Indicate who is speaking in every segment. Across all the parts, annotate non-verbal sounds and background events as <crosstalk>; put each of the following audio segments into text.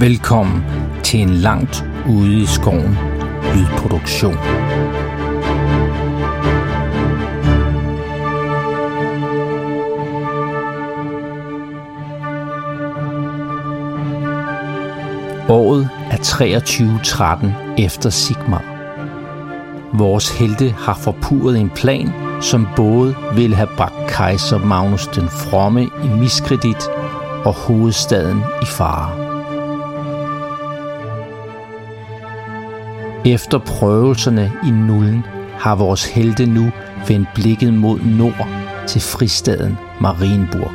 Speaker 1: Velkommen til en langt ude i skoven lydproduktion. Året er 2313 efter Sigmar. Vores helte har forpurret en plan, som både ville have bragt kejser Magnus den Fromme i miskredit og hovedstaden i fare. Efter prøvelserne i nullen har vores helte nu vendt blikket mod nord til fristaden Marienburg.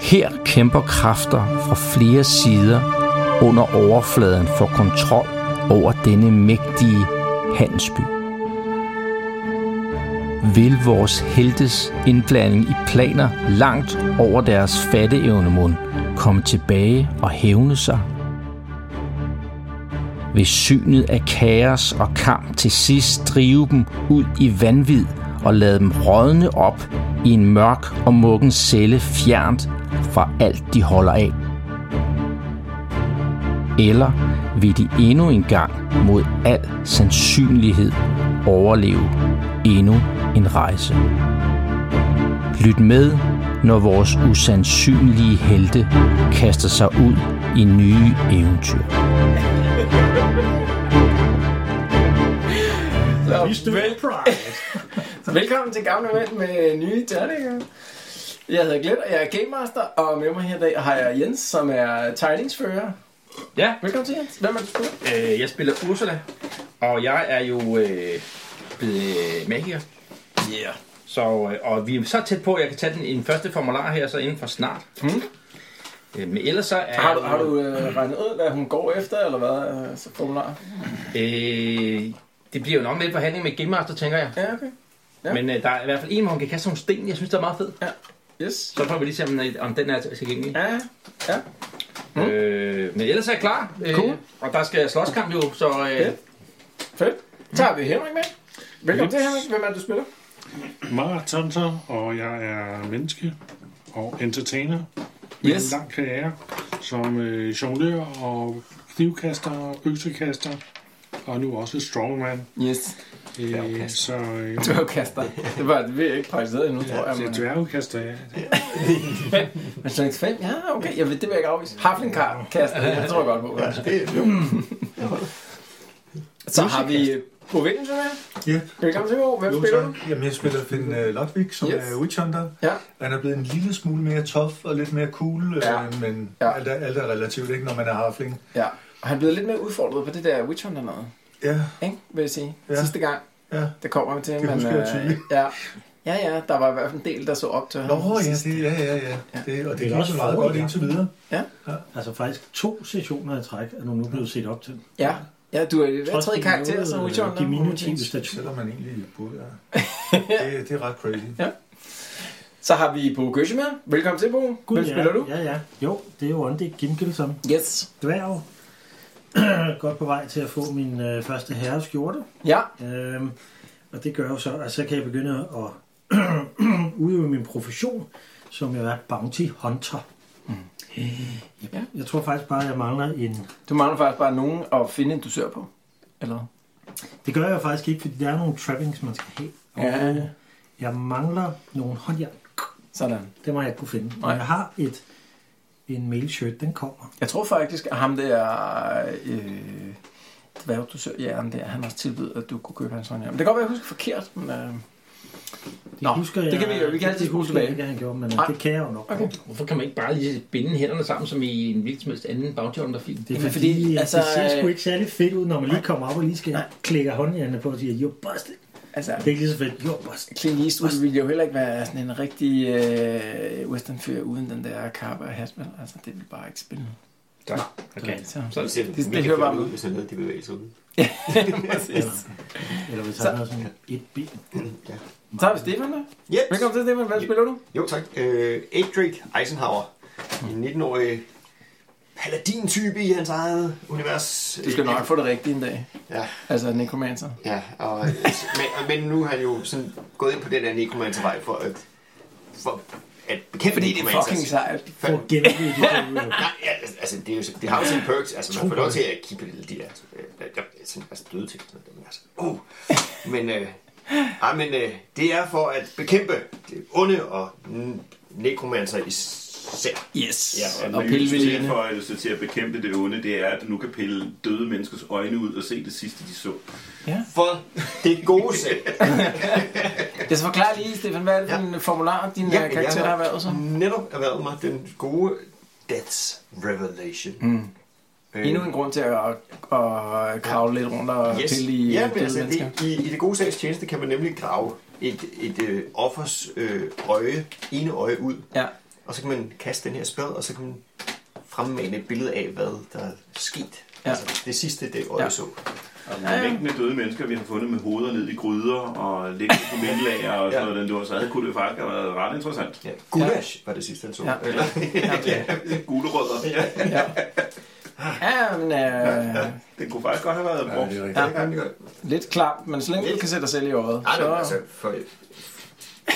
Speaker 1: Her kæmper kræfter fra flere sider under overfladen for kontrol over denne mægtige handelsby. Vil vores heltes indblanding i planer langt over deres fatteevne mund komme tilbage og hævne sig? Vil synet af kaos og kamp til sidst drive dem ud i vanvid og lade dem rådne op i en mørk og muggen celle fjernt fra alt de holder af? Eller vil de endnu en gang mod al sandsynlighed overleve endnu en rejse? Lyt med, når vores usandsynlige helte kaster sig ud i nye eventyr.
Speaker 2: Mr.
Speaker 3: Vel- <laughs>
Speaker 2: Price.
Speaker 3: Velkommen til Gamle Mænd med nye terninger. Jeg hedder Glenn, og jeg er Game Master, og med mig her i dag har jeg Jens, som er tegningsfører.
Speaker 2: Ja,
Speaker 3: Velkommen til, Jens. Hvem er du spiller?
Speaker 2: øh, jeg spiller Ursula, og jeg er jo øh, blevet øh, magiker.
Speaker 3: Yeah.
Speaker 2: Så, øh, og vi er så tæt på, at jeg kan tage den, den første formular her, så inden for snart.
Speaker 3: Mm.
Speaker 2: Øh, men ellers så er...
Speaker 3: Har du, har du øh, regnet ud, hvad hun går efter, eller hvad? Øh, så formular?
Speaker 2: Øh, det bliver jo nok lidt forhandling med Game Master, tænker jeg.
Speaker 3: Ja, okay.
Speaker 2: Ja.
Speaker 3: Ja.
Speaker 2: Men øh, der er i hvert fald en, hvor hun kan kaste nogle sten. Jeg synes, det er meget fedt.
Speaker 3: Yes.
Speaker 2: Så får vi lige se, om, øh, om den er tilgængelig.
Speaker 3: Ja,
Speaker 2: Ja. Øh, men ellers er jeg klar. Øh,
Speaker 3: Mm. Cool.
Speaker 2: Og der skal slåskamp jo, så... Øh,
Speaker 3: Fedt. fedt. Tager vi Henrik med? Velkommen til, Henrik. Hvem er det, du spiller?
Speaker 4: maratonter, og jeg er menneske og entertainer. Med
Speaker 3: Yes.
Speaker 4: en lang karriere som øh, jonglør og knivkaster og øksekaster, og nu også strongman.
Speaker 3: Yes.
Speaker 4: Øh, så øh,
Speaker 3: Dværgkaster. Det var det, vi ikke praktiseret endnu, tror jeg.
Speaker 4: det er
Speaker 3: Men,
Speaker 4: dværgekaster, ja.
Speaker 3: men slags fem? Ja, okay. Jeg ved, det vil jeg ikke afvise. Haflingkaster, det tror jeg godt på.
Speaker 5: Ja, det er jo.
Speaker 3: <laughs> Så har vi øh, provinsen med.
Speaker 5: Ja.
Speaker 3: Velkommen til, Bo. Hvem
Speaker 5: Jo,
Speaker 3: spiller du?
Speaker 5: tak. Jamen, jeg spiller Finn uh, Lodvig, som
Speaker 3: Yes.
Speaker 5: yes. er witchhunter.
Speaker 3: Ja.
Speaker 5: Han er blevet en lille smule mere tough og lidt mere cool,
Speaker 3: Ja.
Speaker 5: ja. øh, men
Speaker 3: Ja.
Speaker 5: ja. alt, er, alt er relativt, ikke, når man er harfling.
Speaker 3: Ja. Og han er blevet lidt mere udfordret på det der Witch Hunter noget,
Speaker 5: Ja,
Speaker 3: ikke? Vil jeg sige. Ja.
Speaker 5: Ja.
Speaker 3: Sidste gang,
Speaker 5: ja.
Speaker 3: det kommer vi til. øh,
Speaker 5: Det husker jeg tydeligt.
Speaker 3: ja. Ja, ja, der var i hvert fald en del, der så op til ham.
Speaker 5: Nå, ja, det, ja,
Speaker 3: Ja.
Speaker 5: ja, ja. Det, og
Speaker 6: Det er
Speaker 5: det, det også
Speaker 6: også
Speaker 5: meget
Speaker 6: forår,
Speaker 5: godt
Speaker 6: ja.
Speaker 5: indtil videre.
Speaker 6: Altså faktisk to sessioner i træk, er nu nu blevet set op til.
Speaker 3: Ja, ja du er hvad
Speaker 6: Trods
Speaker 3: tredje
Speaker 6: de
Speaker 3: karakter,
Speaker 6: nåede,
Speaker 3: så
Speaker 6: øh,
Speaker 3: Witch Hunter.
Speaker 6: De mine
Speaker 3: Witch Hunter.
Speaker 6: 10 statuer.
Speaker 5: Selvom man egentlig burde. Ja. det, det er ret crazy.
Speaker 3: Så har vi Bo Gøsche med. Velkommen til, Bo.
Speaker 6: Gud,
Speaker 3: Hvem
Speaker 6: ja,
Speaker 3: spiller du?
Speaker 6: Ja, ja. Jo, det er jo Ondik Gimkel som
Speaker 3: Yes.
Speaker 6: dværg. <clears throat> Godt på vej til at få min øh, første herreskjorte.
Speaker 3: Ja,
Speaker 6: Øhm, og det gør jo så, at så kan jeg begynde at <clears throat> udøve min profession, som jo er bounty hunter. Mm.
Speaker 3: Ja.
Speaker 6: Ja. Jeg tror faktisk bare, at jeg mangler en...
Speaker 3: du mangler faktisk bare nogen at finde en dusør på. Eller?
Speaker 6: Det gør jeg faktisk ikke, fordi der er nogle trappings, man skal have. Og
Speaker 3: Ja.
Speaker 6: Jeg mangler nogle håndjern.
Speaker 3: Sådan.
Speaker 6: Det må jeg ikke kunne finde.
Speaker 3: Nej.
Speaker 6: Men jeg har et, en mailshirt, den kommer.
Speaker 3: Jeg tror faktisk, at ham der... Øh, dværgdusør, ja, han der, han også tilbød, at du kunne købe hans håndjern. Men det kan godt være, at jeg husker forkert, men... Øh,
Speaker 6: Det
Speaker 3: Nå, det kan vi jo- vi kan altid
Speaker 6: det
Speaker 3: huske
Speaker 6: husker jeg
Speaker 3: tilbage.
Speaker 6: ikke, at han gjorde, men
Speaker 3: Nej.
Speaker 6: Nej. det kan jeg jo nok.
Speaker 3: Okay.
Speaker 6: Okay.
Speaker 2: Hvorfor kan man ikke bare lige binde hænderne sammen, som i en hvilken som helst anden bounty hunter film?
Speaker 6: Det, er
Speaker 3: Jamen,
Speaker 6: fordi,
Speaker 3: fordi,
Speaker 6: fordi
Speaker 3: altså,
Speaker 6: altså, det ser sgu
Speaker 3: øh,
Speaker 6: ikke særlig fedt ud, når man lige kommer op og lige skal
Speaker 3: Nej.
Speaker 6: klikke håndjernene på og sige, you're busted.
Speaker 3: Altså,
Speaker 6: Det er ikke lige så fedt, you're busted.
Speaker 3: Clint Eastwood ville jo heller ikke være sådan en rigtig øh, westernfyr uden den der kappe og hat, vel? Altså, det ville bare ikke spille.
Speaker 2: Tak. Okay.
Speaker 3: Så,
Speaker 2: Så er det
Speaker 3: det, det, det hører bare med.
Speaker 7: ud, hvis han lavede de bevægelser ud.
Speaker 3: Præcis.
Speaker 6: Eller hvis
Speaker 3: Så-
Speaker 6: han har sådan et ben.
Speaker 7: Ja.
Speaker 3: Så har vi Stefan der.
Speaker 7: Yes.
Speaker 3: Velkommen til, Stefan. Hvad spiller du?
Speaker 7: Jo, tak. Øh, Adric Eisenhower. En 19-årig paladin-type i hans eget univers.
Speaker 3: Du skal
Speaker 7: Øh,
Speaker 3: nok få det rigtigt en dag.
Speaker 7: Ja,
Speaker 3: Altså, necromancer.
Speaker 7: ja. Og, øh, men, men nu har han jo sådan gået ind på den der necromancer-vej for at for at bekæmpe
Speaker 3: Fordi
Speaker 7: de
Speaker 3: det er
Speaker 7: necromancers.
Speaker 3: fucking sejt.
Speaker 6: For at gennemleve de der
Speaker 7: Nej, ja, altså, det, er jo, så- det har jo sine perks. Altså, man får lov til at kigge lidt de der, altså, øh, jeg- sådan, altså døde ting. og Sådan noget, men altså, uh. Men, øh, ej, men øh, det er for at bekæmpe det onde og mm, nekromancer især.
Speaker 3: Yes.
Speaker 7: Ja,
Speaker 3: og
Speaker 8: Og
Speaker 3: pille ved
Speaker 8: pille
Speaker 3: det.
Speaker 8: tilføjelse til at bekæmpe det onde, det er, at du nu kan pille døde menneskers øjne ud og se det sidste, de så.
Speaker 7: For det
Speaker 3: <laughs>
Speaker 7: gode selv.
Speaker 3: Jeg skal forklare lige, Stefan, hvad er det for en formular, din ja, Mm. karakter har været så?
Speaker 7: netop erhvervet mig den gode Death's Revelation. Mm. Øh,
Speaker 3: Endnu en grund til at, at, at kravle lidt rundt og yes.
Speaker 7: Yes.
Speaker 3: pille i
Speaker 7: ja,
Speaker 3: ja,
Speaker 7: men altså,
Speaker 3: øh, mennesker.
Speaker 7: det, i, i det gode sags tjeneste kan man nemlig grave et, et øh, offers øh, øje, ene øje ud,
Speaker 3: Ja.
Speaker 7: og så kan man kaste den her spil, og så kan man fremmane et billede af, hvad der er sket.
Speaker 3: Ja.
Speaker 7: Ja. Altså, det sidste, det øje
Speaker 3: Ja.
Speaker 7: ja. så.
Speaker 8: Og ja, ja. mængden af døde mennesker, vi har fundet med hoveder ned i gryder og liggende på mindlager og <laughs> sådan
Speaker 7: Ja.
Speaker 8: noget, den du så havde, kunne det faktisk have været ret interessant.
Speaker 7: Ja. Gulasch var det sidste, han så.
Speaker 3: Ja.
Speaker 7: Eller, <laughs>
Speaker 8: Gulerødder, ja.
Speaker 3: Ja, men øh,
Speaker 8: den kunne faktisk godt have været
Speaker 5: Ja,
Speaker 8: brugt.
Speaker 5: det er rigtigt.
Speaker 7: ja. det kan det godt.
Speaker 3: lidt klap, men så længe du
Speaker 7: Lidt.
Speaker 3: kan sætte dig selv i øjet.
Speaker 7: Nej, nej,
Speaker 3: så,
Speaker 7: altså, for,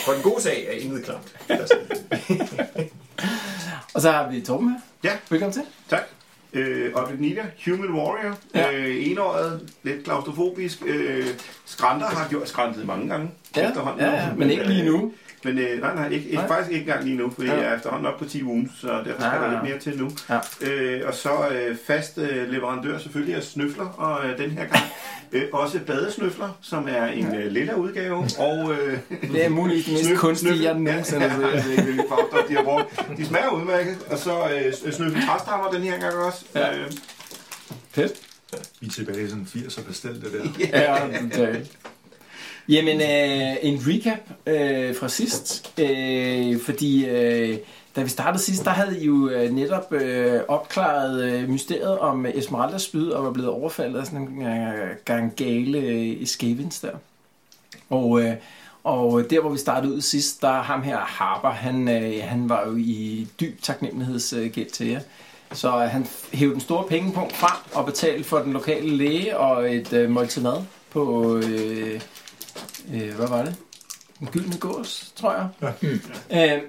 Speaker 7: for den gode sag er intet klart. Altså,
Speaker 3: og så har vi Torben her.
Speaker 8: Ja.
Speaker 3: Velkommen til.
Speaker 8: Tak. Øh, og Nita, Human Warrior,
Speaker 3: Ja.
Speaker 8: ja. øh, enåret, lidt klaustrofobisk. Øh, skranter har gjort skrantet mange gange
Speaker 3: Ja,
Speaker 8: efterhånden.
Speaker 3: ja, ja, men ikke lige nu.
Speaker 8: Men øh, nej, nej, ikke, ikke,
Speaker 3: Nej.
Speaker 8: faktisk ikke engang lige nu, fordi
Speaker 3: Ja.
Speaker 8: ja. jeg er efterhånden op på 10 wounds, så derfor skal
Speaker 3: Ja,
Speaker 8: ja, der
Speaker 3: ja,
Speaker 8: lidt
Speaker 3: ja.
Speaker 8: mere til nu.
Speaker 3: Ja.
Speaker 8: Øh, og så øh, fast øh, leverandør selvfølgelig af snøfler, og øh, den her
Speaker 3: <laughs>
Speaker 8: gang øh, også badesnøfler, som er en ja. øh, lilla udgave, og... Øh,
Speaker 3: <laughs> Det er muligvis den mest
Speaker 8: Snøf-
Speaker 3: kunstige,
Speaker 8: snøf-
Speaker 3: jeg nogensinde altså.
Speaker 8: Ja,
Speaker 3: <laughs> har
Speaker 8: jeg
Speaker 3: set.
Speaker 8: ved ikke, hvilke farver de har brugt. De smager udmærket, og så øh, snøffel træstammer den her gang også.
Speaker 3: Ja.
Speaker 8: Ja. Øh,
Speaker 5: I er tilbage i sådan 80'er pastel, det der.
Speaker 3: Ja, det Jamen, øh, en recap øh, fra sidst. Øh, fordi øh, da vi startede sidst, der havde I jo øh, netop øh, opklaret øh, mysteriet om øh, Esmeraldas spyd og var blevet overfaldet af sådan en øh, gang gale øh, skævins der. Og, øh, og der, hvor vi startede ud sidst, der ham her Harper, han, øh, han var jo i dyb taknemmelighedsgæld til jer. Så øh, han hævde den store pengepunkt frem og betalte for den lokale læge og et øh, måltid mad på, øh, øh, hvad var det? Den gyldne gås, tror jeg. Ja. Øh,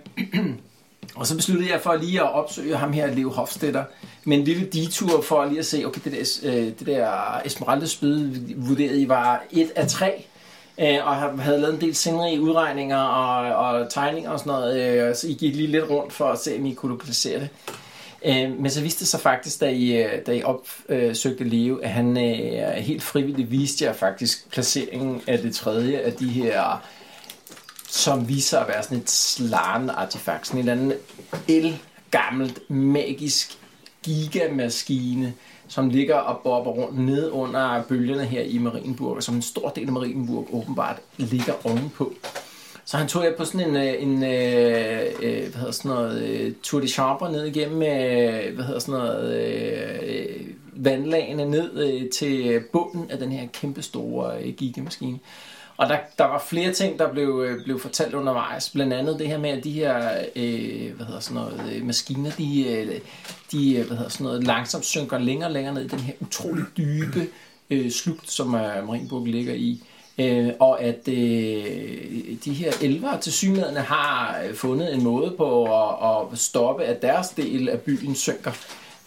Speaker 3: <clears throat> og så besluttede jeg for lige at opsøge ham her, Leo Hofstetter, med en lille detur for lige at se, okay, det der, øh, det der Esmeralda-spyd vurderede I var et af tre, øh, og har- havde lavet en del sindrige udregninger og, og tegninger og sådan noget, øh, så I gik lige lidt rundt for at se, om I kunne lokalisere det. Øh, men så viste det sig faktisk, da I, øh, da I opsøgte Leo, at han øh, helt frivilligt viste jer faktisk placeringen af det tredje af de her, som viser sig at være sådan et slarende artefakt. Sådan en eller anden el gammelt magisk gigamaskine, som ligger og bobber rundt ned under bølgerne her i Marienburg, og som en stor del af Marienburg åbenbart ligger ovenpå. Så han tog jeg på sådan en, øh, en øh, øh, hvad hedder sådan noget, øh, tour de chambre ned igennem, øh, hvad hedder sådan noget, øh, øh, vandlagene ned øh, til bunden af den her kæmpe store øh, gigamaskine. Og der, der var flere ting, der blev, øh, blev fortalt undervejs. Blandt andet det her med, at de her øh, hvad hedder sådan noget, øh, maskiner, de, øh, de øh, hvad hedder sådan noget, langsomt synker længere og længere ned i den her utrolig dybe øh, slugt, som øh, Marienburg ligger i. Øh, og at øh, de her elver til synligheden har øh, fundet en måde på at, at stoppe, at deres del af byen synker.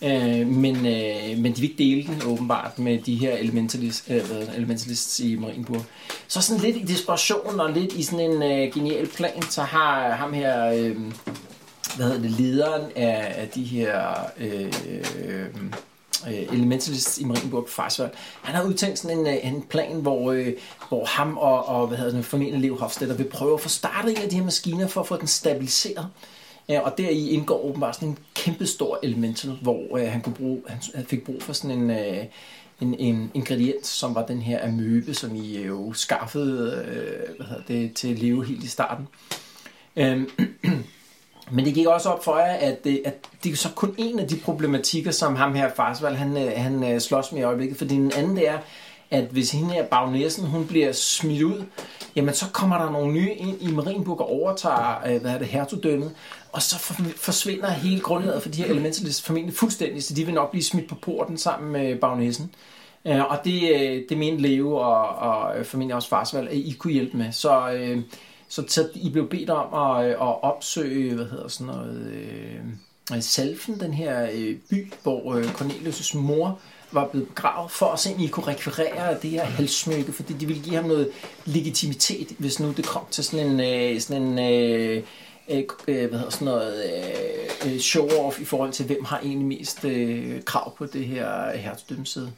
Speaker 3: Øh, men, øh, men de vil ikke dele den åbenbart med de her elementalist, øh, hvad hedder det, elementalists i Marienburg. Så sådan lidt i desperation og lidt i sådan en øh, genial plan, så har ham her, øh, hvad hedder det, lederen af, af de her øh, øh, øh, elementalist i Marienburg Farsvald, han har udtænkt sådan en, øh, en plan, hvor, øh, hvor ham og, og hvad hedder det, formentlig Leo Hofstetter vil prøve at få startet en af de her maskiner for at få den stabiliseret. Ja, og deri indgår åbenbart sådan en kæmpe stor elemental, hvor øh, han, kunne bruge, han, han fik brug for sådan en, øh, en, en ingrediens, som var den her amøbe, som I øh, jo skaffede øh, hvad hedder det, til Leo helt i starten. Øhm, men det gik også op for jer, at, øh, at det er så kun en af de problematikker, som ham her Farsvald, han, øh, han øh, slås med i øjeblikket. Fordi den anden det er, at hvis hende her bagnæsen, hun bliver smidt ud, jamen så kommer der nogle nye ind i Marienburg og overtager, øh, hvad er det, hertugdømmet. Og så for- forsvinder hele grundlaget for de her elementalist formentlig fuldstændig, så de vil nok blive smidt på porten sammen med bagnæsen. Øh, og det, øh, det mente Leo og, og øh, formentlig også Farsvald, at I kunne hjælpe med. Så, øh, Så, så I blev bedt om at, øh, at opsøge, hvad hedder sådan noget, øh, Salfen, den her øh, by, hvor øh, Cornelius' mor var blevet begravet, for at se, om I kunne rekvirere det her halssmykke, fordi de ville give ham noget legitimitet, hvis nu det kom til sådan en, øh, sådan en øh, øh, øh, hvad hedder sådan noget, øh, øh, show-off i forhold til, hvem har egentlig mest øh, krav på det her hertugdømmesæde.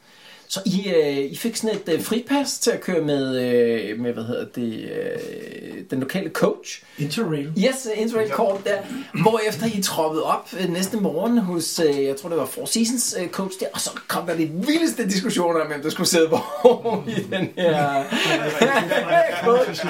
Speaker 3: Så I, øh, I fik sådan et øh, fripas til at køre med, øh, med hvad hedder det, øh, den lokale coach.
Speaker 6: øh, Interrail.
Speaker 3: Yes, interrail kort der. Hvorefter I troppede op øh, næste morgen hos, øh, jeg tror det var Four Seasons øh, coach der, og så kom der de vildeste diskussioner om, hvem der skulle sidde hvor <laughs> i den her <laughs> coach.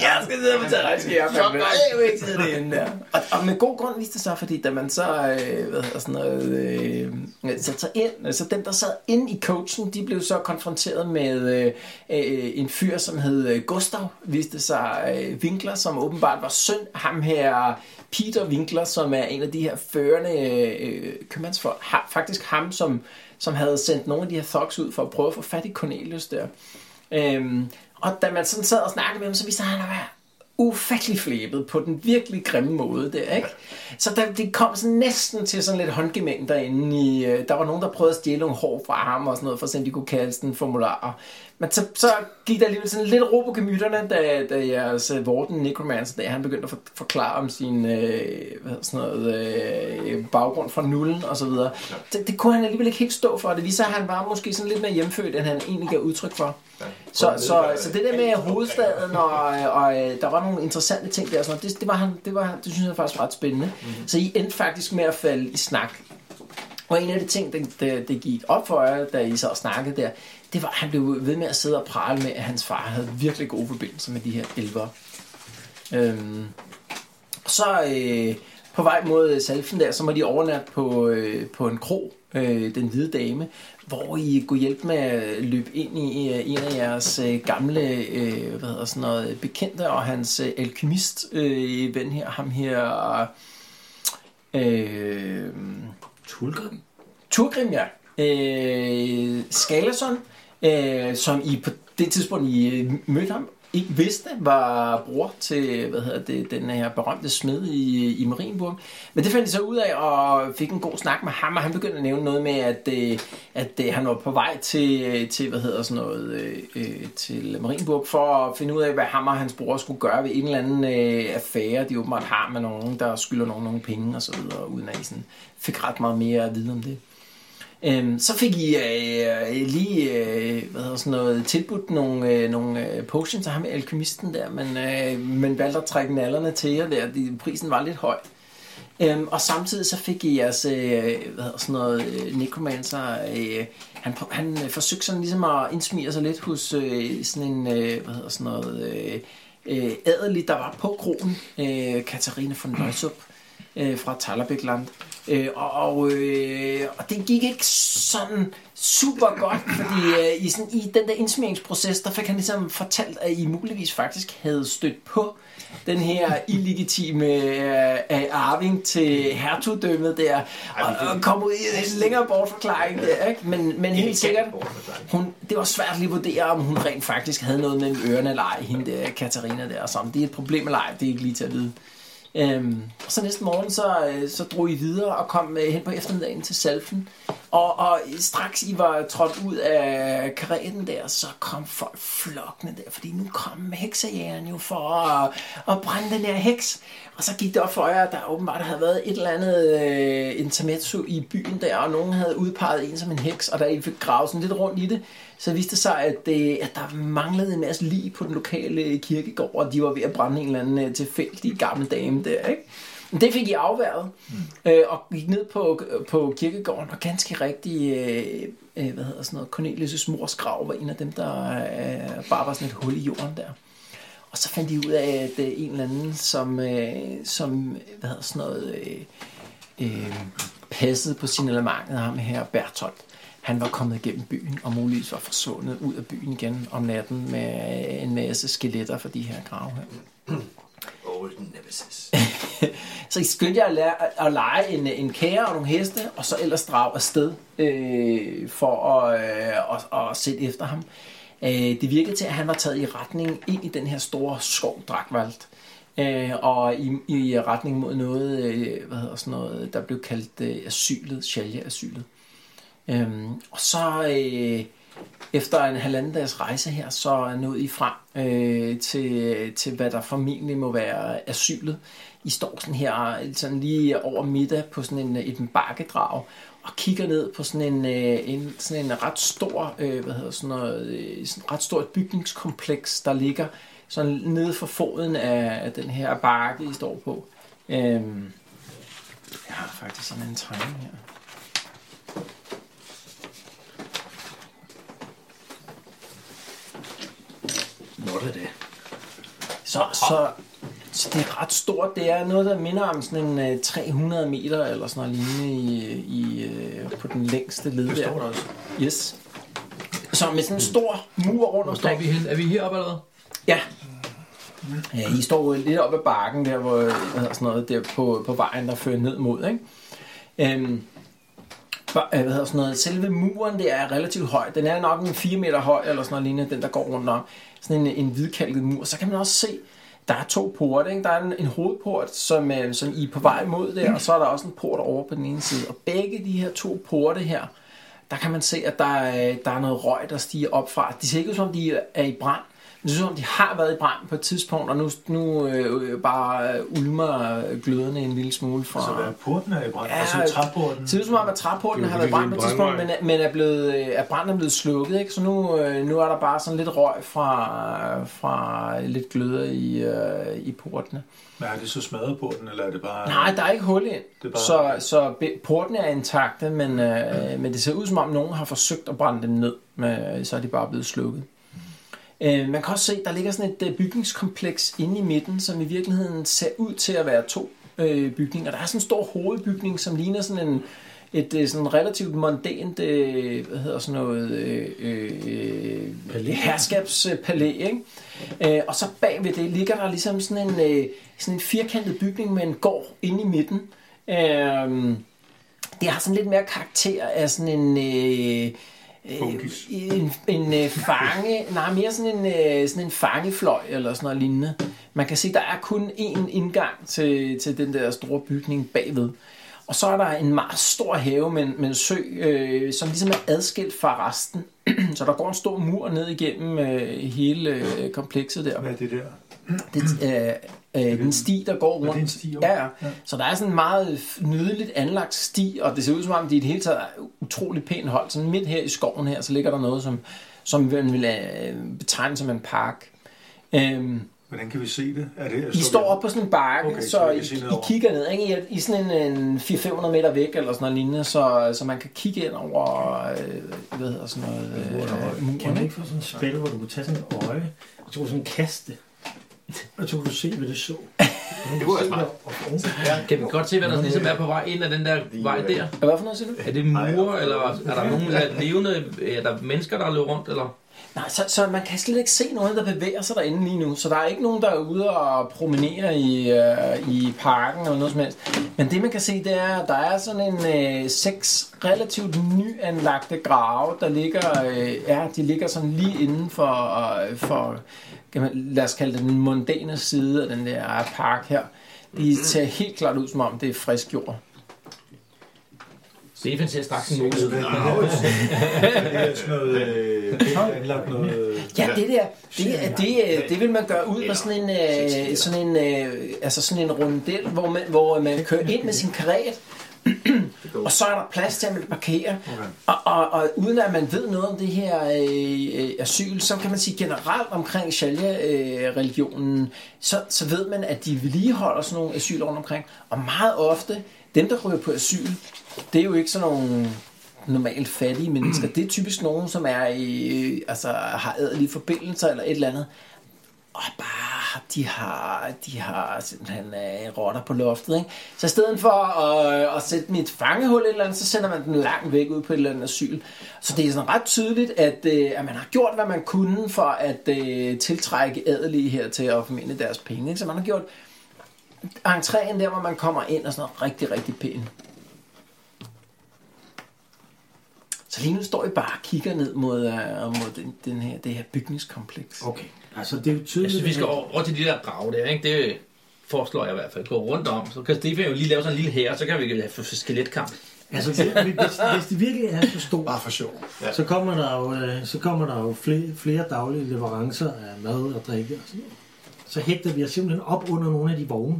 Speaker 3: Jeg skal sidde og fortælle regnskab. Jeg er jo ikke sidde derinde der. Og, og med god grund viste det sig, fordi da man så, øh, hvad hedder sådan noget, øh, satte sig ind, så dem, der sad inde i coachen, de blev så konfronteret med øh, øh, en fyr, som hed øh, Gustav, viste sig øh, Winkler, som åbenbart var søn af ham her, Peter Winkler, som er en af de her førende øh, købmandsfolk. Ha, faktisk ham, som, som havde sendt nogle af de her thugs ud for at prøve at få fat i Cornelius der. Øhm, og da man sådan sad og snakkede med ham, så viste han at være ufattelig flæbet på den virkelig grimme måde der, ikke? Så der, det kom sådan næsten til sådan lidt håndgemæng derinde i, øh, der var nogen, der prøvede at stjæle nogle hår fra ham og sådan noget, for at se, om de kunne kalde sådan formularer. Men så, så gik der alligevel sådan lidt ro på gemytterne, da, da jeres øh, Vorten Necromancer, da han begyndte at for, forklare om sin øh, hvad hedder sådan noget, øh, baggrund fra nullen og så videre. Det, det, kunne han alligevel ikke helt stå for, og det viser, at han var måske sådan lidt mere hjemfødt, end han egentlig gav udtryk for. Så, så, så det der med hovedstaden, og, og øh, der var nogle interessante ting der, og sådan noget, det, det, var han, det, var, han- det synes jeg faktisk var ret spændende. Mm-hmm. Så I endte faktisk med at falde i snak. Og en af de ting, det, det, det gik op for jer, da I så snakkede der, det var, at han blev ved med at sidde og prale med, at hans far havde virkelig gode forbindelser med de her elvere. Øhm, så øh, på vej mod Salfen der, så må de overnatte på, øh, på en kro, øh, den hvide dame, hvor I kunne hjælpe med at løbe ind i øh, en af jeres øh, gamle øh, hvad hedder sådan noget, bekendte og hans øh, alkymist øh, ven her, ham her... Øh, Tulgrim? Tulgrim, ja. Øh, Skalason, øh, som I på det tidspunkt, I øh, mødte ham, ikke vidste, var bror til hvad hedder det, den her berømte smed i, i Marienburg. Men det fandt de så ud af, og fik en god snak med ham, og han begyndte at nævne noget med, at, øh, at øh, han var på vej til, øh, til hvad hedder sådan noget, øh, øh, til Marienburg, for at finde ud af, hvad ham og hans bror skulle gøre ved en eller anden øh, affære, de åbenbart har med nogen, der skylder nogen nogle penge og så videre, uden at I sådan fik ret meget mere at vide om det. Øhm, så fik I øh, lige øh, hvad hedder sådan noget, tilbudt nogle, øh, nogle øh, potions af ham alkymisten der, men, øh, men valgte at trække nallerne til jer der. De, prisen var lidt høj. Øhm, og samtidig så fik I jeres, øh, hvad hedder sådan noget, øh, necromancer, øh, han, prøv- han øh, forsøgte sådan ligesom at indsmire sig lidt hos øh, sådan en, øh, hvad hedder sådan noget, øh, øh, adelig, der var på krogen, øh, Katarina von Løjsup øh, fra Tallerbækland. Øh, og, og, øh, og det gik ikke sådan super godt, fordi øh, i, sådan, i den der indsmeringsproces, der fik han ligesom fortalt, at I muligvis faktisk havde stødt på den her illegitime øh, øh, arving til hertugdømmet der, og, og kom ud i en længere bortforklaring der, ikke? Men, men helt sikkert, hun, det var svært lige at vurdere, om hun rent faktisk havde noget mellem ørerne eller ej, hende der, Katarina der, og sådan. Det er et problem eller ej, det er ikke lige til at vide. Øhm, og så næste morgen, så, øh, så drog I videre og kom øh, hen på eftermiddagen til Salfen. Og, og straks I var trådt ud af karetten der, så kom folk flokkende der, fordi nu kom heksejægeren jo for at, at brænde den her heks. Og så gik det op for jer, at der åbenbart havde været et eller andet øh, intermezzo i byen der, og nogen havde udpeget en som en heks, og da I fik gravet sådan lidt rundt i det, så viste det sig, at, øh, at der manglede en masse lig på den lokale kirkegård, og de var ved at brænde en eller anden øh, tilfældig gammel dame der, ikke? Men det fik I afværet, øh, og gik ned på, på kirkegården, og ganske rigtig, øh, øh, hvad hedder sådan noget, Cornelius' mors grav var en af dem, der øh, bare var sådan et hul i jorden der. Og så fandt de ud af, at øh, en eller anden, som, øh, som hvad hedder sådan noget, øh, øh, passede på signalementet ham her, Bertolt. Han var kommet igennem byen, og muligvis var forsvundet ud af byen igen om natten med en masse skeletter fra de her grave her. <laughs>
Speaker 7: Old nemesis.
Speaker 3: Så I skyndte jer at, lære, at lege en, en kære og nogle heste, og så ellers drage afsted øh, for at, øh, at, at sætte efter ham. Øh, det virkede til, at han var taget i retning ind i den her store skov, Drakvald. Øh, og i, i retning mod noget, øh, hvad hedder sådan noget, der blev kaldt øh, asylet, Shalja-asylet. Øhm, og så øh, efter en halvanden dags rejse her, så nåede I frem øh, til, til, hvad der formentlig må være asylet. I står sådan her sådan lige over middag på sådan en, et bakkedrag og kigger ned på sådan en, øh, en, sådan en ret stor, øh, hvad hedder sådan noget, øh, sådan ret stort bygningskompleks, der ligger sådan nede for foden af, af den her bakke, I står på. Øhm, jeg har faktisk sådan en tegning her.
Speaker 6: Nå, det er det.
Speaker 3: Så, så, så det er ret stort. Det er noget, der minder om sådan en øh, 300 meter eller sådan noget lignende i, i, øh, på den længste led der.
Speaker 9: står der også.
Speaker 3: Yes. Så med sådan en stor mur rundt
Speaker 9: Hvor står
Speaker 3: omkring.
Speaker 9: vi hen? Er vi heroppe allerede?
Speaker 3: Ja. ja. I står jo lidt op ad bakken der, hvor hvad hedder sådan noget, der på, på vejen, der fører ned mod, ikke? Øhm, ba- øh, hvad hedder sådan noget, selve muren der er relativt høj. Den er nok en 4 meter høj, eller sådan noget lignende, den der går rundt om. Sådan en, en hvidkalket mur. Så kan man også se, der er to porte. Ikke? Der er en, en hovedport, som, øh, som I er på vej mod der, og så er der også en port over på den ene side. Og begge de her to porte her, der kan man se, at der er, der er noget røg, der stiger op fra. De ser ikke ud som, om de er i brand. Men det ser ud som, om de har været i brand på et tidspunkt, og nu, nu øh, øh, bare øh, ulmer gløderne en lille smule fra...
Speaker 5: Så der porten er i brand,
Speaker 3: Ja, øh,
Speaker 5: ja, altså træporten.
Speaker 3: Det ser ud som om, at træporten
Speaker 4: Det er
Speaker 3: har været
Speaker 4: jo
Speaker 3: brændt på et
Speaker 4: virkelig en
Speaker 3: tidspunkt, men, er- men er, blevet, øh, er branden er blevet slukket. Ikke? Så nu, øh, nu er der bare sådan lidt røg fra, fra lidt gløder i, øh, i portene.
Speaker 5: Men er det så smadret porten, eller er det bare...
Speaker 3: Nej, der er ikke hul ind,
Speaker 5: Det er
Speaker 3: så,
Speaker 5: bare-
Speaker 3: så be- portene er intakte, men, øh, men det ser ud som om, nogen har forsøgt at brænde dem ned, men øh, så er de bare blevet slukket. Øh, man kan også se, der ligger sådan et øh, bygningskompleks inde i midten, som i virkeligheden ser ud til at være to øh, bygninger. Der er sådan en stor hovedbygning, som ligner sådan en et øh, sådan relativt mondænt, øh, hvad hedder sådan noget, øh, øh, øh, herskabspalæ, ikke? Øh, og så bagved det ligger der ligesom sådan en, øh, sådan en firkantet bygning med en gård inde i midten. Øh, det har sådan lidt mere karakter af sådan en... Øh, øh,
Speaker 4: Funkis.
Speaker 3: en, en øh, fange, nej mere sådan en, øh, sådan en fangefløj eller sådan noget lignende. Man kan se, der er kun én indgang til, til den der store bygning bagved. Og så er der en meget stor have med, en- med en sø, øh, som ligesom er adskilt fra resten. <clears throat> så der går en stor mur ned igennem øh, hele øh, komplekset der.
Speaker 5: Hvad er det der? <clears throat>
Speaker 3: Det, øh, øh, den sti, der går rundt.
Speaker 5: det en sti over?
Speaker 3: ja, ja. Så der er sådan en meget nydeligt anlagt sti, og det ser ud som om, de i det hele taget er utroligt pænt hold. Sådan midt her i skoven her, så ligger der noget, som, som man vil øh, betegne som en park. Øhm,
Speaker 5: Hvordan kan vi se det? Er det
Speaker 3: I står op på sådan en bakke, okay,
Speaker 5: Okay,
Speaker 3: så,
Speaker 5: så vi
Speaker 3: I,
Speaker 5: kan se ned
Speaker 3: I
Speaker 5: over.
Speaker 3: kigger ned. Ikke? I, er- I er sådan en, en 400-500 meter væk, eller sådan noget lignende, så, så man kan kigge ind over, øh, hvad hedder sådan noget, øh, muren.
Speaker 6: Kan
Speaker 3: ikke?
Speaker 6: man ikke få sådan et spil, hvor du kunne tage sådan et øje, og så kunne du sådan kaste, og så kunne du se, hvad det
Speaker 5: <laughs>
Speaker 6: så?
Speaker 7: Det kunne være smart.
Speaker 9: Kan vi godt se, hvad der ligesom er på vej ind ad den der vej der?
Speaker 3: Hvad for noget siger du?
Speaker 9: Er det mure, eller er der nogen der er levende, er der mennesker, der løber rundt, eller?
Speaker 3: Nej, så, så man kan slet ikke se nogen, der bevæger sig derinde lige nu. Så der er ikke nogen, der er ude og promenere i, øh, i parken eller noget som helst. Men det, man kan se, det er, at der er sådan en øh, seks relativt nyanlagte grave, der ligger, øh, ja, de ligger sådan lige inden for, øh, for kan man, lad os kalde det den mondæne side af den der park her. De ser helt klart ud, som om det er frisk jord.
Speaker 9: Stefan ser straks en mulighed.
Speaker 5: Det er sådan noget... Øh, pænt anlagt noget...
Speaker 3: Ja, det der, det, er- det, øh, det vil man gøre ud med sådan en, øh,
Speaker 7: Eller-
Speaker 3: sådan en, øh, altså sådan en rundel, hvor man, hvor man kører ind med sin karret, og så er der plads til, at man parkerer. Og, og, og uden at man ved noget om det her øh, øh, asyl, så kan man sige generelt omkring Sharia-religionen, så, så ved man, at de vedligeholder sådan nogle asyl rundt omkring. Og meget ofte, dem der ryger på asyl, det er jo ikke sådan nogle normalt fattige mennesker. Det er typisk nogen, som er i, øh, altså, har adelige forbindelser eller et eller andet. Og bare, de har, de har simpelthen øh, rotter på loftet, ikke? Så i stedet for at, at sætte mit fangehul et eller andet, så sender man den langt væk ud på et eller andet asyl. Så det er sådan ret tydeligt, at, øh, at man har gjort, hvad man kunne for at øh, tiltrække adelige hertil og formentlig deres penge. Ikke? Så man har gjort entréen der, hvor man kommer ind og sådan noget rigtig, rigtig pæn. Så lige nu står I bare og kigger ned mod, øh, mod den, den her, det her bygningskompleks.
Speaker 6: Okay. Altså, det er jo
Speaker 9: Jeg
Speaker 6: tydeligt...
Speaker 9: synes, vi skal
Speaker 6: at-
Speaker 9: over, over til de der grave der, ikke? Det foreslår jeg i hvert fald. Gå rundt om. Så kan Stefan jo lige lave sådan en lille herre, så kan vi have f- skeletkamp.
Speaker 6: Altså, det- hvis, hvis det virkelig er så stort,
Speaker 5: Bare for sjov.
Speaker 6: ja. så kommer der jo, øh, så kommer der jo flere, flere daglige leverancer af mad og drikke og sådan noget. Så hægter vi os simpelthen op under nogle af de vogne,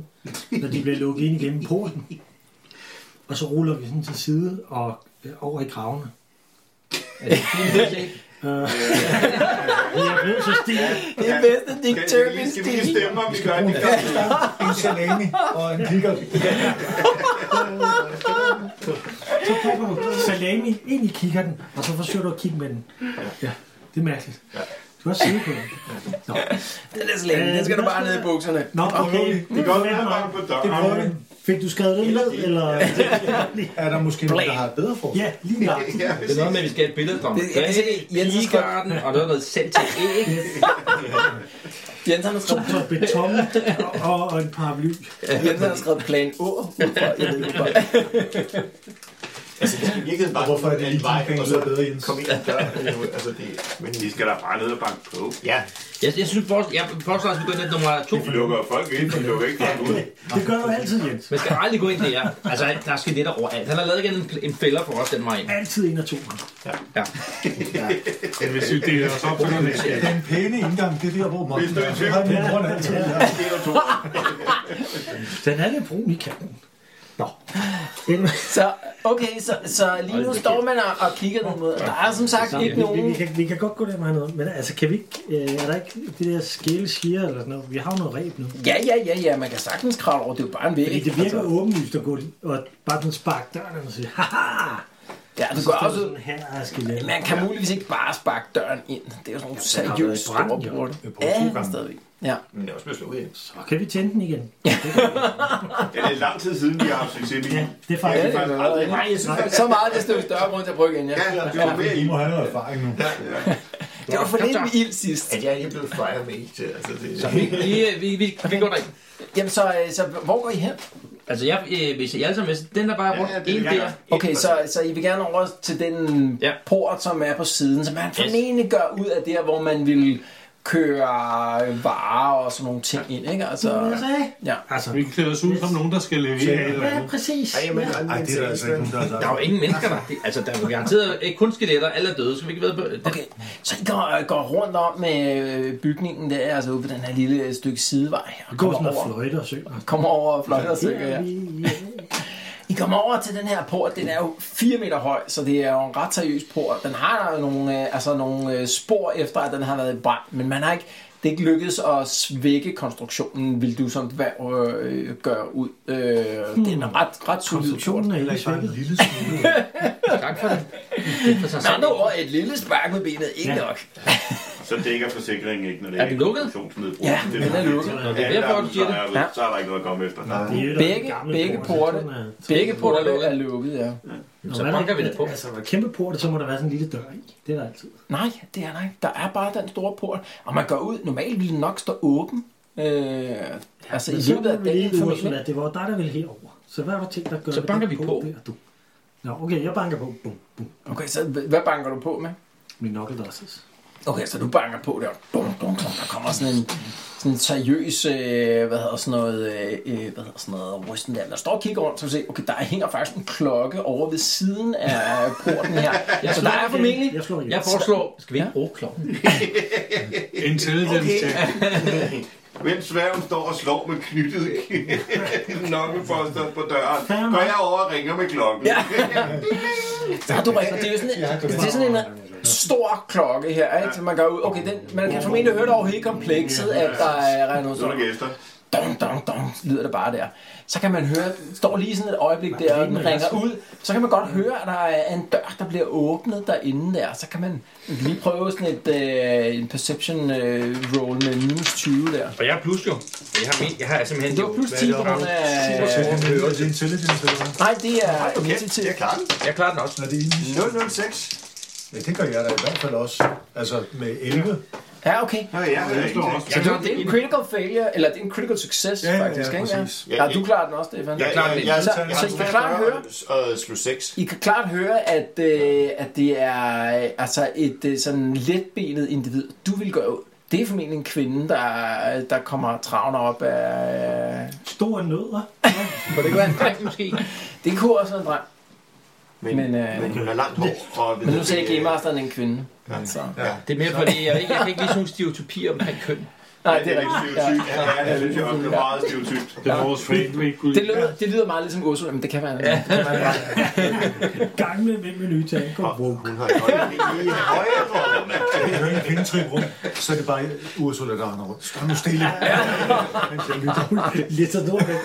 Speaker 6: når de bliver lukket ind igennem porten. Og så ruller vi sådan til side og øh, over i kravene. Øh, <laughs> Vi er blevet så stive.
Speaker 3: Det er bedste Dick
Speaker 8: Skal, skal, vi,
Speaker 3: Turpin
Speaker 8: lige- skal vi lige
Speaker 3: stil.
Speaker 8: stemme, om vi gør det?
Speaker 5: En salami og en kikkert.
Speaker 6: Så popper du salami ind i kikkerten, og så forsøger du at kigge med den. Ja, det er mærkeligt. Du har siddet på den. Nå,
Speaker 3: Den er slænge. Øh, Den skal du bare ned i bukserne.
Speaker 6: Nå okay.
Speaker 8: Det er godt, at han bange på
Speaker 5: Det
Speaker 8: døren.
Speaker 5: prøver vi.
Speaker 6: Fik du skrevet det ned, eller?
Speaker 5: Er der måske nogen, der har et bedre forslag?
Speaker 6: Ja, lige nok.
Speaker 9: Det er noget med, at vi skal have et billede om.
Speaker 3: Det- jeg kan se, Jens har skrevet-
Speaker 9: Pigegarden, og noget, noget sendt til æg.
Speaker 3: Jens han har
Speaker 6: To
Speaker 3: skrevet,
Speaker 6: ton beton og, og en paraply.
Speaker 3: Jens han har skrevet plan Å. ud fra- Jeg ved ikke, hvorfor.
Speaker 7: Altså, det er i virkeligheden bare
Speaker 5: Hvorfor er det
Speaker 7: en
Speaker 5: lige
Speaker 7: vej,
Speaker 5: dine penge,
Speaker 7: og
Speaker 5: der
Speaker 7: så
Speaker 5: er bedre, Jens?
Speaker 7: kom ind ad døren. Det er jo- Altså, det, men
Speaker 8: Vi skal da bare ned og banke på.
Speaker 7: ja,
Speaker 9: Jeg, jeg synes, forresten, jeg foreslår, at vi går ind i nummer to.
Speaker 8: Vi lukker folk ind, vi lukker ikke folk ud.
Speaker 6: Det gør du altid, Jens.
Speaker 9: Man skal aldrig gå ind der. Altså, der skal lidt overalt. Han har lavet igen en, en fælder for os, den vej ind.
Speaker 6: Altid en af to.
Speaker 9: Ja.
Speaker 4: Hvis vi deler os op, så kan vi
Speaker 5: Ja, Den pæne indgang, det er der, hvor
Speaker 8: Hvis
Speaker 5: Morten
Speaker 8: du er i
Speaker 5: er. Så
Speaker 8: tvivl,
Speaker 5: har min bror altid.
Speaker 6: Den er lidt brun i kanten. Nå. En-
Speaker 3: Så, okay, så, så lige nu står man og, og kigger ned mod. Der er som sagt ikke
Speaker 6: Vi, vi, vi,
Speaker 3: nogen...
Speaker 6: kan, vi kan godt gå den vej ned, men altså, kan vi ikke, øh, er der ikke det der skæle siger eller sådan noget? Vi har jo noget reb nu.
Speaker 3: Ja, ja, ja, ja, man kan sagtens kravle over. Det er jo bare en væg. Altså,
Speaker 6: Fordi det virker åbenlyst at gå og bare sådan sparke døren og sige, haha!
Speaker 3: Ja,
Speaker 6: Og
Speaker 3: du
Speaker 6: så
Speaker 3: går
Speaker 6: står
Speaker 3: Altså, også
Speaker 6: der sådan her og skal lave.
Speaker 3: Man kan muligvis ikke bare sparke døren ind. Det er jo sådan nogle
Speaker 6: har været
Speaker 3: seriøse
Speaker 6: i brand,
Speaker 3: store
Speaker 6: jo.
Speaker 3: porte.
Speaker 5: Det er på to
Speaker 3: Ja,
Speaker 5: gange.
Speaker 3: stadigvæk. Ja.
Speaker 7: men det er også blevet slukket ind.
Speaker 6: Så kan vi tænde den igen.
Speaker 8: Ja, det er lang tid siden, vi har haft succes med
Speaker 6: Ja,
Speaker 8: det.
Speaker 6: det er
Speaker 8: Ja, det
Speaker 6: faktisk...
Speaker 8: er faktisk aldrig.
Speaker 3: Nej, jeg synes, så meget, desto større grund til at prøve igen, ja.
Speaker 7: Ja, det var mere
Speaker 5: I må have noget erfaring nu.
Speaker 3: Det var for lidt med ild sidst.
Speaker 7: at jeg ikke er blevet firemate. Altså, det, så,
Speaker 9: Vi, øh, vi, vi, vi går derind.
Speaker 3: Jamen, så, øh, så hvor går I hen?
Speaker 9: Altså, jeg, øh, hvis jeg alle sammen med, den der bare rundt,
Speaker 8: Ja, ja, det
Speaker 9: en
Speaker 8: vil jeg
Speaker 9: der.
Speaker 8: gøre.
Speaker 3: Okay, så, så I vil gerne over til den
Speaker 9: Ja.
Speaker 3: port, som er på siden, som man formentlig gør ud af der, hvor man vil køre varer og sådan nogle ting ind, ikke? Altså, ja.
Speaker 6: Altså,
Speaker 4: Vi klæder os ud som nogen, der skal levere et eller
Speaker 6: ja,
Speaker 4: andet.
Speaker 6: præcis.
Speaker 7: Ej, men,
Speaker 5: Ej, det er der altså ikke nogen, der har
Speaker 9: Der er jo
Speaker 5: sagt.
Speaker 9: ingen mennesker der. Det, altså, der er jo garanteret øh, kun skeletter. Alle er døde, så vi ikke ved på det.
Speaker 3: Okay, så I går, går rundt om med øh, bygningen der, altså ude på den her lille stykke sidevej her.
Speaker 6: Vi
Speaker 3: Og
Speaker 6: går
Speaker 3: kommer
Speaker 6: sådan og
Speaker 3: over,
Speaker 6: fløjter og synger.
Speaker 3: kommer over og flot og synger, ja.
Speaker 6: Vi-
Speaker 3: <laughs> I kommer over til den her port, den er jo 4 meter høj, så det er jo en ret seriøs port. Den har der jo nogle, øh, altså nogle øh, spor efter, at den har været i brand, men man har ikke, det er ikke lykkedes at svække konstruktionen, vil du som dværg øh, gøre ud. Øh, Det er en ret, ret solid port.
Speaker 6: Konstruktionen er heller ikke
Speaker 5: Bare en
Speaker 6: svækket.
Speaker 5: lille smule.
Speaker 9: Tak for det. For sig
Speaker 3: Med
Speaker 9: selv.
Speaker 3: andre ord, et lille spark med benet, ikke nok.
Speaker 8: Så dækker forsikringen ikke, når det
Speaker 9: Er den lukket?
Speaker 8: konstruktionsnedbrud.
Speaker 3: Ja,
Speaker 8: Det
Speaker 3: den er lukket.
Speaker 8: Ja,
Speaker 9: Det er derfor, du siger det.
Speaker 8: der er-
Speaker 3: Ja.
Speaker 8: Så er der ikke noget at komme efter.
Speaker 6: Det er jo der
Speaker 3: Begge-
Speaker 6: gamle
Speaker 3: begge
Speaker 6: port,
Speaker 3: porte.
Speaker 6: så sådan er-
Speaker 3: Begge porter er lukket, ja.
Speaker 6: Når
Speaker 9: Så
Speaker 6: man er-
Speaker 9: banker vi det på.
Speaker 6: Altså, hvor kæmpe port, så må der være sådan en lille dør i. Det er der altid.
Speaker 3: Nej, det er der ikke. Der er bare den store port, og man går ud. Normalt ville den nok stå åben. Øh, altså i
Speaker 6: Men
Speaker 3: løbet af
Speaker 6: må vi lige,
Speaker 3: dagen formentlig.
Speaker 6: Ursula, det var jo dig, der ville herover. Så hvad har du tænkt dig at gøre?
Speaker 9: Så
Speaker 6: med
Speaker 9: banker
Speaker 6: den
Speaker 9: vi
Speaker 6: port
Speaker 9: på.
Speaker 6: Der, du? Nå, okay, jeg banker på. Bum, bum.
Speaker 3: Okay, så h- hvad banker du på med?
Speaker 6: Min knuckledosses.
Speaker 3: Okay, så du banker på der. Dum, dum, dum. Der kommer sådan en, sådan en seriøs, øh, hvad hedder sådan noget, øh, øh, hvad hedder sådan noget, rysten der. Der står og kigger rundt, så kan du se, okay, der hænger faktisk en klokke over ved siden af porten
Speaker 6: <laughs>
Speaker 3: her. så der er formentlig...
Speaker 6: Jeg slår igen.
Speaker 9: Jeg foreslår, skal vi ikke bruge klokken?
Speaker 4: Intelligence check.
Speaker 8: Mens sværgen står og slår med knyttet <laughs> nokkefoster på døren,
Speaker 6: Fair nok.
Speaker 8: går jeg over og ringer med klokken.
Speaker 3: Ja. Så du ringer. Det er jo sådan, det er sådan en øh, stor klokke her, ikke? Så man går ud. Okay, den, man kan formentlig høre det over hele komplekset, at der er regnet
Speaker 8: <laughs> Så er der
Speaker 3: ud.
Speaker 8: gæster.
Speaker 3: Dong, dong, dong, lyder det bare der. Så kan man høre, står lige sådan et øjeblik der, og den ringer ud. Så kan man godt høre, at der er en dør, der bliver åbnet derinde der. Så kan man lige prøve sådan et, øh, en perception øh, roll med minus 20 der.
Speaker 9: Og jeg er plus jo. Jeg har, min, jeg har simpelthen...
Speaker 3: Det var plus 10 på grund af...
Speaker 5: Er det intelligence, eller hvad?
Speaker 3: Nej, det er
Speaker 7: okay,
Speaker 3: initiativ.
Speaker 7: jeg klarer den.
Speaker 9: Jeg klarer den også.
Speaker 5: Er det en?
Speaker 7: 006.
Speaker 5: Ja, det gør jeg da i hvert fald også. Altså med 11.
Speaker 3: Ja, okay.
Speaker 8: Nå ja, det er ikke noget.
Speaker 3: Så det, det er en critical failure, eller det er en critical success,
Speaker 5: Ja, ja, ja,
Speaker 3: faktisk, ikke?
Speaker 5: præcis.
Speaker 3: Ja, du klarer den også, Stefan.
Speaker 7: Jeg, jeg, jeg,
Speaker 3: Så,
Speaker 7: jeg,
Speaker 3: så I kan klart høre,
Speaker 7: og øh, slå 6.
Speaker 3: I kan klart høre, at, øh, at det er øh, altså et øh, sådan letbenet individ. Du vil gøre Det er formentlig en kvinde, der, der kommer travner op af...
Speaker 6: Stor nødder.
Speaker 3: Kunne det ikke være en dreng?
Speaker 9: Måske.
Speaker 3: Det kunne også være en dreng.
Speaker 7: Men,
Speaker 3: Men,
Speaker 7: men,
Speaker 3: øh,
Speaker 7: men hun har langt hår. Og,
Speaker 3: Men nu sagde
Speaker 7: øh,
Speaker 3: Game Masteren en kvinde. Så.
Speaker 9: Det er mere fordi, jeg, jeg kan ikke lide sådan nogle stereotypier omkring køn.
Speaker 3: Nej,
Speaker 8: Det er lidt stereotypt. Ja, ja, det synes jeg også. Det er meget stereotypt.
Speaker 4: Det er vores fan, vi ikke
Speaker 3: Det lyder, det lyder meget ligesom Oslo, men det kan være en det kan være en dreng.
Speaker 6: Gamle mænd med nye tanker. Wow.
Speaker 7: Hun har et øjeblik i højre mand.
Speaker 5: Jeg hører en kvindetrip rundt, så er det bare Ursula, der render rundt. Stå nu stille. Mens jeg lytter.
Speaker 6: Lidt så dårligt.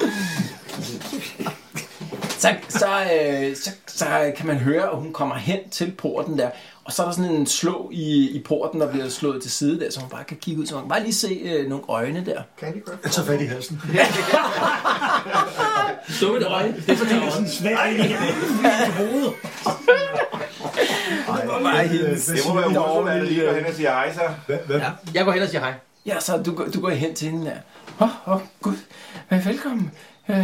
Speaker 3: så, så, øh, så, så kan man høre, at hun kommer hen til porten der, og så er der sådan en slå i, i porten, der bliver slået til side der, så hun bare kan kigge ud, så man kan bare lige se øh, nogle øjne der.
Speaker 5: Jeg tager Altså, fat i halsen.
Speaker 9: Stå med det øje. Det er
Speaker 6: Det er sådan svært i hovedet.
Speaker 5: Ej, hvad-
Speaker 8: Det må være Ursula, der lige går hen og siger hej så.
Speaker 5: Hvad, hvad,
Speaker 9: Jeg går hen og siger hej.
Speaker 3: Ja, så du, går- du går hen til hende der. Åh, oh, oh, gud, Øh, velkommen. Øh,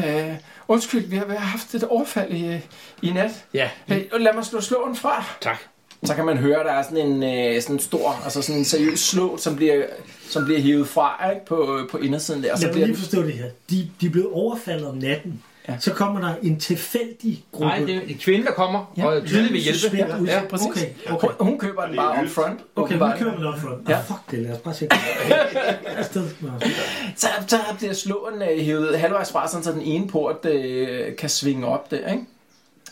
Speaker 3: undskyld, vi har, vi har haft et overfald i, øh, i nat.
Speaker 9: Ja,
Speaker 3: Øh, lad mig slå slåen fra.
Speaker 9: tak.
Speaker 3: Så kan man høre, at der er sådan en, øh, sådan en stor, altså sådan en seriøs slå, som bliver, som bliver hævet fra ikke, på, øh, på indersiden der. Og så
Speaker 6: Lad mig
Speaker 3: bliver
Speaker 6: lige forstå det her. De, de blev overfaldet om natten.
Speaker 3: Ja.
Speaker 6: Så kommer der en tilfældig gruppe.
Speaker 9: Nej, det er en kvinde, der kommer
Speaker 3: Ja.
Speaker 9: og tydeligt vil hjælpe.
Speaker 6: suspekt ud.
Speaker 9: Ja,
Speaker 3: præcis.
Speaker 6: Okay,
Speaker 3: Hun,
Speaker 6: okay.
Speaker 3: hun køber den bare up front.
Speaker 6: Okay,
Speaker 3: åbenbart.
Speaker 6: vi kører med Lodfront.
Speaker 3: Ja.
Speaker 6: Ja. Fuck det, lad os bare se. Afsted. Nå.
Speaker 3: Så, så bliver slåen øh, hævet halvvejs fra, sådan, så den ene port øh, kan svinge op der, ikke?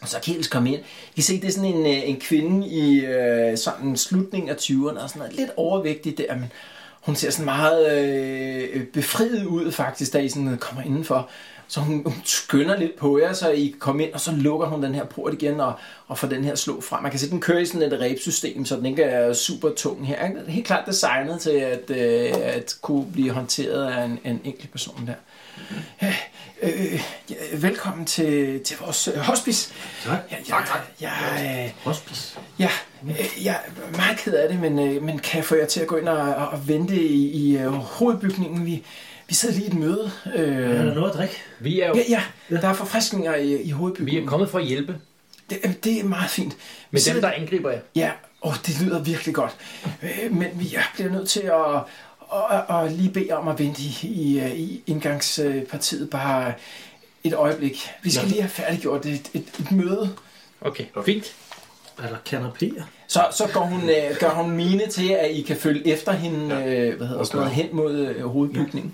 Speaker 3: Og så kan Kjels komme ind. I kan se, det er sådan en, øh, en kvinde i øh, sådan en slutning af 20'erne, og sådan noget, lidt overvægtig der, men hun ser sådan meget øh, befriet ud faktisk, da I sådan øh, kommer indenfor. Så hun, hun skynder lidt på jer, så I kommer ind, og så lukker hun den her port igen og, og får den her slå frem. Man kan se, den kører i sådan et rebsystem, så den ikke er super tung her. ikke? Den er Helt klart designet til at, øh, at kunne blive håndteret af en, en enkelt person der. Øh, ja, velkommen til, til vores øh, hospice.
Speaker 6: Tak.
Speaker 3: Ja, ja, ja, ja, øh,
Speaker 6: Hospice.
Speaker 3: ja, øh, jeg er meget ked af det, men, øh, men kan jeg få jer til at gå ind og, og- og vente i, i øh, hovedbygningen? Vi, vi sidder lige i et møde. Øh,
Speaker 6: Er der noget at drikke?
Speaker 9: Vi er jo
Speaker 3: ja, ja, der er forfriskninger i, i
Speaker 9: vi er
Speaker 3: hovedbygningen.
Speaker 9: kommet for at hjælpe
Speaker 3: Det, øh, det er meget fint. Vi
Speaker 9: med dem,
Speaker 3: sidder-
Speaker 9: der angriber jer.
Speaker 3: Ja, åh, det lyder virkelig godt. Øh, men vi jeg bliver nødt til at, at, at, at lige bede om at vente i, i, øh, i indgangspartiet bare et øjeblik. Vi skal lige have færdiggjort et, et, et møde.
Speaker 9: Okay, fint.
Speaker 6: Er der kanapéer?
Speaker 3: Så, så går hun, øh, gør hun mine til, at I kan følge efter hende øh, hvad hedder, sådan noget, hen mod øh, hovedbygningen.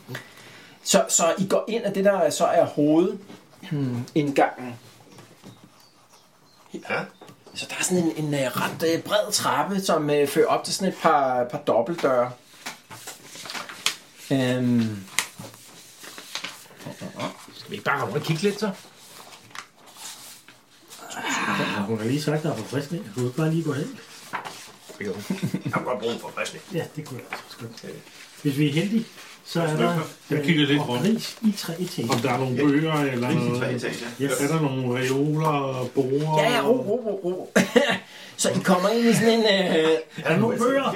Speaker 3: Så, så I går ind af det, der så er hmm, hovedindgangen.
Speaker 7: Ja.
Speaker 3: Så der er sådan en, en øh, ret øh, bred trappe, som øh, fører op til sådan et par, par dobbeltdøre. Øhm,
Speaker 9: Skal vi ikke bare komme rundt og kigge lidt så?
Speaker 6: Ja, hun har lige sagt, der er forfriskning. Jeg kunne du ikke bare lige gå hen.
Speaker 7: Jeg har godt brug for friskning.
Speaker 6: Ja, det kunne jeg også godt. Hvis vi er heldige, så er der
Speaker 4: Jeg kigger lidt rundt.
Speaker 6: pris i tre etager.
Speaker 4: Om der er nogle bøger eller noget.
Speaker 8: Tre etager.
Speaker 6: Yes.
Speaker 4: Er der nogle reoler og borer?
Speaker 3: ja, ja, ro, ro, ro, ro. <laughs> så I kommer ind i sådan en... Øh,
Speaker 6: Er der nogle bøger?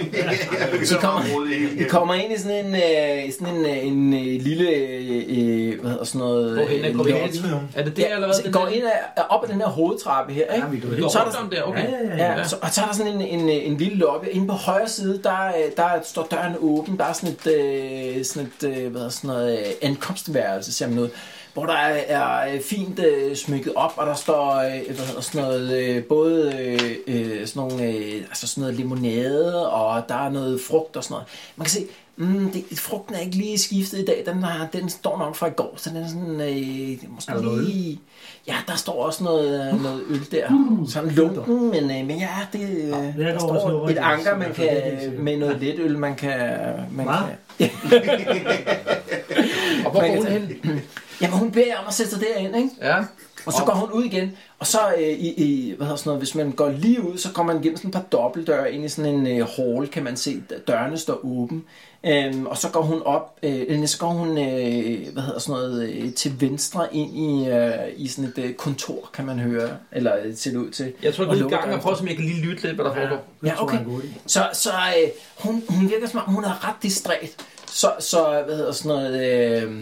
Speaker 3: Så kommer- I kommer ind i sådan en, øh, sådan en, øh, en øh, lille, øh, øh, hvad hedder sådan noget...
Speaker 9: Hvor hen er
Speaker 3: øh,
Speaker 9: går vi
Speaker 3: lobby.
Speaker 9: hen? Er det der
Speaker 3: Ja,
Speaker 9: eller
Speaker 3: så I
Speaker 9: hvad?
Speaker 3: går ind af, op ad den her hovedtrappe her, ikke?
Speaker 6: Ja, vi går
Speaker 9: Vi går
Speaker 6: hen.
Speaker 3: Så er
Speaker 9: rundt
Speaker 3: der-
Speaker 9: om der, okay.
Speaker 6: Ja, ja, ja.
Speaker 3: Ja, så, og så er der sådan en, en, en lille lobby. Inde på højre side, der, øh, der står døren åben. Der er sådan et, øh, sådan et øh, hvad hedder sådan noget, øh, ankomstværelse, ser man ud. Hvor der er, er øh, fint øh, smykket op, og der står øh, hvad hedder sådan noget, øh, både øh, øh, sådan, nogle, øh, altså sådan noget limonade, og der er noget frugt og sådan noget. Man kan se, mm, det, frugten er ikke lige skiftet i dag. Den, har, den står nok fra i går, så den er sådan... Øh, måske
Speaker 6: Er der noget øl?
Speaker 3: lige... Ja, der står også noget, øh, noget øl der.
Speaker 6: Mm.
Speaker 3: Sådan lunken, men, øh, men ja, det, øh, der
Speaker 6: går også
Speaker 3: står
Speaker 6: noget
Speaker 3: et
Speaker 6: rødvin,
Speaker 3: anker,
Speaker 6: så
Speaker 3: man
Speaker 6: jeg kan
Speaker 3: kan,
Speaker 6: ikke helt se.
Speaker 3: med noget let øl, man kan... Man
Speaker 6: Hvad?
Speaker 3: kan ja.
Speaker 6: <laughs>
Speaker 9: Og hvor
Speaker 3: Man
Speaker 9: går
Speaker 3: kan
Speaker 9: hun hen?
Speaker 6: <clears throat>
Speaker 3: Jamen, hun beder jer om at sætte sig derind, ikke?
Speaker 9: Ja.
Speaker 3: Og så går hun ud igen, og så øh, i, i, hvad hedder sådan noget, hvis man går lige ud, så kommer man gennem sådan et par dobbeltdøre ind i sådan en øh, hall, kan man se, D- dørene står åben. Øhm, og så går hun op, øh, eller så går hun, øh, hvad hedder sådan noget, øh, til venstre ind i, øh, i sådan et øh, kontor, kan man høre, eller øh, ser det ud til.
Speaker 9: Jeg tror, jeg
Speaker 3: Og
Speaker 9: går ud i
Speaker 3: lukker
Speaker 9: gang og
Speaker 3: døren.
Speaker 9: prøver, om jeg kan lige lytte lidt, hvad der foregår.
Speaker 6: Det
Speaker 3: Ja,
Speaker 6: tror
Speaker 3: okay.
Speaker 6: jeg er en god idé.
Speaker 3: Så, så øh, hun, hun virker som om, hun er ret distræt. Så, så hvad hedder sådan noget... Øh,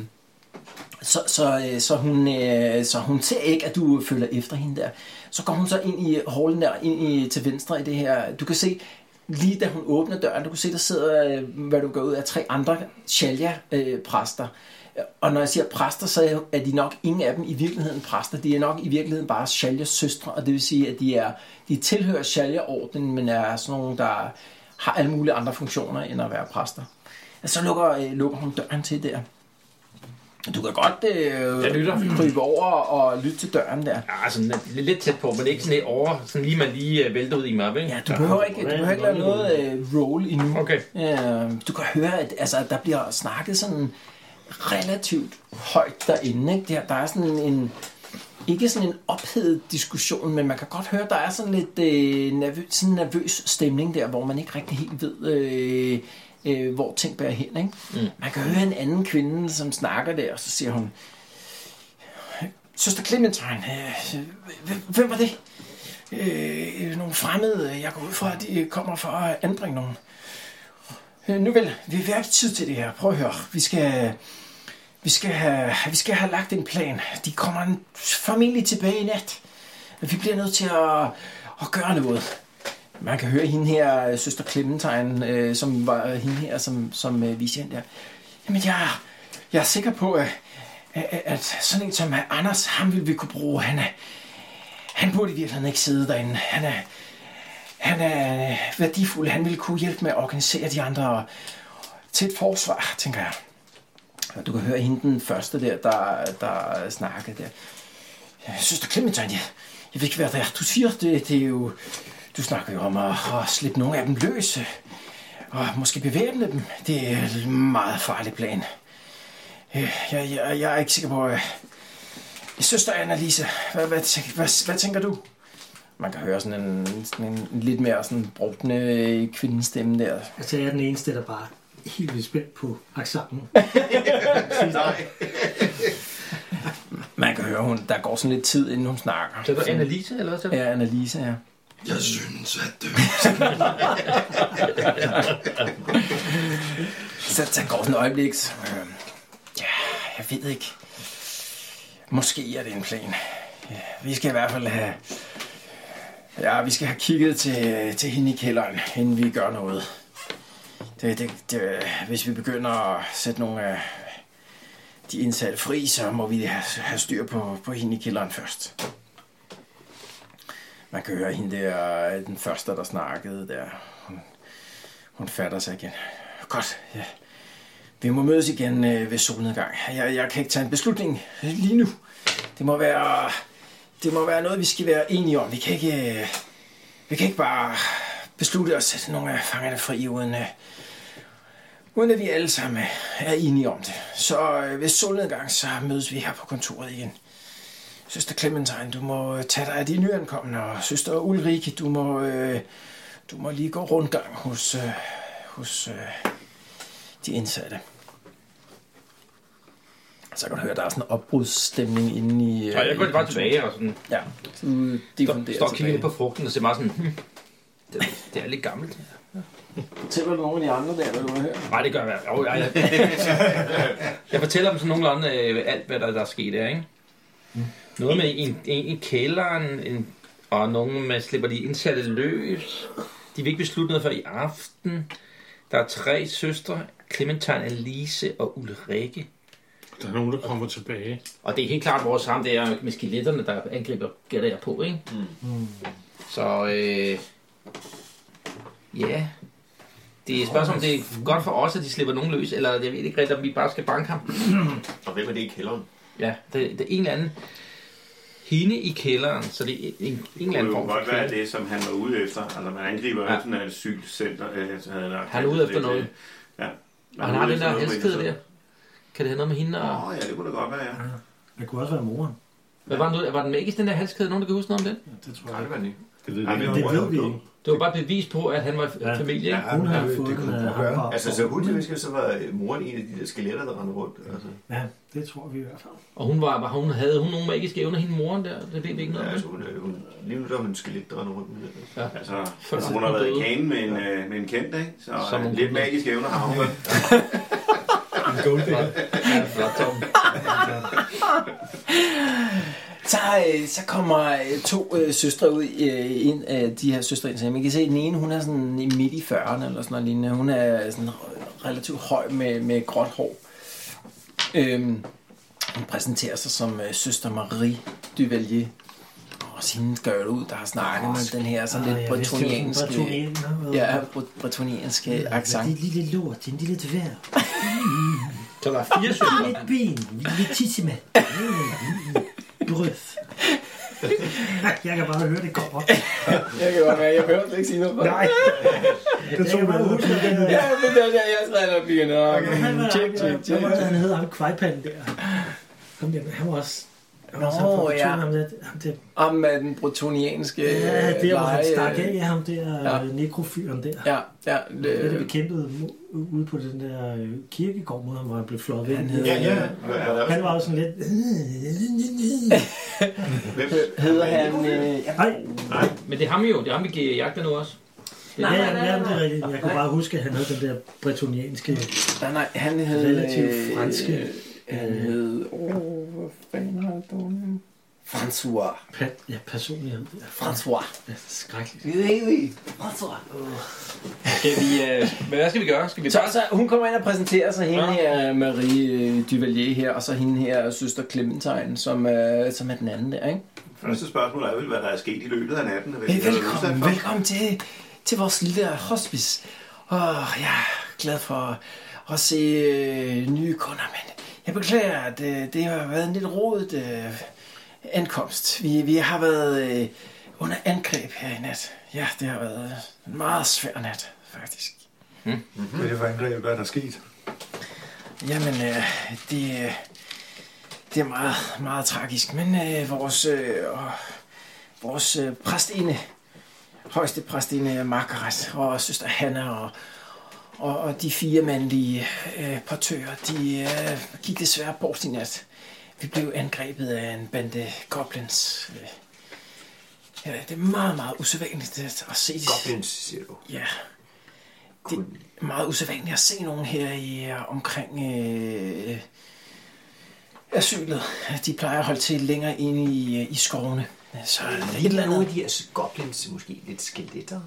Speaker 3: så, så, øh, så, hun, øh, så hun ser ikke, at du følger efter hende der. Så går hun så ind i hallen der, ind i, til venstre i det her. Du kan se, lige da hun åbner døren, du kan se, der sidder, øh, hvad du går ud af, tre andre Shalya-præster. Og når jeg siger præster, så er de nok ingen af dem i virkeligheden præster. De er nok i virkeligheden bare Shaljas søstre, og det vil sige, at de, er, de tilhører Shalya-ordenen, men er sådan nogle, der har alle mulige andre funktioner end at være præster. Og så lukker, øh, lukker hun døren til der. Du kan godt øh, jeg lytter. krybe over og lytte til døren der.
Speaker 9: Ja, sådan lidt, lidt tæt på, men ikke sådan lidt over, sådan lige man lige øh, vælter ud i mig, ikke?
Speaker 3: Ja, du behøver ikke, du behøver ikke lave noget øh, roll endnu.
Speaker 9: Okay.
Speaker 3: Øh, du kan høre, at altså, at der bliver snakket sådan relativt højt derinde. Ikke? Der, der er sådan en, ikke sådan en ophedet diskussion, men man kan godt høre, der er sådan lidt øh, nervøs, sådan en nervøs stemning der, hvor man ikke rigtig helt ved, øh, øh, hvor ting bærer hen. Ikke? Mm. Man kan høre en anden kvinde, som snakker der, og så siger hun, Søster Clementine, øh, hvem- hvem var det? Øh, nogle fremmede, jeg går ud fra, at de kommer for at anbringe nogen. Øh, nu vel, vi vi har ikke tid til det her. Prøv at høre. Vi skal, vi skal, have, vi skal have lagt en plan. De kommer en- formentlig tilbage i nat. Vi bliver nødt til at, at gøre noget. Man kan høre hende her, øh, søster Clementine, øh, som var hende her, som, som øh, viste hende der. Jamen, jeg, jeg er sikker på, at, at, at sådan en som Anders, ham ville vi kunne bruge. Han, er, han burde i virkeligheden ikke sidde derinde. Han er, han er øh, værdifuld. Han ville kunne hjælpe med at organisere de andre til et forsvar, tænker jeg. Og du kan høre hende den første der, der, der snakker der. Ja, Søster Clementine, jeg, jeg ved ikke, hvad det er. Du siger, det, det er jo... Du snakker jo om at, at slippe nogle af dem løse. Og måske bevæbne dem. Det er en meget farlig plan. Øh, Jeg, jeg, jeg er ikke sikker på... øh, Søster Annalise, hvad, hvad, tænker- hvad, hvad tænker du? Man kan høre sådan en, sådan en lidt mere sådan brugtende øh, kvindestemme der.
Speaker 6: Altså, jeg er den eneste, der bare er helt vildt spændt på accenten.
Speaker 3: Man kan høre, hun, der går sådan lidt tid, inden hun snakker.
Speaker 9: Så er der Annalise, eller hvad? Ja.
Speaker 3: Ja, Annalise, ja.
Speaker 10: Jeg synes, at det
Speaker 3: <laughs> Så der går sådan et øjeblik. så, Øh, ja, jeg ved ikke. Måske er det en plan. Ja, vi skal i hvert fald have... Ja, vi skal have kigget til, til hende i kælderen, inden vi gør noget. Det, det, det, hvis vi begynder at sætte nogle af de indsatte fri, så må vi have, have styr på, på hende i kælderen først. Man kan høre hende der, den første, der snakkede der. Hun, hun fatter sig igen. Godt, ja. Vi må mødes igen øh, ved solnedgang. Jeg, jeg kan ikke tage en beslutning øh, lige nu. Det må være, det må være noget, vi skal være enige om. Vi kan ikke, øh, vi kan ikke bare beslutte at sætte nogle af fangerne fri, uden, øh, uden at vi alle sammen øh, er enige om det. Så øh, ved solnedgang, så mødes vi her på kontoret igen. Søster Clementine, du må øh, tage dig af de nyankomne, og søster Ulrike, du må, øh, du må lige gå rundgang hos, øh, hos øh, de indsatte. Så kan du høre, der er sådan en opbrudsstemning inde i... Øh,
Speaker 9: Og jeg går bare tilbage og sådan,
Speaker 3: Ja, du
Speaker 9: står, står og kigger lidt på frugten og ser meget sådan, hmm, det, det er lidt gammelt.
Speaker 3: Fortæller du nogen af de andre der, hvad du har hørt?
Speaker 9: Nej, det gør jeg. Jo, jeg, jeg, jeg fortæller dem sådan nogenlunde øh, alt, hvad der, der er sket der, ikke? Noget med en, en, en kælderen, en, og nogen med slipper de indsatte løs. De vil ikke beslutte noget før i aften. Der er tre søstre, Clementine, Alice og Ulrike.
Speaker 4: Der er nogen, der kommer tilbage.
Speaker 9: Og det er helt klart vores ham, det er med skeletterne, der angriber gætter jeg på, ikke? Mm. Så øh, ja, det er et spørgsmål, om det er godt for os, at de slipper nogen løs, eller jeg ved ikke rigtigt, om vi bare skal banke ham.
Speaker 7: Og hvem er det i kælderen?
Speaker 9: Ja, det, det er en eller anden hende i kælderen, så det er en, en,
Speaker 8: Det
Speaker 9: en eller
Speaker 8: kunne
Speaker 9: anden
Speaker 8: jo
Speaker 9: form for
Speaker 8: godt
Speaker 9: kæde.
Speaker 8: være det, som han var ude efter. Altså, man angriber jo
Speaker 9: Ja.
Speaker 8: ja. sådan et asylcenter. Øh, så havde
Speaker 9: Han er ude efter noget.
Speaker 8: Ja.
Speaker 9: Og han har den der
Speaker 8: noget,
Speaker 9: elskede
Speaker 8: man
Speaker 9: der.
Speaker 8: kan
Speaker 9: Kan det have noget med hende og...
Speaker 8: så- Åh, ja, det kunne da godt være, ja.
Speaker 6: Det kunne også være moren.
Speaker 9: Hvad var den, ud- var den magisk, den der halskæde? Nogen, der kan huske noget om den?
Speaker 6: Det tror
Speaker 7: jeg ikke.
Speaker 9: Det
Speaker 7: ved vi ikke. Det ved vi ikke.
Speaker 9: Det var bare et bevis på, at han var ja. familie. ikke?
Speaker 7: Ja, men det- det kunne man gøre. Altså, så hun visker, så var øh, moren en af de der skeletter, der rendte rundt. Altså.
Speaker 6: Ja, det tror vi i hvert fald.
Speaker 9: Og hun var, var hun, havde hun nogle magiske evner, hende moren der? Det ved vi ikke noget
Speaker 7: Ja,
Speaker 9: om.
Speaker 7: altså,
Speaker 9: vel?
Speaker 7: hun, øh, hun, lige nu der er hun en skelet, der render rundt. med det.
Speaker 9: Ja.
Speaker 7: Altså,
Speaker 8: Så, altså, hun har været i kanen med en, øh, med en kendt, ikke? Så
Speaker 7: Som
Speaker 8: øh,
Speaker 7: hun
Speaker 8: lidt
Speaker 7: kunne.
Speaker 8: magiske evner har hun. vel?
Speaker 7: En goldfinger.
Speaker 9: Ja, flot, Tom.
Speaker 3: Så, øh, så kommer øh, to øh, søstre ud øh, ind af de her søstre ind til ham. Man kan se, at den ene hun er sådan i midt i 40'erne eller sådan noget lignende. Hun er sådan relativt høj med, med gråt hår. Øhm, hun præsenterer sig som øh, søster Marie Duvalier. Og sin gør ud, der har snakket med den her sådan
Speaker 6: Ah,
Speaker 3: lidt
Speaker 6: jeg vidste, det var sådan
Speaker 3: bretonianske...
Speaker 6: bretonianer.
Speaker 3: Ja, bret- bretonianske accent.
Speaker 6: Det lille lort, en lille dværg.
Speaker 9: Så der er
Speaker 3: fire søstre.
Speaker 6: Lidt ben, lidt tissima. Brøf. Jeg kan bare høre, det kommer.
Speaker 3: Jeg kan godt være, jeg behøver slet ikke sige noget for
Speaker 6: Nej.
Speaker 3: Det tog mig ud. Ja, men det var der, jeg skrev replikkerne. Okay. Tjek, tjek,
Speaker 6: Hvad var det,
Speaker 3: tjek.
Speaker 6: han hed? Ham kvejpanden der. Ham der, han var også... Han var
Speaker 3: Nå,
Speaker 6: også ham fra
Speaker 3: ja.
Speaker 6: Fortuna, ham der- ham der-
Speaker 3: Om med den bretonianske
Speaker 6: Ja, det var han
Speaker 3: leje-
Speaker 6: stak af, ja, ham der
Speaker 3: øh, Ja.
Speaker 6: ja. nekrofyren der.
Speaker 3: Ja, ja.
Speaker 6: Det, det, det vi kæmpede mo- ude på den der øh, kirkegård mod ham, hvor han blev flået væk.
Speaker 3: Han hed- Ja, ja.
Speaker 8: øh,
Speaker 3: Ja.
Speaker 6: Han var jo sådan lidt...
Speaker 7: Hvem
Speaker 3: hedder han? Øh,
Speaker 6: nej.
Speaker 7: nej.
Speaker 9: Men det er ham jo. Det er ham, vi giver jagter nu også.
Speaker 6: Ja, ja, ja, det er rigtigt. Jeg kunne bare huske, at han havde den der bretonianske...
Speaker 3: Nej, nej, han hed...
Speaker 6: Relativt franske...
Speaker 3: øh, Han hed... Åh, hvad fanden har du François.
Speaker 6: Pa- ja, personlighed.
Speaker 3: François.
Speaker 6: Ja, skrækkeligt.
Speaker 3: Really? François.
Speaker 9: Skal vi, øh, hvad skal vi gøre? Skal vi
Speaker 3: Så, så hun kommer ind og præsenterer sig hende her, Marie øh, Duvalier her, og så hende her, søster Clementine, som, øh, som er den anden der, ikke?
Speaker 8: Første spørgsmål er vel, hvad der er sket i løbet af natten. og hvad de har været udsat
Speaker 3: Velkommen,
Speaker 8: for.
Speaker 3: velkommen til, til vores lille hospice. Åh, jeg er glad for at se øh, nye kunder, men jeg beklager, at øh, det har været en lidt rodet øh, ankomst. Vi, vi har været øh, under angreb her i nat. Ja, det har været en meget svær nat, faktisk.
Speaker 5: Hvad er det for angreb? Hvad er der sket?
Speaker 3: Jamen, øh, det, øh, det er meget, meget tragisk, men øh, vores, øh, og- vores øh, præstinde, højeste præstinde Margaret og søster Hanna og, og, og de fire mandlige øh, portører, de øh, gik desværre bort i nat. Vi blev angrebet af en bande goblins. Øh, Ja, det er meget, meget usædvanligt at- at se.
Speaker 7: Goblins, siger du?
Speaker 3: Ja. Det er meget usædvanligt at se nogen her i øh, omkring øh, asylet. De plejer at holde til længere inde i, øh, i skovene. Så er der et eller andet.
Speaker 7: Nogle af de her goblins måske lidt skeletter.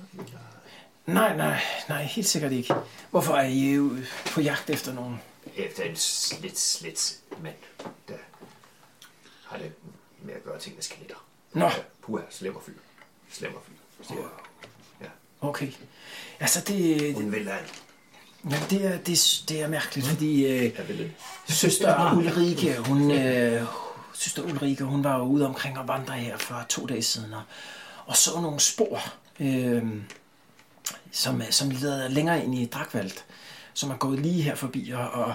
Speaker 3: Nej, nej, nej, helt sikkert ikke. Hvorfor er I øh, på jagt efter nogen?
Speaker 7: Efter en slet, slet mand, der har det med at gøre ting med skeletter.
Speaker 3: Nå.
Speaker 7: Puha, slemmer fyr. Slemmer fyr. siger jeg.
Speaker 3: Okay. Altså, det...
Speaker 7: Hun vil have
Speaker 3: Men det er, det, det er mærkeligt, fordi øh, søster Ulrike, hun, øh, søster Ulrike, hun var jo ude omkring og vandre her for to dage siden og, og så nogle spor, øh, som, øh, som leder længere ind i Drakvald, som er gået lige her forbi, og, og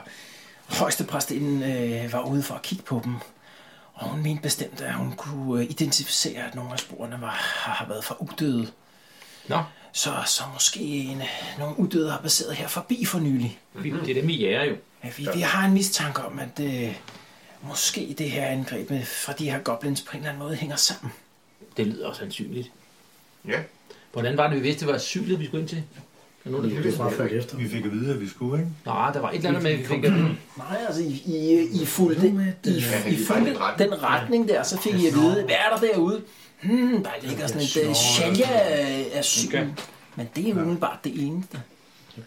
Speaker 3: højstepræstinden øh, var ude for at kigge på dem. Og hun mente bestemt, at hun kunne øh, identificere, at nogle af sporene var, har har været fra udøde.
Speaker 9: Nå.
Speaker 3: Så, så måske en, nogle udøde har passeret her forbi for nylig.
Speaker 9: Vi, det er dem, vi jager jo.
Speaker 3: Ja, vi, vi har en mistanke om, at øh, måske det her angreb med- fra de her goblins på en eller anden måde hænger sammen.
Speaker 9: Det lyder også sandsynligt.
Speaker 7: Ja.
Speaker 9: Hvordan var det, vi vidste, det var asylet, vi skulle ind til? Er nogen, der
Speaker 5: vidste det ikke. Vi fik at vide, at vi skulle, ikke?
Speaker 9: Nej, der var et eller andet med, at vi fik at vide.
Speaker 3: Nej, altså I, I, I fulgte, I, I, I fulgte den retning der, så fik I at vide, hvad er der derude? Hmm, der ligger sådan et øh, sælge af syg. Men det er udenbart det eneste.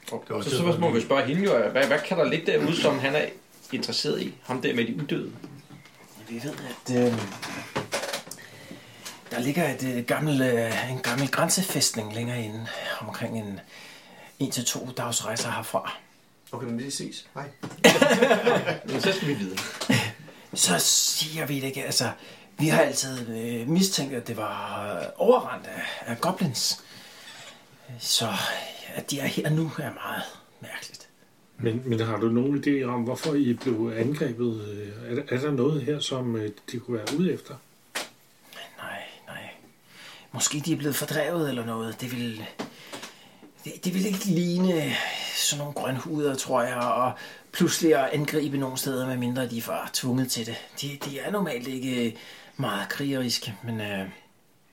Speaker 9: Så, så må vi spørge hende jo, hvad, hvad kan der ligge derude, som han er interesseret i? Ham der med de udøde.
Speaker 3: Vi ved, at øh, der ligger et, øh, gammel, øh, en gammel grænsefæstning længere inde, omkring en, en til to dags rejser herfra.
Speaker 7: Okay, men vi ses. Hej.
Speaker 9: Men så skal vi videre.
Speaker 3: Så siger vi det ikke. Altså, vi har altid øh, mistænkt, at det var øh, overrendt af, af goblins. Så at de er her nu er meget mærkeligt.
Speaker 4: Men, men har du nogen idé om, hvorfor I blev angrebet? Øh, Er, der- er der noget her, som øh, de kunne være ude efter?
Speaker 3: Måske de er blevet fordrevet eller noget. Det vil, det, det vil ikke ligne sådan nogle grønhuder, tror jeg, og pludselig at angribe nogle steder, medmindre de var tvunget til det. De, de er normalt ikke meget krigeriske, men øh,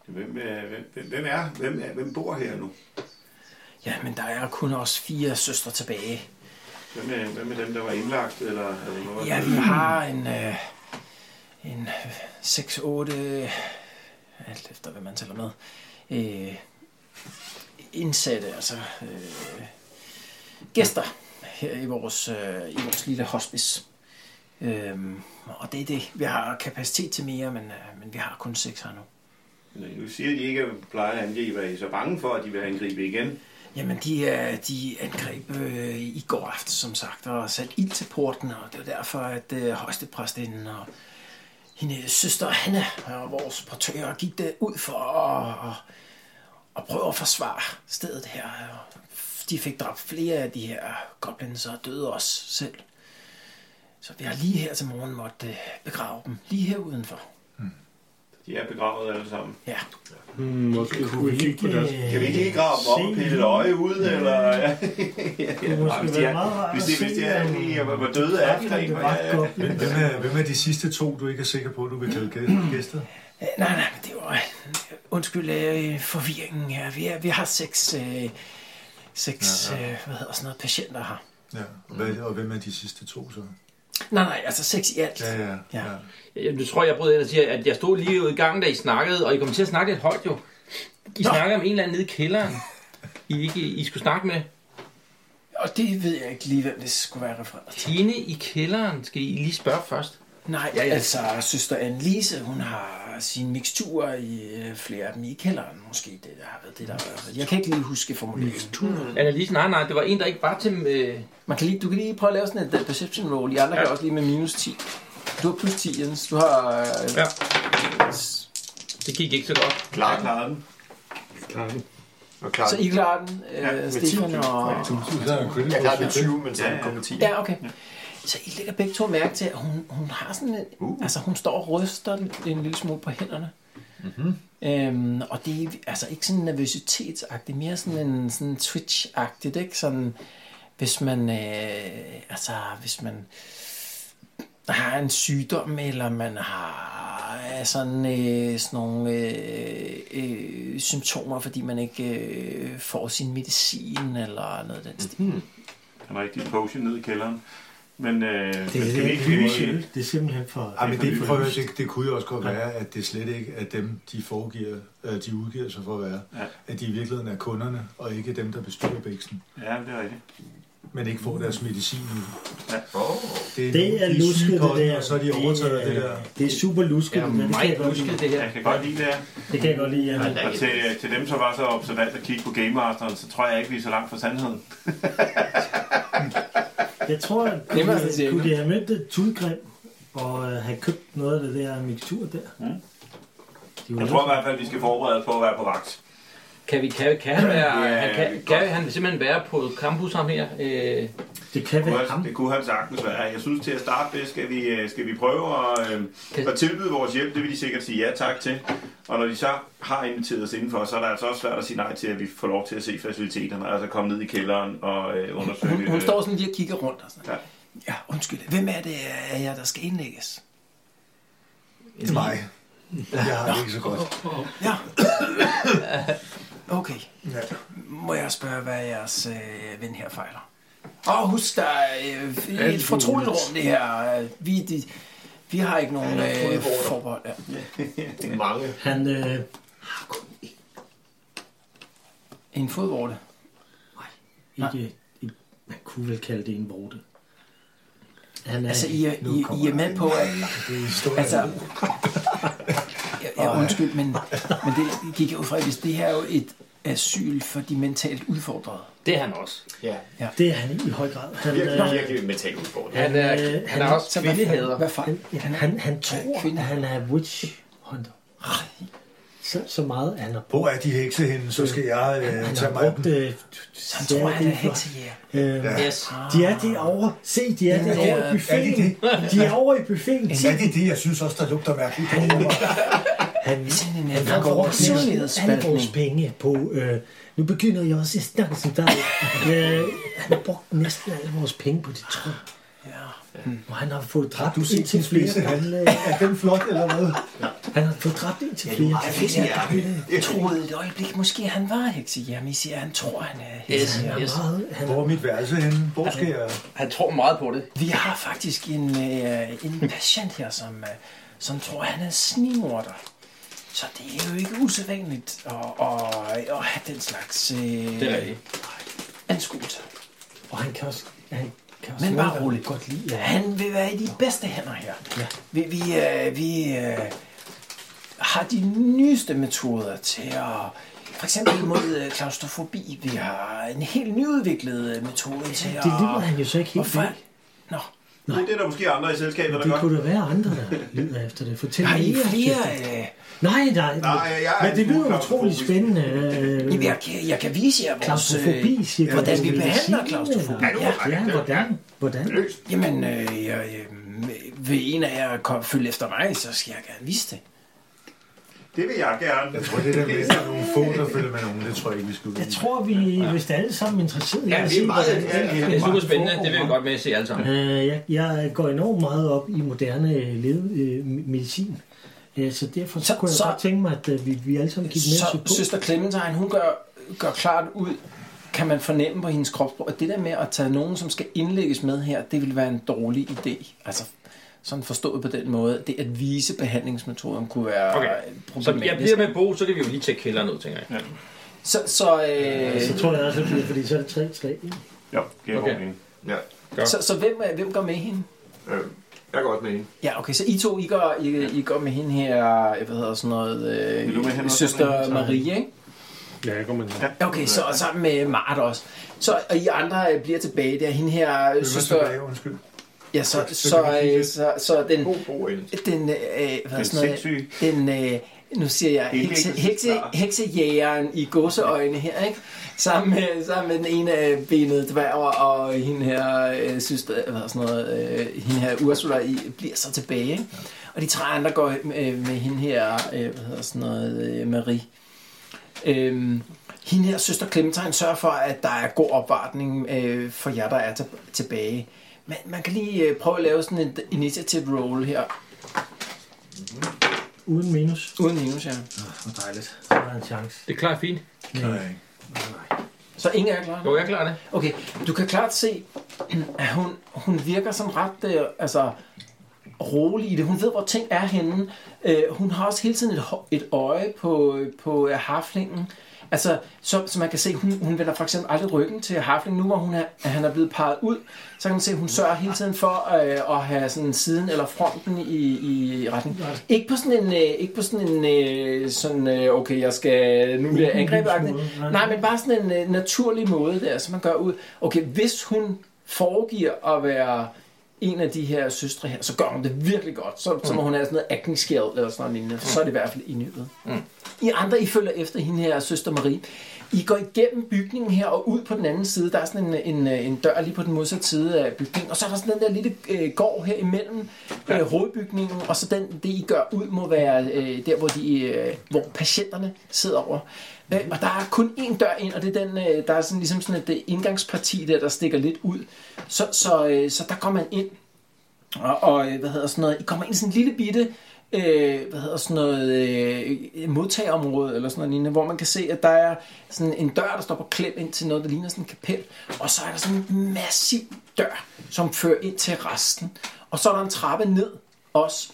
Speaker 8: Hvem, øh, hvem, hvem, hvem, er, hvem, er, hvem bor her nu?
Speaker 3: ja, men der er kun også fire søstre tilbage.
Speaker 8: Hvem er, hvem er dem, der var indlagt? Eller, eller noget?
Speaker 3: Ja, vi har en, øh, en 6-8, øh, alt efter hvad man tæller med, øh, indsatte, altså øh, gæster her i vores, øh, i vores lille hospice. Øhm, og det er det. Vi har kapacitet til mere, men, øh, men vi har kun seks her nu.
Speaker 8: Nu siger de ikke, at de plejer at angribe. Er I så bange for, at de vil angribe igen?
Speaker 3: Jamen, de, øh, de angreb øh, i går aften, som sagt, og satte ild til porten, og det var derfor, at øh, højstepræstinden og hendes søster Hanna og vores portører gik derud for at, at, at prøve at forsvare stedet her. Og De fik dræbt flere af de her goblins og døde os selv. Så vi har lige her til morgen måtte øh, begrave dem, lige her udenfor.
Speaker 8: De er begravet alle sammen.
Speaker 3: Ja.
Speaker 4: Hmm, måske kunne vi kigge på deres...
Speaker 6: øh,
Speaker 8: Kan vi ikke lige grave dem op og pille et øje ud? Eller... <laughs> ja, ja.
Speaker 6: Det måske
Speaker 8: Hvis de
Speaker 6: være
Speaker 8: er-
Speaker 6: meget rart
Speaker 8: hvis
Speaker 6: at
Speaker 8: de, hvis de
Speaker 6: se,
Speaker 8: er
Speaker 6: om-
Speaker 8: lige og var døde af
Speaker 6: Om det
Speaker 8: krigen,
Speaker 6: var
Speaker 8: ja, ja.
Speaker 6: godt.
Speaker 5: Men hvem er, hvem er de sidste to, du ikke er sikker på, du vil kalde gæ- gæster?
Speaker 3: Øh, Nej, nej, men det var... Undskyld øh, forvirringen her. Vi, er, vi har seks, øh, seks ja, ja. Øh, hvad hedder sådan noget, patienter her.
Speaker 5: Ja. Og, hvad, og hvem er de sidste to så?
Speaker 3: Nej, nej, altså seks i alt.
Speaker 5: Ja, ja.
Speaker 3: Ja.
Speaker 5: ja.
Speaker 9: Jeg, jeg tror, jeg bryder ind og siger, at jeg stod lige ude i gangen, da I snakkede, og I kom til at snakke lidt højt jo. I snakkede om en eller anden nede i kælderen, I, ikke, I skulle snakke med.
Speaker 3: Og det ved jeg ikke lige, hvem det skulle være refereret til.
Speaker 9: Inde i kælderen skal I lige spørge først.
Speaker 3: Nej, ja, ja. altså søster Annelise, hun har sine miksturer i øh, flere af dem i kælderen, måske. Det der har været det, der har været. Jeg kan ikke lige huske formuleringen.
Speaker 9: Annelise, nej, nej, det var en, der ikke var til... Øh,
Speaker 3: Man kan lige, du kan lige prøve at lave sådan et øh, perception roll. De andre ja. kan også lige med minus 10. Du har plus 10, Jens. Du har... Øh,
Speaker 9: Ja. det gik ikke så godt.
Speaker 7: Klar,
Speaker 8: Jeg klarer den.
Speaker 4: Klar,
Speaker 7: Og klar.
Speaker 3: Så I klarer den, øh,
Speaker 8: Ja, med 10
Speaker 3: Stefan
Speaker 8: plus.
Speaker 3: og...
Speaker 5: Så er en
Speaker 7: Jeg klarer med
Speaker 5: critical
Speaker 7: 20, men så er
Speaker 8: Ja,
Speaker 7: det
Speaker 8: ja.
Speaker 7: kommet 10.
Speaker 3: Ja, okay. Så I lægger begge to mærke til, at hun, hun har sådan en... Uh. Altså, hun står og ryster en, en lille smule på hænderne. Mm-hmm. Øhm, og det er altså ikke sådan nervøsitetsagtigt, mere sådan en sådan twitch-agtigt, ikke? Sådan, hvis man... Øh, altså, hvis man har en sygdom, eller man har øh, sådan, øh, sådan nogle øh, øh, symptomer, fordi man ikke øh, får sin medicin, eller noget af den stil.
Speaker 8: Han har ikke dit potion nede i kælderen. Men øh, det,
Speaker 6: Det,
Speaker 8: skal
Speaker 6: det,
Speaker 8: vi ikke
Speaker 6: det,
Speaker 8: lige...
Speaker 6: det, det er simpelthen for...
Speaker 5: Ja, men det,
Speaker 8: for
Speaker 5: prøv, at høre, det, det kunne jo også godt være, at det slet ikke er dem, de, foregiver, øh, de udgiver sig for at være.
Speaker 8: Ja.
Speaker 5: At de i virkeligheden er kunderne, og ikke dem, der bestyrer bæksen.
Speaker 8: Ja, det er rigtigt.
Speaker 5: Men ikke får deres medicin nu.
Speaker 7: Åh,
Speaker 5: Det er,
Speaker 6: Det er
Speaker 5: de
Speaker 6: lusket,
Speaker 5: syge
Speaker 6: det
Speaker 5: koster,
Speaker 6: der.
Speaker 5: Og så er de overtaget af det der.
Speaker 6: Det er super lusket,
Speaker 9: Jeg
Speaker 6: ja,
Speaker 9: er
Speaker 6: det, der. det kan jeg
Speaker 9: meget
Speaker 6: godt lide.
Speaker 9: husket, det her.
Speaker 8: Jeg kan godt lide det her.
Speaker 6: Det kan jeg godt lide, ja.
Speaker 8: Og til, til dem, som var så observant at kigge på Game Masteren, så tror jeg ikke, vi er så langt fra sandheden.
Speaker 6: Jeg tror, at
Speaker 3: Det altså
Speaker 6: kunne,
Speaker 3: må jeg sige.
Speaker 6: de- kunne de have mødt et tudgrim og øh, have købt noget af det der mixtur der? Ja. De
Speaker 8: Jeg tror i hvert fald, vi skal forberede os på at være på vagt.
Speaker 9: Kan vi, kan, vi, kan han være...
Speaker 8: Ja,
Speaker 9: han
Speaker 8: vi
Speaker 9: kan,
Speaker 8: kan
Speaker 9: kan han simpelthen være på campus ham her? Øh,
Speaker 6: Det kan
Speaker 8: Det kunne
Speaker 6: være ham.
Speaker 8: han- Det kunne han sagtens være. Jeg synes, til at starte med, skal vi, øh, skal vi prøve at, øh,
Speaker 9: Kan-
Speaker 8: at tilbyde vores hjælp. Det vil de sikkert sige ja tak til. Og når de så har inviteret os indenfor, så er det altså også svært at sige nej til, at vi får lov til at se faciliteterne. Altså komme ned i kælderen og øh, undersøge...
Speaker 3: Hun, hun
Speaker 8: øh,
Speaker 3: står sådan lige og kigger rundt og sådan.
Speaker 8: Ja.
Speaker 3: Ja. ja, undskyld. Hvem er det af jer, der skal indlægges?
Speaker 5: Det er mig. Jeg har det ikke så godt.
Speaker 3: Ja. okay. Må jeg spørge, hvad jeres øh, ven her fejler? Og husk, der er øh, et
Speaker 4: Alt
Speaker 3: fortroligt
Speaker 4: muligt.
Speaker 3: rum, det her. Vi, de, vi har ikke nogen øh, forbehold. Ja.
Speaker 7: det er mange.
Speaker 6: Han, øh,
Speaker 3: En fodvorte.
Speaker 6: ikke, ikke, man kunne vel kalde det en vorte. Han er,
Speaker 3: Altså, I er,
Speaker 5: Nu
Speaker 3: I, I
Speaker 5: kommer
Speaker 3: er med
Speaker 5: der
Speaker 3: på, at...
Speaker 5: Det er historien.
Speaker 3: Altså, jeg, jeg undskyld, men, men det gik jeg ud fra, hvis det her er jo et asyl for de mentalt udfordrede.
Speaker 9: det er han også.
Speaker 7: Ja,
Speaker 6: det er han i høj grad. Han,
Speaker 7: virkelig,
Speaker 6: øh,
Speaker 7: virkelig mentalt udfordring.
Speaker 9: Han er,
Speaker 6: øh,
Speaker 9: han er
Speaker 6: han-
Speaker 9: også kvindehader.
Speaker 3: Hvad fejl?
Speaker 6: han, han, han tror,
Speaker 3: kvinde.
Speaker 6: at han er witch hunter. Så, så meget han har brugt.
Speaker 5: Hvor er de hekse henne, så skal jeg øh,
Speaker 6: Han
Speaker 5: tage
Speaker 6: har
Speaker 5: mig af dem.
Speaker 6: brugt... Øh,
Speaker 3: Han tror, han er heksejæger.
Speaker 6: Øh,
Speaker 9: Yes.
Speaker 6: de er derovre. Se, de er derovre i buffeten.
Speaker 5: det
Speaker 6: De er over i buffeten. Se,
Speaker 5: Er det det, jeg synes også, der lugter mærkeligt på mig?
Speaker 6: Han,
Speaker 3: sådan en,
Speaker 6: han
Speaker 3: øh,
Speaker 6: får vores, alle
Speaker 3: personlighedsspaltning.
Speaker 6: vores penge på... Øh, nu begynder jeg også at snakke som dig. øh, han har brugt næsten alle vores penge på det tro. Ja. Og han har fået dræbt
Speaker 5: Du set sin
Speaker 6: indtil flere
Speaker 5: spidse hat?
Speaker 6: gamle...
Speaker 5: <laughs> Er den flot eller hvad?
Speaker 6: Han har fået dræbt indtil
Speaker 5: Ja,
Speaker 6: flere
Speaker 5: du har
Speaker 6: gamle-
Speaker 5: fisk i ærmet.
Speaker 3: Jeg troede et øjeblik, måske han var heksejæmme. I siger, han tror, han er heksejæmme.
Speaker 6: Yes. Meget, han,
Speaker 5: Hvor er mit værelse henne? Hvor skal jeg?
Speaker 2: Han tror meget på det.
Speaker 3: Vi har faktisk en, øh, en patient her, som, øh, som tror, han er snimorder. Så det er jo ikke usædvanligt at, at, at have den slags
Speaker 9: Det er
Speaker 3: øh,
Speaker 9: rigtigt.
Speaker 3: anskuelser.
Speaker 6: og han kan også... Han kan også
Speaker 3: Men
Speaker 6: noget,
Speaker 3: bare
Speaker 6: der
Speaker 3: rolig.
Speaker 6: Godt lide, ja.
Speaker 3: Han vil være i de bedste hænder her. Ja. Vi, vi, øh, vi øh, har de nyeste metoder til at... For eksempel mod øh, klaustrofobi. Vi har en helt nyudviklet øh, metode til at...
Speaker 6: Det lider han jo så ikke helt
Speaker 3: Hvorfor?
Speaker 6: af.
Speaker 3: Nå,
Speaker 8: Nej. Det er der måske andre i selskabet, der
Speaker 6: Det
Speaker 8: gør.
Speaker 6: kunne da være andre, der lider efter det. Fortæl
Speaker 3: har
Speaker 6: mig
Speaker 3: I
Speaker 6: mere,
Speaker 3: flere...
Speaker 6: Kirsten.
Speaker 3: Øh,
Speaker 6: Nej, nej.
Speaker 8: Nej, jeg er
Speaker 6: men
Speaker 8: en
Speaker 6: det
Speaker 8: smule
Speaker 6: lyder utrolig
Speaker 8: klaustrofobisk.
Speaker 6: spændende. Øh,
Speaker 3: Jamen, jeg, kan, jeg kan vise jer vores... øh,
Speaker 6: klaustrofobi, siger
Speaker 3: hvordan
Speaker 6: du,
Speaker 3: vi
Speaker 6: medicin,
Speaker 3: behandler
Speaker 6: eller-
Speaker 3: klaustrofobi.
Speaker 6: Ja, ja, hvordan? Hvordan?
Speaker 3: Jamen, øh, jeg, øh, vil en af jer kom, følge efter mig, så skal jeg gerne vise det.
Speaker 8: Det vil jeg gerne.
Speaker 5: Jeg tror, det der med, at der er nogle få, der følger med nogen, det tror jeg ikke, vi skal ud i.
Speaker 6: Jeg tror, vi er vist alle sammen interesseret i
Speaker 7: Ja,
Speaker 6: at
Speaker 7: vi
Speaker 6: se,
Speaker 7: er meget-
Speaker 6: hvordan
Speaker 7: ja, ja,
Speaker 9: Det er super spændende. Det vil vi godt med at se alle sammen.
Speaker 6: Øh, jeg, jeg går enormt meget op i moderne øh, led, øh, medicin. Øh, så derfor så,
Speaker 3: Så-
Speaker 6: kunne jeg
Speaker 3: så-
Speaker 6: godt tænke mig, at øh, vi, vi alle sammen gik med
Speaker 3: Så
Speaker 6: til på.
Speaker 3: søster Clementine, hun gør, gør klart ud, kan man fornemme på hendes kropsprog, at det der med at tage nogen, som skal indlægges med her, det vil være en dårlig idé. Altså, sådan forstået på den måde, det at vise behandlingsmetoden kunne være
Speaker 9: Okay.
Speaker 3: okay.
Speaker 9: Så
Speaker 3: problematisk.
Speaker 9: jeg bliver med Bo, så kan vi jo lige tjekke kælderen ud, tænker jeg.
Speaker 3: Så, så, øh,
Speaker 6: Så tror jeg også, at det er, fordi så er det tre slag. ikke?
Speaker 8: Jo, det er
Speaker 9: Okay.
Speaker 8: okay.
Speaker 7: Ja,
Speaker 3: så, så hvem, øh, hvem går med hende?
Speaker 7: øh, jeg går også med hende.
Speaker 3: Ja, okay, så I to, I går, I, I går med hende her, hvad hedder sådan noget,
Speaker 8: Vil du med hende
Speaker 3: øh,
Speaker 8: også,
Speaker 3: søster
Speaker 8: Henrik?
Speaker 3: Marie, ikke?
Speaker 4: Ja, jeg går med den.
Speaker 3: Okay, så og sammen med Mart også. Så og I andre øh, bliver tilbage der, hende her øh,
Speaker 5: Det var
Speaker 3: søster,
Speaker 5: tilbage, undskyld.
Speaker 3: ja, så,
Speaker 5: så- så kan
Speaker 3: så,
Speaker 5: vi
Speaker 3: øh,
Speaker 5: kigge.
Speaker 3: så, så den,
Speaker 7: God, god engelsk.
Speaker 3: den, øh, hvad er
Speaker 8: Den
Speaker 3: sådan noget,
Speaker 8: sindssyge.
Speaker 3: den, øh, nu siger jeg, hekse,
Speaker 8: Indlæggelsesvar.
Speaker 3: hekse, heksejægeren i godseøjne her, ikke? Sammen med, sammen med den ene af benet dværg og hende her, øh, søster, hvad hedder sådan noget, øh, hende her Ursula, I bliver så tilbage, ikke? Og de tre andre går øh, med hende her, øh, hvad hedder sådan noget, øh, Marie. Øhm, hende her, søster Clementine, sørger for, at der er god opvartning øh, for jer, der er til, tilbage. Men man kan lige øh, prøve at lave sådan en initiative roll her.
Speaker 6: Uden minus,
Speaker 3: Uden minus, ja.
Speaker 5: Hvor dejligt.
Speaker 6: så er der en chance.
Speaker 9: Det er klart fint.
Speaker 5: Nej.
Speaker 3: Så ingen er klar?
Speaker 9: Jo, jeg klarer det.
Speaker 3: Okay, du kan klart se, at hun, hun virker sådan ret øh, altså, rolig i det. Hun ved, hvor ting er henne. Øh, hun har også hele tiden et, hå- et øje på, på øh, harflingen. Altså, så, så man kan se, hun, hun vender for eksempel aldrig ryggen til harflingen. Nu hvor hun er, at han er blevet parret ud, så kan man se, at hun sørger hele tiden for øh, at have sådan siden eller fronten i, i retning. Ikke på sådan en, øh, ikke på sådan en øh, sådan, øh, okay, jeg skal, nu bliver jeg angrebet.
Speaker 6: Nej.
Speaker 3: Nej, men bare sådan en øh, naturlig måde der, som man gør ud. Okay, hvis hun foregiver at være en af de her søstre her, så gør hun det virkelig godt. Så, så må hun have sådan noget acting skill eller sådan noget lignende, for så er det i hvert fald i nyheden. I andre, I følger efter hende her, søster Marie. I går igennem bygningen her og ud på den anden side. Der er sådan en, en, en dør lige på den modsatte side af bygningen. Og så er der sådan den der lille øh, gård her imellem øh, hovedbygningen. Og så den, det, I gør ud, må være øh, der, hvor, de, øh, hvor patienterne sidder over. Øh, og der er kun én dør ind, og det er den, øh, der er sådan, ligesom sådan et øh, indgangsparti der, der stikker lidt ud. Så, så, øh, så der går man ind. Og, og øh, hvad hedder sådan noget, I kommer ind i sådan en lille bitte, øh, hvad hedder sådan noget, øh, modtagerområde eller sådan noget lignende, hvor man kan se, at der er sådan en dør, der står på klem ind til noget, der ligner sådan en kapel, og så er der sådan en massiv dør, som fører ind til resten. Og så er der en trappe ned også,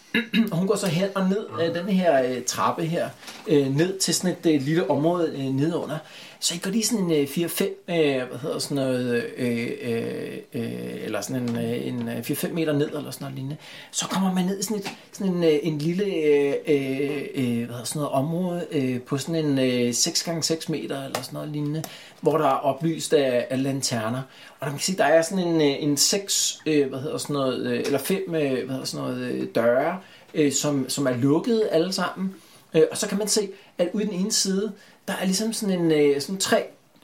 Speaker 3: og <clears throat> hun går så hen og ned af den her øh, trappe her, øh, ned til sådan et øh, lille område øh, nedenunder. Så I går lige sådan en øh, 4-5, øh, hvad hedder sådan noget, øh, øh, øh, eller sådan en, øh, en øh, 4-5 meter ned, eller sådan noget lignende. Så kommer man ned i sådan, et, sådan en, øh, en lille, øh, øh, øh, hvad hedder sådan noget, område øh, på sådan en øh, 6x6 meter, eller sådan noget lignende, hvor der er oplyst af, af lanterner. Og der man kan sige, der er sådan en, øh, en 6, øh, hvad hedder sådan noget, øh, eller 5, øh, hvad hedder sådan noget, øh, døre, øh, som, som er lukkede alle sammen. Øh, og så kan man se, at ude i den ene side, der er ligesom sådan en øh, sådan tre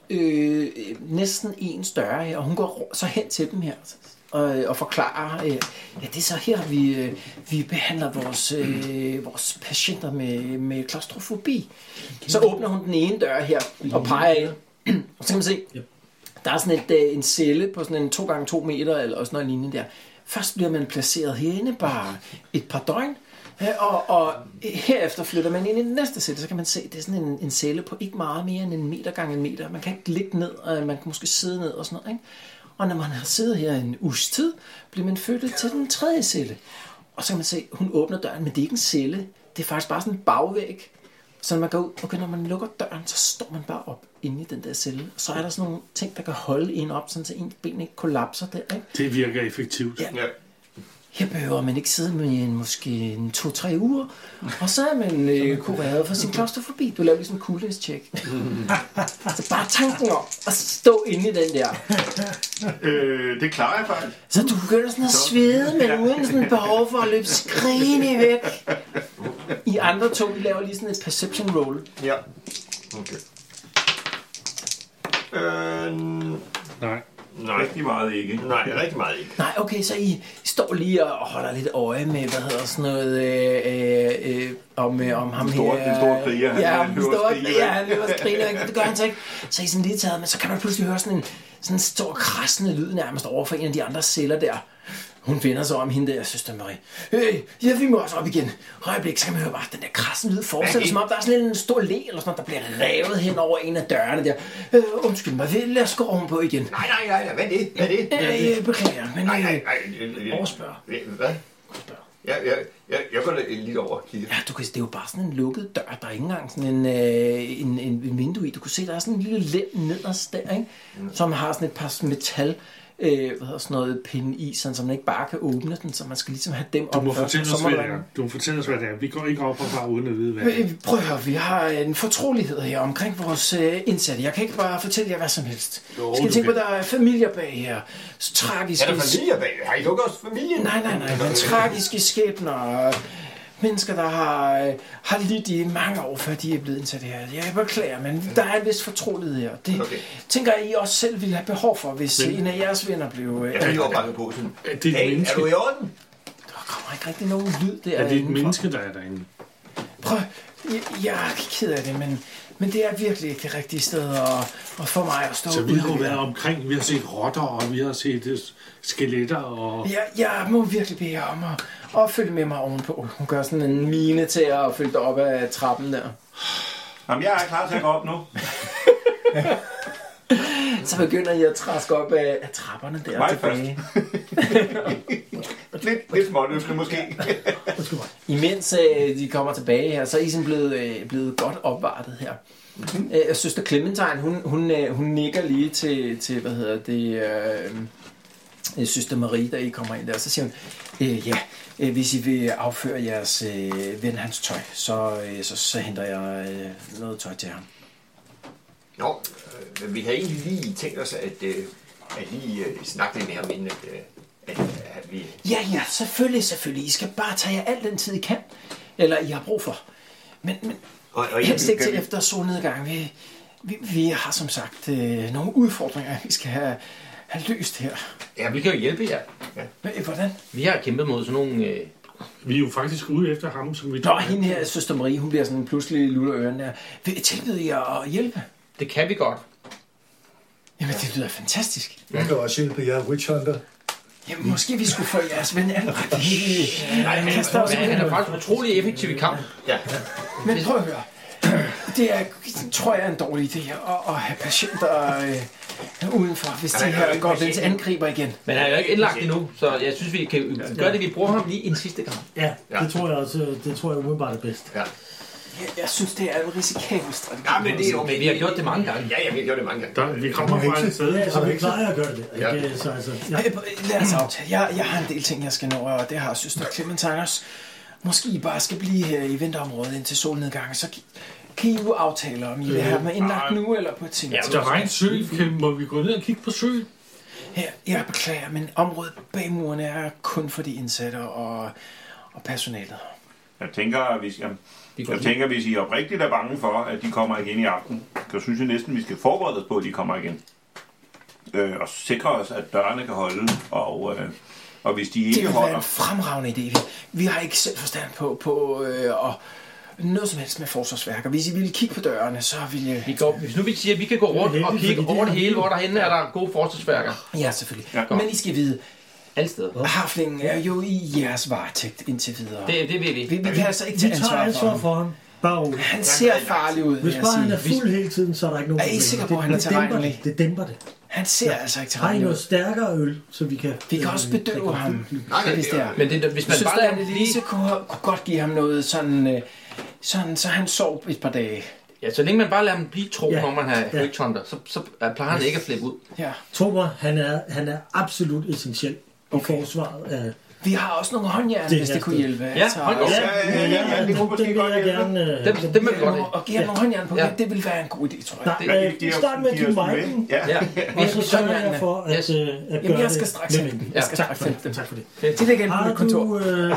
Speaker 3: øh, øh, næsten en større her, og hun går rå- så hen til dem her. Så og, og forklarer, øh, ja, det er så her, vi, øh, vi behandler vores, øh, vores patienter med, med klaustrofobi. Så åbner hun den ene dør her og peger ind. Og så kan man se, der er sådan et, øh, en celle på sådan en 2x2 meter eller sådan noget lignende der. Først bliver man placeret herinde bare et par døgn, øh, og, og herefter flytter man ind i den næste celle. Så kan man se, det er sådan en, en celle på ikke meget mere end en meter gange en meter. Man kan ikke ligge ned, og man kan måske sidde ned og sådan noget. Ikke? Og når man har siddet her en uges tid, bliver man flyttet til den tredje celle. Og så kan man se, hun åbner døren, men det er ikke en celle. Det er faktisk bare sådan en bagvæg. Så når man går ud, okay, når man lukker døren, så står man bare op inde i den der celle. Og så er der sådan nogle ting, der kan holde en op, sådan så ens ben ikke kollapser der. Ikke?
Speaker 4: Det virker effektivt.
Speaker 3: Ja. Her behøver man ikke sidde med en, måske en to-tre uger, og så er man øh, kureret for sin klaustrofobi. Du laver ligesom en coolness-check. Så bare tanken om at stå inde i den der.
Speaker 8: Øh, det klarer jeg faktisk.
Speaker 3: Så du begynder sådan at svede, men uden sådan behov for at løbe skrigende væk. I andre to, de laver lige sådan et perception roll.
Speaker 7: Ja. Okay. Øh,
Speaker 4: Nej.
Speaker 8: Nej. Rigtig meget ikke.
Speaker 7: nej, rigtig meget ikke.
Speaker 3: Nej, okay, så I står lige og holder lidt øje med, hvad hedder sådan noget, øh, øh, øh, om, øh, om ham
Speaker 8: Den store-
Speaker 3: her.
Speaker 8: den store kriger, han-
Speaker 3: ja,
Speaker 8: han
Speaker 3: han
Speaker 8: løber
Speaker 3: løber
Speaker 8: og
Speaker 3: Ja,
Speaker 8: skriger, ikke?
Speaker 3: han løber og skriger, ikke? det gør han så ikke. Så I er sådan lige taget, men så kan man pludselig høre sådan en, sådan en stor krassende lyd nærmest over for en af de andre celler der. Hun vender sig om hende der, søster Marie. Hey, ja, vi må også op igen. Øjeblik, så kan man høre bare, den der krassen lyd fortsætter, som om der er sådan en stor læ eller sådan noget, der bliver revet hen over en af dørene der. Øh, undskyld mig, vel, lad os gå ovenpå igen.
Speaker 7: Nej, nej, nej, nej. Hvad er det? Hvad er det?
Speaker 3: Øh, øh, beklager, men...
Speaker 7: Nej, nej,
Speaker 3: øh,
Speaker 7: nej.
Speaker 3: Overspørg.
Speaker 7: Hvad? Ja, ja, ja, jeg går da lidt over og kigger.
Speaker 3: Ja, du kan, det er jo bare sådan en lukket dør. Der er ikke engang sådan en, øh, en, en, en vindue i. Du kan se, der er sådan en lille lem nederst der, ikke?
Speaker 4: Mm.
Speaker 3: som har sådan et par sådan metal øh, hvad hedder sådan noget pinde i, sådan, så man ikke bare kan åbne den, så man skal ligesom have dem
Speaker 4: Du
Speaker 3: op
Speaker 4: må
Speaker 3: først,
Speaker 4: fortælle
Speaker 3: og
Speaker 4: os,
Speaker 3: så må
Speaker 4: hvad
Speaker 3: der-
Speaker 4: det er. Du må fortælle os, hvad det er. Vi går ikke op og bare uden at vide, hvad det er.
Speaker 3: Øh, Prøv at høre, vi har en fortrolighed her omkring vores øh, indsatte. Jeg kan ikke bare fortælle jer hvad som helst.
Speaker 4: Jo,
Speaker 3: skal I
Speaker 4: du
Speaker 3: tænke på,
Speaker 4: kan.
Speaker 3: der er familier bag her. Så tragiske...
Speaker 7: Er der familier bag? Har I lukket os familien?
Speaker 3: Nej, nej, nej, men tragiske skæbner. og Mennesker, der har, øh, har lidt i mange år, før de er blevet indsat her. Jeg beklager, men der er en vis fortrolighed her. Det
Speaker 7: Okay.
Speaker 3: okay. tænker jeg, I også selv ville have behov for, hvis men... en af jeres venner blev... Øh,
Speaker 7: Jeg
Speaker 3: der
Speaker 7: har lige overpakket på sådan.
Speaker 4: Er det et
Speaker 7: Hey, er
Speaker 4: menneske?
Speaker 7: du i orden?
Speaker 3: kommer ikke rigtig nogen lyd der.
Speaker 4: Er det et
Speaker 3: indenfor.
Speaker 4: menneske, der er derinde?
Speaker 3: Prøv, jeg, jeg er ked af det, men, men det er virkelig ikke det rigtige sted at, at for mig at stå
Speaker 4: Så vi
Speaker 3: ude
Speaker 4: har jo
Speaker 3: ved.
Speaker 4: været omkring. Vi har set rotter, og vi har set øh, skeletter, og
Speaker 3: Jeg, jeg må virkelig bede jer om at, at følge med mig ovenpå. Hun gør sådan en mine til at følge dig op ad trappen der.
Speaker 8: Jamen, jeg er klar til at gå op nu.
Speaker 3: Så begynder jeg at træske op af, af trapperne der
Speaker 8: Mig
Speaker 3: tilbage.
Speaker 8: <laughs> Lidt, lidt småløfte måske.
Speaker 3: Imens øh, de kommer tilbage her, så er I sådan blevet, øh, blevet godt opvartet her. Øh, søster Clementine, hun, hun, øh, hun nikker lige til, til hvad hedder det, øh, øh, søster Marie, da I kommer ind der. Så siger hun, øh, ja, øh, hvis I vil afføre jeres øh, ven hans tøj, så, øh, så, så henter jeg øh, noget tøj til ham.
Speaker 7: Nå, øh, men vi havde egentlig lige tænkt os at, øh, at lige øh, snakke lidt mere om, inden at, øh, at, at vi...
Speaker 3: Ja, ja, selvfølgelig, selvfølgelig. I skal bare tage jer al den tid, I kan, eller I har brug for. Men, men
Speaker 7: Og, og
Speaker 3: Helst ikke til
Speaker 7: vi-
Speaker 3: efter solnedgang. Vi, vi, vi har som sagt øh, nogle udfordringer, vi skal have, have løst her.
Speaker 9: Ja, vi kan jo hjælpe jer.
Speaker 3: Men, øh, Hvordan?
Speaker 9: Vi har kæmpet mod sådan nogle... Øh,
Speaker 4: vi er jo faktisk ude efter ham, som vi
Speaker 3: Nå, hende her, søster Marie, hun bliver sådan pludselig lutter ørerne der. Vil I tilbyde jer at hjælpe?
Speaker 9: det kan vi godt.
Speaker 3: Jamen, det lyder fantastisk.
Speaker 5: Jeg kan også hjælpe jer, Witch Hunter.
Speaker 3: Jamen, måske vi skulle få jeres ven <laughs> anrettet. Nej, men kaster os
Speaker 9: Men han
Speaker 3: ud.
Speaker 9: er faktisk utrolig effektiv i kamp.
Speaker 3: Men prøv at høre. <clears throat> Det er, tror jeg, er en dårlig idé at, at have patienter øh, udenfor, hvis de
Speaker 7: Nej, nej,
Speaker 3: her
Speaker 7: nej,
Speaker 3: går
Speaker 7: patient.
Speaker 3: til angriber igen.
Speaker 9: Men han er jo ikke indlagt endnu, så jeg synes, vi kan gøre det, vi bruger ham lige en sidste gang.
Speaker 6: Ja,
Speaker 7: Ja.
Speaker 6: det tror jeg også, det tror jeg umiddelbart er bedst.
Speaker 7: Ja.
Speaker 3: Jeg, jeg synes, det er en risikabel strategi.
Speaker 7: ja, men det er okay.
Speaker 9: Men vi har gjort det mange gange.
Speaker 7: Ja, ja, vi har gjort det mange gange.
Speaker 4: Der, vi kommer fra et sted.
Speaker 6: Ja, så vi plejer at gøre det.
Speaker 7: Ja.
Speaker 6: Ikke? Så, altså, ja.
Speaker 3: Øh, Lad os aftale. Jeg, jeg har en del ting, jeg skal nå, og det har søster Clementine også. Måske I bare skal blive her i vinterområdet indtil solnedgangen, så gi- kan I jo aftale, om I vil have mig indlagt nu eller på et
Speaker 4: Ja,
Speaker 3: tidspunkt.
Speaker 4: der var en sø. Kan, må vi gå ned og kigge på søen?
Speaker 3: Jeg, jeg beklager, men området bag murene er kun for de indsatte og, og personalet.
Speaker 8: Jeg tænker, hvis, jeg,
Speaker 9: Vi går
Speaker 8: jeg
Speaker 9: lige.
Speaker 8: tænker, hvis I er oprigtigt er bange for, at de kommer igen i aften, så synes jeg næsten, vi skal forberede os på, at de kommer igen. øh, og sikre os, at dørene kan holde, og, øh, og hvis de
Speaker 3: Det
Speaker 8: ikke
Speaker 3: vil være en
Speaker 8: holder...
Speaker 3: fremragende idé. Vi, vi har ikke selv forstand på, på øh, og noget som helst med forsvarsværker. Hvis I ville kigge på dørene, så ville...
Speaker 9: Vi går, hvis nu vi siger, at vi kan gå rundt og kigge over det hele, hvor derhenne er der gode forsvarsværker.
Speaker 3: Ja, selvfølgelig.
Speaker 9: Ja,
Speaker 3: Ja,
Speaker 9: godt.
Speaker 3: Men I skal vide,
Speaker 9: alle steder.
Speaker 3: Harflingen er jo i jeres varetægt indtil videre.
Speaker 9: Det, det vil vi.
Speaker 3: Vi, vi kan altså ikke
Speaker 6: Vi
Speaker 3: tage
Speaker 6: tager
Speaker 3: ansvar for
Speaker 6: ansvar
Speaker 3: ham.
Speaker 6: for ham. Bare roligt.
Speaker 3: Han ser farlig ud,
Speaker 6: Hvis
Speaker 3: vil jeg
Speaker 6: bare han
Speaker 3: sige.
Speaker 6: er fuld hele tiden, så er der ikke nogen
Speaker 3: Er I
Speaker 6: problemer.
Speaker 3: sikre på, at han
Speaker 6: Det-
Speaker 3: er
Speaker 6: det dæmper
Speaker 3: tilregnelig?
Speaker 6: det. Det dæmper det.
Speaker 3: Han ser altså ikke
Speaker 6: Har I
Speaker 3: terræn ud.
Speaker 6: noget stærkere øl, så vi kan...
Speaker 3: Vi kan også
Speaker 6: øh,
Speaker 3: bedøve
Speaker 6: drikke
Speaker 3: ham,
Speaker 6: lidt?
Speaker 3: hvis det er.
Speaker 9: Men det, hvis man
Speaker 3: Jeg synes,
Speaker 9: bare lader
Speaker 3: at
Speaker 9: ham
Speaker 3: Lise
Speaker 9: lige...
Speaker 3: kunne, kunne godt give ham noget sådan, øh, sådan, så han sov et par dage.
Speaker 9: Ja, så længe man bare lader ham blive tro,
Speaker 6: Ja.
Speaker 9: når man har
Speaker 6: Ja.
Speaker 9: højtonder, så, så øh, plejer han ikke at flippe ud.
Speaker 3: Ja.
Speaker 6: Tro mig, han er, han er absolut essentiel okay. i forsvaret af...
Speaker 3: Vi har også nogle håndjern,
Speaker 6: Det
Speaker 3: hvis
Speaker 6: her
Speaker 3: det kunne
Speaker 6: sted.
Speaker 3: hjælpe. Altså,
Speaker 9: Ja, håndjern.
Speaker 6: Ja, ja, ja, ja, det kunne måske godt jeg gerne... øh,
Speaker 9: Dem, dem er vi godt af.
Speaker 3: Og give ham nogle håndjern på, ja. det ville være en god idé, tror jeg.
Speaker 6: Nej, øh,
Speaker 8: giver os-
Speaker 6: start med at
Speaker 8: giver
Speaker 6: give
Speaker 8: os
Speaker 6: mig
Speaker 8: med.
Speaker 6: den,
Speaker 8: Ja.
Speaker 9: Ja,
Speaker 6: og så sørger
Speaker 3: sådan,
Speaker 6: jeg for at,
Speaker 9: yes.
Speaker 6: yes. øh, at
Speaker 3: Jamen,
Speaker 6: gøre
Speaker 3: jeg skal straks
Speaker 6: det.
Speaker 3: hente dem. Jeg skal
Speaker 6: tak,
Speaker 3: straks
Speaker 6: for
Speaker 3: hente dem.
Speaker 6: det. tak for det.
Speaker 3: Det ligger inde på
Speaker 6: <laughs> Har
Speaker 3: mit kontor.
Speaker 6: du øh,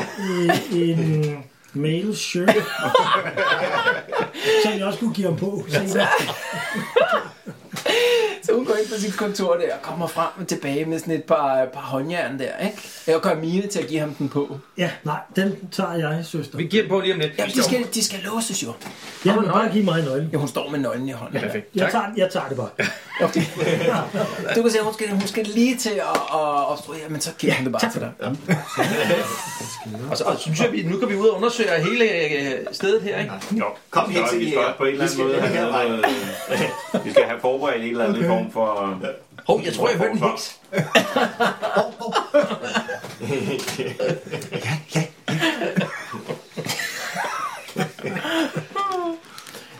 Speaker 6: øh, en male shirt,
Speaker 3: <laughs>
Speaker 6: som jeg også kunne give ham på? senere?
Speaker 3: Så hun går ind på sit kontor der og kommer frem og tilbage med sådan et par, par håndjern der, ikke? Jeg gør mine til at give ham den på.
Speaker 6: Ja, nej, den tager jeg, søster.
Speaker 9: Vi giver den på lige om lidt.
Speaker 3: Ja, de skal, de skal låses jo.
Speaker 6: Jeg vil bare give mig nøglen.
Speaker 3: Ja, hun står med nøglen i hånden. Ja,
Speaker 9: Perfekt.
Speaker 6: Jeg tager, jeg tager det bare.
Speaker 3: okay. <laughs> Du kan se, hun skal, hun skal lige til at, at obstruere, men så giver ja, hun det bare til dig.
Speaker 9: Og så, og så synes jeg, vi, nu kan vi ud og undersøge hele øh, stedet her, ikke?
Speaker 8: Jo,
Speaker 7: Kom
Speaker 8: vi
Speaker 7: hen
Speaker 8: skal-
Speaker 7: til
Speaker 8: vi
Speaker 7: jer.
Speaker 8: skal også på en eller
Speaker 7: Vi
Speaker 8: anden
Speaker 7: skal
Speaker 8: måde
Speaker 7: den her
Speaker 8: have noget, øh, <laughs> Vi skal have forberedt en eller anden form for... øh,
Speaker 9: Hov, jeg tror, jeg hørte en heks.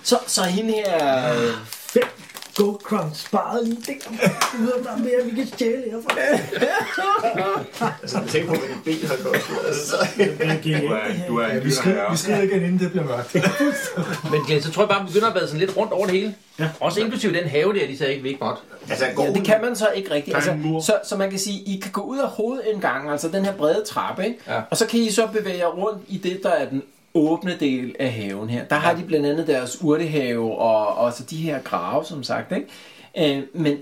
Speaker 3: Så, så hende her... øh,
Speaker 6: Fem gold crowns sparet lige der. Du ved, der er mere, vi kan stjæle herfra.
Speaker 7: Altså, tænk på, hvad dit ben har gjort. Altså,
Speaker 8: Du er, du er en
Speaker 5: Vi
Speaker 8: lytter
Speaker 5: skrider,
Speaker 8: herre.
Speaker 5: vi skrider igen, inden det bliver mørkt.
Speaker 9: Men Glenn, så tror jeg bare, vi begynder at vade sådan lidt rundt over det hele. Ja. Også inklusive den have der, de sagde ikke, vi ikke måtte.
Speaker 7: altså går
Speaker 3: Ja, det kan man så ikke rigtigt.
Speaker 4: Der
Speaker 3: Altså,
Speaker 4: er en mur.
Speaker 3: så, så man kan sige, I kan gå ud af hovedindgangen, altså den her brede trappe, ikke?
Speaker 9: Ja.
Speaker 3: og så kan I så bevæge jer rundt i det, der er den åbne del af haven her. Der har de blandt andet deres urtehave og, og så de her grave, som sagt. Ikke? Øh, men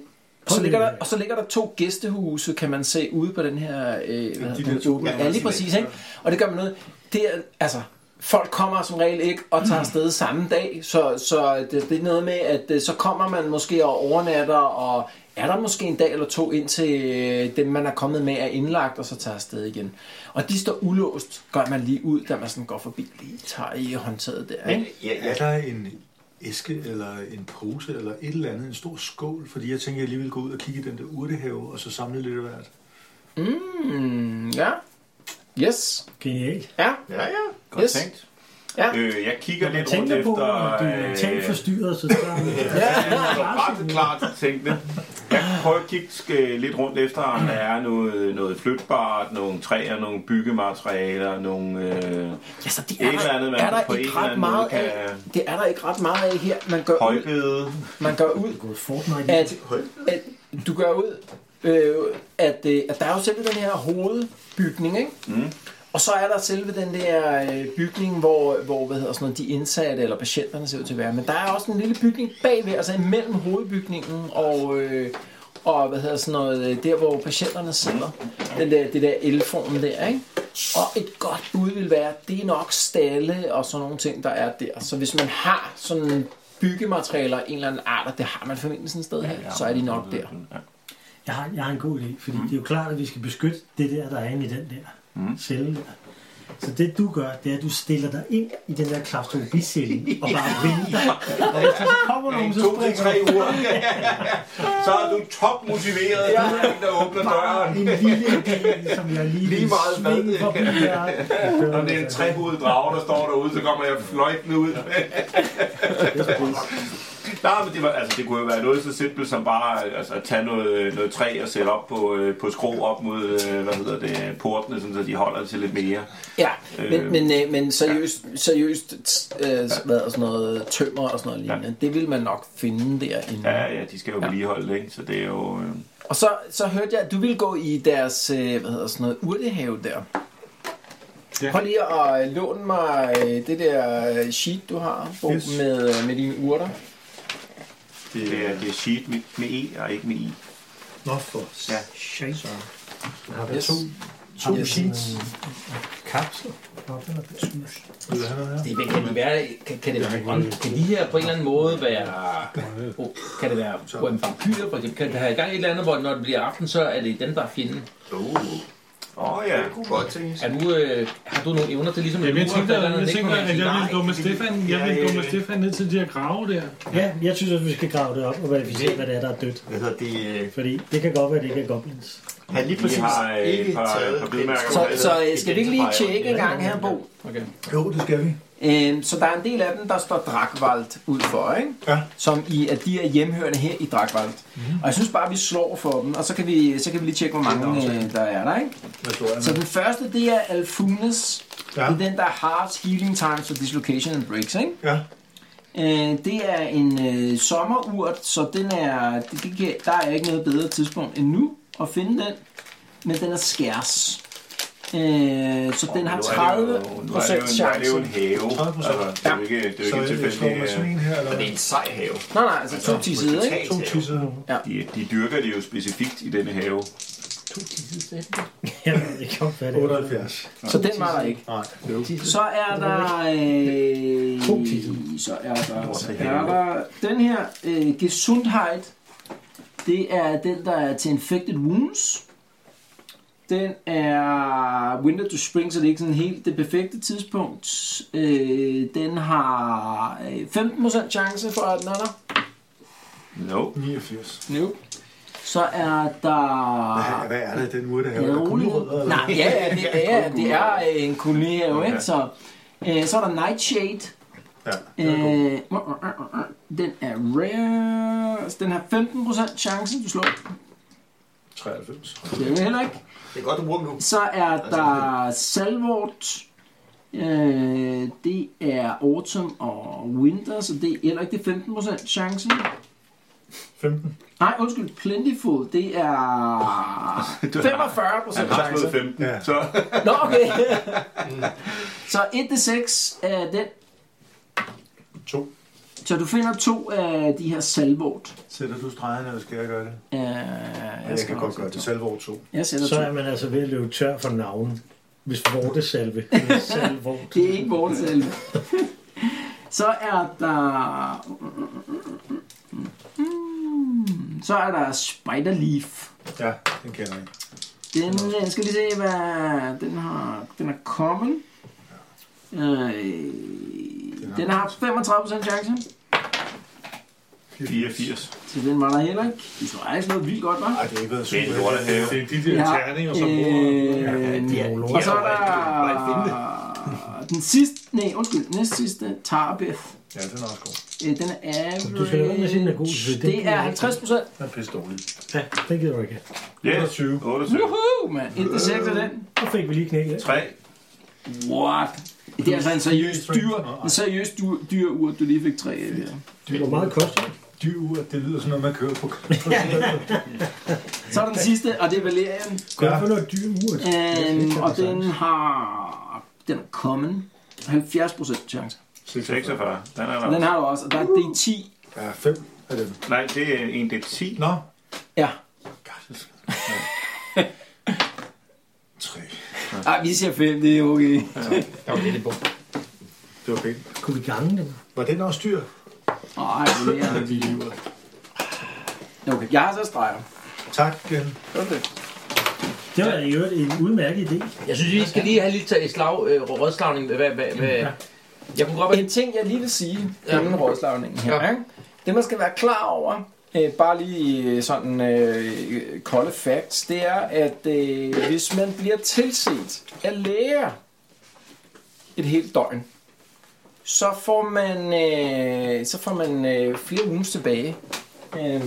Speaker 3: og så, ligger der, og så ligger der to gæstehuse, kan man se, ude på den her øh, hvad hedder den åbne ja, lige præcis. Ikke? Og det gør man noget. Det er, altså, folk kommer som regel ikke og
Speaker 8: Mm.
Speaker 3: tager afsted samme dag, så, så det, det er noget med, at øh, så kommer man måske og overnatter, og er der måske en dag eller to, indtil øh, dem, man er kommet med, er indlagt, og så tager afsted igen. Og de står ulåst, gør man lige ud, da man sådan går forbi. Lige tager i håndtaget der, ikke?
Speaker 7: Ja, ja,
Speaker 5: <laughs> Er der en æske eller en pose eller et eller andet, en stor skål? Fordi jeg tænker, jeg lige ville gå ud og kigge i den der urtehave, og så samle lidt af hvert.
Speaker 3: Mm, ja. Yes.
Speaker 6: Genialt.
Speaker 3: Ja.
Speaker 7: ja, ja.
Speaker 8: Godt
Speaker 3: Yes.
Speaker 8: tænkt.
Speaker 3: Ja.
Speaker 8: Øh, jeg kigger
Speaker 6: Når man
Speaker 8: lidt rundt
Speaker 6: tænker på,
Speaker 8: efter...
Speaker 6: at du er talt
Speaker 8: øh,
Speaker 6: forstyrret, så
Speaker 8: <laughs>
Speaker 6: tager man
Speaker 8: ret klart tænkte. Jeg prøver at kigge øh, lidt rundt efter, om der er noget, noget flytbart, nogle træer, nogle byggematerialer, nogle... Øh,
Speaker 3: Ja, så det
Speaker 8: Et
Speaker 3: er,
Speaker 8: eller
Speaker 3: der,
Speaker 8: andet, man
Speaker 3: er
Speaker 8: på
Speaker 3: der
Speaker 8: en
Speaker 3: ikke
Speaker 8: eller
Speaker 3: ret
Speaker 8: anden
Speaker 3: meget
Speaker 8: måde kan-
Speaker 3: af. Det er der ikke ret meget af her. Man gør ud,
Speaker 8: højbede.
Speaker 3: man gør ud
Speaker 6: gået Fortnite. i.
Speaker 3: at, at du gør ud, øh, at, øh, at der er jo selve den her hovedbygning, ikke? Mm. Og så er der selve den der øh, bygning, hvor, hvor hvad hedder sådan noget, de indsatte eller patienterne ser ud til at være. Men der er også en lille bygning bagved, altså imellem hovedbygningen og, øh, og hvad hedder sådan noget, øh, der hvor patienterne sidder. Den der, det der elform der, ikke? Og et godt bud vil være, det er nok stalle og sådan nogle ting, der er der. Så hvis man har sådan byggematerialer af en eller anden art, og det har man formentlig sådan et sted her, så er de nok der.
Speaker 6: Jeg har, jeg har en god idé, fordi mm. det er jo klart, at vi skal beskytte det der, der er inde i den der mm. celle der. Så det du gør, det er, at du stiller dig ind i den der klaustrofobicelle og
Speaker 8: <laughs>
Speaker 6: bare venter. Og hvis der så kommer nogen, så
Speaker 8: To til
Speaker 6: springer
Speaker 8: tre uger. Så er du topmotiveret, ja. du er en, der åbner
Speaker 6: bare
Speaker 8: døren.
Speaker 6: en lille del, som jeg lige,
Speaker 8: Lige
Speaker 6: lige
Speaker 8: meget
Speaker 6: vil svinge
Speaker 8: hvad.
Speaker 6: forbi her.
Speaker 8: Når det er en trehovedet drage, der står derude, så kommer jeg fløjtende ud. Nej, men det, var, altså, det kunne jo være noget så simpelt som bare altså, at tage noget, noget træ og sætte op på, øh, på skrå op mod øh, hvad hedder det, portene, sådan, så de holder til lidt mere.
Speaker 3: Ja,
Speaker 8: Øh,
Speaker 3: men, men, øh, men seriøst, seriøst t- øh, hvad er sådan noget, tømmer og sådan noget lignende, det vil man nok finde derinde.
Speaker 8: Ja, ja, de skal jo vedligeholde det, ikke? så det er jo... Øh,
Speaker 3: Og så, så hørte jeg, at du ville gå i deres, øh, hvad hedder sådan noget, urtehave der.
Speaker 4: Ja.
Speaker 3: Prøv lige at øh, låne mig øh, det der øh, sheet, du har Bo,
Speaker 4: Yes.
Speaker 3: med, øh, med dine urter.
Speaker 8: det, er, det er sheet med, med E og ikke med I.
Speaker 5: Nå, for
Speaker 8: Ja.
Speaker 5: shit. Så.
Speaker 6: Har vi
Speaker 5: Yes.
Speaker 6: to?
Speaker 5: To sheets.
Speaker 6: Kapsler?
Speaker 5: Vil du have noget her?
Speaker 2: Det, men kan, de være, kan, kan, det være, ånd- kan de her på en eller anden måde være... oh, Kan det være oh, en vampyr, for eksempel? Kan det have gang i et eller andet, hvor når det bliver aften, så er det dem, der er fjenden?
Speaker 8: Åh oh, ja.
Speaker 7: Det kunne Uh, godt tænkes.
Speaker 2: Er du, øh, har du nogle evner til ligesom...
Speaker 4: Jamen, jeg
Speaker 2: lurer,
Speaker 4: tænker,
Speaker 2: der er
Speaker 4: jeg
Speaker 2: noget,
Speaker 4: tænker,
Speaker 2: der ikke
Speaker 4: at jeg
Speaker 2: kommer
Speaker 4: vil
Speaker 2: ind?
Speaker 4: gå med Stefan, jeg vil gå med
Speaker 7: øh,
Speaker 4: Stefan ned til de her grave der.
Speaker 6: Ja, jeg synes, at vi skal grave det op og verificere, hvad det er, der er dødt.
Speaker 7: Hvad hedder det? øh,
Speaker 6: Fordi det kan godt være, at det ikke er goblins.
Speaker 7: Han lige
Speaker 8: Vi
Speaker 7: præcis
Speaker 8: har øh,
Speaker 7: ikke
Speaker 8: et par, par
Speaker 7: taget
Speaker 8: bidmærker.
Speaker 3: Så, så øh, skal vi ikke lige tjekke en gang her, Bo?
Speaker 2: Okay.
Speaker 5: Jo, det skal vi.
Speaker 3: Øhm, så der er en del af dem, der står Drakvald ud for, ikke?
Speaker 5: Ja.
Speaker 3: Som i, at de er hjemhørende her i Drakvald.
Speaker 8: Mhm.
Speaker 3: Og jeg synes bare, vi slår for dem, og så kan vi, så kan vi lige tjekke, hvor mange øh, der er der, ikke?
Speaker 5: Hvad står jeg
Speaker 3: Så
Speaker 5: med?
Speaker 3: den første, det er Alfunes.
Speaker 5: Ja.
Speaker 3: Det er den, der er Hearts, Healing Times og Dislocation and Breaks, ikke?
Speaker 5: Ja.
Speaker 3: Øh, det er en øh, sommerurt, så den er, det, det, kan- der er ikke noget bedre tidspunkt end nu at finde den. Men den er skærs. Øh, så den har 30 procent
Speaker 8: chance. Det er jo en
Speaker 3: chance.
Speaker 8: have.
Speaker 5: 30%.
Speaker 8: Altså, det er jo ikke, det er
Speaker 5: Så
Speaker 8: jo ikke en
Speaker 5: jeg slår
Speaker 8: tilfældig... øh,
Speaker 5: med sådan en her, eller
Speaker 7: Det er en sej have.
Speaker 3: Nej, nej, altså to 10 sider, ikke?
Speaker 5: To tisser.
Speaker 8: De, de dyrker det jo specifikt i denne have.
Speaker 6: Jeg ved ikke, om, hvad det er.
Speaker 5: 78.
Speaker 3: Så den var der ikke.
Speaker 5: Nej,
Speaker 3: Så er der... Øh,
Speaker 6: To titel.
Speaker 3: så er der, så er der den her øh, Gesundheit. Det er den, der er til Infected Wounds. Den er Winter to Spring, så det er ikke sådan helt det perfekte tidspunkt. Øh, den har øh, 15% chance for, at den er der.
Speaker 8: No. <laughs>
Speaker 5: 89.
Speaker 3: Nope. Så er der...
Speaker 5: Hvad, hvad er det, i den urte
Speaker 3: Er
Speaker 5: have?
Speaker 3: det
Speaker 5: Er der
Speaker 3: roligt?
Speaker 5: gulerødder, eller?
Speaker 3: Nej, ja, ja, det, det, er, det er øh, en kolonihave, okay.
Speaker 8: Okay.
Speaker 3: ikke? Så, øh, så er der Nightshade.
Speaker 5: Ja,
Speaker 3: Øh, uh, uh, uh, uh, den er rare. Altså, Den har 15% chance, du slår.
Speaker 5: 93.
Speaker 3: Det er jo heller ikke.
Speaker 7: Det er godt, du bruger dem nu.
Speaker 3: Så er
Speaker 8: Altså,
Speaker 3: der Salvort. Øh, det er Autumn og Winter, så det er heller ikke det er 15% chance.
Speaker 5: 15.
Speaker 3: Nej, undskyld, Plentiful, det
Speaker 8: <laughs>
Speaker 3: er 45%
Speaker 8: Han har slået
Speaker 3: chance.
Speaker 8: 15,
Speaker 5: Ja.
Speaker 8: så... <laughs>
Speaker 3: Nå, okay. så 1-6 af den.
Speaker 5: To.
Speaker 3: Så du finder to af de her Salvort.
Speaker 5: Sætter du stregen, eller skal jeg gøre det?
Speaker 3: Øh,
Speaker 5: Jeg, jeg kan godt gøre det. Salvor 2.
Speaker 3: Jeg sætter
Speaker 6: Så
Speaker 3: to.
Speaker 6: er man altså ved at løbe tør for navn. Hvis vortesalve. Salvort.
Speaker 3: Det er ikke vores selv. Så er der... Mm, Så er der Spiderleaf.
Speaker 5: Ja, den kender jeg.
Speaker 3: Den, jeg skal lige se, hvad den har. Den er common. Øh, den har 35% chance,
Speaker 8: 84.
Speaker 3: så den var der heller ikke. Du tror, jeg slået vildt godt, hva'?
Speaker 5: Ej, det har ikke været
Speaker 8: Det er en lort have.
Speaker 4: Det er de der
Speaker 3: Ja.
Speaker 4: terninger, som
Speaker 3: Øh, og så er der... Den sidste, nej, undskyld, næst sidste, Tarbeth.
Speaker 5: Ja, den er også god.
Speaker 3: Øh, Den er average.
Speaker 6: Du skal lade være med at sige, den er god, så det
Speaker 3: Det
Speaker 6: gider
Speaker 3: er
Speaker 6: jeg
Speaker 3: 50 procent.
Speaker 5: Den er pisse dårlig.
Speaker 6: Ja, det gider du ikke. have.
Speaker 8: Ja,
Speaker 5: 28.
Speaker 8: 28.
Speaker 3: Woohoo, mand. 1 til 6 af den.
Speaker 6: Så fik vi lige knækket.
Speaker 8: 3.
Speaker 3: What? Det er altså en seriøs dyr, en seriøs dyr, dyr ur, du lige fik 3 af her.
Speaker 6: Hvor meget koster det?
Speaker 5: Dyr ur, det lyder som noget, man <laughs> kører på.
Speaker 3: Så er der den sidste, og det er Valerian.
Speaker 6: Kan jeg få noget dyr ur?
Speaker 3: Øhm, og den har... Den er common. 70 procent chance.
Speaker 8: 46. Den er
Speaker 3: Og den
Speaker 8: der.
Speaker 3: har du også, og der er D10.
Speaker 5: Ja, fem af dem.
Speaker 8: Nej, det er en, det er 10.
Speaker 5: Nå.
Speaker 3: Ja.
Speaker 8: <laughs>
Speaker 5: Tre.
Speaker 3: Ej, vi siger 5, det er okay.
Speaker 5: Det var pænt.
Speaker 6: Kunne vi gange dem?
Speaker 5: Var den også dyr?
Speaker 3: Ej, Valerian.
Speaker 5: vi lever.
Speaker 3: Okay, jeg har så streger.
Speaker 5: Tak, Glenn.
Speaker 6: Det var i øvrigt en udmærket idé.
Speaker 9: Jeg synes, vi skal lige have lidt tage slag, øh, rådslagning. Hvad, hvad, hvad? Jeg kunne godt være...
Speaker 3: En ting, jeg lige vil sige ja.
Speaker 9: Ja.
Speaker 3: inden rådslagningen her,
Speaker 9: Ja.
Speaker 3: ja. det man skal være klar over, øh, bare lige øh, sådan øh, kolde facts, det er, at øh, hvis man bliver tilset af læger et helt døgn, så får man, øh, så får man øh, flere uger tilbage. Øh,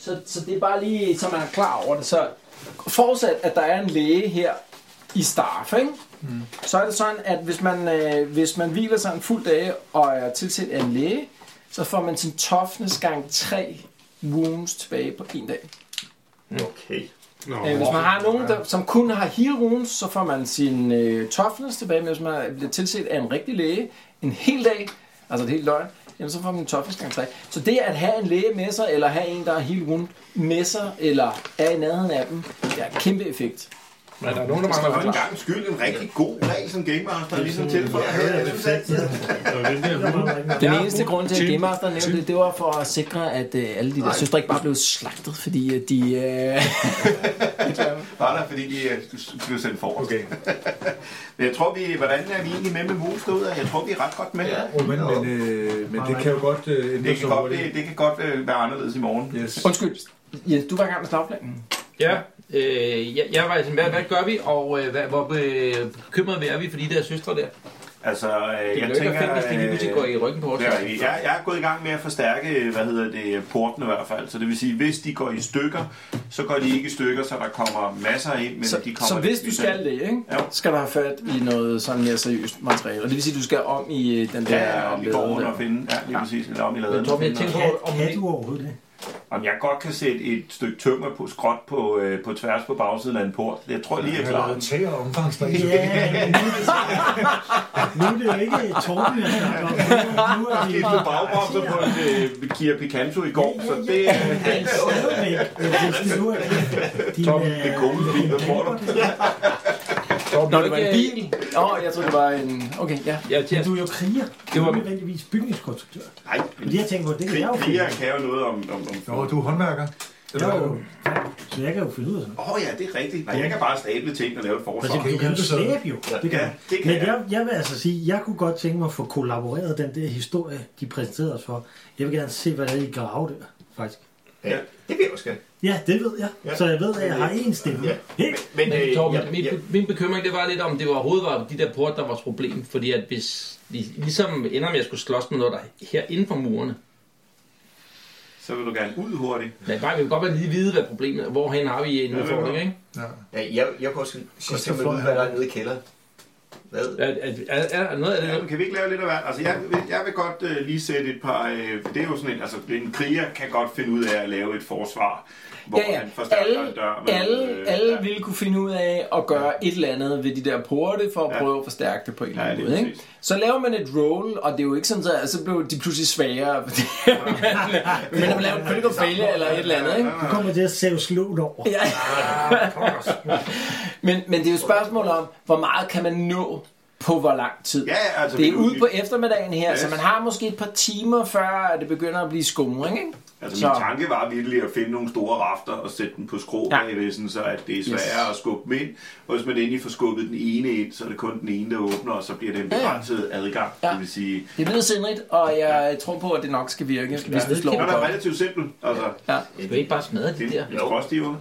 Speaker 3: så, så det er bare lige, så man er klar over det. Så forudsat, at der er en læge her i Starf, ikke? så er det sådan, at hvis man, øh, hvis man hviler sig en fuld dag og er tilset af en læge, så får man sin toughness gang 3 wounds tilbage på en dag.
Speaker 7: Okay.
Speaker 4: Nå,
Speaker 3: Øh, hvis man har nogen, der, som kun har heal wounds, så får man sin øh, toughness tilbage, men hvis man bliver tilset af en rigtig læge en hel dag, altså et helt døgn, Jamen, så får man en toffelskangtræk. Så det at have en læge med sig, eller have en, der er helt rundt med sig, eller er i nærheden af dem, det er en kæmpe effekt.
Speaker 9: Men der er nogen, der
Speaker 7: Der var
Speaker 9: mangler
Speaker 7: en gang skyld en rigtig god regel som Game Master, ligesom tilføjer her.
Speaker 6: ja,
Speaker 7: Jeg synes altid,
Speaker 3: Den
Speaker 8: uh,
Speaker 3: eneste grund til, at Game Master nævnte det, det var for at sikre, at øh, alle de der søstre ikke bare blev slagtet, fordi øh, de... Øh,
Speaker 8: Bare der, fordi de øh, blev sendt for. Okay. Men jeg tror, vi, hvordan er vi egentlig med med Moves derude? Jeg tror, vi er ret godt med. Ja.
Speaker 5: Oh, Men, men, øh, men det kan jo godt øh, ændre
Speaker 8: Det kan,
Speaker 5: sig
Speaker 8: godt, det,
Speaker 5: hurtigt.
Speaker 8: det kan godt øh, være anderledes i morgen.
Speaker 5: Yes.
Speaker 3: undskyld, Jens, du var i gang med slagplanen.
Speaker 9: Ja, øh, jeg, jeg var sådan, hvad, hvad gør vi, og øh, hvad, hvor øh, bekymrede er vi for de der søstre der?
Speaker 8: Altså, øh,
Speaker 9: Det er
Speaker 8: jeg
Speaker 9: jo ikke fedt,
Speaker 8: tænker... øh,
Speaker 9: hvis de lige pludselig går i ryggen på os.
Speaker 8: Det er rigtigt. Jeg, jeg er gået i gang med at forstærke, øh, hvad hedder det, porten i hvert fald. Så det vil sige, hvis de går i stykker, så går de ikke i stykker, så der kommer masser ind, men
Speaker 3: Så,
Speaker 8: de kommer...
Speaker 3: så hvis du
Speaker 8: lidt
Speaker 3: skal
Speaker 8: ind.
Speaker 3: det, ikke?
Speaker 8: Ja.
Speaker 3: skal du have fat i noget sådan mere seriøst materiale. Og det vil sige, at du skal om i øh, den der...
Speaker 8: Ja, og lige går
Speaker 3: lade
Speaker 8: rundt
Speaker 3: der.
Speaker 8: og finde... Ja, lige præcis. Eller om i laden.
Speaker 9: Men Torben, jeg tænker
Speaker 6: Kan,
Speaker 9: på, om,
Speaker 6: kan du overhovedet det?
Speaker 8: Om jeg godt kan sætte et stykke tømmer på skråt på, øh, på tværs på bagsiden af en port. Jeg tror lige, jeg
Speaker 5: Jeg
Speaker 8: klarer
Speaker 5: har
Speaker 8: den.
Speaker 5: tag og omfangsdreng.
Speaker 6: Ja, men nu, nu er det jo ikke Torben, jeg snakker om. Nu er det
Speaker 8: Jeg skiftede bagbremser på en øh, Kia Picanto i går, så det er øh,
Speaker 6: Men stadigvæk, hvis det nu er din,
Speaker 8: Tom,
Speaker 6: øh,
Speaker 8: det gode bil, der får dig.
Speaker 9: Torben,
Speaker 3: Nå, det var en bil. Åh, oh, jeg troede, det var en... Okay, ja.
Speaker 9: øh, Ja, til,
Speaker 6: Du er jo kriger. Du
Speaker 9: Det
Speaker 6: er
Speaker 9: var-
Speaker 6: nødvendigvis bygningskonstruktør.
Speaker 8: Nej,
Speaker 6: Men jeg tænker på, det kan jeg jo
Speaker 8: krig,
Speaker 6: finde.
Speaker 8: kriger kan jo noget om... om, om.
Speaker 5: Nå, du er håndværker.
Speaker 6: Jeg
Speaker 5: Eller
Speaker 6: er
Speaker 5: hvad?
Speaker 6: jo, så jeg kan jo finde ud af sådan noget.
Speaker 8: Åh oh, ja, det er rigtigt. Nej, jeg kan bare stable ting og lave et forsvar.
Speaker 6: Altså,
Speaker 5: Okay,
Speaker 6: du kan jo
Speaker 5: hjælpe så.
Speaker 6: slæbe jo. Det kan
Speaker 8: Ja,
Speaker 6: man.
Speaker 8: det kan
Speaker 6: Men
Speaker 8: jeg.
Speaker 6: jeg, jeg vil altså sige, jeg kunne godt tænke mig at få kollaboreret den der historie, de præsenterede os for. Jeg vil gerne se, hvad det er, I grave der, faktisk.
Speaker 7: ja, det vil jeg også gerne.
Speaker 6: Ja, det ved jeg.
Speaker 7: Ja.
Speaker 6: Så jeg ved, at jeg har én stemme.
Speaker 7: Ja.
Speaker 6: Ikke?
Speaker 7: Men, øh,
Speaker 9: Men Torben,
Speaker 7: ja,
Speaker 9: min,
Speaker 7: ja.
Speaker 9: min bekymring det var lidt om, det var overhovedet var de der porte, der var vores problem. Fordi at hvis lig- ligesom ender med, at jeg skulle slås med noget, der er her inden for murene.
Speaker 8: Så vil du gerne ud hurtigt.
Speaker 9: Nej, bare, vi vil godt bare lige vide, hvad problemet er. Hvorhen har vi en udfordring, ikke?
Speaker 7: Ja, jeg, jeg kunne også sidst
Speaker 5: så
Speaker 7: finde
Speaker 5: fløj
Speaker 7: ud, hvad der er nede i kælderen. Hvad?
Speaker 9: Er, er, er, er noget af det,
Speaker 8: Ja, men kan vi ikke lave lidt af hvert? Altså, jeg, vil- jeg vil godt øh, lige sætte et par... Øh, for det er jo sådan en... Altså, en kriger kan godt finde ud af at lave et forsvar, hvor
Speaker 3: Ja, ja.
Speaker 8: han forstærker en
Speaker 3: Alle,
Speaker 8: dør. med,
Speaker 3: alle,
Speaker 8: øh,
Speaker 3: alle
Speaker 8: ja.
Speaker 3: ville kunne finde ud af at gøre et eller andet ved de der porte, for at prøve at forstærke det på en eller
Speaker 8: Ja,
Speaker 3: anden
Speaker 8: det er
Speaker 3: måde. Ikke?
Speaker 8: præcis.
Speaker 3: Så laver man et roll, og det er jo ikke sådan, at så blev de pludselig <laughs> svagere. fordi- Men man laver en critical failure eller et eller andet. Ikke?
Speaker 6: Du kommer til at save slået over.
Speaker 3: Ja. men, men det er jo et spørgsmål om, hvor meget kan man nå på hvor lang tid.
Speaker 8: Ja, ja, altså,
Speaker 3: det er
Speaker 8: vi-
Speaker 3: ude
Speaker 8: vi-
Speaker 3: på eftermiddagen her,
Speaker 8: Yes.
Speaker 3: så man har måske et par timer, før det begynder at blive skumring. Ikke?
Speaker 8: Altså, min
Speaker 3: Så-
Speaker 8: tanke var virkelig at finde nogle store rafter og sætte dem på skrå ja.
Speaker 3: Ja.
Speaker 8: bagved, sådan, så at det er sværere yes. at skubbe dem ind. Og hvis man endelig får skubbet den ene ind, så er det kun den ene, der åbner, og så bliver det en begrænset adgang. Ja.
Speaker 3: Ja.
Speaker 8: Det vil sige,
Speaker 3: Det lyder sindrigt, og jeg tror på, at det nok skal virke, hvis du slår
Speaker 8: den er
Speaker 3: på.
Speaker 8: relativt simpel. Altså,
Speaker 9: Skal vi ikke bare smadre de
Speaker 8: det
Speaker 9: der?
Speaker 8: er en skråstiver.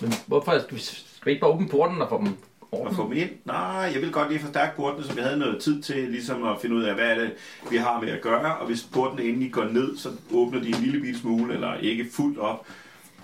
Speaker 9: Men hvorfor skal vi, skal vi ikke bare åbne porten og få dem over?
Speaker 8: Og få dem ind. Nej, jeg vil godt lige forstærke portene, så vi havde noget tid til ligesom at finde ud af, hvad er det, vi har med at gøre. Og hvis portene endelig går ned, så åbner de en lille bit smule, eller ikke fuldt op.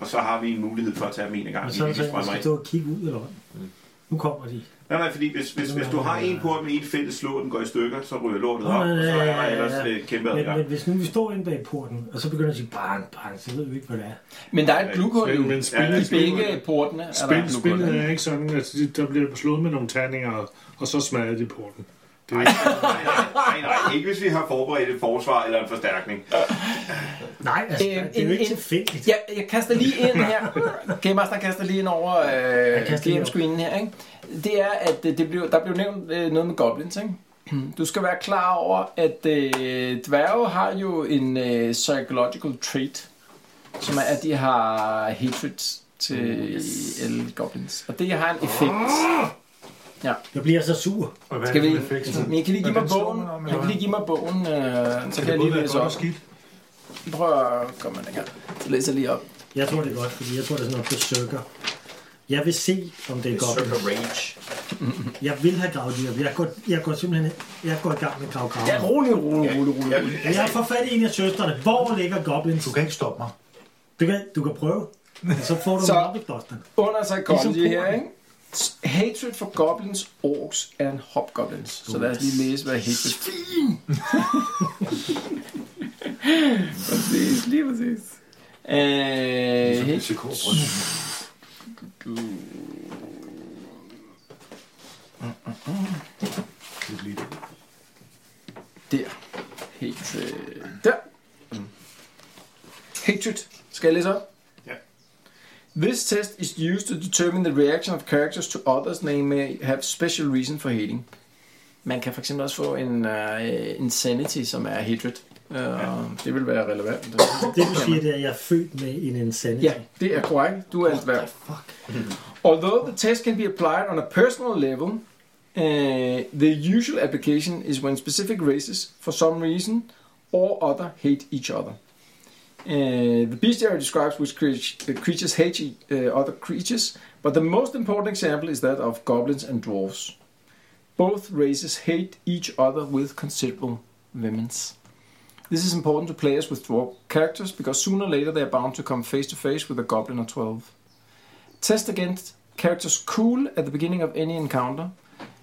Speaker 8: Og så har vi en mulighed for at tage dem en af gangen.
Speaker 6: Men så er
Speaker 8: inden
Speaker 6: det
Speaker 8: de
Speaker 6: sådan, at jeg
Speaker 8: strømmer
Speaker 6: skal stå og kigge
Speaker 8: ind.
Speaker 6: ud, eller hvad? Nu kommer de.
Speaker 8: Nej, nej, fordi hvis, hvis, hvis du har en port med en fælles slå, og den går i stykker, så ryger lortet op,
Speaker 6: Nå,
Speaker 8: og så
Speaker 6: ja,
Speaker 8: er
Speaker 6: ja,
Speaker 8: der
Speaker 6: ja,
Speaker 8: ellers
Speaker 6: ja.
Speaker 8: øh, kæmpe
Speaker 6: Men, men
Speaker 8: adgang.
Speaker 6: hvis nu vi står inde bag porten, og så begynder at sige bang, bang, så ved vi ikke, hvad det er.
Speaker 3: Men der er et glukhul
Speaker 4: Men,
Speaker 3: i
Speaker 4: men spil, ja,
Speaker 3: begge portene. er der
Speaker 4: spil,
Speaker 3: et glukhul,
Speaker 4: spillet
Speaker 3: ikke?
Speaker 4: er ikke sådan, at de- der bliver slået med nogle terninger, og- og så smadrer de porten. Det er
Speaker 8: Nej, nej, nej, nej, ikke hvis vi har forberedt et forsvar eller en forstærkning.
Speaker 6: Nej, altså,
Speaker 3: Øh,
Speaker 6: det er jo
Speaker 3: en-
Speaker 6: ikke
Speaker 3: en-
Speaker 6: tilfældigt.
Speaker 3: Jeg, jeg kaster lige ind her. Game Master kaster lige ind over øh,
Speaker 6: kaster lige over.
Speaker 3: game-screenen her. Ikke? Det er, at øh, det blev, der blev nævnt øh, noget med goblins. Ikke? <clears throat> Du skal være klar over, at øh, dværge har jo en øh, psychological trait, som er, at de har hatred til
Speaker 6: Mm,
Speaker 3: alle goblins. Og det har en effekt.
Speaker 6: Jeg bliver så sur.
Speaker 5: Og hvad er
Speaker 3: Skal vi,
Speaker 5: det med effekten?
Speaker 3: men kan lige give
Speaker 5: Hvad
Speaker 3: mig
Speaker 5: slår
Speaker 3: bogen?
Speaker 5: man om,
Speaker 3: Jeg
Speaker 5: eller
Speaker 3: kan lige give mig bogen, øh, så kan jeg lige læse op.
Speaker 5: skidt.
Speaker 3: Prøv at komme med den gang. Så læser jeg lige op.
Speaker 6: Jeg tror, det er godt, fordi jeg tror, det er sådan noget besøger. Jeg vil se, om det er
Speaker 7: Circle
Speaker 6: godt.
Speaker 7: Rage.
Speaker 6: Jeg vil have gravet de her. Jeg går, jeg går simpelthen jeg går i gang med at grave graven.
Speaker 3: Ja, rolig, rolig, rolig, rolig.
Speaker 7: Jeg vil,
Speaker 6: Men Jeg får fat i en af søstrene. Hvor ligger goblins?
Speaker 5: Du kan ikke stoppe mig.
Speaker 6: Du kan, du kan prøve. Men så får du
Speaker 3: Så-
Speaker 6: mobbeklosteren.
Speaker 3: Under psychology
Speaker 6: Ligesom
Speaker 3: her,
Speaker 6: porten.
Speaker 3: ikke? Hatred for goblins, orcs and hobgoblins. Så lad os lige læse, hvad hatred... Svin! <laughs> præcis, lige præcis. Ligesom Øh, hatred-
Speaker 5: Det er lige det.
Speaker 3: der. helt øh, der. Hatred. Skal jeg læse op?
Speaker 8: Ja.
Speaker 3: This test is used to determine the reaction of characters to others they may have special reason for hating. Man kan fx også få en uh, insanity, som er hatred. Uh, ja. Det vil være relevant.
Speaker 6: Det du siger, det er, at jeg er født med en insanity.
Speaker 3: Ja, det er korrekt. Du er en dværg. <laughs> Although the test can be applied on a personal level, uh, the usual application is when specific races, for some reason or other, hate each other. Uh, the bestiary describes which creat- uh, creatures hate e- uh, other creatures, but the most important example is that of goblins and dwarves. Both races hate each other with considerable vehemence. This is important to players with dwarf characters because sooner or later they are bound to come face to face with a goblin or 12. Test against characters cool at the beginning of any encounter.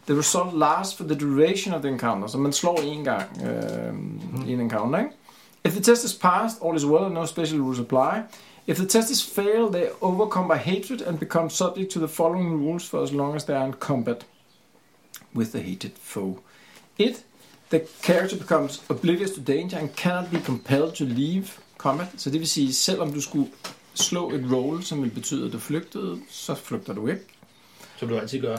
Speaker 3: The result lasts for the duration of the encounter, så man slår en gang øh, i en encounter, ikke? If the test is passed, all is well and no special rules apply. If the test is failed, they are overcome by hatred and become subject to the following rules for as long as they are in combat with the hated foe. It, the character becomes oblivious to danger and cannot be compelled to leave combat. Så det vil sige, selvom du skulle slå et roll, som vil betyde, at du flygtede, så flygter du ikke.
Speaker 2: Som du altid gør.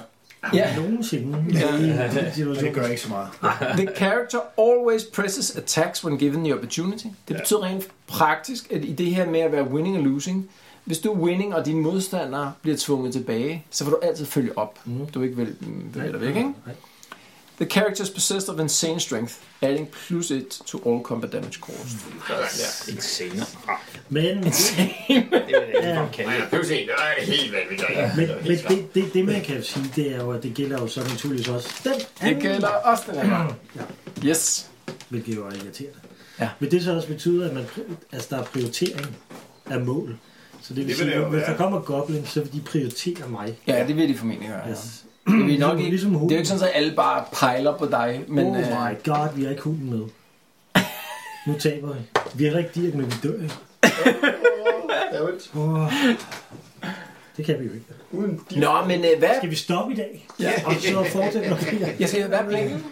Speaker 3: Ja.
Speaker 6: Nogensinde. Ja.
Speaker 5: Men det gør ikke så meget.
Speaker 3: The character always presses attacks when given the opportunity. Det betyder rent praktisk, at i det her med at være winning og losing, hvis du er winning, og dine modstandere bliver tvunget tilbage, så vil du altid følge op. Mm. Du er ikke vel, bevæger dig væk, ikke? The character is possessed of insane strength, adding plus 1 to all combat damage caused.
Speaker 2: Insane.
Speaker 6: Men,
Speaker 3: <laughs>
Speaker 6: ja,
Speaker 7: Nej, der pludselig en, der er det helt vanvittigt.
Speaker 6: men, men det, det, det, man kan sige, det er jo, at det gælder jo så naturligvis også den
Speaker 3: Det
Speaker 6: anden
Speaker 3: gælder også den her. Yes.
Speaker 6: hvilket jo er irriterende.
Speaker 3: Ja.
Speaker 6: Men det så også betyder, at man, pri- altså, der er prioritering af mål. Så det vil,
Speaker 8: vil
Speaker 6: sige,
Speaker 8: det jo
Speaker 6: at hvis
Speaker 8: være.
Speaker 6: der kommer goblin, så vil de prioritere mig.
Speaker 3: Ja, det vil de formentlig gøre. Ja.
Speaker 6: Altså,
Speaker 3: Det, vil nok
Speaker 6: Ligesom-
Speaker 3: ikke,
Speaker 6: ligesom
Speaker 3: det er
Speaker 6: hunden.
Speaker 3: jo ikke sådan, at alle bare pejler på dig. Men,
Speaker 6: oh
Speaker 3: øh,
Speaker 6: my god, vi har ikke hunden
Speaker 3: <laughs>
Speaker 6: med. Nu taber vi. Vi er rigtig dirk, men vi dør
Speaker 7: <laughs>
Speaker 6: ikke. Åh, det kan vi jo ikke.
Speaker 3: Nå, men øh, hvad?
Speaker 6: Skal vi stoppe i dag? Ja. Og så fortsætte med
Speaker 3: <laughs>
Speaker 6: flere?
Speaker 3: Jeg siger, hvad er planen?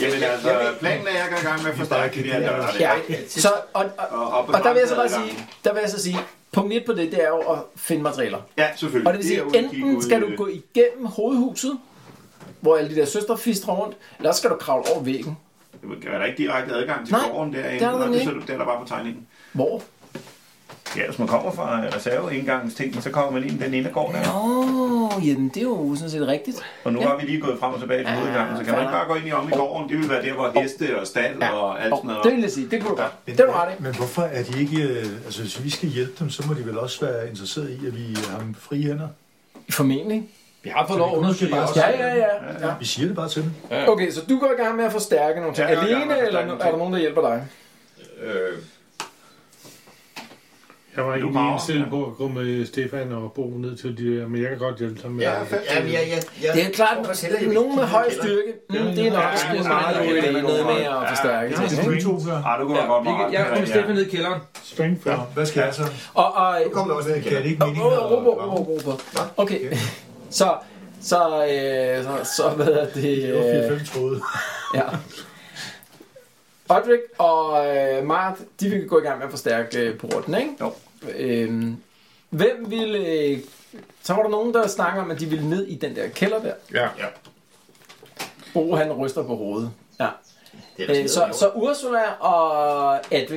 Speaker 8: Jamen altså, planen er, at jeg går i gang med at forstærke de der døre.
Speaker 3: Ja,
Speaker 8: der.
Speaker 3: så, og, og,
Speaker 8: Og, og,
Speaker 3: og der vil jeg så bare
Speaker 8: begrænse
Speaker 3: sige,
Speaker 8: adgangen.
Speaker 3: der vil jeg så sige, punkt 1 på det, det er jo at finde materialer.
Speaker 8: Ja, selvfølgelig.
Speaker 3: Og det vil sige,
Speaker 8: er ude at kigge
Speaker 3: enten
Speaker 8: ude
Speaker 3: skal
Speaker 8: i
Speaker 3: du
Speaker 8: det.
Speaker 3: gå igennem hovedhuset, hvor alle de der søstre fister rundt, eller også skal du kravle over væggen.
Speaker 8: Der er der ikke direkte adgang til
Speaker 3: Nej,
Speaker 8: gården derinde.
Speaker 3: der er der
Speaker 8: Nå, det,
Speaker 3: ikke.
Speaker 8: så, det er der bare på tegningen.
Speaker 3: Hvor?
Speaker 8: Ja, hvis man kommer fra reserveindgangsting, så kommer man ind i den ene gård der.
Speaker 3: Nå, jamen det er jo sådan set rigtigt.
Speaker 8: Og nu
Speaker 3: Ja.
Speaker 8: har vi lige gået frem og tilbage til hovedgangen, så kan man ikke bare gå ind i om i gården. Det vil være der, hvor heste og stald og alt sådan
Speaker 3: Og
Speaker 8: noget.
Speaker 3: det vil jeg sige, det kunne du godt. Det er du ret i.
Speaker 5: Men hvorfor er de ikke... øh, Altså, hvis vi skal hjælpe dem, så må de vel også være interesseret i, at vi har dem frie hænder.
Speaker 3: Formentlig.
Speaker 2: Vi har fået lov at undersøge også.
Speaker 3: Ja, ja, ja. ja.
Speaker 5: Vi siger det bare til dem.
Speaker 3: Okay, så du går i gang med at forstærke nogle ting.
Speaker 8: Jeg går i gang med at
Speaker 3: Alene, eller
Speaker 8: forstærke
Speaker 3: er
Speaker 8: nogle
Speaker 3: der
Speaker 8: ting.
Speaker 3: nogen, der hjælper dig?
Speaker 8: Øh,
Speaker 4: Jeg var
Speaker 8: Du
Speaker 4: ikke
Speaker 8: bare-
Speaker 4: indstillet på at gå med Stefan og Bo ned til de der, men jeg kan godt hjælpe dig med
Speaker 7: Ja,
Speaker 4: det.
Speaker 7: ja, ja, ja, ja.
Speaker 3: Det er klart,
Speaker 7: Hvorfor sælger I
Speaker 3: at
Speaker 7: dem?
Speaker 3: nogen med høj styrke, mm, det er nok
Speaker 8: ja,
Speaker 3: sgu
Speaker 8: ja,
Speaker 3: meget
Speaker 8: ja,
Speaker 3: dårligt,
Speaker 8: ja,
Speaker 3: at
Speaker 8: ja,
Speaker 3: noget
Speaker 8: ja,
Speaker 3: med at
Speaker 8: ja,
Speaker 3: forstærke.
Speaker 8: ja,
Speaker 3: ting,
Speaker 5: Skal
Speaker 3: ikke?
Speaker 5: vi to gøre?
Speaker 8: ah, du kunne da godt meget.
Speaker 2: Jeg kom Stefan ned i kælderen.
Speaker 4: Strength ja.
Speaker 5: Hvad skal jeg så?
Speaker 3: Og, og,
Speaker 7: Nu kommer der også ned i
Speaker 5: Kan det
Speaker 7: kælderen.
Speaker 5: ikke meningen
Speaker 3: Åh,
Speaker 5: at-
Speaker 3: råb, råb, råb, råb, råb. Okay, så, så, øh, så, så hvad er det?
Speaker 5: Det var
Speaker 3: øh,
Speaker 5: 4-5 tråde.
Speaker 3: Ja. Odrik og øh, Mart, de vil gå i gang med at forstærke øh, porten, ikke?
Speaker 8: Jo.
Speaker 3: Øhm, hvem vil... Øh, så var der nogen, der snakker om, at de ville ned i den der kælder der.
Speaker 9: Ja.
Speaker 8: Ja.
Speaker 3: Bo, han ryster på hovedet. Ja.
Speaker 7: Det er der
Speaker 3: Øh,
Speaker 7: skidt
Speaker 3: så,
Speaker 7: over.
Speaker 3: så Ursula og Adrik,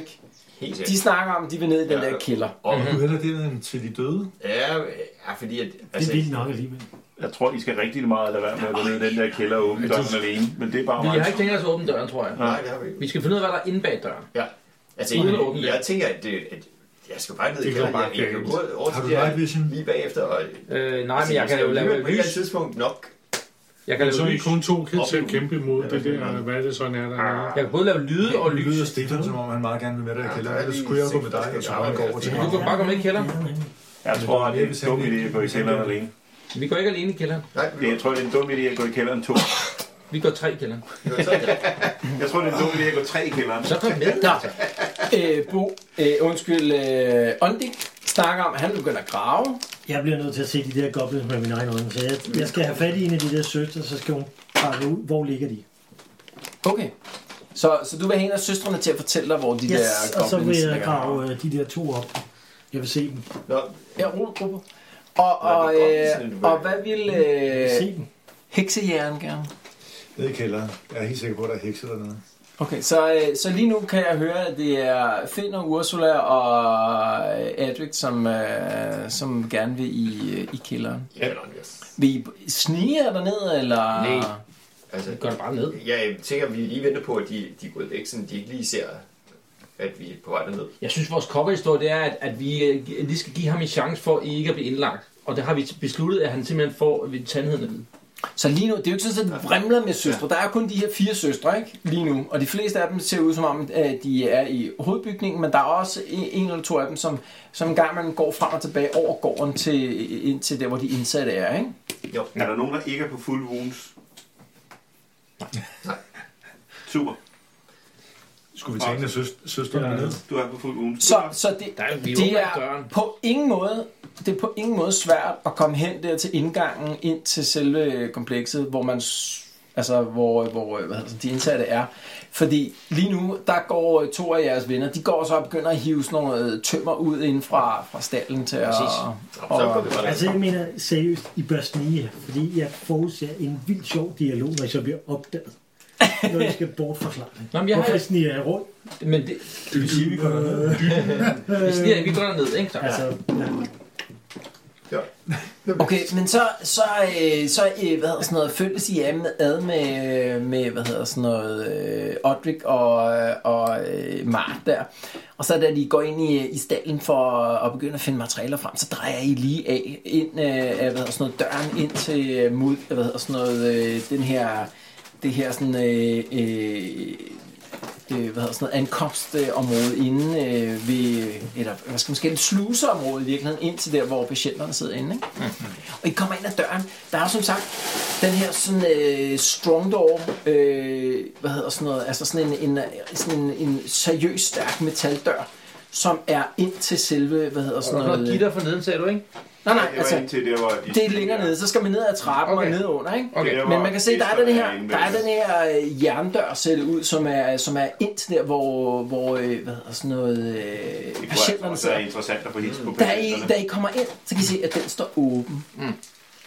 Speaker 7: Helt
Speaker 3: de
Speaker 7: sikkert.
Speaker 3: snakker om, at de vil ned i den
Speaker 7: Ja.
Speaker 3: der kælder.
Speaker 5: Og du hælder det end til de døde.
Speaker 7: Ja, ja, fordi at...
Speaker 6: Det
Speaker 7: Altså,
Speaker 6: er vildt nok alligevel.
Speaker 8: Jeg tror, de skal rigtig meget lade være med at gå ned i den der kælder og åbne døren alene. Men det er bare
Speaker 2: Vi har
Speaker 8: mig.
Speaker 2: ikke tænkt os at åbne døren, tror jeg.
Speaker 7: nej, det har vi ikke.
Speaker 2: Vi skal finde ud af, hvad der er inde bag døren.
Speaker 7: Ja. Altså,
Speaker 2: Uden at åbne
Speaker 7: jeg, jeg tænker, at, det, at jeg skal bare ned i
Speaker 4: Det
Speaker 7: kælderen.
Speaker 4: går bare
Speaker 7: Jeg, jeg kan
Speaker 4: galt.
Speaker 7: gå over
Speaker 5: Har
Speaker 7: til
Speaker 5: du
Speaker 7: det her
Speaker 5: night vision?
Speaker 7: lige bagefter. Og,
Speaker 2: Øh, nej,
Speaker 7: Altså,
Speaker 2: men jeg kan jo
Speaker 7: alligevel
Speaker 2: lave
Speaker 7: på et eller andet
Speaker 2: lys.
Speaker 7: tidspunkt nok.
Speaker 2: Jeg kan
Speaker 4: Så
Speaker 2: lave
Speaker 4: er I
Speaker 2: lys.
Speaker 4: kun to kan til at kæmpe imod det der, hvad er det så er
Speaker 9: Ah.
Speaker 4: der?
Speaker 2: Jeg kan både lave lyde og
Speaker 5: Nu
Speaker 2: lys.
Speaker 5: lyder Stefan, som om han meget gerne vil med dig i kælderen. Ellers kunne jeg gå med dig, og så han går over til
Speaker 2: Du
Speaker 5: mig.
Speaker 2: kan bare komme ind i kælderen.
Speaker 8: Jeg tror, at det er en dum idé at gå i kælderen alene.
Speaker 2: Vi går ikke alene i kælderen.
Speaker 7: Nej,
Speaker 8: Det-
Speaker 7: vi
Speaker 8: Jeg tror, det er en dum idé at gå i kælderen to.
Speaker 2: Vi går tre i kælderen.
Speaker 7: går så
Speaker 8: Jeg tror, det er en dum idé at gå tre i kælderen.
Speaker 2: Så kom med.
Speaker 3: Nå, øh, Bo, øh, undskyld, øh, Ondik snakker om, at han begynder at grave.
Speaker 6: Jeg bliver nødt til at se de der goblins med mine egne øjne, så jeg, jeg skal have fat i en af de der søstre, så skal hun pakke ud, hvor ligger de.
Speaker 3: Okay. Så, så du vil have en af søstrene til at fortælle dig, hvor de
Speaker 6: yes,
Speaker 3: der
Speaker 6: og så vil jeg
Speaker 3: ligger.
Speaker 6: grave øh, de der to op. Jeg vil se dem.
Speaker 3: Ja, roligruppe. Og, og, øh, og hvad vil
Speaker 6: Jeg vil se
Speaker 3: øh,
Speaker 6: dem.
Speaker 3: heksejæren gerne?
Speaker 5: Nede i kælderen. Jeg er helt sikker på, at der er hekse dernede.
Speaker 3: Okay, så, øh, så lige nu kan jeg høre, at det er Finn og Ursula og øh, Edric, som, øh, som gerne vil i, øh, i kælderen.
Speaker 7: Ja, nå, yes.
Speaker 3: Vil I snige jer derned, eller?
Speaker 7: Nej. Altså,
Speaker 2: Gør det bare ned.
Speaker 7: jeg tænker, at vi lige venter på, at de, de er gået væk, så de ikke lige ser, at vi er på vej derned.
Speaker 2: Jeg synes, vores kopperhistorie det er, at, at vi øh, lige skal give ham en chance for ikke at blive indlagt. Og det har vi besluttet, at han simpelthen får ved tandheden at vide.
Speaker 3: Så lige nu, det er jo ikke sådan, at det vrimler med søstre. Der er kun de her fire søstre, ikke? Lige nu. Og de fleste af dem ser ud som om, at de er i hovedbygningen, men der er også en- en eller to af dem, som, som en gang man går frem og tilbage over gården til, ind til der, hvor de indsatte er, ikke?
Speaker 7: Jo,
Speaker 8: Er der nogen, der ikke er på full wounds?
Speaker 7: Nej.
Speaker 8: <laughs> Super.
Speaker 5: Skulle vi tage en af søs- søstrene ja. ned?
Speaker 8: Du er på full wounds.
Speaker 3: Så, så det,
Speaker 2: Der er jo- vi åbner
Speaker 3: det
Speaker 2: ikke
Speaker 3: er
Speaker 2: døren.
Speaker 3: på ingen måde det er på ingen måde svært at komme hen der til indgangen ind til selve komplekset, hvor man s- altså hvor, hvor hvad hedder det, de indsatte er. Fordi lige nu, der går to af jeres venner, de går så og begynder at hive sådan noget tømmer ud inden fra, fra stallen til at...
Speaker 7: Nå, så går vi bare
Speaker 6: Altså,
Speaker 7: derned.
Speaker 6: jeg mener seriøst, I bør snige jer, fordi jeg forudser en vild sjov dialog, når I så bliver opdaget. Når I skal bortforklare det.
Speaker 2: Nå, men jeg har-
Speaker 6: Hvorfor sniger jeg rundt?
Speaker 2: Men det,
Speaker 5: Det vil sige, vi kommer ned.
Speaker 2: vi, sniger, vi går derned, ikke? Så,
Speaker 6: Altså, ja.
Speaker 3: Okay, men så, så, øh, så øh, hvad hedder sådan noget, følges I ad med, ad med, med hvad hedder sådan noget, øh, Odrik og, øh, og øh, Mart der. Og så da de går ind i, i stallen for at begynde at finde materialer frem, så drejer I lige af ind øh, af, hvad hedder sådan noget, døren ind til øh, mod, hvad hedder sådan noget, øh, den her, det her sådan, øh, øh, øh, hvad hedder sådan noget, ankomstområde inde øh, ved, eller hvad skal man sige, et sluseområde i virkeligheden, ind til der, hvor patienterne sidder inde. Ikke? Og I kommer ind ad døren, der er jo som sagt den her sådan øh, strong door, øh, hvad hedder sådan noget, altså sådan en, en, sådan en, en seriøs, stærk metaldør, som er ind til selve, hvad hedder sådan
Speaker 2: og
Speaker 3: noget...
Speaker 2: noget gitter for neden, sagde du, ikke?
Speaker 3: Nej, nej,
Speaker 8: Det var
Speaker 3: altså,
Speaker 8: indtil der, hvor de...
Speaker 3: det er længere nede, så skal man ned ad trappen okay.
Speaker 2: Okay.
Speaker 3: og ned under, ikke?
Speaker 2: Okay.
Speaker 8: der, hvor
Speaker 3: Men man kan se, der er den her,
Speaker 8: inde ved-
Speaker 3: der er den her øh, jerndør sættet ud, som er, som er ind til der, hvor, hvor øh, hvad hedder sådan noget, øh,
Speaker 8: Det
Speaker 3: patienterne
Speaker 8: kunne altså være
Speaker 3: sidder.
Speaker 8: interessant at få hilse på
Speaker 3: Da I,
Speaker 8: patienterne.
Speaker 3: da I kommer ind, så kan I se, at den står åben.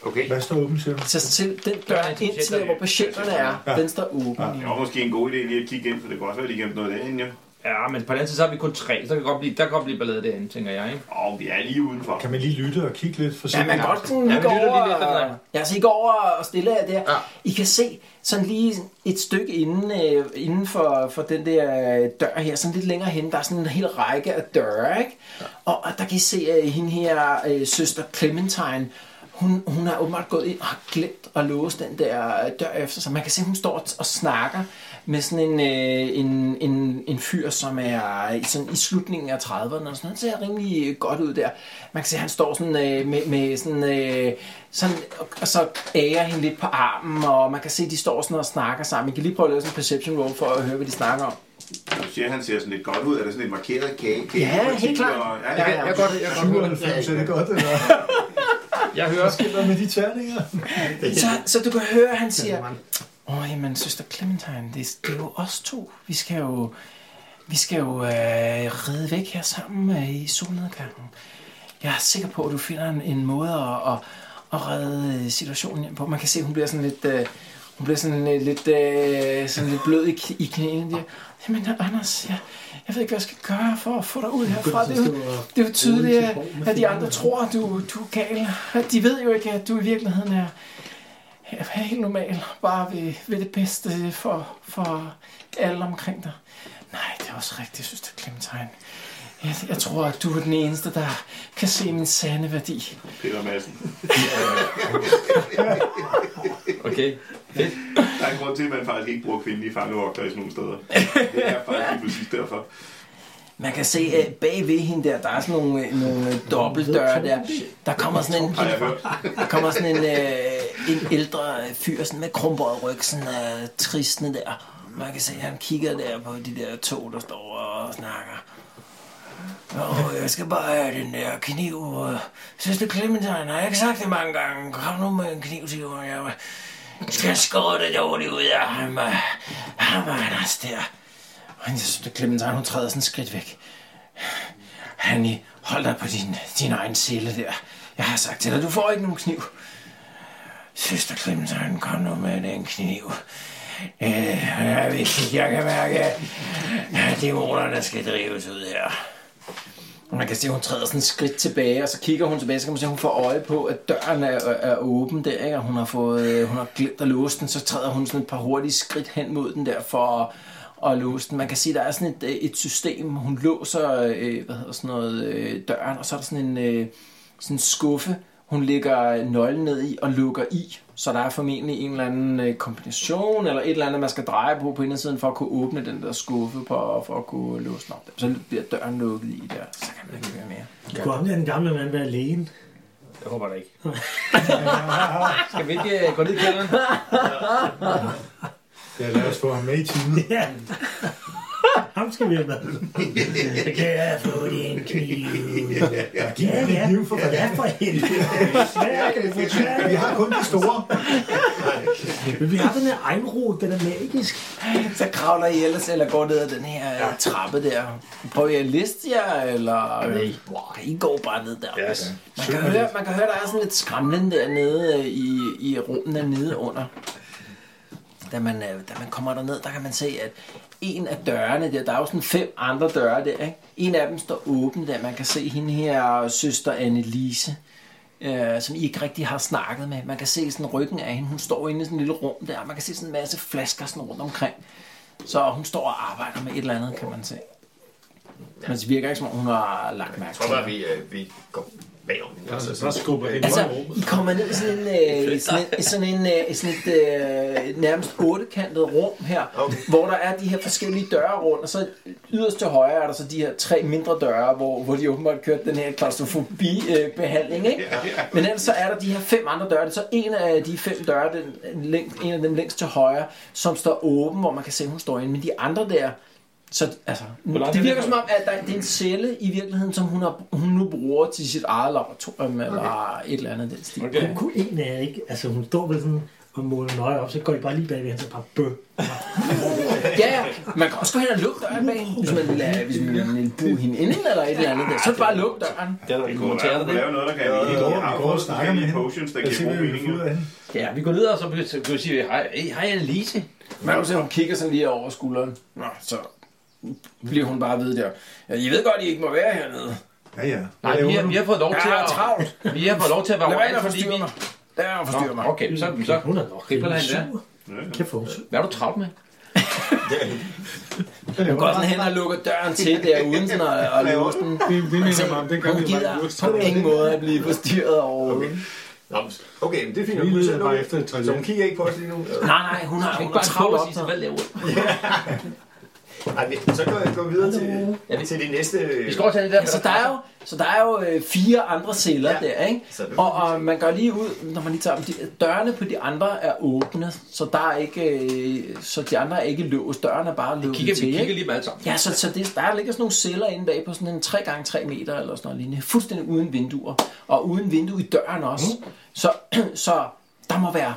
Speaker 7: Okay.
Speaker 5: Hvad står åben, siger du?
Speaker 3: Så selv den dør
Speaker 2: ind til
Speaker 3: ind til der, hvor patienterne er,
Speaker 5: Ja.
Speaker 3: den står åben.
Speaker 8: Det var måske en god idé lige at kigge ind, for det kan også være, at de gemte noget derinde, ja.
Speaker 9: Ja, men på den anden side, så har vi kun tre. Så kan godt blive, der kan godt blive ballade derinde, tænker jeg, ikke?
Speaker 8: Og vi er lige udenfor.
Speaker 5: Kan man lige lytte og kigge lidt for
Speaker 3: Ja, man kan godt sådan, ja, gå
Speaker 9: lytter lige
Speaker 3: over,
Speaker 9: lidt efter dig.
Speaker 3: og, ja, så I går over og stille jer der. Ja. I kan se sådan lige et stykke inden, øh, inden for, for den der øh, dør her, sådan lidt længere hen, der er sådan en hel række af døre, ikke? Ja. Og, og der kan I se øh, hende her, øh, søster Clementine, hun, hun har åbenbart gået ind og har glemt at låse den der øh, dør efter sig. Man kan se, at hun står og- og snakker med sådan en, øh, en, en, en fyr, som er i- sådan i slutningen af 30'erne. Og sådan. Han ser rimelig øh, godt ud der. Man kan se, at han står sådan, øh, med, med sådan, øh, sådan, og- og så ærer hende lidt på armen, og man kan se, at de står sådan og snakker sammen. Man kan lige prøve at lave sådan en perception roll for at høre, hvad de snakker om.
Speaker 8: Du siger, at han ser sådan lidt godt ud. Er der sådan et markeret kage? kage
Speaker 3: Ja, helt klart.
Speaker 8: Og, ja,
Speaker 9: Jeg,
Speaker 8: ja,
Speaker 9: jeg, jeg, godt, jeg, kan godt,
Speaker 5: 97 er det godt, eller
Speaker 9: jeg hører også.
Speaker 5: hvad med de terninger?
Speaker 3: Så, så du kan høre, at han siger, åh, oh, jamen, søster Clementine, det, det er jo os to. Vi skal jo, vi skal jo øh, ride væk her sammen øh, i solnedgangen. Jeg er sikker på, at du finder en, en måde at, at, at redde øh, situationen hjem på. Man kan se, at hun bliver sådan lidt... Øh, hun bliver sådan øh, lidt, øh, sådan lidt blød i, kn- i knæene der. Jamen, Anders, jeg, jeg ved ikke, hvad jeg skal gøre for at få dig ud herfra. Det er jo, det er jo tydeligt, at, at de andre tror, at du, du er gal. De ved jo ikke, at du i virkeligheden er, er helt normal. Bare ved, ved det bedste for, for alle omkring dig. Nej, det er også rigtigt, søster Clementine. Jeg, jeg tror, at du er den eneste, der kan se min sande værdi.
Speaker 8: Peter Madsen.
Speaker 9: Okay.
Speaker 8: Der er en grund til, at man faktisk ikke bruger kvindelige fangevogter i sådan nogle
Speaker 3: <laughs>
Speaker 8: steder. Det er faktisk lige præcis derfor.
Speaker 3: Man kan se at bagved hende der, der er sådan nogle, øh, nogle øh, dobbeltdøre der. Der kommer sådan en,
Speaker 8: Har jeg hørt.
Speaker 3: der kommer sådan en, øh, en ældre fyr sådan med krumperet ryg, sådan øh, tristende der. Man kan se, at han kigger der på de der to, der står og snakker. Åh, jeg skal bare have den der kniv. øh. Søster Clementine, har jeg ikke sagt det mange gange? Kom nu med en kniv til mig. Jeg, Jeg skår det dårligt ud af ham. øh, Ham og Anders der. Og jeg synes, at Clementine, hun træder sådan et skridt væk. Hanni, hold dig på din, din egen sele der. Jeg har sagt til dig, du får ikke nogen kniv. Søster Clementine, kom nu med den kniv. Øh, jeg ved ikke, jeg kan mærke, at dæmonerne skal drives ud her. Og Man kan se, at hun træder sådan et skridt tilbage, og så kigger hun tilbage, så kan man se, at hun får øje på, at døren er, er åben der, ikke? og hun har, fået, øh, hun har glemt at låse den, så træder hun sådan et par hurtige skridt hen mod den der for at, at låse den. Man kan se, at der er sådan et, øh, et system, hun låser øh, hvad hedder sådan noget, øh, døren, og så er der sådan en øh, sådan en skuffe, hun lægger nøglen ned i og lukker i, så der er formentlig en eller anden øh, kombination, eller et eller andet, man skal dreje på på indersiden, for at kunne åbne den der skuffe, på, for at kunne låse den op. Så bliver døren lukket i der, så kan man ikke gøre mere.
Speaker 6: Kunne ham der den gamle mand være lægen?
Speaker 2: Jeg håber det ikke. Skal vi ikke øh, gå ned i kælderen?
Speaker 10: Ja, lad os få ham med i timen.
Speaker 6: Ja. <laughs> Ham skal vi have med. Kan jeg få din kniv?
Speaker 10: Giv
Speaker 6: Ja,
Speaker 10: ham en
Speaker 6: ja.
Speaker 10: kniv for fanden.
Speaker 6: Ja, for helvede. Svær kan det få svær.
Speaker 10: Vi har kun de store.
Speaker 6: Men vi har den her egenrod, den er magisk.
Speaker 3: Så kravler I ellers, eller går ned ad den her ja. trappe der. Prøver I at liste jer, eller... Nej. Wow, I går bare ned der. Yes. Man, kan høre, man kan høre, der er sådan lidt skræmmende dernede øh, i, i rummen dernede under. Da man, øh, da man kommer derned, der kan man se, at en af dørene der, der er jo sådan fem andre døre der, ikke? En af dem står åben der, man kan se hende her, søster Annelise øh, som I ikke rigtig har snakket med. Man kan se sådan ryggen af hende. Hun står inde i sådan en lille rum der. Man kan se sådan en masse flasker sådan rundt omkring. Så hun står og arbejder med et eller andet, kan man se. Men det virker ikke, som om hun har lagt mærke
Speaker 7: tror
Speaker 3: til
Speaker 7: bare,
Speaker 3: det.
Speaker 7: vi, øh, vi går bagom. hende, Altså,
Speaker 4: Så skubber jeg
Speaker 3: Altså,
Speaker 4: altså,
Speaker 3: I kommer ned i sådan en, øh, i sådan en, i sådan en, øh, i sådan et øh, nærmest ottekantet rum her, okay. hvor der er de her forskellige døre rundt, og så yderst til højre er der så de her tre mindre døre, hvor, hvor de åbenbart kørte den her klaustrofobi-behandling, ikke? Men ellers så er der de her fem andre døre. Det er så en af de fem døre, den, læng, en af dem længst til højre, som står åben, hvor man kan se, at hun står inde. Men de andre der, så altså, det virker som om, at der, det er en celle i virkeligheden, som hun, har, hun nu bruger til sit eget laboratorium, eller et eller andet af den stil.
Speaker 2: Okay.
Speaker 6: Hun kunne en af jer ikke. Altså, hun står ved sådan og måler nøje op, så går I bare lige bagved, og så bare bøh.
Speaker 3: Ja, ja, man kan også gå hen og lukke døren bag hende, hvis man vil, øh, hvis man vil bruge hende inden, eller et eller andet der. Så bare luk døren.
Speaker 2: Det er der, vi
Speaker 8: Det
Speaker 2: kunne
Speaker 8: kunne
Speaker 2: montere
Speaker 8: være, at
Speaker 2: det.
Speaker 8: kunne lave noget, der kan...
Speaker 10: Vi går, vi går og
Speaker 8: afprøve
Speaker 10: snakker med
Speaker 8: forskellige
Speaker 10: hende.
Speaker 8: Potions, der
Speaker 10: Jeg ser,
Speaker 8: giver
Speaker 10: hvad
Speaker 8: god
Speaker 10: vi får
Speaker 8: mening.
Speaker 10: ud af hende.
Speaker 2: Ja, vi går ned, og så be- så kan vi sige, hej, hey, hej Annelise.
Speaker 3: Man kan se, at hun kigger sådan lige over skulderen. Nå, så bliver hun bare ved der. Ja, I ved godt, I ikke må være hernede.
Speaker 10: Ja, ja.
Speaker 2: Nej, vi har, vi har fået lov til
Speaker 3: Jeg har
Speaker 2: at...
Speaker 3: travlt.
Speaker 2: Vi har fået lov til at være
Speaker 3: Lad være med
Speaker 2: overalt,
Speaker 3: at
Speaker 2: fordi
Speaker 3: forstyrre
Speaker 2: vi...
Speaker 3: mig. Lad være med at forstyrre mig.
Speaker 2: Okay, så, så
Speaker 6: Hun er nok
Speaker 2: Griber
Speaker 6: rimelig
Speaker 2: han der?
Speaker 6: sur. Kæft for hun sur.
Speaker 2: hvad er du travlt med?
Speaker 3: Hun går sådan hen og lukker døren til der, uden sådan at, at låse den.
Speaker 4: det, det
Speaker 10: Altså,
Speaker 4: minder mig om, den gang
Speaker 3: Hun
Speaker 4: vi var i
Speaker 3: gider
Speaker 4: luft.
Speaker 3: på ingen måde at blive forstyrret over. Okay.
Speaker 7: Nå, men- okay, men det er fint.
Speaker 10: Vi
Speaker 7: nok.
Speaker 10: leder bare efter et
Speaker 7: Så hun
Speaker 10: toilet.
Speaker 7: kigger ikke på os lige nu.
Speaker 3: Nej,
Speaker 7: Øh,
Speaker 3: nej, hun har,
Speaker 2: Kan
Speaker 3: hun
Speaker 2: ikke
Speaker 3: har
Speaker 2: bare travlt
Speaker 3: travlt
Speaker 2: og
Speaker 3: op.
Speaker 2: sige, så hvad laver du?
Speaker 7: Nej, men så går jeg går videre til, ja, til det næste...
Speaker 2: Vi skal også have det der.
Speaker 3: Ja, så der er jo, så der er jo øh, fire andre celler ja.
Speaker 7: Ja.
Speaker 3: der, ikke?
Speaker 7: Så det-
Speaker 3: Og, og man går lige ud, når man lige tager dem, de, dørene på de andre er åbne, så der er ikke, øh, så de andre er ikke låst, dørene er bare lukket
Speaker 2: Kigger, vi
Speaker 3: til, ikke?
Speaker 2: kigger lige med alle sammen.
Speaker 3: Ja, så, så det, der ligger sådan nogle celler inde bag på sådan en 3x3 meter eller sådan noget lignende. Fuldstændig uden vinduer. Og uden vindue i døren også. Mm. Så, <clears throat> så der må være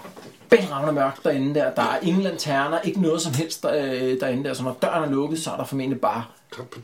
Speaker 3: bælragende mørkt derinde der. Der er ingen lanterner, ikke noget som helst der, øh, derinde der. Så når døren er lukket, så er der formentlig bare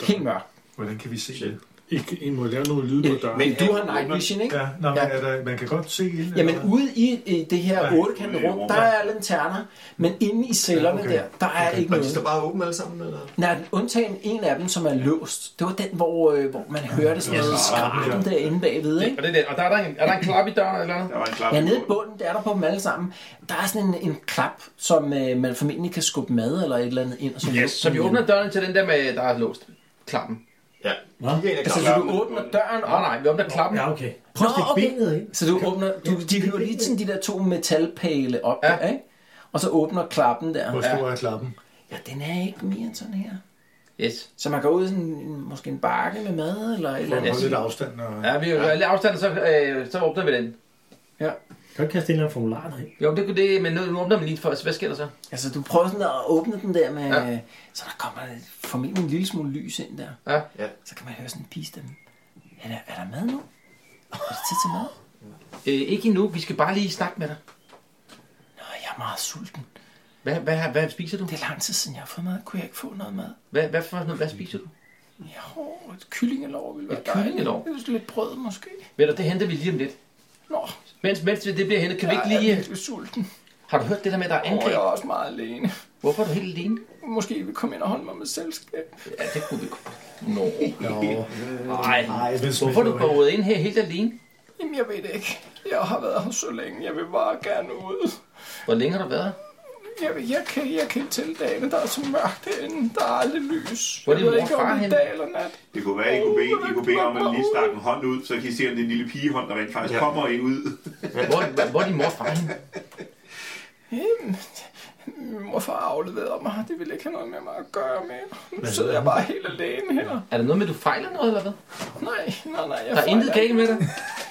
Speaker 3: helt mørkt.
Speaker 10: Hvordan kan vi se det?
Speaker 4: I, I må lave noget lyd på døren.
Speaker 3: Men du har night vision, ikke?
Speaker 10: Ja, nå, men
Speaker 3: Ja.
Speaker 10: er der, man kan godt se ilden.
Speaker 3: Jamen
Speaker 10: eller hvad?
Speaker 3: ude i, i det her
Speaker 10: Nej,
Speaker 8: ude
Speaker 3: ottekantede
Speaker 8: i
Speaker 3: rum,
Speaker 8: rummet.
Speaker 3: der er lanterner, men inde i cellerne
Speaker 10: Ja, okay.
Speaker 3: der, der er ikke
Speaker 7: Og de
Speaker 3: noget.
Speaker 7: står bare åbne alle sammen, eller?
Speaker 3: Nej, den undtagen en af dem, som er låst. Det var den, hvor, øh, hvor man hørte sådan noget skraben derinde bagved, ikke?
Speaker 9: Og, det er det. og der er, der en, er der en klap i døren, eller noget?
Speaker 8: Der var en klap
Speaker 3: Ja,
Speaker 8: i
Speaker 3: nede i
Speaker 8: bunden.
Speaker 3: bunden, der er der på dem alle sammen. Der er sådan en, en klap, som øh, man formentlig kan skubbe mad eller et eller andet ind. Og så
Speaker 9: Yes,
Speaker 3: lukke
Speaker 9: så
Speaker 3: den
Speaker 9: vi
Speaker 3: igen.
Speaker 9: åbner døren til den der med, der er låst. Klappen.
Speaker 7: Ja.
Speaker 6: Hva?
Speaker 7: Kigger ind og
Speaker 3: Altså,
Speaker 7: kigger.
Speaker 3: så du åbner døren
Speaker 9: Nej,
Speaker 3: op.
Speaker 9: nej, vi åbner klappen.
Speaker 6: Ja, okay. Prøv at
Speaker 3: Nå,
Speaker 6: stikke
Speaker 3: okay.
Speaker 6: benet ind.
Speaker 3: Så du åbner, du, de hører lige sådan de der to metalpæle op,
Speaker 9: Ja.
Speaker 3: ja. ikke? Og så åbner klappen der.
Speaker 10: Hvor stor er klappen?
Speaker 3: Ja, den er ikke mere end sådan her.
Speaker 9: Yes.
Speaker 3: Så man går ud i sådan, en- måske en bakke med mad eller et eller
Speaker 10: Hold
Speaker 3: andet.
Speaker 10: lidt afstand. Og...
Speaker 9: Ja, vi er lidt afstand, så, øh, så åbner vi den.
Speaker 6: Kan du ikke kaste en eller anden formular derind?
Speaker 9: Jo, det kunne det, men nu, nu åbner man lige for os. Hvad sker der så?
Speaker 3: Altså, du prøver sådan at åbne den der med...
Speaker 9: Ja.
Speaker 3: Ja. Så der kommer formentlig en lille smule lys ind der.
Speaker 9: Ja.
Speaker 7: Ja.
Speaker 3: Så kan man høre sådan en pigestemme. Er der, er der mad nu? Er det tid til mad?
Speaker 9: Øh, ikke endnu, vi skal bare lige snakke med dig.
Speaker 3: Nå, jeg er meget sulten.
Speaker 9: Hvad, hvad, hvad spiser du?
Speaker 3: Det er lang tid siden, jeg har fået mad. Kunne jeg ikke få noget mad?
Speaker 9: Hvad, hvad, for, noget- hvad spiser du?
Speaker 3: Jo, et kyllingelov ville være
Speaker 9: Et kyllingelår?
Speaker 3: dejligt. Lidt brød måske.
Speaker 9: Ved du, det henter vi lige om lidt.
Speaker 3: Nå,
Speaker 9: Mens, mens det bliver hentet, kan vi
Speaker 3: jeg
Speaker 9: ikke
Speaker 3: er
Speaker 9: lige...
Speaker 3: virkelig sulten.
Speaker 9: Har du hørt det der med, at der er
Speaker 3: Og jeg er
Speaker 9: angreb?
Speaker 3: også meget alene.
Speaker 9: Hvorfor er du helt alene?
Speaker 3: Måske I vil komme ind og holde mig med selskab.
Speaker 9: Ja, det kunne vi godt. Nå. Nej.
Speaker 10: Nej, jeg vil
Speaker 9: Hvorfor er du gået ind her helt alene?
Speaker 3: Jamen, jeg ved det ikke. Jeg har været her så længe. Jeg vil bare gerne ud.
Speaker 9: Hvor længe har du været her?
Speaker 3: Jeg, ved- jeg, kan, jeg kan ikke tælle dagene. Der er så mørkt herinde. Der er aldrig lys.
Speaker 9: Hvor er
Speaker 3: jeg
Speaker 9: din
Speaker 3: ved
Speaker 9: mor og
Speaker 3: ikke,
Speaker 9: far
Speaker 3: om det er
Speaker 9: henne?
Speaker 3: dag eller nat.
Speaker 8: Det kunne være, I kunne bede, I kunne bede om at lige stakke en hånd ud, så I kan se, om det er en lille pigehånd, der rent faktisk kommer ind ud.
Speaker 9: Hvor, hvor er din mor fra hende?
Speaker 3: Jamen, min mor og far afleverede mig. Det ville ikke have noget med mig at gøre mere. Nu sidder jeg bare helt alene her.
Speaker 9: Er der noget med, at du fejler noget, eller hvad?
Speaker 3: Nej, nej, nej. Jeg
Speaker 9: Der er intet galt med dig.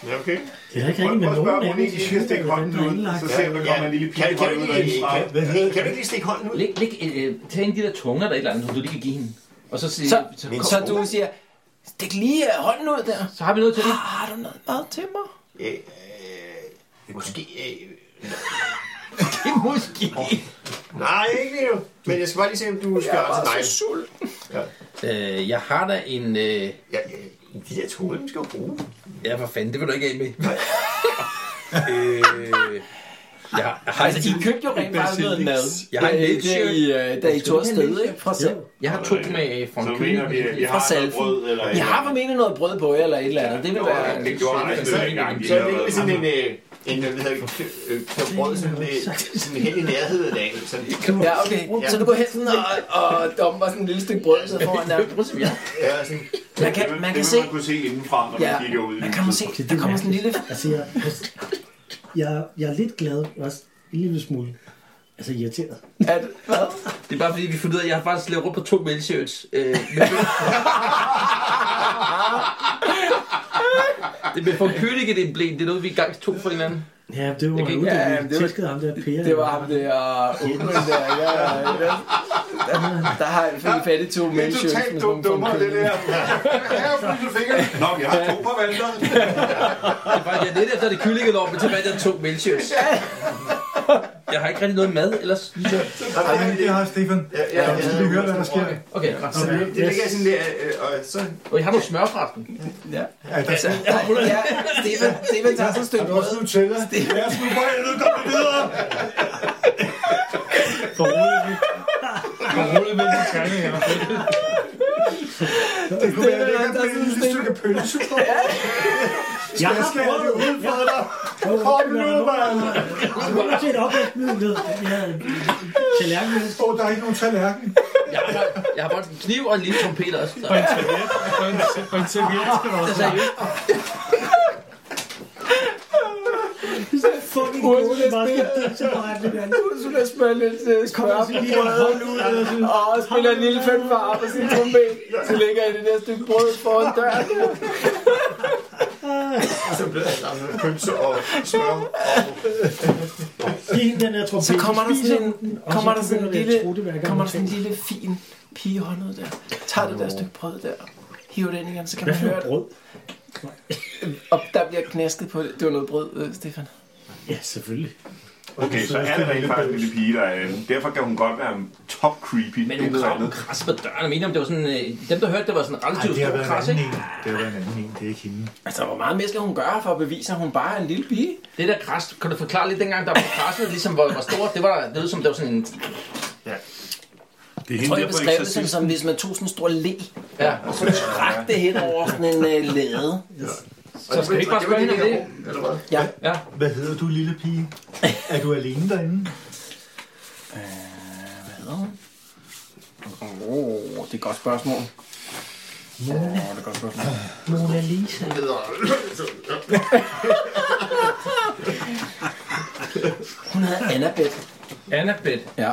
Speaker 8: Ja, okay.
Speaker 6: Jeg er ikke
Speaker 8: Prøv,
Speaker 6: rigtig med
Speaker 8: prøv at spørge,
Speaker 6: nogen
Speaker 8: om
Speaker 6: af
Speaker 8: hun ikke lige kan stikke hånden ud, så ser du, der kommer en lille
Speaker 7: Kan, kan,
Speaker 8: pigehånd
Speaker 7: du
Speaker 8: ud
Speaker 7: ikke lige,
Speaker 8: derindefra.
Speaker 7: kan, kan, du ikke lige stikke hånden ud?
Speaker 9: Læg, læg, øh, tag en af de der tunger, der er et eller andet, som du lige kan give hende. Og så, sig,
Speaker 3: Så-
Speaker 9: så,
Speaker 7: Men
Speaker 9: kom,
Speaker 3: Så du siger, stik lige øh, hånden ud der.
Speaker 9: så har vi noget til <laughs> det.
Speaker 3: Har du noget mad til mig?
Speaker 7: Øh, øh, måske... Øh,
Speaker 9: Måske.
Speaker 7: nej, ikke lige nu. Men jeg skal bare lige se, om du skal
Speaker 3: Jeg er
Speaker 7: ja, til
Speaker 3: bare
Speaker 7: dig.
Speaker 3: så sulten.
Speaker 9: Øh, jeg har da en... Øh,
Speaker 7: Ja, øh, de der to, dem skal jo bruge.
Speaker 9: ja, for fanden, det vil du ikke af med. øh, jeg, har- jeg, har
Speaker 3: Altså, I købte jo rent faktisk noget mad.
Speaker 9: Jeg har en
Speaker 3: Øh,
Speaker 9: milkshake.
Speaker 3: da I, øh, Da I tog afsted, ikke? Fra selv.
Speaker 9: jeg har to med fra
Speaker 8: Så
Speaker 9: en
Speaker 8: mener vi, at vi
Speaker 9: kylling.
Speaker 8: har noget
Speaker 3: salfen.
Speaker 8: brød, eller...
Speaker 3: Jeg har formentlig noget brød på jer, eller et eller andet. Det vil være...
Speaker 8: Det gjorde Anders jo engang.
Speaker 7: Så er det ikke sådan en, øh, en hvad hedder det, øh, knop brød, sådan, øh, sådan helt i nærheden af dagen. Sådan,
Speaker 3: Ja, okay. Så du går hen sådan og, og dumper sådan en lille stykke brød, så foran der.
Speaker 7: ja, sådan,
Speaker 3: Man kan, man kan se...
Speaker 8: Det vil man kunne se indenfra, når
Speaker 3: Ja,
Speaker 8: man kigger ud.
Speaker 3: man kan man se, der kommer sådan en lille...
Speaker 6: Altså, jeg, jeg, jeg er lidt glad, også en lille smule. Altså irriteret.
Speaker 3: At, hvad?
Speaker 9: Det er bare fordi, vi finder ud af, at jeg har faktisk lavet rundt på to milkshirts. Øh, <laughs> med bøf. det blev for kylling et emblem. Det er noget, vi i gang tog for hinanden.
Speaker 6: Ja, det var
Speaker 9: Det gik-
Speaker 6: jo det,
Speaker 3: ja,
Speaker 6: ja,
Speaker 3: men
Speaker 6: vi
Speaker 3: det var-
Speaker 6: tæskede ham der Per.
Speaker 3: Det var ham der... Åben der, ja, ja, ja. Der- Der har jeg fået fat i to mennesker. Det er totalt dumt dummer, det der.
Speaker 8: Nå, vi har to på valter.
Speaker 9: Det var jeg lidt efter det kyllingelov, men tilbage der to milkshirts. Jeg har ikke rigtig noget mad, ellers lige så...
Speaker 10: Nej, det har Stefan.
Speaker 7: ja, ja,
Speaker 10: Så vi hører, hvad der sker.
Speaker 9: Okay,
Speaker 10: Så vi-
Speaker 7: det ligger sådan der, øh, og så...
Speaker 9: og I har noget smør fra den.
Speaker 10: Ja, der er
Speaker 3: Ja, Stefan, Stefan tager sådan et stykke brød.
Speaker 10: også Nutella.
Speaker 8: Ja, sgu for helvede, kom vi videre.
Speaker 10: Kom roligt med- Kom roligt med de terninger. Det kunne være, det kan
Speaker 3: der er
Speaker 10: blive et
Speaker 3: sådan
Speaker 10: lille
Speaker 3: en
Speaker 10: stykke pølse.
Speaker 6: Jeg har
Speaker 10: Skal jeg det ud for dig? Kom nu, mand.
Speaker 6: prøvet til et opvækmiddel. Jeg havde tallerken med.
Speaker 10: Åh, der er ikke nogen tallerken.
Speaker 9: Jeg har, jeg har bare en kniv og en lille trompet også. Så,
Speaker 10: Og en, og en serviet skal der også.
Speaker 9: seriøst.
Speaker 6: Fucking
Speaker 3: Uden
Speaker 6: gode, det var
Speaker 3: USB.
Speaker 6: sådan det, så var det der.
Speaker 3: Ursula smører lidt øh, smør på brødet ud, og spiller en lille fem far på sin trompet. Så ligger i det der stykke brød foran døren.
Speaker 7: Så blev jeg sammen med pølse og smør.
Speaker 6: Giv hende den der trompet.
Speaker 3: Så kommer der sådan en-
Speaker 6: og
Speaker 3: kommer
Speaker 6: så
Speaker 3: der sådan en
Speaker 6: begynder vi
Speaker 3: lille-
Speaker 6: at tro, det værker
Speaker 3: Kommer der
Speaker 6: med
Speaker 3: sådan en
Speaker 6: tænder.
Speaker 3: lille fin pigehånd ud der. Tager det der stykke brød der. Hiver det ind igen, så kan
Speaker 6: Hvad
Speaker 3: man
Speaker 6: for
Speaker 3: høre
Speaker 6: noget
Speaker 3: det.
Speaker 6: brød?
Speaker 3: Og der bliver knæsket på det. Det var noget brød, øh, Stefan.
Speaker 6: Ja, selvfølgelig.
Speaker 8: Okay, så er det rent faktisk en lille pige, der er inde. Derfor kan hun godt være en top creepy.
Speaker 9: Men
Speaker 8: det
Speaker 9: hun
Speaker 8: er
Speaker 9: kram,
Speaker 8: sådan.
Speaker 9: hun kras på døren. Jeg mener, om det var sådan... Øh, dem, der hørte, det var sådan en
Speaker 10: Ej,
Speaker 9: relativt
Speaker 10: det har
Speaker 9: stor
Speaker 10: været
Speaker 9: kras,
Speaker 10: en anden
Speaker 9: ikke?
Speaker 10: en. Det har været en anden en. Det er ikke hende.
Speaker 3: Altså, hvor meget mere skal hun gøre for at bevise, at hun bare er en lille pige?
Speaker 9: Det der kras, kan du forklare lidt dengang, der var krasset, ligesom hvor, hvor stort det var? Det lød som, det var sådan en...
Speaker 8: Det er
Speaker 3: Jeg
Speaker 8: hende
Speaker 3: tror, jeg
Speaker 8: der på
Speaker 3: beskrev det som,
Speaker 8: eksorcist.
Speaker 3: som hvis man tog sådan en stor læ,
Speaker 9: Ja,
Speaker 3: og så trak det hen over sådan en øh, lade.
Speaker 9: så skal vi ikke bare spørge hende om det?
Speaker 10: Hvad hedder du, lille pige? Er du alene derinde?
Speaker 3: Åh, oh, det er et godt spørgsmål.
Speaker 6: Mona Lisa.
Speaker 3: Hun hedder Annabeth.
Speaker 9: Annabeth.
Speaker 3: Ja.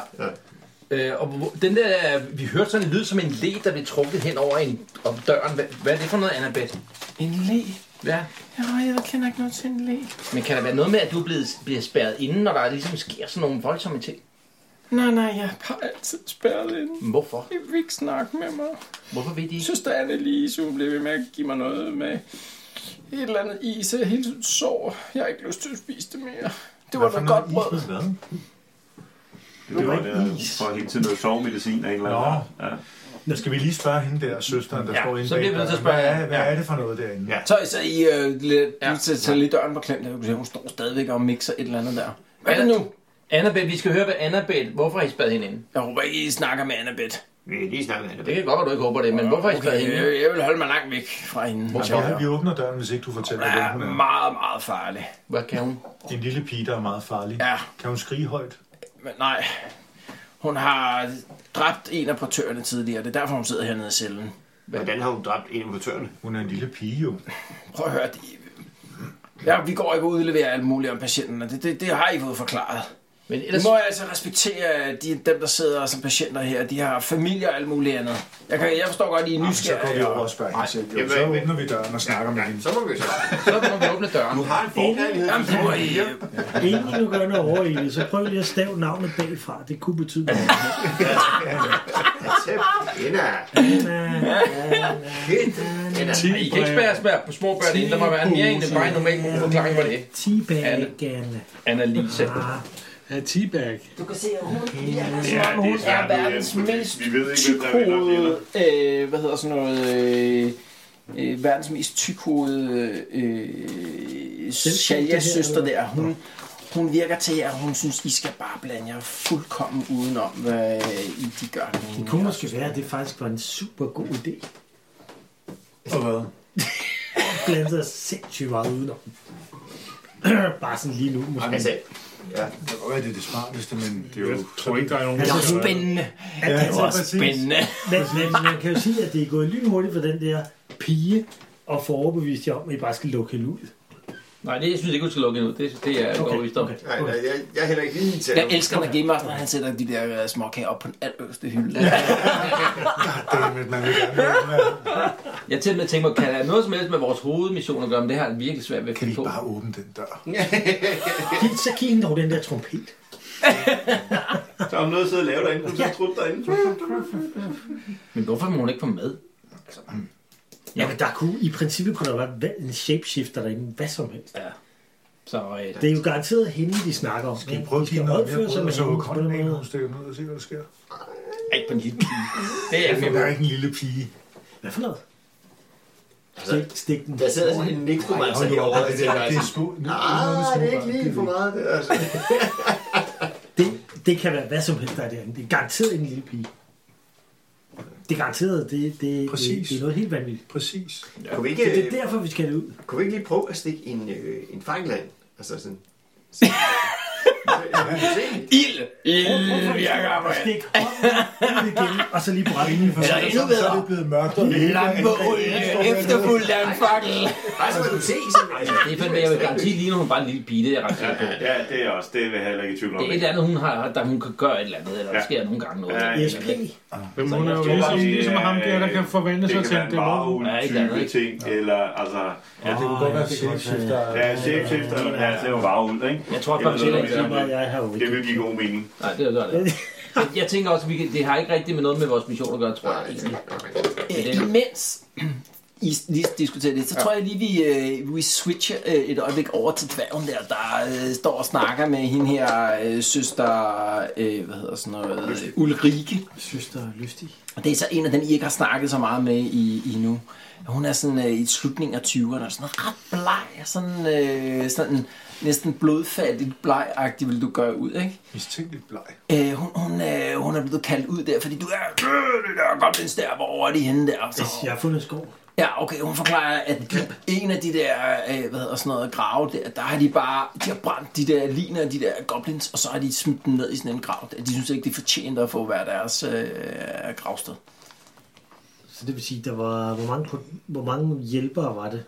Speaker 9: Øh, og hvor- den der, vi hørte sådan en lyd som en le, der blev trukket hen over en, om døren. Hvad, hvad er det for noget, Annabeth?
Speaker 3: En læ?
Speaker 9: Ja.
Speaker 3: Ja, jeg kender ikke noget til en læ.
Speaker 9: Men kan der være noget med, at du er blevet, bliver spærret inde, når der ligesom sker sådan nogle voldsomme ting?
Speaker 3: Nej, nej, jeg er bare altid spærret inde.
Speaker 9: Men Hvorfor?
Speaker 3: Jeg vil ikke snakke med mig.
Speaker 9: Hvorfor ved de
Speaker 3: Jeg
Speaker 9: ikke?
Speaker 3: synes, der er Annelise, hun blev ved med at give mig noget med et eller andet is. Jeg hele tiden sår. Jeg har ikke lyst til at spise det mere. Det var noget godt brød.
Speaker 10: Hvad?
Speaker 8: Det var der, for hele tiden noget sovemedicin af en eller anden.
Speaker 5: Nå. Nu skal vi lige spørge hende der, søsteren, der
Speaker 8: Ja,
Speaker 5: ja, står inde
Speaker 8: så bliver vi
Speaker 5: bag
Speaker 8: nødt til at
Speaker 5: døren.
Speaker 8: spørge-
Speaker 5: Hvad, er, hvad
Speaker 8: ja.
Speaker 5: er det for noget derinde?
Speaker 3: Så, så I øh, lidt, ja. tager lidt døren på klemt, og kan se, hun står stadigvæk og mixer et eller andet der. Hvad er det nu?
Speaker 9: Annabeth, vi skal høre, hvad Annabeth... Hvorfor har I spadet hende ind?
Speaker 3: Jeg håber ikke, I snakker med Annabeth.
Speaker 9: Vi har lige snakket med Annabeth. Det kan godt være, du ikke håber det, men hvorfor har I spadet hende ind?
Speaker 3: Jeg, jeg vil holde mig langt væk fra hende.
Speaker 5: Hvorfor? Ja, vi åbner døren, hvis ikke du fortæller,
Speaker 3: Hun er
Speaker 5: hvem hun er.
Speaker 3: meget, meget farlig.
Speaker 9: Hvad kan hun?
Speaker 5: En lille pige, der er meget farlig.
Speaker 3: Ja.
Speaker 5: Kan hun skrige højt?
Speaker 3: Men nej, hun har dræbt en af portørerne tidligere. Det er derfor, hun sidder hernede i cellen.
Speaker 7: Hvordan har hun dræbt en af portørerne?
Speaker 5: Hun er en lille pige jo.
Speaker 3: Prøv at høre, det... Ja, vi går ikke og udleverer alt muligt om patienten, og det, det, det har I fået forklaret.
Speaker 9: Men
Speaker 3: ellers... må jeg altså respektere, at de, dem, der sidder som patienter her, de har familier og alt muligt andet. Jeg, kan, jeg forstår godt, at I er
Speaker 5: Jamen, så
Speaker 3: nysgerrige.
Speaker 5: går vi over og spørger hende selv. Jo, så åbner vi døren og snakker med hende.
Speaker 7: Så må vi så.
Speaker 9: Så må vi åbne døren.
Speaker 7: Du har en
Speaker 6: forkærlighed
Speaker 7: forkærlighed.
Speaker 6: for Inden du gør noget overhældet, så prøv lige at stave navnet bagfra. Det kunne betyde noget.
Speaker 7: Altså,
Speaker 9: I kan ikke spære spære på små børn ind. Der må være en mere end en bare en normal forklaring på det.
Speaker 6: Teabagerne.
Speaker 9: Annalise.
Speaker 4: Ja, teabag.
Speaker 11: Du kan se, at hun
Speaker 3: Ja,
Speaker 11: er
Speaker 3: det er
Speaker 11: som om hun
Speaker 3: svært,
Speaker 11: er
Speaker 3: det er-
Speaker 11: verdens mest...
Speaker 8: øh, Vi ved ikke, hvem der er venner og fjender.
Speaker 3: tykhovedet, øh, hvad hedder sådan noget, øh, øh, verdens mest tykhovede øh, Shaljas søster der, hun, hun virker til, at hun synes, I skal bare blande jer fuldkommen udenom, hvad I de gør.
Speaker 6: Det kunne måske være, at det faktisk var en super god idé.
Speaker 5: Og
Speaker 6: <laughs>
Speaker 5: hvad?
Speaker 6: Blandet sig sindssygt meget udenom. <clears throat> Bare sådan lige nu, måske.
Speaker 7: Altså, ja.
Speaker 5: Det kan godt være, det er det smarteste, men det er jo... Jeg
Speaker 4: tror ikke, der er nogen,
Speaker 6: Altså,
Speaker 5: der gør det.
Speaker 3: spændende.
Speaker 5: Ja,
Speaker 6: Ja,
Speaker 5: det var
Speaker 6: altså,
Speaker 5: spændende.
Speaker 6: Men, men man kan jo sige, at det er gået lynhurtigt for den der pige og få overbevist jer om, at I bare skal lukke hende ud.
Speaker 9: Nej, det synes jeg ikke, du skal lukke hende ud. Det, det er jeg okay. overvist om. Okay.
Speaker 7: Nej, nej, jeg, jeg er heller ikke lige til
Speaker 3: Jeg elsker, når Game Master, han sætter de der øh, småkager op på den allerøverste hylde.
Speaker 5: Goddammit, man vil gerne høre den her.
Speaker 9: Jeg til med tænker mig, kan der noget som helst med vores hovedmission at gøre, men det her er virkelig svært ved at
Speaker 5: Kan vi
Speaker 9: finde
Speaker 5: ikke
Speaker 9: på.
Speaker 5: bare åbne den dør?
Speaker 6: Giv, så giv hende dog den der trompet.
Speaker 8: Der er noget at sidde og lave derinde. Du skal trutte derinde.
Speaker 9: Men hvorfor må hun ikke få med?
Speaker 6: Jamen, der kunne, i princippet kunne der være hvad- en shapeshifter derinde, hvad som helst.
Speaker 9: Så øh,
Speaker 6: Det er jo garanteret hende, de snakker om.
Speaker 5: Skal vi prøve at
Speaker 6: De skal
Speaker 5: give noget mere
Speaker 6: rådføre sig
Speaker 5: brød,
Speaker 6: med
Speaker 5: og så
Speaker 6: hende
Speaker 5: åbne
Speaker 6: på den
Speaker 5: hånden af,
Speaker 6: måde.
Speaker 5: hun stikker den ud og se, hvad der sker?
Speaker 9: ikke på en lille pige. Det er ikke
Speaker 5: Der er ikke en lille pige.
Speaker 6: Hvad for noget?
Speaker 8: Altså,
Speaker 6: Stik, stik den.
Speaker 7: Der sidder sådan en nekromancer herovre.
Speaker 5: det,
Speaker 7: Det
Speaker 5: er,
Speaker 7: er
Speaker 5: det
Speaker 7: altså.
Speaker 5: er små. nu-
Speaker 7: Ah, det er ikke lige for meget. Det, er altså.
Speaker 6: Det, det kan være hvad som helst, der er derinde. Det er garanteret en lille pige. Det er garanteret, det, det,
Speaker 5: Præcis.
Speaker 6: det, det er noget helt vanvittigt.
Speaker 5: Præcis.
Speaker 7: Kunne vi
Speaker 6: Det er
Speaker 7: ikke,
Speaker 6: derfor, vi skal have det ud.
Speaker 7: kunne vi ikke lige prøve at stikke en, øh, en fangland? Altså
Speaker 9: <laughs>
Speaker 7: sådan...
Speaker 3: Ild! Ild virker på
Speaker 6: Stik hånden ud igen, og så lige brænde den.
Speaker 5: For så,
Speaker 3: Eller endnu
Speaker 5: så, så er
Speaker 3: bedre.
Speaker 5: det blevet mørkt. og det hele er
Speaker 3: Lampeolie efterfuldt af en fakkel.
Speaker 7: Bare så man kunne se sådan... Altså,
Speaker 9: Det er fandme, jeg vil garanti lige, når hun bare er en lille pige, det er jeg ret sikker på.
Speaker 8: Ja, det er også. Det vil jeg heller ikke i tvivl om.
Speaker 9: Det er et eller andet, hun har, der hun kan gøre et eller andet, eller der
Speaker 8: Ja.
Speaker 9: sker nogle gange noget.
Speaker 8: Ja,
Speaker 6: SP.
Speaker 4: Men hun er jo
Speaker 8: tror
Speaker 4: ligesom,
Speaker 8: bare, det
Speaker 4: ligesom
Speaker 8: er-
Speaker 4: ham der, der kan forvandle sig til en
Speaker 8: Det kan være
Speaker 4: dæmon.
Speaker 8: en
Speaker 9: Ja, ikke andet,
Speaker 8: varulv-type
Speaker 9: ikke?
Speaker 8: ting, eller altså... Ja, det
Speaker 5: kunne godt være, det kunne
Speaker 8: Ja, shapeshifter, eller ja, det er jo varulv, ikke?
Speaker 9: Jeg tror
Speaker 8: Eller
Speaker 9: faktisk
Speaker 8: noget,
Speaker 9: heller ikke,
Speaker 8: der-
Speaker 6: Jamen, jeg har jo
Speaker 8: Det
Speaker 6: ikke.
Speaker 8: vil give god mening.
Speaker 9: Nej, det er jo sådan. Men Jeg tænker også, at vi kan, det har ikke rigtig med noget med vores mission at gøre, tror jeg. egentlig.
Speaker 3: Øh, imens I lige diskuterer det, så tror jeg lige, vi, øh, vi switcher øh, et øjeblik over til dværgen der, der øh, står og snakker med hende her øh, søster, øh, hvad hedder sådan noget, øh, Ulrike.
Speaker 6: Søster Lystig.
Speaker 3: Og det er så en af dem, I ikke har snakket så meget med i, i nu. Hun er sådan øh, i slutningen af 20'erne, og sådan ret bleg, sådan, øh, sådan næsten blodfattigt bleg-agtig, vil du gøre ud, ikke?
Speaker 5: Mistænkeligt bleg.
Speaker 3: Øh, hun, hun, øh, hun er blevet kaldt ud der, fordi du er... Øh, det der, godt, den der, hvor er de henne der? Så,
Speaker 6: Jeg har fundet skov.
Speaker 3: ja, okay, hun forklarer, at de, en af de der, øh, hvad hedder sådan noget, grave der, der har de bare, de har brændt de der liner af de der goblins, og så har de smidt dem ned i sådan en grav der. De synes ikke, det fortjener at få hver deres øh, gravsted.
Speaker 6: Så det vil sige, der var, hvor mange, pro- hvor mange hjælpere var det?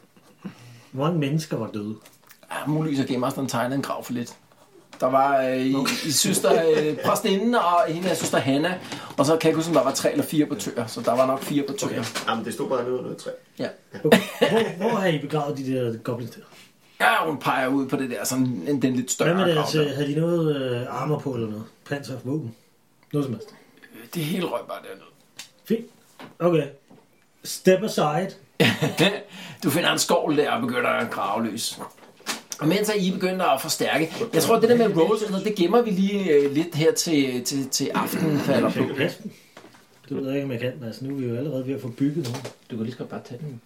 Speaker 6: Hvor mange mennesker var døde?
Speaker 3: Ja, muligvis har Game Masteren tegnet en grav for lidt. Der var øh, i, i søster øh, præstinden og hende af søster Hanna, og så kan jeg ikke huske, om der var tre eller fire portører, så der var nok fire portører. Okay.
Speaker 7: Jamen, det stod bare nede under noget træ.
Speaker 6: Okay. Hvor, hvor har I begravet de der goblins der?
Speaker 3: Ja, hun peger ud på det der, sådan en- den lidt større
Speaker 6: Hvad med
Speaker 3: grav.
Speaker 6: deres,
Speaker 3: Altså?
Speaker 6: øh, havde de noget øh, armor på eller noget? Panser, våben? Noget som helst.
Speaker 3: Det hele røg bare dernede.
Speaker 6: Fint. Okay. Step aside.
Speaker 3: <laughs> du finder en skovl der og begynder at grave løs. Og mens I begynder at forstærke, jeg tror, det der med rolls, og sådan noget, det gemmer vi lige øh, lidt her til, til, til aftenen falder på.
Speaker 6: Du ved jeg ikke, om jeg kan, Mads. Nu er vi jo allerede ved at få bygget nogen.
Speaker 2: Du kan lige så godt bare tage den.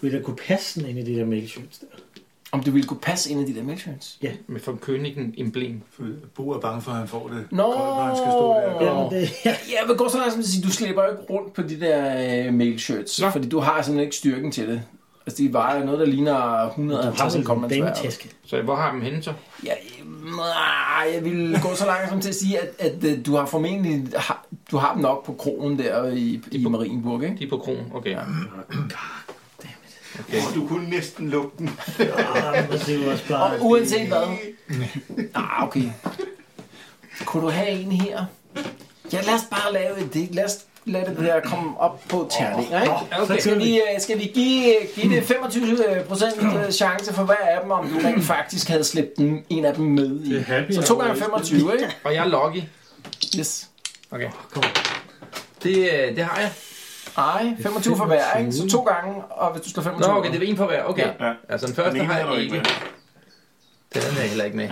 Speaker 6: Vil der kunne passe den ind i det der mailshirts der?
Speaker 3: Om du ville kunne passe ind i de der mailshirts?
Speaker 6: Ja.
Speaker 9: Med von Königen emblem.
Speaker 5: Bo er bange for, at han får det.
Speaker 3: Nå,
Speaker 5: Koldt, når han skal stå der.
Speaker 6: Jamen, det, ja.
Speaker 3: Ja, jeg vil gå så langt som at sige, du slipper jo ikke rundt på de der øh, mailshirts, ja. fordi du har simpelthen ikke styrken til det. Altså, de vejer noget, der ligner
Speaker 6: Du har
Speaker 3: 150
Speaker 6: vel en
Speaker 3: kommandsvær.
Speaker 6: dametaske.
Speaker 9: Så hvor har dem henne så?
Speaker 3: Ja, mm, ah, jeg vil gå så langt som til at sige, at, at øh, du har formentlig har, du har dem nok på kronen der i, i Marienburg, ikke?
Speaker 9: De er på krogen, okay. Ja.
Speaker 8: Og du kunne næsten lukke den.
Speaker 6: Ah, men det er jo også bare...
Speaker 3: Og uanset <laughs> hvad. Ah, okay. Kunne du have en her? Ja, lad os bare lave et dæk. Lad os lade det der komme op på terninger, ikke?
Speaker 6: Så
Speaker 3: Skal
Speaker 6: kører vi.
Speaker 3: vi, øh, skal vi give, give det 25% chance for hver af dem, om du rent faktisk havde slæbt den, en af dem med
Speaker 4: Det er happy
Speaker 3: i? Så to gange 25, ikke?
Speaker 9: Og jeg er Lucky.
Speaker 3: Yes.
Speaker 9: Okay. Det, øh, det har jeg.
Speaker 3: Ej, 25 for hver, ikke? Så to gange, og hvis du slår
Speaker 9: Nå,
Speaker 3: 25
Speaker 9: okay, det er en for hver. Okay. Ja. Altså den første
Speaker 8: Den ene
Speaker 9: har
Speaker 8: er der
Speaker 9: jeg
Speaker 8: ikke
Speaker 9: ikke.
Speaker 8: med.
Speaker 9: Den anden er jeg heller ikke med.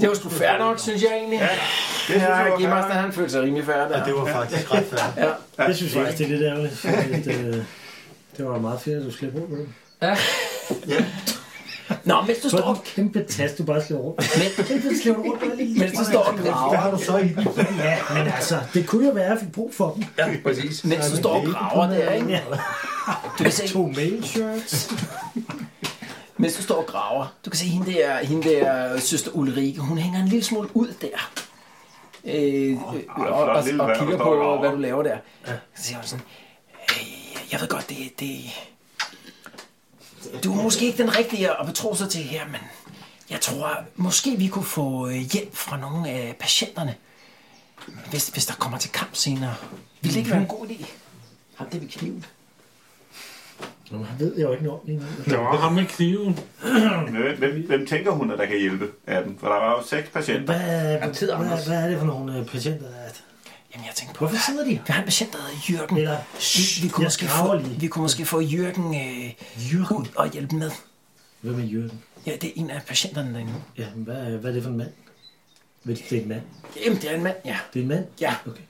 Speaker 3: det var sgu fair nok, synes jeg egentlig. Ja,
Speaker 8: Det synes jeg
Speaker 3: ja
Speaker 8: var
Speaker 3: Gimas,
Speaker 8: fair.
Speaker 3: han følte sig rimelig færdig.
Speaker 10: Ja, det var faktisk ret færdigt.
Speaker 6: Det synes jeg faktisk, det er lidt ærgerligt. fordi at, øh, Det var meget fedt, at du slipper rundt med dem.
Speaker 3: Nå, mens du
Speaker 6: Så
Speaker 3: står
Speaker 6: er det en kæmpe tas, du bare slipper rundt. Men den slipper rundt bare lige.
Speaker 3: mens du står og
Speaker 10: Hvad
Speaker 3: graver,
Speaker 10: har du så i den?
Speaker 6: Ja, men altså, det kunne jo være, at jeg fik brug for dem.
Speaker 9: Ja, præcis.
Speaker 3: mens du står og graver der, ikke?
Speaker 6: Ja.
Speaker 3: Du kan se,
Speaker 6: To mailshirts.
Speaker 3: mens du står og graver, du kan se hende der, hende der øh, søster Ulrike, hun hænger en lille smule ud der. Øh, oh, og, og, og,
Speaker 8: lille
Speaker 3: og
Speaker 8: mand,
Speaker 3: kigger
Speaker 8: der står og
Speaker 3: på,
Speaker 8: graver.
Speaker 3: hvad du laver der. Så siger hun sådan, øh, jeg ved godt, det, det... Du er måske ikke den rigtige at betro sig til her, men jeg tror, måske vi kunne få øh, hjælp fra nogle af patienterne, hvis, hvis der kommer til kamp senere. Vil det ikke være en god idé? Ham det vi kniven.
Speaker 6: Nå, men han ved jeg jo ikke noget om lige nu.
Speaker 4: Der var ham med kniven.
Speaker 8: Men Hvem, Øh, hvem, hvem tænker hun, at der kan hjælpe af dem? For der var jo seks patienter.
Speaker 6: Hvad, hvad, hvad er det for nogle øh, patienter, der er?
Speaker 3: Jamen, jeg tænkte på,
Speaker 6: Hvorfor sidder de?
Speaker 3: vi har en patient, der hedder Jørgen.
Speaker 6: Eller,
Speaker 3: Vi, vi, kunne
Speaker 6: jeg
Speaker 3: måske
Speaker 6: graver
Speaker 3: få,
Speaker 6: lige.
Speaker 3: vi kunne måske få Jørgen øh, ud
Speaker 6: Jørgen.
Speaker 3: og hjælpe med.
Speaker 6: Hvem er Jørgen?
Speaker 3: Ja, det er en af patienterne derinde.
Speaker 6: Ja, men hvad, øh, hvad er det for en mand? Ved det er en mand.
Speaker 3: Jamen, det er en mand, ja.
Speaker 6: Det er en mand?
Speaker 3: Ja.
Speaker 6: Okay.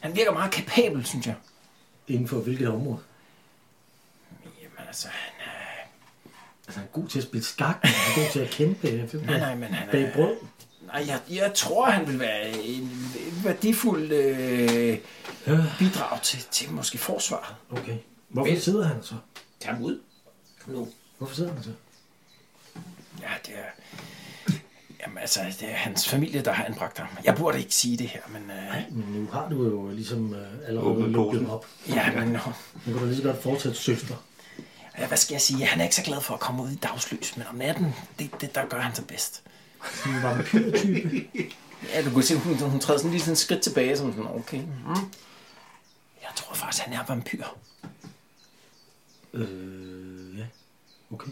Speaker 3: Han virker meget kapabel, synes jeg.
Speaker 6: Inden for hvilket område?
Speaker 3: Jamen, altså,
Speaker 6: Altså, han er god til at spille skak, han er god til at kæmpe. øh,
Speaker 3: nej, nej, men han
Speaker 6: Bag
Speaker 3: er...
Speaker 6: brød.
Speaker 3: Nej, jeg, jeg tror, han vil være en værdifuld øh, bidrag til, til måske forsvaret.
Speaker 6: Okay. Hvorfor sidder han så?
Speaker 2: Tag ham ud. Nu.
Speaker 6: Hvorfor sidder han så?
Speaker 3: Ja, det er... Jamen, altså, det er hans familie, der har anbragt ham. Jeg burde ikke sige det her, men... Øh,
Speaker 6: Men nu har du jo ligesom øh, allerede
Speaker 8: Åbnet
Speaker 6: lukket
Speaker 8: posen.
Speaker 6: op.
Speaker 3: ja, men... Øh,
Speaker 6: Nu kan du lige så godt fortsætte søster.
Speaker 3: Ja, hvad skal jeg sige? Han er ikke så glad for at komme ud i dagslys, men om natten, det, det der gør han sig bedst.
Speaker 6: Sådan en vampyrtype.
Speaker 3: Ja, du kunne se, hun, hun træder sådan lige sådan et skridt tilbage, som sådan, okay. Mm. Jeg tror faktisk, han er vampyr.
Speaker 6: øh, ja. Okay.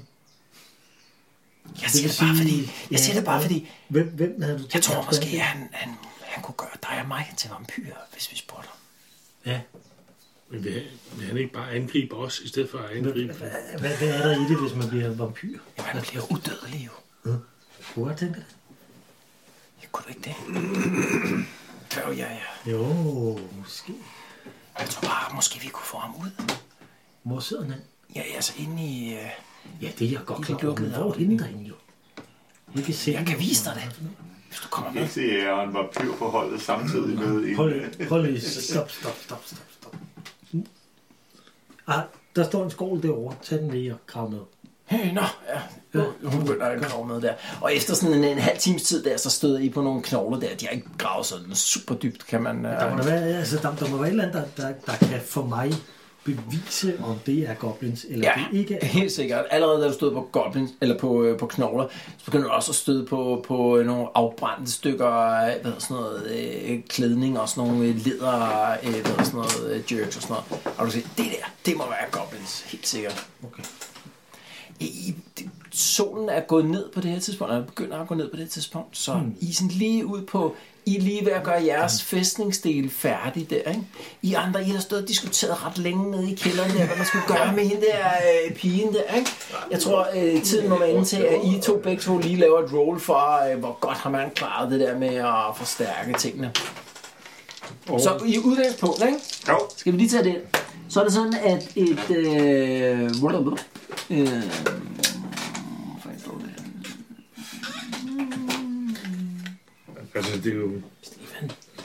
Speaker 3: Jeg siger det, bare,
Speaker 6: sige-
Speaker 3: fordi, jeg siger det bare,
Speaker 6: ja.
Speaker 3: fordi,
Speaker 6: Hvem, hvem havde du
Speaker 3: jeg
Speaker 6: tænkt dig
Speaker 3: tror
Speaker 6: at
Speaker 3: måske, at
Speaker 6: spørge?
Speaker 3: han, han, han kunne gøre dig og mig til vampyrer, hvis vi spurgte ham.
Speaker 6: Ja.
Speaker 4: Men vil, vil han ikke bare angribe os, i stedet for at angribe dem?
Speaker 6: Hvad, hvad er der i det, hvis man bliver vampyr?
Speaker 3: Jamen, han bliver udødelig jo.
Speaker 6: Hvor tænker jeg?
Speaker 3: Jeg kunne du ikke det? Gør jeg, ja.
Speaker 6: Jo, måske.
Speaker 3: Jeg tror bare, måske vi kunne få ham ud.
Speaker 6: Hvor sidder han?
Speaker 3: Ja, altså inde i... Øh,
Speaker 6: Ja, det er jeg godt
Speaker 3: I
Speaker 6: klar
Speaker 3: kan
Speaker 6: over.
Speaker 3: lukke
Speaker 6: Men
Speaker 3: det
Speaker 6: hvor
Speaker 3: op.
Speaker 6: henter han jo? Vi kan se.
Speaker 3: jeg kan vise dig det, hvis du kommer med.
Speaker 8: Ikke se, at jeg er en vampyr på holdet samtidig med en...
Speaker 6: Prøv
Speaker 8: øh,
Speaker 6: lige, prøv lige. Stop, stop, stop, stop, stop. Ah, der står en skål derovre. Tag den lige og krav med.
Speaker 3: Øh, nå, ja. Nu- Hun begynder at grave med der. Og efter sådan en, en halv times tid der, så støder I på nogle knogler der. De har ikke gravet sådan super dybt, kan man... Øh...
Speaker 6: Der må, der, være, altså, der, der må være et eller andet, der, der, der kan for mig bevise, om det er goblins, eller
Speaker 3: Ja,
Speaker 6: det ikke er.
Speaker 3: helt sikkert. Allerede da du stod på goblins, eller på, øh, på knogler, så begynder du også at støde på, på øh, nogle afbrændte stykker, øh, hvad hedder sådan noget, øh, klædning og sådan nogle øh, leder, øh, hvad hedder sådan noget, øh, jerks og sådan noget. Og du siger, det der, det må være goblins, helt sikkert.
Speaker 6: Okay.
Speaker 3: I, I, det, solen er gået ned på det her tidspunkt, eller begynder at gå ned på det her tidspunkt, så mm. isen lige ud på, I er lige ved at gøre jeres fæstningsdel færdig der, ikke? I andre, I har stået og diskuteret ret længe nede i kælderen der, hvad man skulle gøre med hende der øh, pigen der, ikke? Jeg tror, øh, tiden må være inde til, at I to begge to lige laver et roll for, øh, hvor godt har man klaret det der med at forstærke tingene. Så i udgangspunktet, ikke?
Speaker 7: Jo.
Speaker 3: Skal vi lige tage det? ind? Så er det sådan, at et... Øh, hvor er det? Øh, hvor fanden står det her?
Speaker 4: Altså, det er jo... Det er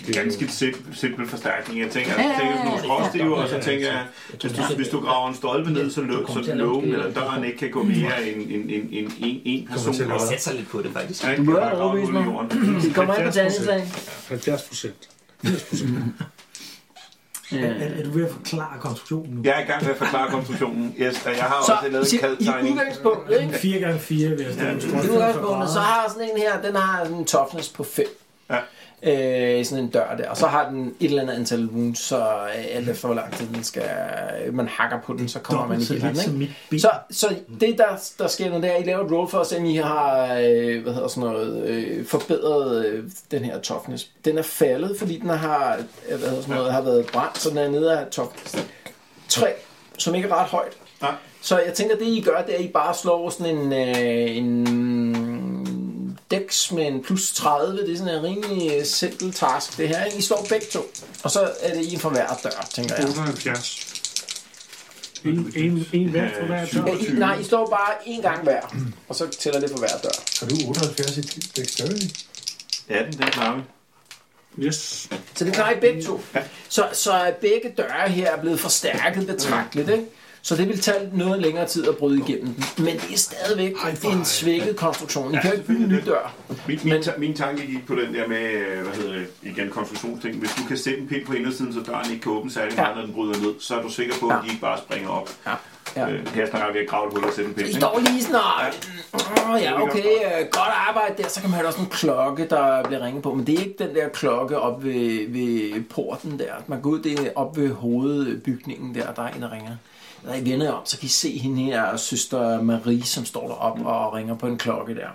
Speaker 4: jo-
Speaker 8: Ganske simp- simpel forstærkning. Jeg tænker,
Speaker 3: Ja,
Speaker 8: jeg
Speaker 3: ja,
Speaker 8: tænker sådan
Speaker 3: ja, ja,
Speaker 8: nogle
Speaker 3: ja. altså-
Speaker 8: skråstiver, og så tænker jeg, hvis du, hvis du graver en stolpe ned, så, løb, så lågen eller døren ikke kan gå
Speaker 3: Mm.
Speaker 8: mere end en, en, en, en, en person.
Speaker 10: til at
Speaker 8: op.
Speaker 10: lave-
Speaker 8: Ja,
Speaker 7: Sæt sig lidt på det, faktisk.
Speaker 8: ikke?
Speaker 3: Du må
Speaker 8: Bare grave
Speaker 3: overbevise
Speaker 8: hul i
Speaker 3: mig.
Speaker 8: jorden.
Speaker 3: Det <clears throat> kommer ind på
Speaker 4: 70%.
Speaker 3: danseslag.
Speaker 4: 70 procent.
Speaker 6: Er, er, er du ved at forklare konstruktionen nu?
Speaker 8: Jeg er i gang med at forklare konstruktionen. Yes, og jeg har
Speaker 3: Så
Speaker 8: også lavet
Speaker 3: i
Speaker 8: en kald tegning.
Speaker 3: udgangspunktet, ikke?
Speaker 6: 4x4 vil jeg stille
Speaker 3: I udgangspunktet, så har sådan en her, den har sådan en toughness på 5.
Speaker 8: Ja.
Speaker 3: Øh, sådan en dør der, og så har den et eller andet antal wounds, så øh, alt efter hvor lang tid den skal, man hakker på den, så kommer man
Speaker 6: Dobbelt så
Speaker 3: igennem,
Speaker 6: lidt
Speaker 3: ikke?
Speaker 6: som mit ben.
Speaker 3: Så, så det, der, der sker nu, det er, at I laver et roll for at se, om I har øh, hvad hedder sådan noget, øh, forbedret øh, den her toughness. Den er faldet, fordi den har, øh, hvad hedder sådan noget, har været brændt, så den er nede af toughness. 3, som ikke er ret højt.
Speaker 8: Nej.
Speaker 3: Så jeg tænker, det I gør, det er, at I bare slår sådan en, øh, en dex med en plus 30. Det er sådan en rimelig øh, simpel task, det her. ikke? I slår begge to, og så er det en for hver dør, tænker jeg.
Speaker 4: 78. En, en, en hver for hver dør.
Speaker 3: Ja, I, nej, I slår bare én gang hver, <clears throat> og så tæller det for hver dør.
Speaker 10: Har du 78 i dexterity?
Speaker 8: 18, den klarer vi.
Speaker 4: Yes.
Speaker 3: Så det klarer I begge to. Så, så er begge døre her er blevet forstærket betragteligt, ikke? Så det vil tage noget længere tid at bryde igennem den. Men det er stadigvæk det er en svækket konstruktion. I kan jo ikke bygge en ny dør.
Speaker 8: Min, min, ta- min tanke gik på den der med, øh, hvad hedder det, igen konstruktionsting. Hvis du kan sætte en pind på indersiden, så døren ikke kan åbne særlig
Speaker 3: Ja.
Speaker 8: meget, når den bryder ned, så er du sikker på, at de ikke bare springer op.
Speaker 3: Ja. Ja.
Speaker 8: Ja. Øh, her snakker vi ved at grave et hul og sætte en pind.
Speaker 3: I
Speaker 8: ikke?
Speaker 3: står lige sådan og... Åh, ja, okay, øh, godt arbejde der. Så kan man høre, der er sådan en klokke, der bliver ringet på. Men det er ikke den der klokke op ved, ved porten der. Man går ud, det er op ved hovedbygningen der, der er en, der ringer. Når I vender jer om, så kan I se hende her, søster Marie, som står deroppe og ringer på en klokke der.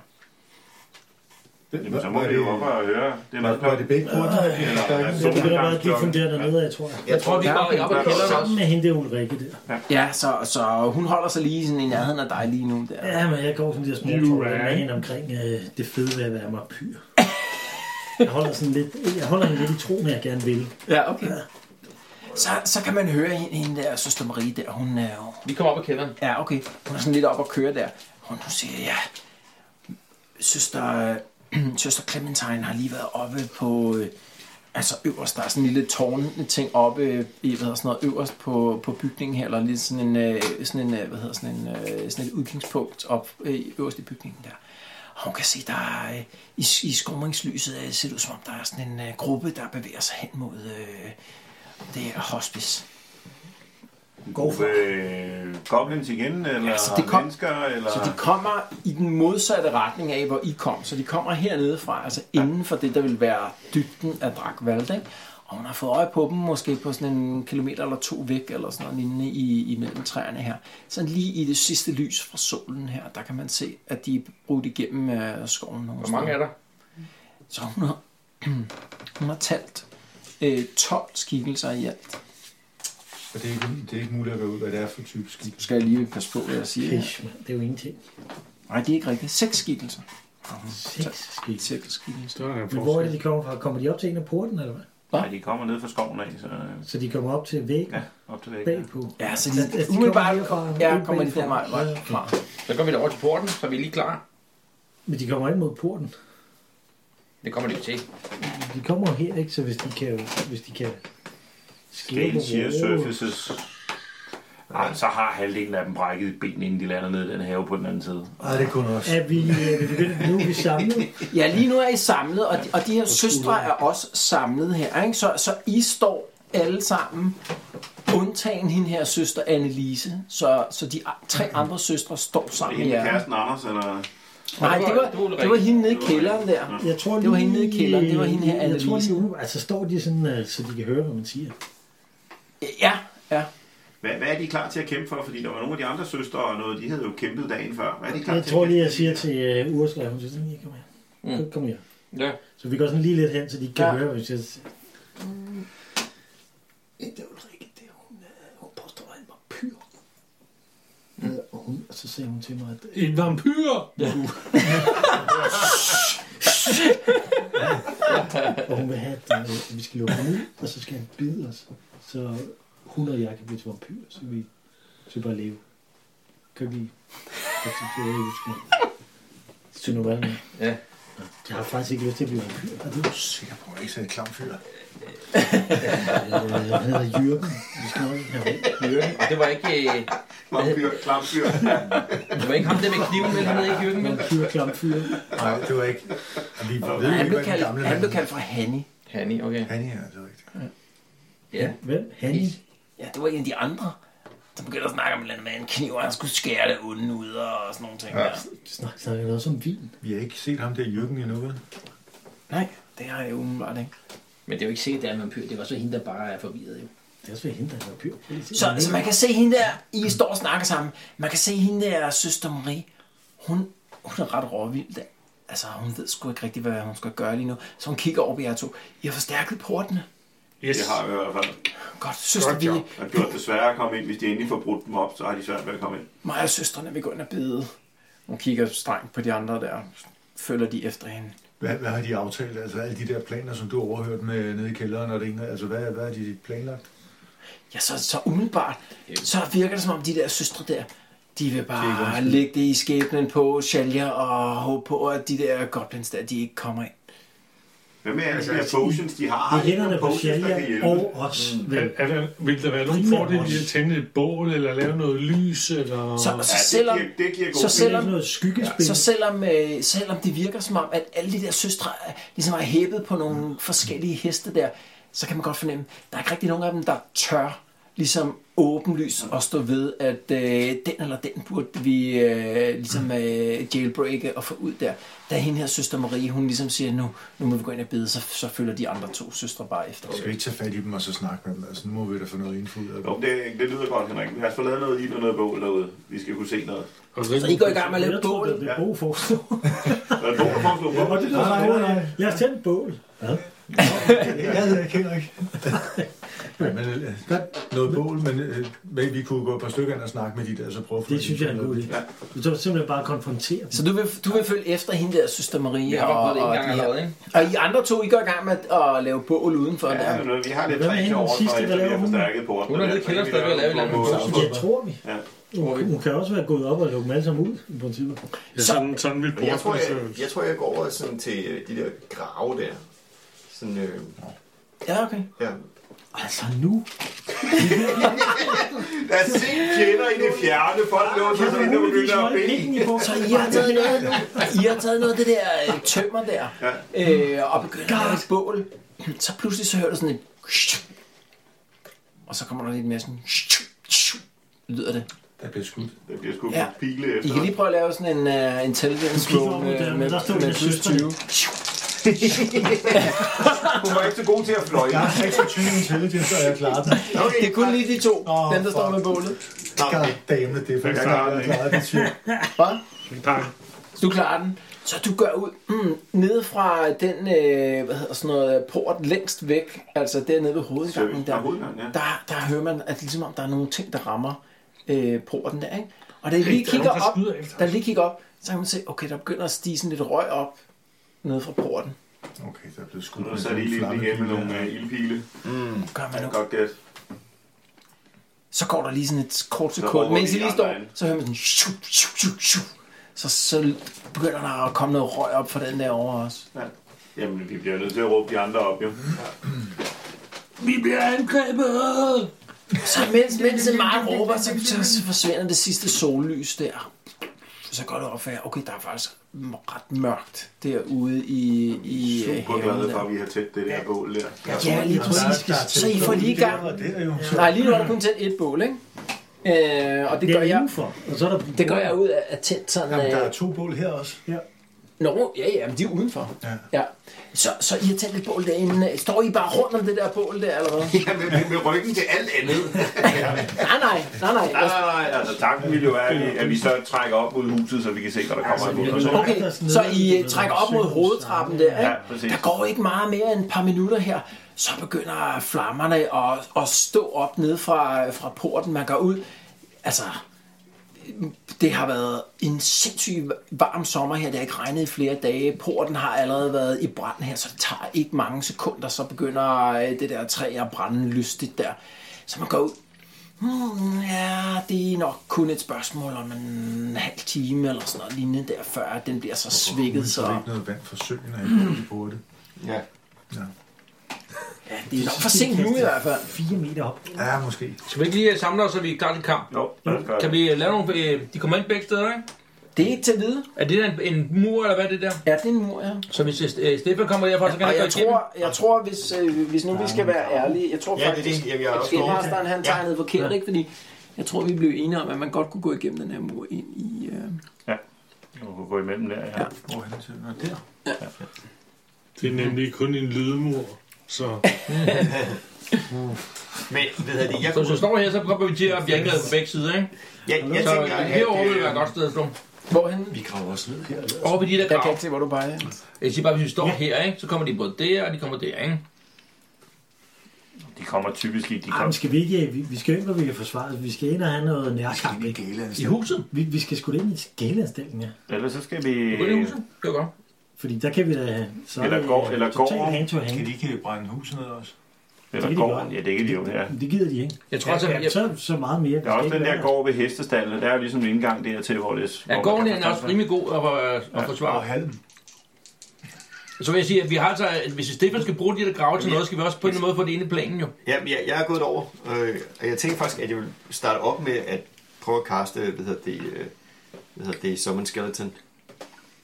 Speaker 8: Jamen, så må vi jo op og høre. Det er
Speaker 10: Var det
Speaker 8: noget,
Speaker 10: begge porter?
Speaker 6: Det vil da være diffunderet dernede, jeg tror.
Speaker 9: Jeg tror, vi
Speaker 3: Ja,
Speaker 9: bare
Speaker 3: okay.
Speaker 9: er oppe i kælderen også.
Speaker 6: Sammen med hende, det er Ulrikke der.
Speaker 3: Ja, så, så hun holder sig lige sådan i nærheden af dig lige nu der.
Speaker 6: Ja, men jeg går sådan de der små
Speaker 4: You
Speaker 6: tårer med
Speaker 4: right.
Speaker 6: hende omkring øh, det fede ved at være vampyr. Jeg holder, sådan lidt, jeg holder hende lidt i troen, jeg gerne vil.
Speaker 3: Ja, okay. Så, så kan man høre hende, hende der, søster Marie der, hun er jo...
Speaker 9: Vi kommer op i kælderen.
Speaker 3: Ja, okay. Hun er sådan lidt op og køre der. Og nu siger jeg, søster, <clears throat> øh, søster Clementine har lige været oppe på, øh, altså øverst, der er sådan en lille tårn ting oppe, øh, i, hvad hedder sådan noget, øverst på, på bygningen her, eller lige sådan en, øh, sådan en, øh, hvad hedder sådan en, øh, sådan et udkigspunkt op øh, øverst i bygningen der. Og hun kan se, der er, øh, i, i skumringslyset øh, ser det ud som om, der er sådan en øh, gruppe, der bevæger sig hen mod øh, det her hospice.
Speaker 6: Går for.
Speaker 8: øh, goblins igen, eller
Speaker 3: Ja,
Speaker 8: ja,
Speaker 3: så det kom-
Speaker 8: mennesker, eller...
Speaker 3: Så de kommer i den modsatte retning af, hvor I kom. Så de kommer hernede fra, altså inden for det, der vil være dybden af Drakvald, ikke? Og hun har fået øje på dem, måske på sådan en kilometer eller to væk, eller sådan noget lignende i, i mellem træerne her. Sådan lige i det sidste lys fra solen her, der kan man se, at de er brudt igennem øh, skoven. Nogle
Speaker 9: Hvor mange er der?
Speaker 3: Så hun har, <clears throat> hun har talt øh, 12 skikkelser i alt.
Speaker 10: Og det er, ikke, det er ikke muligt at være ud, hvad det er for type skib.
Speaker 3: Nu skal jeg lige passe på, hvad jeg siger. her.
Speaker 6: Fish, mand, det er jo ingenting.
Speaker 3: Nej, det er ikke rigtigt. Seks skikkelser.
Speaker 6: Seks skidt.
Speaker 3: Seks skikkelser.
Speaker 4: Der er en
Speaker 6: Men hvor er det, de kommer fra? Kommer de op til en af porten, eller hvad?
Speaker 8: Nej, de kommer ned fra skoven af, så øh,
Speaker 6: Så de kommer op til væggen
Speaker 8: ja, op til væggen.
Speaker 6: bagpå.
Speaker 3: Ja, så
Speaker 6: At- at
Speaker 3: de,
Speaker 6: Altså, de
Speaker 3: de
Speaker 6: kommer
Speaker 3: umiddelbart
Speaker 6: herfra,
Speaker 3: ja,
Speaker 6: ude
Speaker 3: kommer de
Speaker 6: bagfra.
Speaker 3: der vej vej fra.
Speaker 9: Så går vi over til porten, så er vi lige klar.
Speaker 6: Men de kommer ikke mod porten.
Speaker 9: Det kommer de jo til.
Speaker 6: De kommer jo her, ikke? Så hvis de kan... Hvis de kan skære
Speaker 8: Scale
Speaker 6: på
Speaker 8: shear
Speaker 6: vores-
Speaker 8: surfaces. Ej, så har halvdelen af dem brækket et ben, inden de lander ned i den have på den anden side.
Speaker 10: Nej, det er kun os.
Speaker 6: Er vi, er vi begyndt, nu er vi samlet.
Speaker 3: Ja, lige nu er I samlet, og de, og de her søstre er også samlet her. Ikke? Så, så I står alle sammen, undtagen hende her søster Annelise. Så, så de a- tre andre søstre står
Speaker 8: Er
Speaker 3: sammen
Speaker 8: det en
Speaker 3: med
Speaker 8: med
Speaker 3: jer.
Speaker 8: kæresten Anders, eller...
Speaker 3: Nej, det var, det var hende nede i kælderen der.
Speaker 6: Jeg tror,
Speaker 3: Det var hende nede i kælderen, det var hende her,
Speaker 6: Jeg tror,
Speaker 3: Annelise.
Speaker 6: de, ude- altså står de sådan, øh, så de kan høre, hvad man siger.
Speaker 3: Ja, ja.
Speaker 8: Hvad, hvad er de klar til at kæmpe for? Fordi der var nogle af de andre søstre og noget, de havde jo kæmpet dagen før. Hvad er de klar
Speaker 6: Jeg
Speaker 8: til
Speaker 6: tror
Speaker 8: at
Speaker 6: lige,
Speaker 8: kæmpe
Speaker 6: jeg siger til uh, Ursula, hun siger sådan, "Lige, kom her. Kom, kom her.
Speaker 2: Ja.
Speaker 6: Så vi går sådan lige lidt hen, så de ikke kan
Speaker 3: Ja.
Speaker 6: ja. høre, hvis jeg...
Speaker 10: Mm. Det er Ulrike, det er hun. øh, Hun påstår, at han var pyr. Mm. Og, hun, og så sagde hun til mig, at...
Speaker 4: En vampyr!
Speaker 6: øh, Ja. <laughs> og hun vil have, at, øh, at vi skal lukke ham ud, og så skal han bide os. Så hun og jeg kan blive til vampyrer, så vi skal bare leve. Kan vi acceptere det, vi skal. Så nu er
Speaker 9: Ja.
Speaker 6: Jeg har faktisk ikke lyst til at blive vampyr. Er du
Speaker 5: sikker på, at jeg ikke sådan en klam fyr?
Speaker 6: Øh, Han hedder Jørgen. Vi skal nok ikke have ham.
Speaker 9: Jørgen, og det var ikke... Øh,
Speaker 8: Vampyr, klam fyr.
Speaker 9: det var ikke ham der med kniven, men han hed ikke Jørgen, vel?
Speaker 6: Vampyr, klam fyr.
Speaker 5: Nej, det var ikke. Vi ved jo
Speaker 3: Han
Speaker 5: ikke,
Speaker 3: blev
Speaker 5: hvad den gamle
Speaker 3: kaldt, han
Speaker 5: mand
Speaker 3: blev kaldt for Hanni.
Speaker 9: Hanni, okay.
Speaker 5: Han er, det er rigtigt.
Speaker 9: Ja.
Speaker 6: Hvem? Hanni?
Speaker 3: Ja, det var en af de andre, der begyndte at snakke om en eller anden med en kniv, og han skulle skære det onde ud og sådan nogle ting. Altså, Ja. Der.
Speaker 6: Snak, snakker noget som vin.
Speaker 5: Vi har ikke set ham der Jørgen endnu, vel?
Speaker 3: Nej, det har jeg jo umiddelbart ikke.
Speaker 2: Men det er jo ikke sikkert, at det er en vampyr. Det var så hende, der bare er forvirret. Jo.
Speaker 6: Det er også ved at hente, at han er pyr. Prøv lige at se,
Speaker 3: Så,
Speaker 6: hvad
Speaker 3: så
Speaker 6: han
Speaker 3: man kan se hende der, I står og snakker sammen, man kan se hende der, søster Marie, hun, hun er ret råvild der. Altså, hun ved sgu ikke rigtigt, hvad hun skal gøre lige nu. Så hun kigger over på jer to. I har forstærket portene.
Speaker 4: Yes.
Speaker 8: Det har vi i hvert fald.
Speaker 3: Godt, søster Ville.
Speaker 8: Der gjort det sværere at komme ind. Hvis de endelig får brudt dem op, så har de svært ved at komme ind.
Speaker 3: Mig og søstrene vil gå ind og bede. Hun kigger strengt på de andre der. Følger de efter hende.
Speaker 5: Hvad, hvad har de aftalt? Altså alle de der planer, som du overhørte med nede i kælderen og det ene. Altså hvad, hvad har de planlagt?
Speaker 3: Ja, så, så umiddelbart, så virker det som om de der søstre der, de vil bare det lægge det i skæbnen på Shalja og håbe på, at de der goblins der, de ikke kommer ind.
Speaker 8: Hvad med alle de her potions, de har?
Speaker 6: Det
Speaker 8: Har
Speaker 6: er
Speaker 8: de nogle
Speaker 6: Altså, hænderne på
Speaker 8: potions, der kan
Speaker 6: Shalia
Speaker 8: hjælpe?
Speaker 6: og os.
Speaker 4: Er,
Speaker 3: Mm.
Speaker 6: Vel?
Speaker 4: er der, vil der være nogen fordel i at tænde et bål, eller lave noget lys, eller...
Speaker 3: Så, så,
Speaker 8: Ja, det
Speaker 3: selvom,
Speaker 8: giver- det giver god
Speaker 3: så
Speaker 6: Det er
Speaker 3: selvom,
Speaker 6: noget skyggespil.
Speaker 3: så selvom, øh, selvom det virker som om, at alle de der søstre er, ligesom har hæppet på
Speaker 9: Mm.
Speaker 3: nogle forskellige heste der, så kan man godt fornemme, at der er ikke rigtig nogen af dem, der tør ligesom åbenlys og stå ved, at øh, den eller den burde vi øh,
Speaker 9: Mm.
Speaker 3: ligesom øh, jailbreake og få ud der. Da hende her søster Marie, hun ligesom siger, nu, nu må vi gå ind og bede, så, så følger de andre to søstre bare efter.
Speaker 5: Skal vi ikke tage fat i dem og så snakke med dem? Altså nu må vi da få noget info ud af
Speaker 8: Jo,
Speaker 5: dem.
Speaker 8: det, det lyder godt, Henrik. Lad os få lavet noget i og noget bål derude. Vi skal kunne se noget.
Speaker 4: Og
Speaker 3: Så I går i gang med at lave
Speaker 6: Jeg
Speaker 3: et
Speaker 6: tror, det
Speaker 3: bål.
Speaker 6: bliver gode forslag.
Speaker 8: Er der nogen, der foreslår bål?
Speaker 5: det lyder
Speaker 6: <laughs> Nej, nej, nej. Jeg har tændt et bål.
Speaker 5: Jeg hedder ikke <laughs> Henrik. Nej, men, øh, noget bål, men, øh, men vi kunne gå et par stykker ind og snakke med de der, så prøve at få
Speaker 6: Det synes jeg er en god idé.
Speaker 8: Ja.
Speaker 6: Du tager simpelthen bare konfrontere dem.
Speaker 3: Så du vil, du vil følge efter hende der, søster Marie,
Speaker 9: Jeg har
Speaker 3: og,
Speaker 9: bare prøvet
Speaker 3: og,
Speaker 9: det en gang
Speaker 3: de her.
Speaker 9: allerede, ikke?
Speaker 3: og I andre to, I går i gang med at, at lave bål udenfor. Ja, der.
Speaker 8: Ja, men øh, vi har lidt
Speaker 6: Hvad med
Speaker 8: træ til
Speaker 6: hende, den
Speaker 8: over,
Speaker 6: sidste,
Speaker 8: for
Speaker 6: der
Speaker 8: efter vi
Speaker 6: laver
Speaker 8: har
Speaker 6: hun?
Speaker 8: forstærket porten.
Speaker 9: Hun er nede i kælderen stadigvæk og laver et eller andet
Speaker 6: Det tror vi.
Speaker 8: Ja.
Speaker 6: Hun, hun kan også være gået op og lukke dem alle sammen ud, i princippet.
Speaker 4: Ja, sådan, sådan vil
Speaker 7: Men jeg tror, jeg,
Speaker 4: portene
Speaker 7: jeg, tror, jeg går over sådan til øh, de der grave der. Sådan, øh,
Speaker 3: Ja, okay.
Speaker 7: ja.
Speaker 6: Altså nu.
Speaker 8: Lad os se fjender i det fjerne. Folk låser sig ind og begynder at bede.
Speaker 3: Så I har taget noget, I har taget noget af det der øh, tømmer der, ja. øh, og begyndt at lave et bål. Så pludselig så hører du sådan en... Og så kommer der lidt mere sådan... Lyder det.
Speaker 5: Der bliver skudt.
Speaker 8: Der bliver sgu
Speaker 3: Ja.
Speaker 8: pile
Speaker 3: I
Speaker 8: efter.
Speaker 3: kan lige prøve at lave sådan en uh, intelligence roll
Speaker 6: over der,
Speaker 3: med,
Speaker 6: men
Speaker 3: med,
Speaker 6: der står
Speaker 3: med
Speaker 6: min
Speaker 3: plus
Speaker 6: søster.
Speaker 3: 20.
Speaker 8: Hun var ikke så god til at fløje.
Speaker 5: Jeg har 26 intelligence, og jeg klarer <laughs> den.
Speaker 3: Det er kun lige de to,
Speaker 5: Åh,
Speaker 3: dem der står
Speaker 5: fuck.
Speaker 3: med bålet.
Speaker 5: God damn it, det er faktisk,
Speaker 8: Jeg klarer den
Speaker 5: jeg
Speaker 8: ikke.
Speaker 5: klarer det. Tyk.
Speaker 3: Så du klarer den. Så du gør ud mm, nede fra den øh, hvad hedder sådan noget, port længst væk, altså dernede ved hovedgangen,
Speaker 8: Der er
Speaker 3: der,
Speaker 8: hovedgang, ja.
Speaker 3: der, der hører man, at ligesom om der er nogle ting, der rammer øh, porten der, ikke? Og da I lige
Speaker 4: Hey, der er
Speaker 3: kigger
Speaker 4: nogen, der
Speaker 3: op,
Speaker 4: skyder efter
Speaker 3: da I
Speaker 4: os.
Speaker 3: lige kigger op, så kan man se, okay, der begynder at stige sådan lidt røg op nede fra porten.
Speaker 5: Okay, der er blevet skudt.
Speaker 8: Og så er de lige lidt igen med nogle øh, ildpile.
Speaker 3: Gør man nu.
Speaker 8: Godt gæt.
Speaker 3: Så går der lige sådan et kort
Speaker 8: råber
Speaker 3: sekund,
Speaker 8: de
Speaker 3: mens I lige
Speaker 8: andre
Speaker 3: står,
Speaker 8: ind.
Speaker 3: så hører man sådan, shu, shu, shu, shu. Så, så begynder der at komme noget røg op fra den der over også.
Speaker 8: Ja. Jamen, vi bliver nødt til at råbe de andre op, jo.
Speaker 3: Så mens, mens det meget råber, så, så, så forsvinder det sidste sollys der. Så går det op for jer, okay, der er faktisk ret mørkt derude i, i øh,
Speaker 8: Super
Speaker 3: haven
Speaker 8: glade for, at
Speaker 3: der.
Speaker 8: vi har tæt det der bål der.
Speaker 3: Ja, lige præcis. Så I får lige i gang.
Speaker 5: Det er jo
Speaker 3: Nej, lige nu er der kun tændt et bål, ikke? Øh, og det
Speaker 6: Det
Speaker 3: gør
Speaker 6: er
Speaker 3: jeg,
Speaker 6: indenfor. Og så er der
Speaker 3: det gør jeg ud af at tænde sådan...
Speaker 5: Jamen, der er
Speaker 3: Øh,
Speaker 5: to bål her også.
Speaker 6: Ja.
Speaker 3: Nå, ja, ja, men de er udenfor. Ja. ja. Så, så I har tændt et bål derinde. Står I bare rundt om det der bål der, eller hvad?
Speaker 7: Ja, med, med, med ryggen til alt andet.
Speaker 3: nej, nej, nej, nej.
Speaker 8: Nej, nej, nej. Altså, tanken ville jo være, at vi- at vi så trækker op mod huset, så vi kan se, hvad der kommer imod. Og så,
Speaker 3: Okay, så I uh, trækker op mod hovedtrappen der, ikke?
Speaker 8: Ja, præcis.
Speaker 3: Der går ikke meget mere end et par minutter her. Så begynder flammerne at, at stå op ned fra, fra porten, man går ud. Altså, det har været en sindssygt varm sommer her. Det har ikke regnet i flere dage. Porten har allerede været i brand her, så det tager ikke mange sekunder. Så begynder øh, det der træ at brænde lystigt der. Så man går ud. Hmm, ja, det er nok kun et spørgsmål om en halv time eller sådan noget lignende der, før den bliver så svækket.
Speaker 5: Der er
Speaker 3: Så
Speaker 5: ikke noget vand for søen, og ikke burde.
Speaker 7: Ja.
Speaker 3: det er nok for sent nu i hvert fald.
Speaker 6: 4 meter op.
Speaker 5: Ja, måske.
Speaker 9: Skal vi ikke lige øh, samle os, så vi er klar til kamp?
Speaker 8: jo, lad os gøre
Speaker 9: Kan
Speaker 8: det.
Speaker 9: vi øh, lave nogle... øh, De kommer ind begge steder, ikke?
Speaker 3: Det er ikke til at vide.
Speaker 9: Er det der en, en mur, eller hvad er det der?
Speaker 3: Ja, det er en mur, ja.
Speaker 9: Så hvis øh, Stefan kommer derfra, så kan
Speaker 3: Og
Speaker 9: han gå
Speaker 3: jeg
Speaker 9: igennem.
Speaker 3: tror, jeg tror hvis, øh, hvis nu vi skal være ærlige, jeg tror
Speaker 7: Ja, det er
Speaker 3: faktisk,
Speaker 7: det. Jamen, jeg er
Speaker 3: at
Speaker 7: også
Speaker 3: Skinmasteren han
Speaker 7: Ja.
Speaker 3: tegnede forkert, ikke? Fordi jeg tror, vi blev enige om, at man godt kunne gå igennem den her mur ind i... Øh...
Speaker 8: Du kan gå imellem der, ja.
Speaker 5: Hvor er han til? Nå, der.
Speaker 4: Det er nemlig kun en lydmur, så
Speaker 7: Men ved jeg det, jeg kunne...
Speaker 9: Så hvis du står her, så kommer vi til at blive angrebet på begge sider, ikke?
Speaker 7: Jeg, jeg
Speaker 9: Så
Speaker 7: tænker, at...
Speaker 9: herovre vil
Speaker 7: øh,
Speaker 9: være et godt sted at stå.
Speaker 3: Hvorhen?
Speaker 5: Vi graver os ned her.
Speaker 9: Over på de der
Speaker 3: Jeg kan
Speaker 9: grav.
Speaker 3: ikke se, hvor du bare er.
Speaker 9: Jeg siger bare, hvis vi står her, ikke? Så kommer de både der, og de kommer der, ikke?
Speaker 8: De kommer typisk i... De
Speaker 6: Ej, men
Speaker 8: kommer.
Speaker 6: skal vi ikke, øh, vi, vi skal jo ikke, hvor vi kan forsvare os. Vi skal ind og have noget nærkamp, ikke?
Speaker 9: I huset.
Speaker 6: Vi, vi skal sgu da ind i skalaanstillingen, ja.
Speaker 8: Ellers så skal vi...
Speaker 9: Gå ind i huset. Det var godt.
Speaker 6: Fordi der kan vi da... Så er
Speaker 8: Eller
Speaker 6: det,
Speaker 8: går-
Speaker 6: øh,
Speaker 8: eller
Speaker 6: totalt
Speaker 8: går-
Speaker 6: hand to hand.
Speaker 5: Kan de
Speaker 8: øh,
Speaker 5: ikke brænde huset ned også?
Speaker 8: Eller
Speaker 6: Det kan de
Speaker 8: gården.
Speaker 6: gøre.
Speaker 8: Ja, det kan de jo, ja.
Speaker 6: Det gider de ikke.
Speaker 9: Jeg tror altså,
Speaker 6: ja,
Speaker 9: jeg,
Speaker 6: så, så meget mere.
Speaker 8: Der er også den der gård ved hestestallene. Der er jo ligesom en indgang dertil, hvor det...
Speaker 9: Ja,
Speaker 8: hvor
Speaker 9: gården
Speaker 8: man
Speaker 9: der
Speaker 8: kan
Speaker 9: er også
Speaker 8: forstå sig.
Speaker 9: rimelig god at, øh, at
Speaker 5: Og
Speaker 9: forsvare.
Speaker 5: halm.
Speaker 9: Så vil jeg sige, at vi har altså, at hvis Stefan skal bruge de der grave til noget, skal vi også på en eller anden måde få det inde i planen jo.
Speaker 7: Jamen, jeg, jeg er gået over, øh, og jeg tænkte faktisk, at jeg vil starte op med at prøve at kaste, hvad hedder det, øh, hvad hedder det, Summon Skeleton.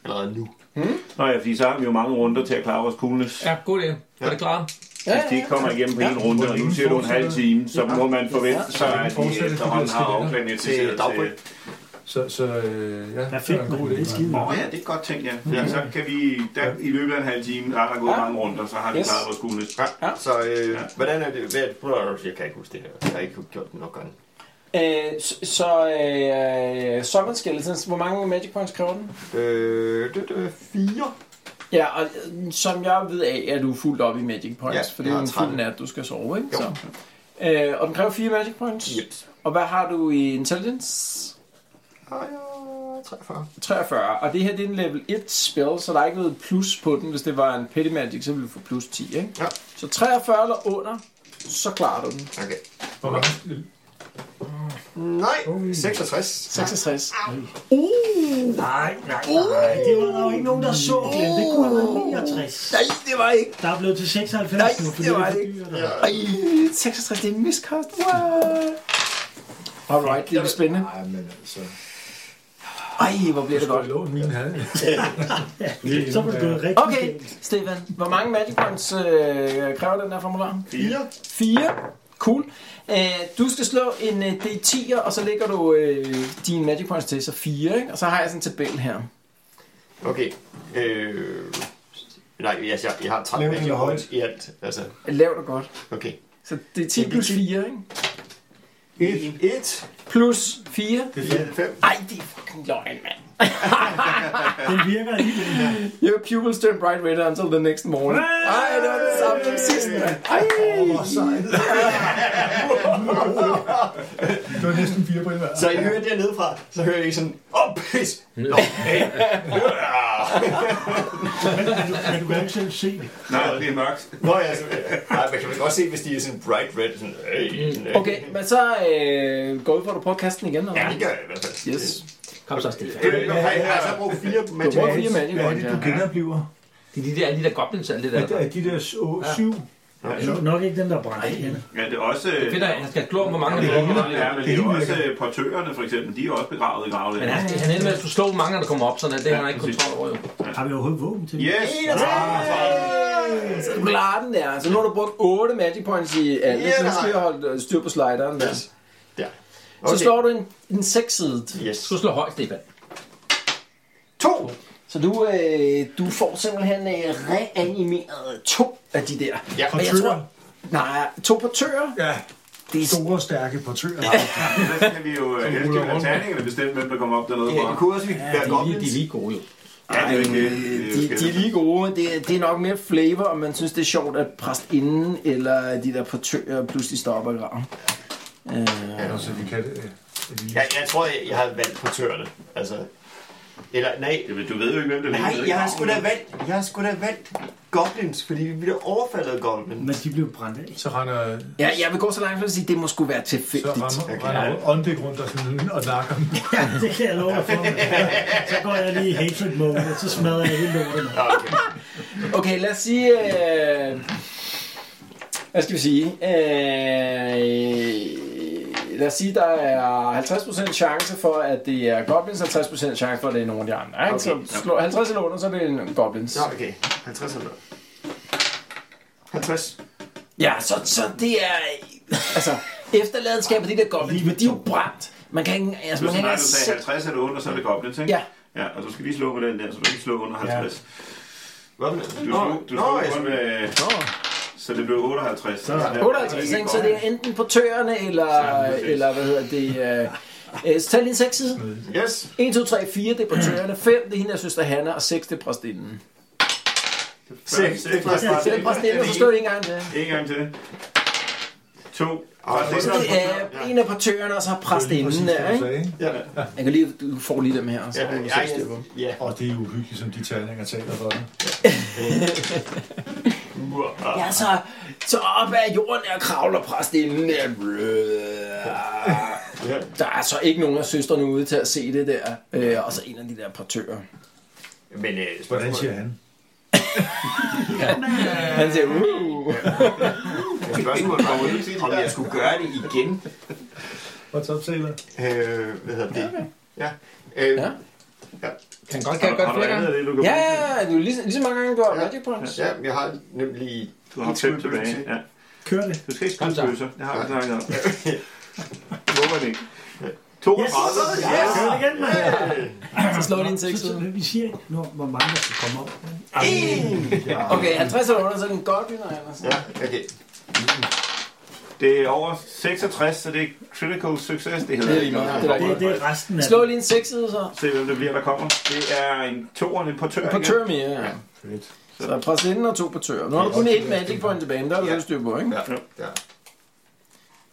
Speaker 7: Allerede nu.
Speaker 8: Nå ja, fordi så har vi jo mange runder til at klare vores coolness.
Speaker 9: Ja, god idé. Er det klart?
Speaker 8: Hvis de ikke kommer igennem på en runde, og nu siger du en halv time, så må man forvente sig, at de efterhånden har afplanetiseret
Speaker 7: Til dagbryg.
Speaker 8: til...
Speaker 5: Så, så øh, ja,
Speaker 6: Perfekt,
Speaker 5: det er en god
Speaker 6: mand.
Speaker 5: idé.
Speaker 6: Det er skide
Speaker 8: Nå ja, det er et godt ting, ja. ja. Så kan vi der, i løbet af en halv time, der er der gået mange runder, så har vi
Speaker 3: Yes.
Speaker 8: klaret vores coolness.
Speaker 7: Ja, så øh, hvordan er det? Hvad, prøv at, jeg kan ikke huske det her. Jeg har ikke gjort det nok gange.
Speaker 3: Øh, så så øh, Summon Skeletons, hvor mange Magic Points kræver den?
Speaker 7: Øh, det, det er fire.
Speaker 3: Ja, og øh, som jeg ved af, er du fuldt op i Magic Points,
Speaker 7: Ja,
Speaker 3: for det er
Speaker 7: jeg
Speaker 3: jo en
Speaker 7: har 13.
Speaker 3: fuld nat, du skal sove, ikke?
Speaker 7: Jo.
Speaker 3: Så. Øh, og den kræver fire Magic Points.
Speaker 7: Yep.
Speaker 3: Og hvad har du i Intelligence?
Speaker 7: Og jeg er 43.
Speaker 3: 43, og det her det er en level 1 spil, så der er ikke noget plus på den. Hvis det var en Petty Magic, så ville du få plus 10, ikke?
Speaker 7: Ja.
Speaker 3: Så 43 eller under, så klarer du den.
Speaker 7: Okay.
Speaker 5: Hvor mange?
Speaker 7: Nej, 66.
Speaker 3: 66.
Speaker 6: Nej, det var der jo ikke nogen, der så, Glenn. Det kunne have været 69.
Speaker 3: Nej, det var ikke.
Speaker 6: Der er blevet til 96
Speaker 3: Nej,
Speaker 6: nu, fordi
Speaker 3: det
Speaker 6: det,
Speaker 3: var
Speaker 6: er for
Speaker 3: det ikke.
Speaker 6: dyrt. Ja.
Speaker 3: Ej, 66, det er en miskost. What? Alright, det er spændende.
Speaker 5: Nej, men altså.
Speaker 3: Ej, hvor bliver det
Speaker 5: Godt
Speaker 3: godt.
Speaker 5: lån, min havde.
Speaker 6: Så var det gået rigtig
Speaker 3: Okay, Stefan, hvor mange magic points øh, kræver den her formular?
Speaker 8: 4.
Speaker 3: 4. Cool. Øh, du skal slå en øh, D10'er, og så lægger du øh, dine magic points til, så 4, ikke? Og så har jeg sådan en tabel her.
Speaker 7: Okay. Øh, nej, jeg, jeg, jeg har 13
Speaker 5: Lav den
Speaker 7: magic
Speaker 5: højt.
Speaker 7: points i alt. Altså,
Speaker 3: Lav det godt.
Speaker 7: okay.
Speaker 3: Så det er 10 plus 4, ikke?
Speaker 7: 1. 1.
Speaker 3: Plus 4.
Speaker 7: 5.
Speaker 3: Ej, det er fucking løgn, mand.
Speaker 6: Den virker alligevel.
Speaker 3: Your pupils turn bright red until the next morning. Ej, det var det samme som sidst, mand. Ej,
Speaker 5: Hvor sejt. Det var næsten fire på en hver.
Speaker 7: Så I hører dernede fra, så hører I sådan, åh, oh, pis! Nå, hey.
Speaker 6: Men du kan ikke selv se det.
Speaker 8: Nej, det er mørkt.
Speaker 7: Nå ja, så, nej, man kan vel godt se, hvis de er sådan bright red, sådan,
Speaker 2: Mm.
Speaker 7: hey, hey.
Speaker 3: Okay, men så øh, går ud på, at du prøver at kaste den igen, eller
Speaker 7: Ja,
Speaker 3: hvad?
Speaker 7: det gør jeg i hvert fald.
Speaker 3: Yes.
Speaker 9: Kom så, Stefan.
Speaker 7: Øh, øh, Har I har I så brugt fire
Speaker 3: Du bruger
Speaker 7: matematik?
Speaker 3: fire mand,
Speaker 5: Hvad er det, du
Speaker 3: ikke?
Speaker 5: genoplever?
Speaker 9: Det er de der, de der goblins, alt det der.
Speaker 5: Er det- Er de der så- syv?
Speaker 6: Nok- Nok ikke den, der brænder igen.
Speaker 8: Ja, det er også...
Speaker 9: Det er fedt, at øh, han skal klå, hvor mange der
Speaker 8: Det
Speaker 9: kommer.
Speaker 8: er, men det er jo også øh, portørerne, for eksempel. De er jo også begravet i graven.
Speaker 9: Men han, han ender med at skulle slå, hvor mange der kommer op, så det har han ikke kontrol over jo.
Speaker 6: Har vi overhovedet våben til det?
Speaker 8: Yes! Ah,
Speaker 3: Så du klarer den der. Så nu har du brugt 8 magic points i alt.
Speaker 7: Ja,
Speaker 3: så nu
Speaker 7: nej.
Speaker 3: skal jeg holde øh, styr på slideren der.
Speaker 7: Yes. Der.
Speaker 3: Så
Speaker 7: Okay.
Speaker 3: slår du en, en 6
Speaker 7: Yes.
Speaker 9: Du slår højt, Stefan.
Speaker 7: To!
Speaker 3: Så Så du, øh, du får simpelthen øh, reanimeret to af de der.
Speaker 7: Ja,
Speaker 3: Og jeg
Speaker 5: portører.
Speaker 3: tror, nej, to portører.
Speaker 5: Ja,
Speaker 3: Det er
Speaker 5: store, stærke portører.
Speaker 8: Så kan vi jo øh, helst lade terningerne bestemme, hvem der kommer op dernede
Speaker 7: Ja,
Speaker 8: fra.
Speaker 7: det kunne også være
Speaker 2: De, de er
Speaker 7: goblins.
Speaker 2: lige gode jo.
Speaker 8: Ja, det er jo ikke det.
Speaker 3: de, de er lige gode. Det, er- det er nok mere flavor, om man synes, det er sjovt, at præstinden eller de der portører pludselig stopper og graver. Øh,
Speaker 5: Ja, så vi kan... Øh, at vi lige-
Speaker 7: Ja, jeg tror, jeg, jeg har valgt portørerne. Altså, eller nej,
Speaker 8: Jamen, du ved jo ikke, hvem det er.
Speaker 7: nej,
Speaker 8: Du ved
Speaker 7: jeg har
Speaker 8: ikke
Speaker 7: sgu da valgt, jeg har sgu da valgt goblins, fordi vi bliver overfaldet af goblins.
Speaker 6: Men de blev brændt af.
Speaker 5: Så render,
Speaker 3: ja, jeg vil gå så langt for at sige, at det må sgu være
Speaker 5: så
Speaker 3: tilfældigt.
Speaker 5: rammer, render åndæk rundt og, sådan, <laughs> og nakker dem.
Speaker 6: Det kan jeg love dig for. mand. Så går jeg lige i hatred mode, og så smadrer jeg hele lortet. mand.
Speaker 3: Okay, lad os sige... Øh, hvad skal vi sige? Øh, lad os sige, der er 50% chance for, at det er goblins, og 50% chance for, at det er nogle af de andre. Ikke?
Speaker 7: Okay,
Speaker 3: Så slå 50 eller under, så er det en goblins.
Speaker 7: Nå, okay. 50 eller noget. 50.
Speaker 3: Ja, så, så det er... Altså, efterladenskabet, det der goblins, men de er jo brændt. Man kan ikke... Altså,
Speaker 8: Du
Speaker 3: man kan ikke engang
Speaker 8: snakker, du sagde
Speaker 3: se...
Speaker 8: 50 eller under, så er det goblins, ikke?
Speaker 3: Ja.
Speaker 8: Ja, og du skal lige slå med den der, så du ikke slå under 50.
Speaker 7: Hvad med
Speaker 8: Du
Speaker 7: det?
Speaker 8: slog, du slog kun med... Så det blev 58. Så, ja,
Speaker 3: 58, ikke? Så det er enten portørerne, eller, eller hvad hedder det... Øh, øh, så tag lige en seksside.
Speaker 7: Yes.
Speaker 3: 1, 2, 3, 4, det er portørerne. 5, det er hende, der søster Hanna. Og 6, det er præstinden.
Speaker 7: 6. Det var
Speaker 3: Så det er præstinden, og så slår det ikke engang det.
Speaker 8: En gang til. To.
Speaker 7: Ej,
Speaker 8: Og det
Speaker 3: Så
Speaker 8: er
Speaker 3: det er en af portørerne, og så har præstinden der, ikke?
Speaker 7: Ja.
Speaker 3: Jeg kan lige, du får lige dem her, og så
Speaker 7: Ja,
Speaker 3: kan du
Speaker 7: ja,
Speaker 3: selv styre på dem.
Speaker 7: ja.
Speaker 5: Og det er uhyggeligt, som de terninger taler for dig.
Speaker 3: Ja, så, så op af jorden der kravler præstinden der. Der er så ikke nogen af søstrene ude til at se det der. Øh, og så en af de der portører.
Speaker 7: Men øh,
Speaker 5: Hvordan siger
Speaker 7: spørgsmålet,
Speaker 5: han?
Speaker 3: Han siger, uh.
Speaker 7: spørgsmålet var, jo, om jeg skulle gøre det igen.
Speaker 5: What's up, Sailor?
Speaker 7: Øh, hvad hedder det? Ja. Øh,
Speaker 3: Ja.
Speaker 9: Kan godt, kan jeg godt
Speaker 8: Har du
Speaker 9: flere
Speaker 8: andet
Speaker 9: gange.
Speaker 8: af det, du kan
Speaker 3: Ja, ja, ja, du er lige, lige så mange gange, du har magic points.
Speaker 7: ja, jeg har nemlig...
Speaker 8: Du har fem tilbage. Ja.
Speaker 6: Kør det.
Speaker 8: Du skal ikke
Speaker 9: Kom
Speaker 8: spille
Speaker 9: så.
Speaker 8: bøsser. Det har vi snakket om. Må man ikke. 32.
Speaker 7: Ja,
Speaker 3: Så slår din seks
Speaker 6: Så, så,
Speaker 3: ud.
Speaker 6: vi siger ikke, når, hvor mange der skal komme op.
Speaker 3: Okay, 50 eller under, så er den godt, vinder Anders.
Speaker 7: ja, okay.
Speaker 8: Det er over 66, så det er critical success, det hedder.
Speaker 3: Det er lige meget. Det er
Speaker 6: Det, det er resten af
Speaker 3: Slå lige en seks ud, så.
Speaker 8: Se, hvem det bliver, der kommer. Det er en toer, en portør. ikke?
Speaker 3: Portør mere, ja.
Speaker 5: Fedt.
Speaker 3: Så der er præstinden og to portører. Nu har du kun et magic point tilbage, men der er du selv styr på, ikke?
Speaker 7: Ja, ja.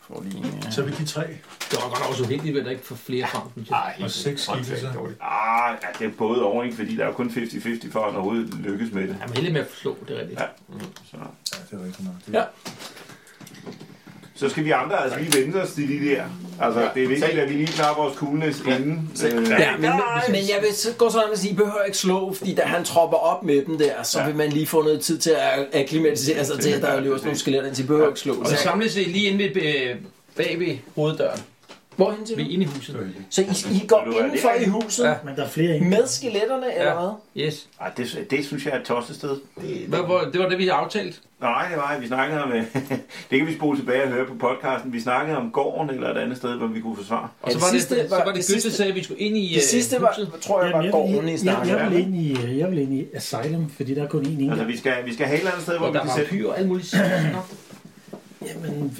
Speaker 3: Får lige en, ja.
Speaker 5: Så er vi de tre.
Speaker 9: Det var godt også heldigt, at der ikke får flere frem. synes jeg.
Speaker 7: Ej,
Speaker 5: Og seks skilte så.
Speaker 8: Ah, ja, det er både over, ikke? Fordi der er jo kun 50-50 for, at han overhovedet lykkes med det.
Speaker 9: Jeg er heldig med at slå, det er rigtigt.
Speaker 8: Ja. Så,
Speaker 5: Ja, det er rigtigt nok. Det
Speaker 3: Ja.
Speaker 5: er
Speaker 8: så skal vi andre altså lige vende os til de der. Altså,
Speaker 7: Ja.
Speaker 8: det er vigtigt, at vi lige klarer vores coolness inden. Øh,
Speaker 3: Ja, men, men jeg vil så- gå sådan, at sige, I behøver ikke slå, fordi da han tropper op med dem der, så
Speaker 8: Ja.
Speaker 3: vil man lige få noget tid til at akklimatisere sig til, at der løber sådan nogle skeletter, så I behøver ikke slå.
Speaker 9: Og så samles vi lige inde ved, øh, bag ved hoveddøren.
Speaker 3: Hvorhen
Speaker 9: Vi er
Speaker 3: til?
Speaker 9: inde i huset.
Speaker 3: Så I, I går
Speaker 8: Ved du hvad,
Speaker 3: indenfor
Speaker 8: det er-
Speaker 3: i huset
Speaker 9: Ja.
Speaker 6: Men der er flere ind.
Speaker 3: med skeletterne, eller
Speaker 9: Ja.
Speaker 3: hvad?
Speaker 9: Yes.
Speaker 8: Ej, det, det synes jeg er et tosset sted.
Speaker 9: Hvad, hvor, det var det, vi havde aftalt.
Speaker 8: Nej, det var, vi snakkede om... øh, <laughs> det kan vi spole tilbage og høre på podcasten. Vi snakkede om gården eller et andet sted, hvor vi kunne forsvare.
Speaker 9: Og
Speaker 3: Ja,
Speaker 9: så
Speaker 3: det
Speaker 9: var det,
Speaker 3: sidste
Speaker 9: så
Speaker 3: var- det
Speaker 9: var det Gøtte, der
Speaker 3: sidste-
Speaker 9: sagde, at vi skulle ind i
Speaker 3: Det
Speaker 9: øh,
Speaker 3: sidste var,
Speaker 9: huset.
Speaker 3: tror jeg,
Speaker 6: Jamen,
Speaker 3: var
Speaker 6: jeg,
Speaker 3: gården, I
Speaker 6: vil, jeg, jeg,
Speaker 3: snakkede
Speaker 6: vil
Speaker 3: om.
Speaker 6: ind i, øh, jeg vil ind i Asylum, fordi der er kun én en.
Speaker 8: Altså, vi skal, vi skal have et eller andet sted, hvor
Speaker 9: Hvor
Speaker 8: vi
Speaker 9: der
Speaker 8: kan
Speaker 9: var
Speaker 8: sætte...
Speaker 9: pyr og alt muligt. sådan noget.
Speaker 6: Jamen,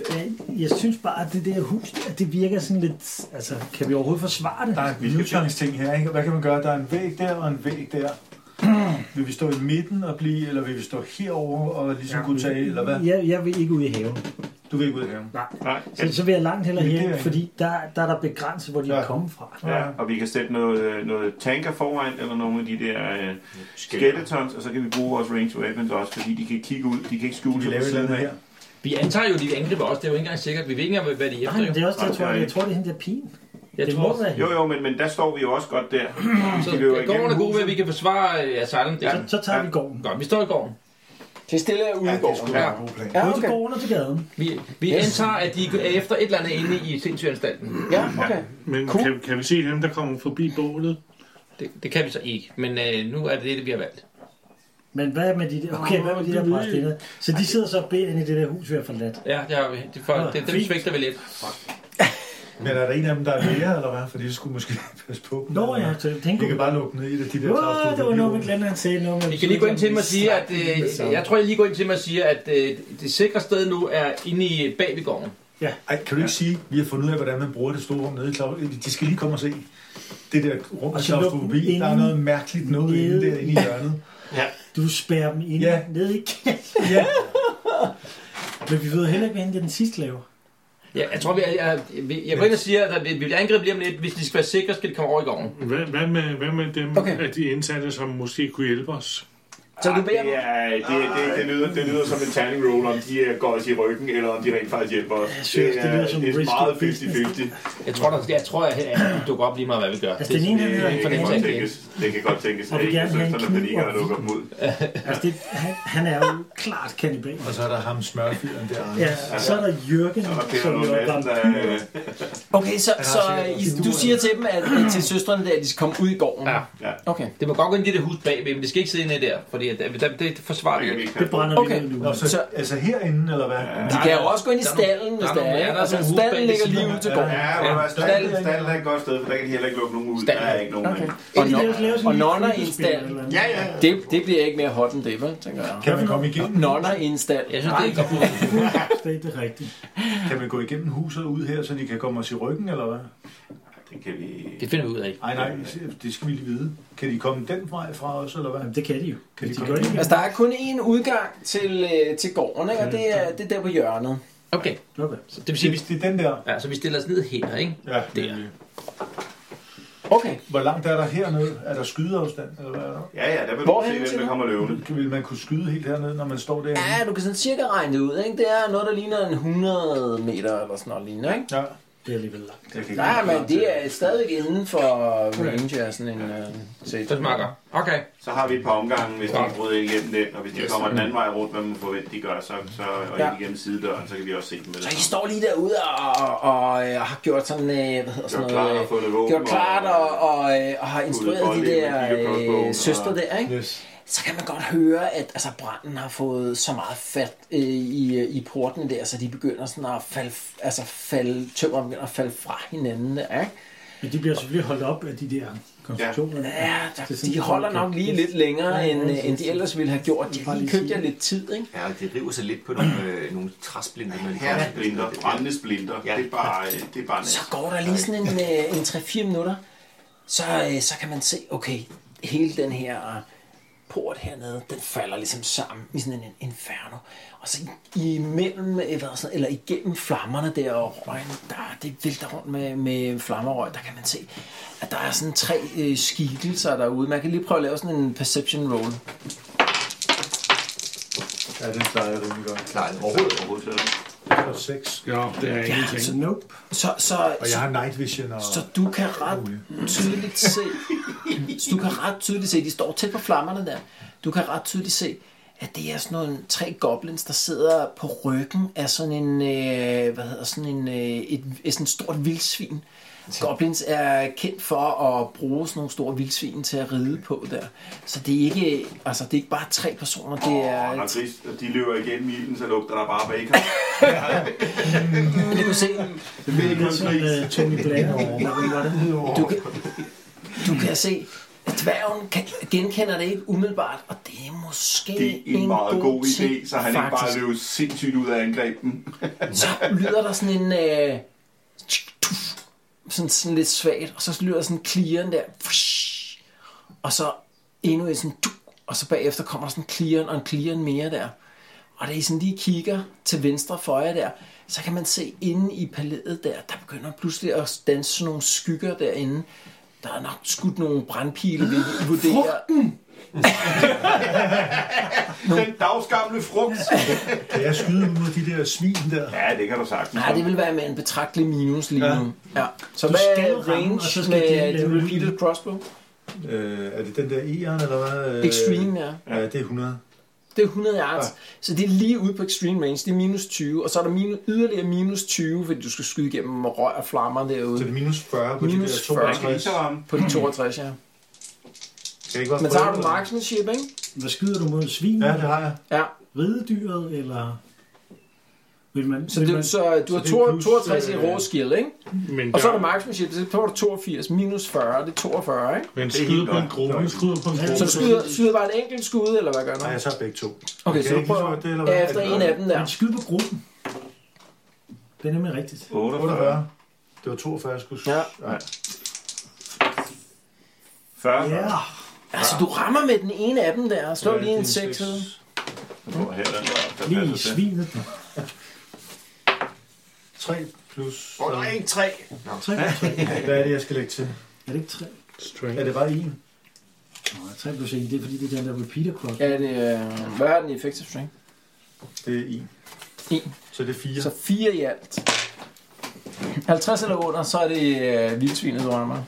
Speaker 6: øh, jeg synes bare, at det der hus, der, det virker sådan lidt... Altså, kan vi overhovedet forsvare det?
Speaker 5: Der er livslangs ting her, ikke? Hvad kan man gøre? Der er en væg der og en væg der. Vil vi stå i midten og blive, eller vil vi stå herover og ligesom ja, kunne tage, eller hvad?
Speaker 6: Jeg, jeg vil ikke ud i haven.
Speaker 5: Du vil ikke ud af haven.
Speaker 6: Nej.
Speaker 8: Nej,
Speaker 6: Så, så vil jeg langt hellere
Speaker 5: Men det er
Speaker 6: herind,
Speaker 5: ikke-
Speaker 6: fordi der, der er der begrænset, hvor de
Speaker 5: Ja.
Speaker 6: ja. kommer fra.
Speaker 8: Ja, og vi kan sætte noget, øh, noget tanker foran, eller nogle af de der øh, skeletons, og så kan vi bruge vores ranged weapons også, fordi de kan kigge ud, de kan ikke
Speaker 5: Vi
Speaker 8: skjule
Speaker 5: kan
Speaker 8: sig
Speaker 5: lave
Speaker 8: på
Speaker 5: et eller
Speaker 8: siden
Speaker 5: andet
Speaker 8: af.
Speaker 5: her.
Speaker 9: Vi antager jo, at de angriber os. Det er jo ikke engang sikkert. Vi ved ikke engang, hvad de er
Speaker 6: Nej,
Speaker 9: efter.
Speaker 6: men det
Speaker 9: jo.
Speaker 6: er også det, jeg tror.
Speaker 8: Okay.
Speaker 6: Jeg tror, det er hende der pigen.
Speaker 9: Jeg
Speaker 6: Det
Speaker 9: tror,
Speaker 6: må være
Speaker 8: Jo,
Speaker 6: hende.
Speaker 8: jo, men, men der står vi jo også godt der.
Speaker 9: så
Speaker 8: de løber
Speaker 9: gården er
Speaker 8: igennem
Speaker 9: god ved, at vi kan forsvare øh, Asylum. Det er sådan.
Speaker 6: Så tager vi gården.
Speaker 9: Godt, vi står i gården.
Speaker 3: Det stille er ude i gården.
Speaker 9: Ja,
Speaker 5: God plan.
Speaker 6: Både
Speaker 3: Ja,
Speaker 6: til
Speaker 3: okay.
Speaker 6: gården og til gaden.
Speaker 9: vi, vi
Speaker 3: Yes.
Speaker 9: antager, at de er efter et eller andet inde i sindssygeanstalten.
Speaker 3: Ja, okay.
Speaker 4: Men
Speaker 3: Cool.
Speaker 4: kan, kan vi se dem, der kommer forbi bålet?
Speaker 9: Det, det kan vi så ikke, men øh, nu er det det, vi har valgt.
Speaker 6: Men hvad med de der, okay, hvad med de der præstinder? Så de sidder så og beder ind i det der hus, vi har forladt.
Speaker 9: Ja, det har vi. Det, for, det, dem svigter vi lidt.
Speaker 5: Men er der en af dem, der er mere, eller hvad? Fordi det skulle måske <laughs> passe på dem.
Speaker 6: Nå ja, så jeg tænker
Speaker 5: Vi kan bare lukke ned i det, de der
Speaker 6: Åh, det var noget, vi glemte at sige. Noget,
Speaker 2: I kan lige gå ind til mig og sige, at... Øh, jeg tror, jeg lige går ind til mig og siger, at øh, det sikre sted nu er inde
Speaker 9: øh,
Speaker 2: i bag ved gården.
Speaker 5: Ej, kan du ikke sige, at vi har fundet ud af, hvordan man bruger det store rum nede i Klaus... De skal lige komme og se det der rum
Speaker 6: Og
Speaker 5: med
Speaker 6: så luk dem
Speaker 5: klaustrofobi. Der er
Speaker 6: inde.
Speaker 5: noget mærkeligt noget inde
Speaker 6: Nede.
Speaker 5: derinde i hjørnet.
Speaker 6: Du spærrer dem ind
Speaker 5: Ja.
Speaker 6: ja. ned i kælderen.
Speaker 5: Ja.
Speaker 6: <laughs> Men vi ved heller ikke, hvad hende den sidste laver.
Speaker 2: Ja, jeg tror, vi er, jeg, jeg, jeg går ind og siger,
Speaker 9: øh,
Speaker 2: at vi vi bliver angrebet lige om lidt. Hvis de skal være sikre, skal de komme over i gården.
Speaker 4: Hvad, hvad, med, hvad med dem
Speaker 2: Okay.
Speaker 4: okay. af de indsatte, som måske kunne hjælpe os?
Speaker 2: Så du beder
Speaker 8: Det, er, det, det, det, lyder, det lyder som en tanning roll, om de øh, går os i ryggen, eller om de rent faktisk hjælper os.
Speaker 6: Jeg synes, det lyder
Speaker 8: er-
Speaker 6: som
Speaker 8: det er
Speaker 6: risky
Speaker 8: meget
Speaker 6: business.
Speaker 8: 50-50.
Speaker 2: Jeg tror, der, jeg tror, at de dukker op lige meget, hvad vi gør.
Speaker 6: Altså, den ene, den
Speaker 8: Det, øh,
Speaker 6: hedder
Speaker 8: det, kan
Speaker 2: fornemmelse
Speaker 8: godt
Speaker 2: af det.
Speaker 8: tænkes, det kan godt tænkes,
Speaker 6: Og
Speaker 8: at
Speaker 6: vi
Speaker 8: ikke
Speaker 6: gerne vil have en
Speaker 8: søsterne panikker
Speaker 6: kniv
Speaker 8: og
Speaker 6: og-
Speaker 8: lukker dem ud.
Speaker 6: Altså, det, han, han er jo klart kannibal.
Speaker 5: Og så er der ham smørfyren der. Anders.
Speaker 6: Ja, og så er der Jørgen,
Speaker 8: Og
Speaker 6: som
Speaker 8: Peter Lund
Speaker 6: jo er
Speaker 8: Madsen, der,
Speaker 6: vampyr.
Speaker 8: øh,
Speaker 3: Okay, så,
Speaker 5: har
Speaker 3: så
Speaker 5: sikkert
Speaker 3: I,
Speaker 5: figurer.
Speaker 3: du siger til dem, at, at til søstrene, der, at de skal komme ud i gården.
Speaker 9: Ja.
Speaker 8: Ja.
Speaker 3: Okay.
Speaker 2: Det må godt gå ind i det hus bagved, men det skal ikke sidde inde der, fordi at, det, det, det forsvarer
Speaker 8: det
Speaker 2: vi
Speaker 8: kan vi
Speaker 2: ikke.
Speaker 8: ikke
Speaker 6: Det
Speaker 8: have.
Speaker 6: brænder okay.
Speaker 3: Okay.
Speaker 6: vi ned nu.
Speaker 5: Nå, så,
Speaker 3: Så-
Speaker 5: altså herinde, eller hvad?
Speaker 3: De kan jo også gå ind i
Speaker 2: Der er nogle-
Speaker 3: stallen, hvis
Speaker 2: der er
Speaker 3: der
Speaker 2: nogle- ja,
Speaker 3: er.
Speaker 2: der er
Speaker 3: Altså,
Speaker 2: nogle hus bag
Speaker 3: stallen
Speaker 2: ved
Speaker 3: ligger
Speaker 2: siden
Speaker 3: lige
Speaker 2: af.
Speaker 3: ud til
Speaker 2: Ja,
Speaker 3: gården.
Speaker 8: Ja, men ja. Stallen, stallen er et godt sted, for der kan de heller ikke lukke nogen ud. Der er ikke nogen.
Speaker 3: Okay.
Speaker 6: Og, no-
Speaker 3: Og nonner i en stald.
Speaker 7: Ja, ja.
Speaker 3: Det, det bliver ikke mere hot end det, vel, tænker jeg.
Speaker 5: Kan man komme igennem,
Speaker 3: Nonner i en stald.
Speaker 2: Jeg synes, det er ikke godt.
Speaker 6: Det er rigtigt.
Speaker 5: kan man gå igennem huset ud her, så de kan komme os i ryggen, eller hvad?
Speaker 8: Det kan vi...
Speaker 2: Det finder vi ud af.
Speaker 5: Nej, nej, det skal vi lige vide. Kan de komme den vej fra os, eller hvad?
Speaker 6: Jamen, det kan de jo.
Speaker 5: Kan de
Speaker 6: de
Speaker 5: komme
Speaker 6: går
Speaker 5: ind?
Speaker 6: ikke.
Speaker 3: Altså, der er kun én udgang til, øh, til gården, ikke? og det er, det er der på hjørnet.
Speaker 2: Okay,
Speaker 6: Okay.
Speaker 2: så det vil sige,
Speaker 5: Det,
Speaker 2: vi,
Speaker 5: det er den der.
Speaker 2: ja, så vi stiller os ned her, ikke?
Speaker 5: Ja.
Speaker 2: Der.
Speaker 3: Okay.
Speaker 5: Hvor langt er der hernede? Er der skydeafstand, eller hvad er der?
Speaker 8: Ja, ja, der vil du
Speaker 3: Hvorhen til
Speaker 8: se, hvem der
Speaker 3: nu?
Speaker 8: kommer løvende.
Speaker 5: Kan- Vil man kunne skyde helt hernede, når man står derinde?
Speaker 3: Ja, du kan sådan cirka regne det ud, ikke? Det er noget, der ligner en 100 meter eller sådan noget lignende, ikke?
Speaker 5: Ja.
Speaker 6: Det er alligevel langt.
Speaker 5: Jeg kan
Speaker 3: Nej, men det er stadigvæk inden for range af sådan en øh, set.
Speaker 2: Så smakker. Okay.
Speaker 8: Så har vi et par omgange, hvis de ikke bryder igennem den, og hvis de kommer den anden vej rundt, hvad man forventer, de gør, så, så, og
Speaker 3: Ja.
Speaker 8: ind igennem sidedøren, så kan vi også se dem med det.
Speaker 3: Så I står lige derude og, og, og, øh, har gjort sådan, øh, hvad hedder sådan
Speaker 8: Gjort klart og
Speaker 3: noget...
Speaker 8: fundet våben.
Speaker 3: Gjort klart og, og, øh, og har instrueret de
Speaker 8: bolde, man
Speaker 3: der
Speaker 8: kigger på bogen,
Speaker 3: øh,
Speaker 8: og-
Speaker 3: søster der, ikke?
Speaker 5: Yes.
Speaker 3: så kan man godt høre, at altså, branden har fået så meget fat øh, i, øh, i porten der, så de begynder sådan at falde, altså falde, tømmeren begynder at falde fra hinanden. Der, ikke?
Speaker 6: Men de bliver selvfølgelig holdt op af de der konstruktioner.
Speaker 3: Ja, der,
Speaker 6: Det er sådan,
Speaker 3: de holder nok lige lidt længere, end, øh, end de ellers ville have gjort. De har lige købt jer lidt tid, ikke?
Speaker 7: Ja, og det river sig lidt på nogle, øh, nogle træsblinde. Man
Speaker 8: Her splinter, brændende splinter,
Speaker 7: Ja.
Speaker 8: det er bare, øh, det er bare
Speaker 3: Så
Speaker 8: næst.
Speaker 3: går der lige sådan en, øh, en 3-4 minutter, så, øh, så kan man se, okay, hele den her øh, port hernede, den falder ligesom sammen i sådan en inferno. Og så imellem, øh, hvad sådan, eller igennem flammerne der og røgen, der, det vælter rundt med, med flammerøg, der kan man se, at der er sådan tre øh, skikkelser derude. Man kan lige prøve at lave sådan en perception roll.
Speaker 5: Ja, den klarer jeg rimelig godt.
Speaker 7: Nej, overhovedet.
Speaker 8: Overhovedet slet ikke.
Speaker 5: Jeg har seks.
Speaker 4: Ja, det er ingenting.
Speaker 6: Så nope.
Speaker 3: Så, så,
Speaker 5: Og jeg har night vision og...
Speaker 3: Så du kan ret tydeligt se, så du kan ret tydeligt se, de står tæt på flammerne der, du kan ret tydeligt se, at det er sådan nogle tre goblins, der sidder på ryggen af sådan en, øh, hvad hedder sådan en, øh, et, et sådan stort vildsvin. Goblins er kendt for at bruge sådan nogle store vildsvin til at ride på der. Så det er ikke, altså det er ikke bare tre personer, det
Speaker 8: Og
Speaker 3: er
Speaker 8: når gris, de løber igennem ilden, så lugter der bare bacon.
Speaker 3: Men du kan se,
Speaker 8: Det er ikke
Speaker 6: Det er
Speaker 8: kun
Speaker 6: sådan
Speaker 8: gris.
Speaker 6: uh, Tony Blair over. Hvem var det?
Speaker 3: du kan, du kan se, at dværgen kan, genkender det ikke umiddelbart, og det er måske
Speaker 8: Det er en meget god idé,
Speaker 3: ting,
Speaker 8: så han ikke bare
Speaker 3: faktisk.
Speaker 8: løber sindssygt ud af angrebet.
Speaker 3: Så lyder der sådan en... Øh, tsk, tuf, sådan, sådan lidt svagt, og så lyder sådan clearen der. Fush, og så endnu en sådan... Tuk, og så bagefter kommer der sådan clearen og en clearen mere der. Og da I sådan lige kigger til venstre for jer der, så kan man se inde i palæet der, der begynder pludselig at danse sådan nogle skygger derinde. Der er nok skudt nogle brandpile, vil I vurdere.
Speaker 8: Den dagsgamle frugt.
Speaker 5: Kan jeg skyde mod de der svin der?
Speaker 8: Ja, det kan du sagtens.
Speaker 3: Nej, det vil være med en betragtelig minus lige nu. Ja. ja. Så
Speaker 6: Du
Speaker 3: hvad
Speaker 6: skal
Speaker 3: er
Speaker 6: ramme,
Speaker 3: range
Speaker 6: og så skal
Speaker 3: med
Speaker 6: de lave
Speaker 3: the
Speaker 6: lyden.
Speaker 3: repeated crossbow?
Speaker 5: Øh, er det den der E'eren, eller hvad? Øh,
Speaker 3: Extreme, ja.
Speaker 5: Ja, det er 100.
Speaker 3: Det er 100 yards. Ja. Så det er lige ude på extreme range. Det er minus 20. Og så er der minus, yderligere minus 20, fordi du skal skyde igennem røg og flammer
Speaker 5: Så
Speaker 3: derude.
Speaker 5: det er minus 40 på
Speaker 3: Minus
Speaker 5: de der
Speaker 3: 40.
Speaker 5: 62.
Speaker 3: På de 62, ja.
Speaker 5: Skal jeg ikke bare
Speaker 3: Men så har du
Speaker 5: prøve?
Speaker 3: marksmanship, ikke?
Speaker 6: Hvad skyder du mod svin?
Speaker 5: Ja, det har jeg.
Speaker 3: Ja.
Speaker 6: Ridedyret eller Vil man,
Speaker 3: Så,
Speaker 6: vil
Speaker 3: det,
Speaker 6: man,
Speaker 3: så øh, du har
Speaker 5: det er
Speaker 3: to-
Speaker 5: plus,
Speaker 3: 62 i
Speaker 5: øh,
Speaker 3: rådskill, ikke?
Speaker 4: Men,
Speaker 3: Og så er
Speaker 4: der-
Speaker 3: der marksmanship, så er der 82 minus 40, det er 42, ikke?
Speaker 4: men
Speaker 8: Det er
Speaker 4: skyder
Speaker 8: helt
Speaker 4: på en
Speaker 8: godt.
Speaker 4: gruppe, skyder på en
Speaker 6: Ja,
Speaker 4: gruppe.
Speaker 3: Så du skyder, skyder bare en enkelt skud, eller hvad gør du?
Speaker 5: Nej, jeg tager begge to.
Speaker 3: Okay,
Speaker 5: kan
Speaker 3: så du
Speaker 5: ikke lige
Speaker 3: prøver
Speaker 5: få det, eller hvad?
Speaker 3: efter en af dem der.
Speaker 6: man skyder på gruppen. Det er nemlig rigtigt.
Speaker 8: 48.
Speaker 5: 48. Det var 42, jeg skulle...
Speaker 3: Ja.
Speaker 5: Nej.
Speaker 8: 40.
Speaker 6: Ja,
Speaker 3: Altså, du rammer med den ene af dem der, og slår
Speaker 5: Ja,
Speaker 3: lige
Speaker 5: det er
Speaker 3: en
Speaker 5: en
Speaker 3: 6
Speaker 5: seks.
Speaker 8: Hvor er den? Der
Speaker 6: lige i
Speaker 8: passer til.
Speaker 6: svinet.
Speaker 5: 3 plus...
Speaker 7: Åh, oh, nej, tre. Nå,
Speaker 6: Tre plus tre.
Speaker 5: Hvad er det, jeg skal lægge til?
Speaker 6: Er det ikke tre?
Speaker 5: Er
Speaker 4: Strength.
Speaker 5: det bare en?
Speaker 6: Nå, tre plus en, det er fordi, det er den der repeater clock.
Speaker 3: Ja, det er... Hvad er den i effective strength?
Speaker 5: Det er en.
Speaker 3: En.
Speaker 5: Så det er fire.
Speaker 3: Så fire i alt. 50 eller under, så er det øh, vildsvinet, du rammer.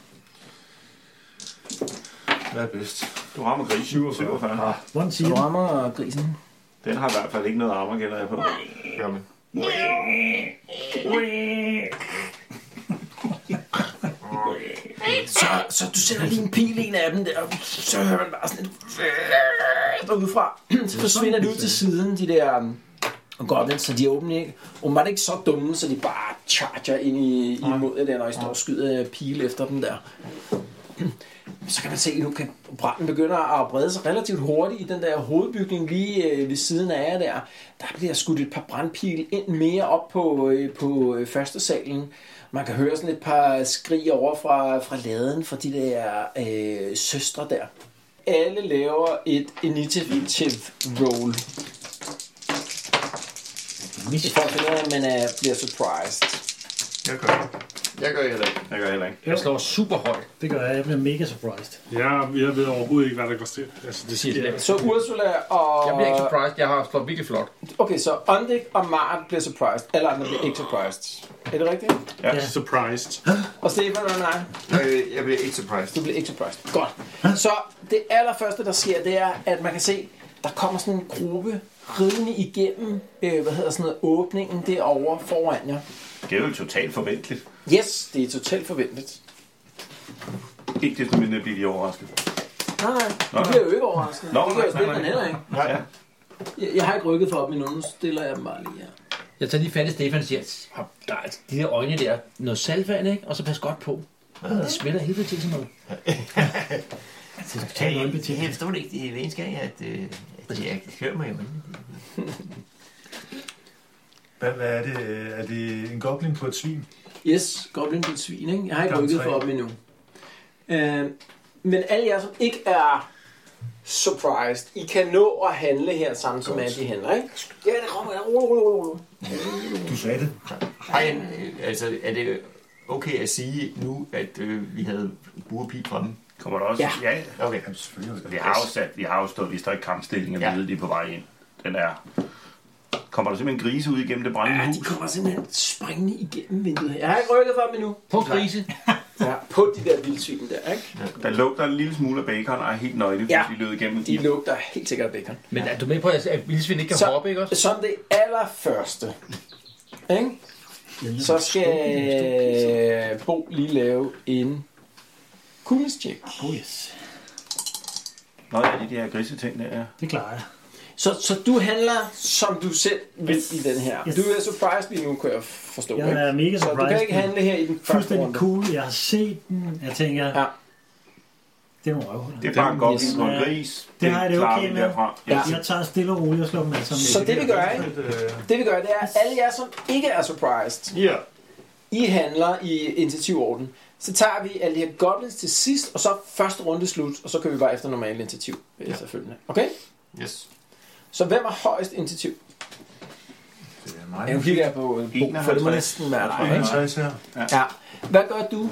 Speaker 5: Hvad er bedst?
Speaker 8: Du rammer grisen. 47.
Speaker 6: One
Speaker 3: Så
Speaker 6: siger,
Speaker 3: du rammer grisen.
Speaker 8: Den har i hvert fald ikke noget armor, gælder jeg på.
Speaker 7: jamen.
Speaker 3: Så, så du sender lige en pil i en af dem der, og så hører man bare sådan et <laughs> derudefra. Så forsvinder de ud til siden, de der um, goblins, så de er åbenbart ikke, åbenbart ikke så dumme, så de bare charger ind i, imod det der, når I står og skyder øh, pil efter dem der. Så kan man se, at nu kan branden begynder at brede sig relativt hurtigt i den der hovedbygning lige øh, ved siden af jer der. Der bliver skudt et par brandpil ind mere op på, øh, på øh, første salen. Man kan høre sådan et par skrig over fra, fra laden fra de der øh, søstre der. Alle laver et initiative roll. Det er for at finde ud af, at man er, øh, bliver surprised.
Speaker 8: Jeg gør det.
Speaker 7: Jeg gør heller ikke.
Speaker 8: Jeg gør heller ikke.
Speaker 9: Jeg slår super højt.
Speaker 6: det gør jeg, jeg bliver mega surprised.
Speaker 4: Ja, jeg ved overhovedet ikke, hvad der går til. Altså, det
Speaker 9: Det siger
Speaker 4: sker.
Speaker 9: det.
Speaker 3: Så Ursula og...
Speaker 9: Jeg bliver ikke surprised. Jeg har slået virkelig flot.
Speaker 3: Okay, så Ondik og Mart bliver surprised. Alle andre bliver ikke surprised. Er det rigtigt?
Speaker 4: Surprised.
Speaker 3: Og Stefan og nej,
Speaker 7: Øh, jeg bliver ikke surprised.
Speaker 3: du bliver ikke surprised. Godt. Så det allerførste, der sker, det er, at man kan se, der kommer sådan en gruppe ridende igennem, øh, hvad hedder sådan noget, åbningen derovre foran jer.
Speaker 8: Det er jo totalt forventeligt.
Speaker 3: Yes, det er totalt forventeligt.
Speaker 8: Ikke desto mindre bliver de overrasket.
Speaker 3: Nej, nej, det bliver jo ikke overraskende.
Speaker 8: Nå,
Speaker 3: det bliver jo
Speaker 8: nej,
Speaker 3: spille
Speaker 8: nej,
Speaker 3: den
Speaker 8: nej.
Speaker 3: heller ikke.
Speaker 8: Nej. Ja.
Speaker 3: Jeg, jeg har ikke rykket for op i nogen, så stiller jeg dem bare lige her.
Speaker 9: Jeg tager lige fat i Stefan og siger, "Hop, der er altså de der øjne der, noget saltvand, ikke? Og så pas godt på. Det smelter helvede til sådan noget.
Speaker 6: Det er totalt øjenbetjent.
Speaker 7: forstår det ikke. Det er venskab, at, øh, at jeg hører mig i øjnene.
Speaker 5: Hvad, hvad er det? øh, Er det en goblin på et svin?
Speaker 3: Yes, goblin på et svin, ikke? Jeg har ikke
Speaker 5: Klokken
Speaker 3: rykket
Speaker 5: tre.
Speaker 3: for op endnu. Øh, men alle jer, som ikke er surprised, I kan nå at handle her samtidig med, at de handler, ikke? Ja, det kommer. Ja, rulle, rulle, rulle, rulle.
Speaker 5: Du sagde det.
Speaker 7: Har jeg, en- øh, altså, er det okay at sige nu, at øh, vi havde burpip fremme?
Speaker 8: Kommer der også?
Speaker 3: Ja.
Speaker 8: ja.
Speaker 7: Okay.
Speaker 5: Jamen, selvfølgelig.
Speaker 8: Vi har jo sat, vi har jo stået, vi står i kampstillingen, og
Speaker 7: Ja.
Speaker 8: vi ved, de er på vej ind. Den er... Kommer der simpelthen grise ud igennem det brændende
Speaker 3: Ja, de
Speaker 8: hus?
Speaker 3: kommer simpelthen springende igennem vinduet her. Jeg har ikke rykket for dem endnu.
Speaker 9: På grise.
Speaker 3: Ja, på de der vildsvin der, ikke?
Speaker 8: Der lugter en lille smule af bacon, og er helt nøgne, fordi
Speaker 3: Ja.
Speaker 8: de lød igennem
Speaker 3: De
Speaker 8: de
Speaker 3: lugter helt sikkert af bacon.
Speaker 9: Men er du med på, at at vildsvin ikke kan
Speaker 3: Så-
Speaker 9: hoppe, ikke også?
Speaker 3: Som det allerførste, ikke? Så skal Bo lige lave en kuglestjek.
Speaker 6: Oh yes,
Speaker 8: Nå ja, de der grise ting der. ja.
Speaker 6: det klarer jeg.
Speaker 3: Så, så du handler, som du selv vil i den her.
Speaker 6: Yes.
Speaker 3: Du er surprised lige nu, kan jeg forstå.
Speaker 6: Jeg
Speaker 3: ikke?
Speaker 6: er mega
Speaker 3: så du kan
Speaker 6: surprised.
Speaker 3: ikke handle her i den første
Speaker 6: Fuldstændig
Speaker 3: runde.
Speaker 6: cool, jeg har set den. Jeg tænker,
Speaker 3: Ja.
Speaker 6: det er nogle røvhuller.
Speaker 8: Det er bare en god
Speaker 3: Yes.
Speaker 8: på en gris.
Speaker 6: Det har jeg det
Speaker 8: klarer
Speaker 6: okay
Speaker 8: vi
Speaker 6: med.
Speaker 8: derfra.
Speaker 3: Ja.
Speaker 6: Jeg tager stille og roligt og slår dem alle sammen.
Speaker 3: Så det vi gør, ikke? Det øh, vi gør, det er, at alle jer, som ikke er surprised,
Speaker 7: Ja.
Speaker 3: I handler i initiativorden. Så tager vi alle de her goblins til sidst, og så er første runde slut, og så kører vi bare efter normal initiativ, ja. selvfølgelig. Okay?
Speaker 7: Yes.
Speaker 3: Så hvem har højst initiativ?
Speaker 5: Det er mig.
Speaker 3: Jeg kigger på Bo, for det må
Speaker 8: 51.
Speaker 3: næsten være dig, ikke?
Speaker 5: 51 her.
Speaker 3: Ja. Hvad gør du?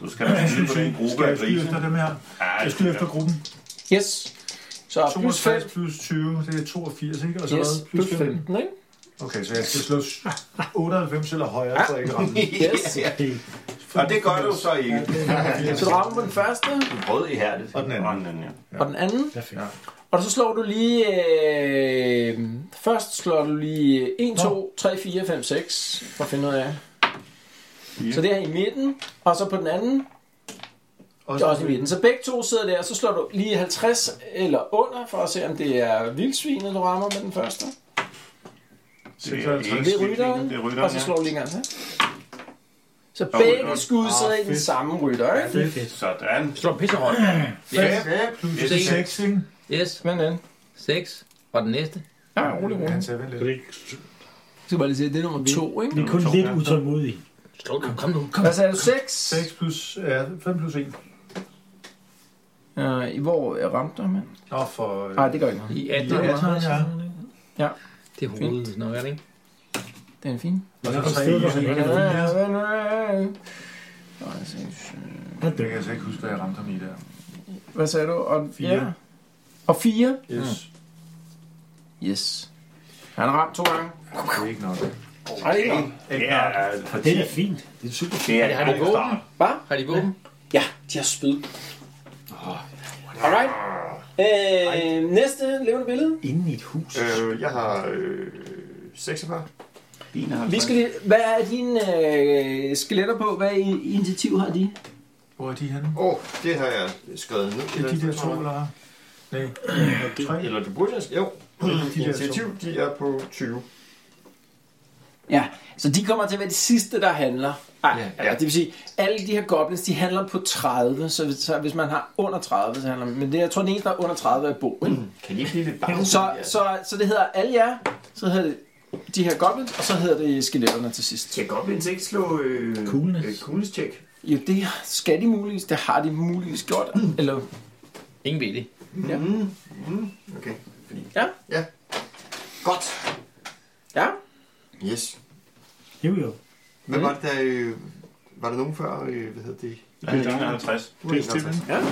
Speaker 8: Du skal da skyde på den gruppe
Speaker 5: Skal
Speaker 8: af
Speaker 5: jeg skyde
Speaker 8: grise.
Speaker 5: efter dem her?
Speaker 8: Ja,
Speaker 5: Jeg
Speaker 8: det
Speaker 5: skyder efter gruppen.
Speaker 3: Yes. Så plus 5.
Speaker 5: 62 plus 20, det er 82, ikke? Og så
Speaker 3: Yes,
Speaker 5: hvad?
Speaker 3: plus 15, ikke?
Speaker 5: Okay, så jeg skal slå 98 eller højere, for at ikke ramme.
Speaker 3: Yes.
Speaker 8: Og det gør du så ikke.
Speaker 3: Så du rammer på den første,
Speaker 7: Rød i hærdet.
Speaker 5: Og den
Speaker 8: Og
Speaker 5: anden.
Speaker 8: den, ja.
Speaker 3: og den anden.
Speaker 6: Perfekt.
Speaker 3: Og så slår du lige... Øh, først slår du lige 1, 2, 3, 4, 5, 6. For at finde ud af. Så det er i midten. Og så på den anden, det er også i midten. Så begge to sidder der, og så slår du lige 50 eller under, for at se, om det er vildsvinet, du rammer med den første.
Speaker 8: 56.
Speaker 3: Det er rytteren,
Speaker 8: Det er rytteren,
Speaker 3: og så
Speaker 8: ja.
Speaker 3: slår du lige en gang til. Så
Speaker 8: Og
Speaker 3: begge
Speaker 8: rytteren. Ah,
Speaker 3: skud sidder i den samme rytter, ikke?
Speaker 6: Det er fedt.
Speaker 8: Sådan.
Speaker 9: Slå en pisserøg.
Speaker 5: Plus
Speaker 9: Yes.
Speaker 5: 6, ikke?
Speaker 9: Yes,
Speaker 3: Men, men.
Speaker 9: 6. Og den næste.
Speaker 3: Ja, rolig, rolig.
Speaker 5: Han tager vel lidt.
Speaker 4: Det er ikke
Speaker 3: Jeg skal bare lige se, det er nummer to,
Speaker 6: Vi
Speaker 3: ikke?
Speaker 6: er kun lidt utålmodige.
Speaker 9: Slå den. Kom nu. Kom.
Speaker 3: Hvad sagde du? 6?
Speaker 5: 6 plus, ja, 5 plus 1.
Speaker 3: Uh, hvor jeg ramte dig, mand?
Speaker 5: Nå, for...
Speaker 3: Nej, det gør ikke noget.
Speaker 9: I 18.
Speaker 5: Ja,
Speaker 9: Ja.
Speaker 5: sådan, ja.
Speaker 9: Det er hovedet. Nå, er det ikke?
Speaker 3: Den er fin.
Speaker 5: Og så
Speaker 6: Jeg forstod,
Speaker 5: 3
Speaker 6: hvor han
Speaker 5: i.
Speaker 6: ligger.
Speaker 3: Nej, jeg sagde syv.
Speaker 6: Han
Speaker 5: Jeg kan
Speaker 6: dør.
Speaker 5: altså ikke huske, hvad jeg ramte ham i der.
Speaker 3: Hvad sagde du? Og,
Speaker 5: Fire.
Speaker 3: Ja. Og fire?
Speaker 5: Yes,
Speaker 3: Yes. Han har ramt to gange.
Speaker 5: det er ikke nok.
Speaker 3: Nej, det er ikke nok.
Speaker 8: Ja,
Speaker 6: Og det er fint. Det er super fint.
Speaker 8: det er
Speaker 9: Har de
Speaker 8: en god
Speaker 9: våben?
Speaker 8: start.
Speaker 9: Har de våben?
Speaker 3: Ja, de har spyd. Oh. Alright. Øh, næste levende billede.
Speaker 6: Inden i et hus.
Speaker 7: Øh, jeg har øh, 46.
Speaker 3: Vi skal lige, hvad er dine øh, skeletter på? Hvad i- initiativ har de?
Speaker 5: Hvor er de henne?
Speaker 7: Åh, oh, det har jeg skrevet ned.
Speaker 5: Det er de der to, eller har?
Speaker 7: <clears throat>
Speaker 5: Nej, tre.
Speaker 7: Eller det burde jeg sk- Jo,
Speaker 5: der to.
Speaker 7: initiativ, de er på 20.
Speaker 3: Ja, så de kommer til at være de sidste, der handler. Ej,
Speaker 9: Ja.
Speaker 3: ja, ja. det vil sige, alle de her goblins, de handler på 30, så hvis, så hvis man har under 30, så handler man. Men det, jeg tror, den eneste, der er under 30, er Bo. Ikke?
Speaker 7: Hmm, Kan de ikke blive lidt bange?
Speaker 3: Så, så, så det hedder alle jer, så hedder det de her goblins, og så hedder det skeletterne til sidst.
Speaker 7: Tjek op, hvis ikke slå øh,
Speaker 6: Coolness.
Speaker 7: øh, coolness check.
Speaker 3: Jo, det skal de muligvis, det har de muligvis gjort. Mm. Eller,
Speaker 9: Ingen ved det.
Speaker 7: Okay. Fordi...
Speaker 3: Ja.
Speaker 7: Ja. Godt.
Speaker 3: ja,
Speaker 7: Yes.
Speaker 6: Jo, jo.
Speaker 7: Hvad var det der... Øh, var der nogen før? Øh, hvad hedder det?
Speaker 8: Det er 51.
Speaker 7: Det er
Speaker 8: Ja.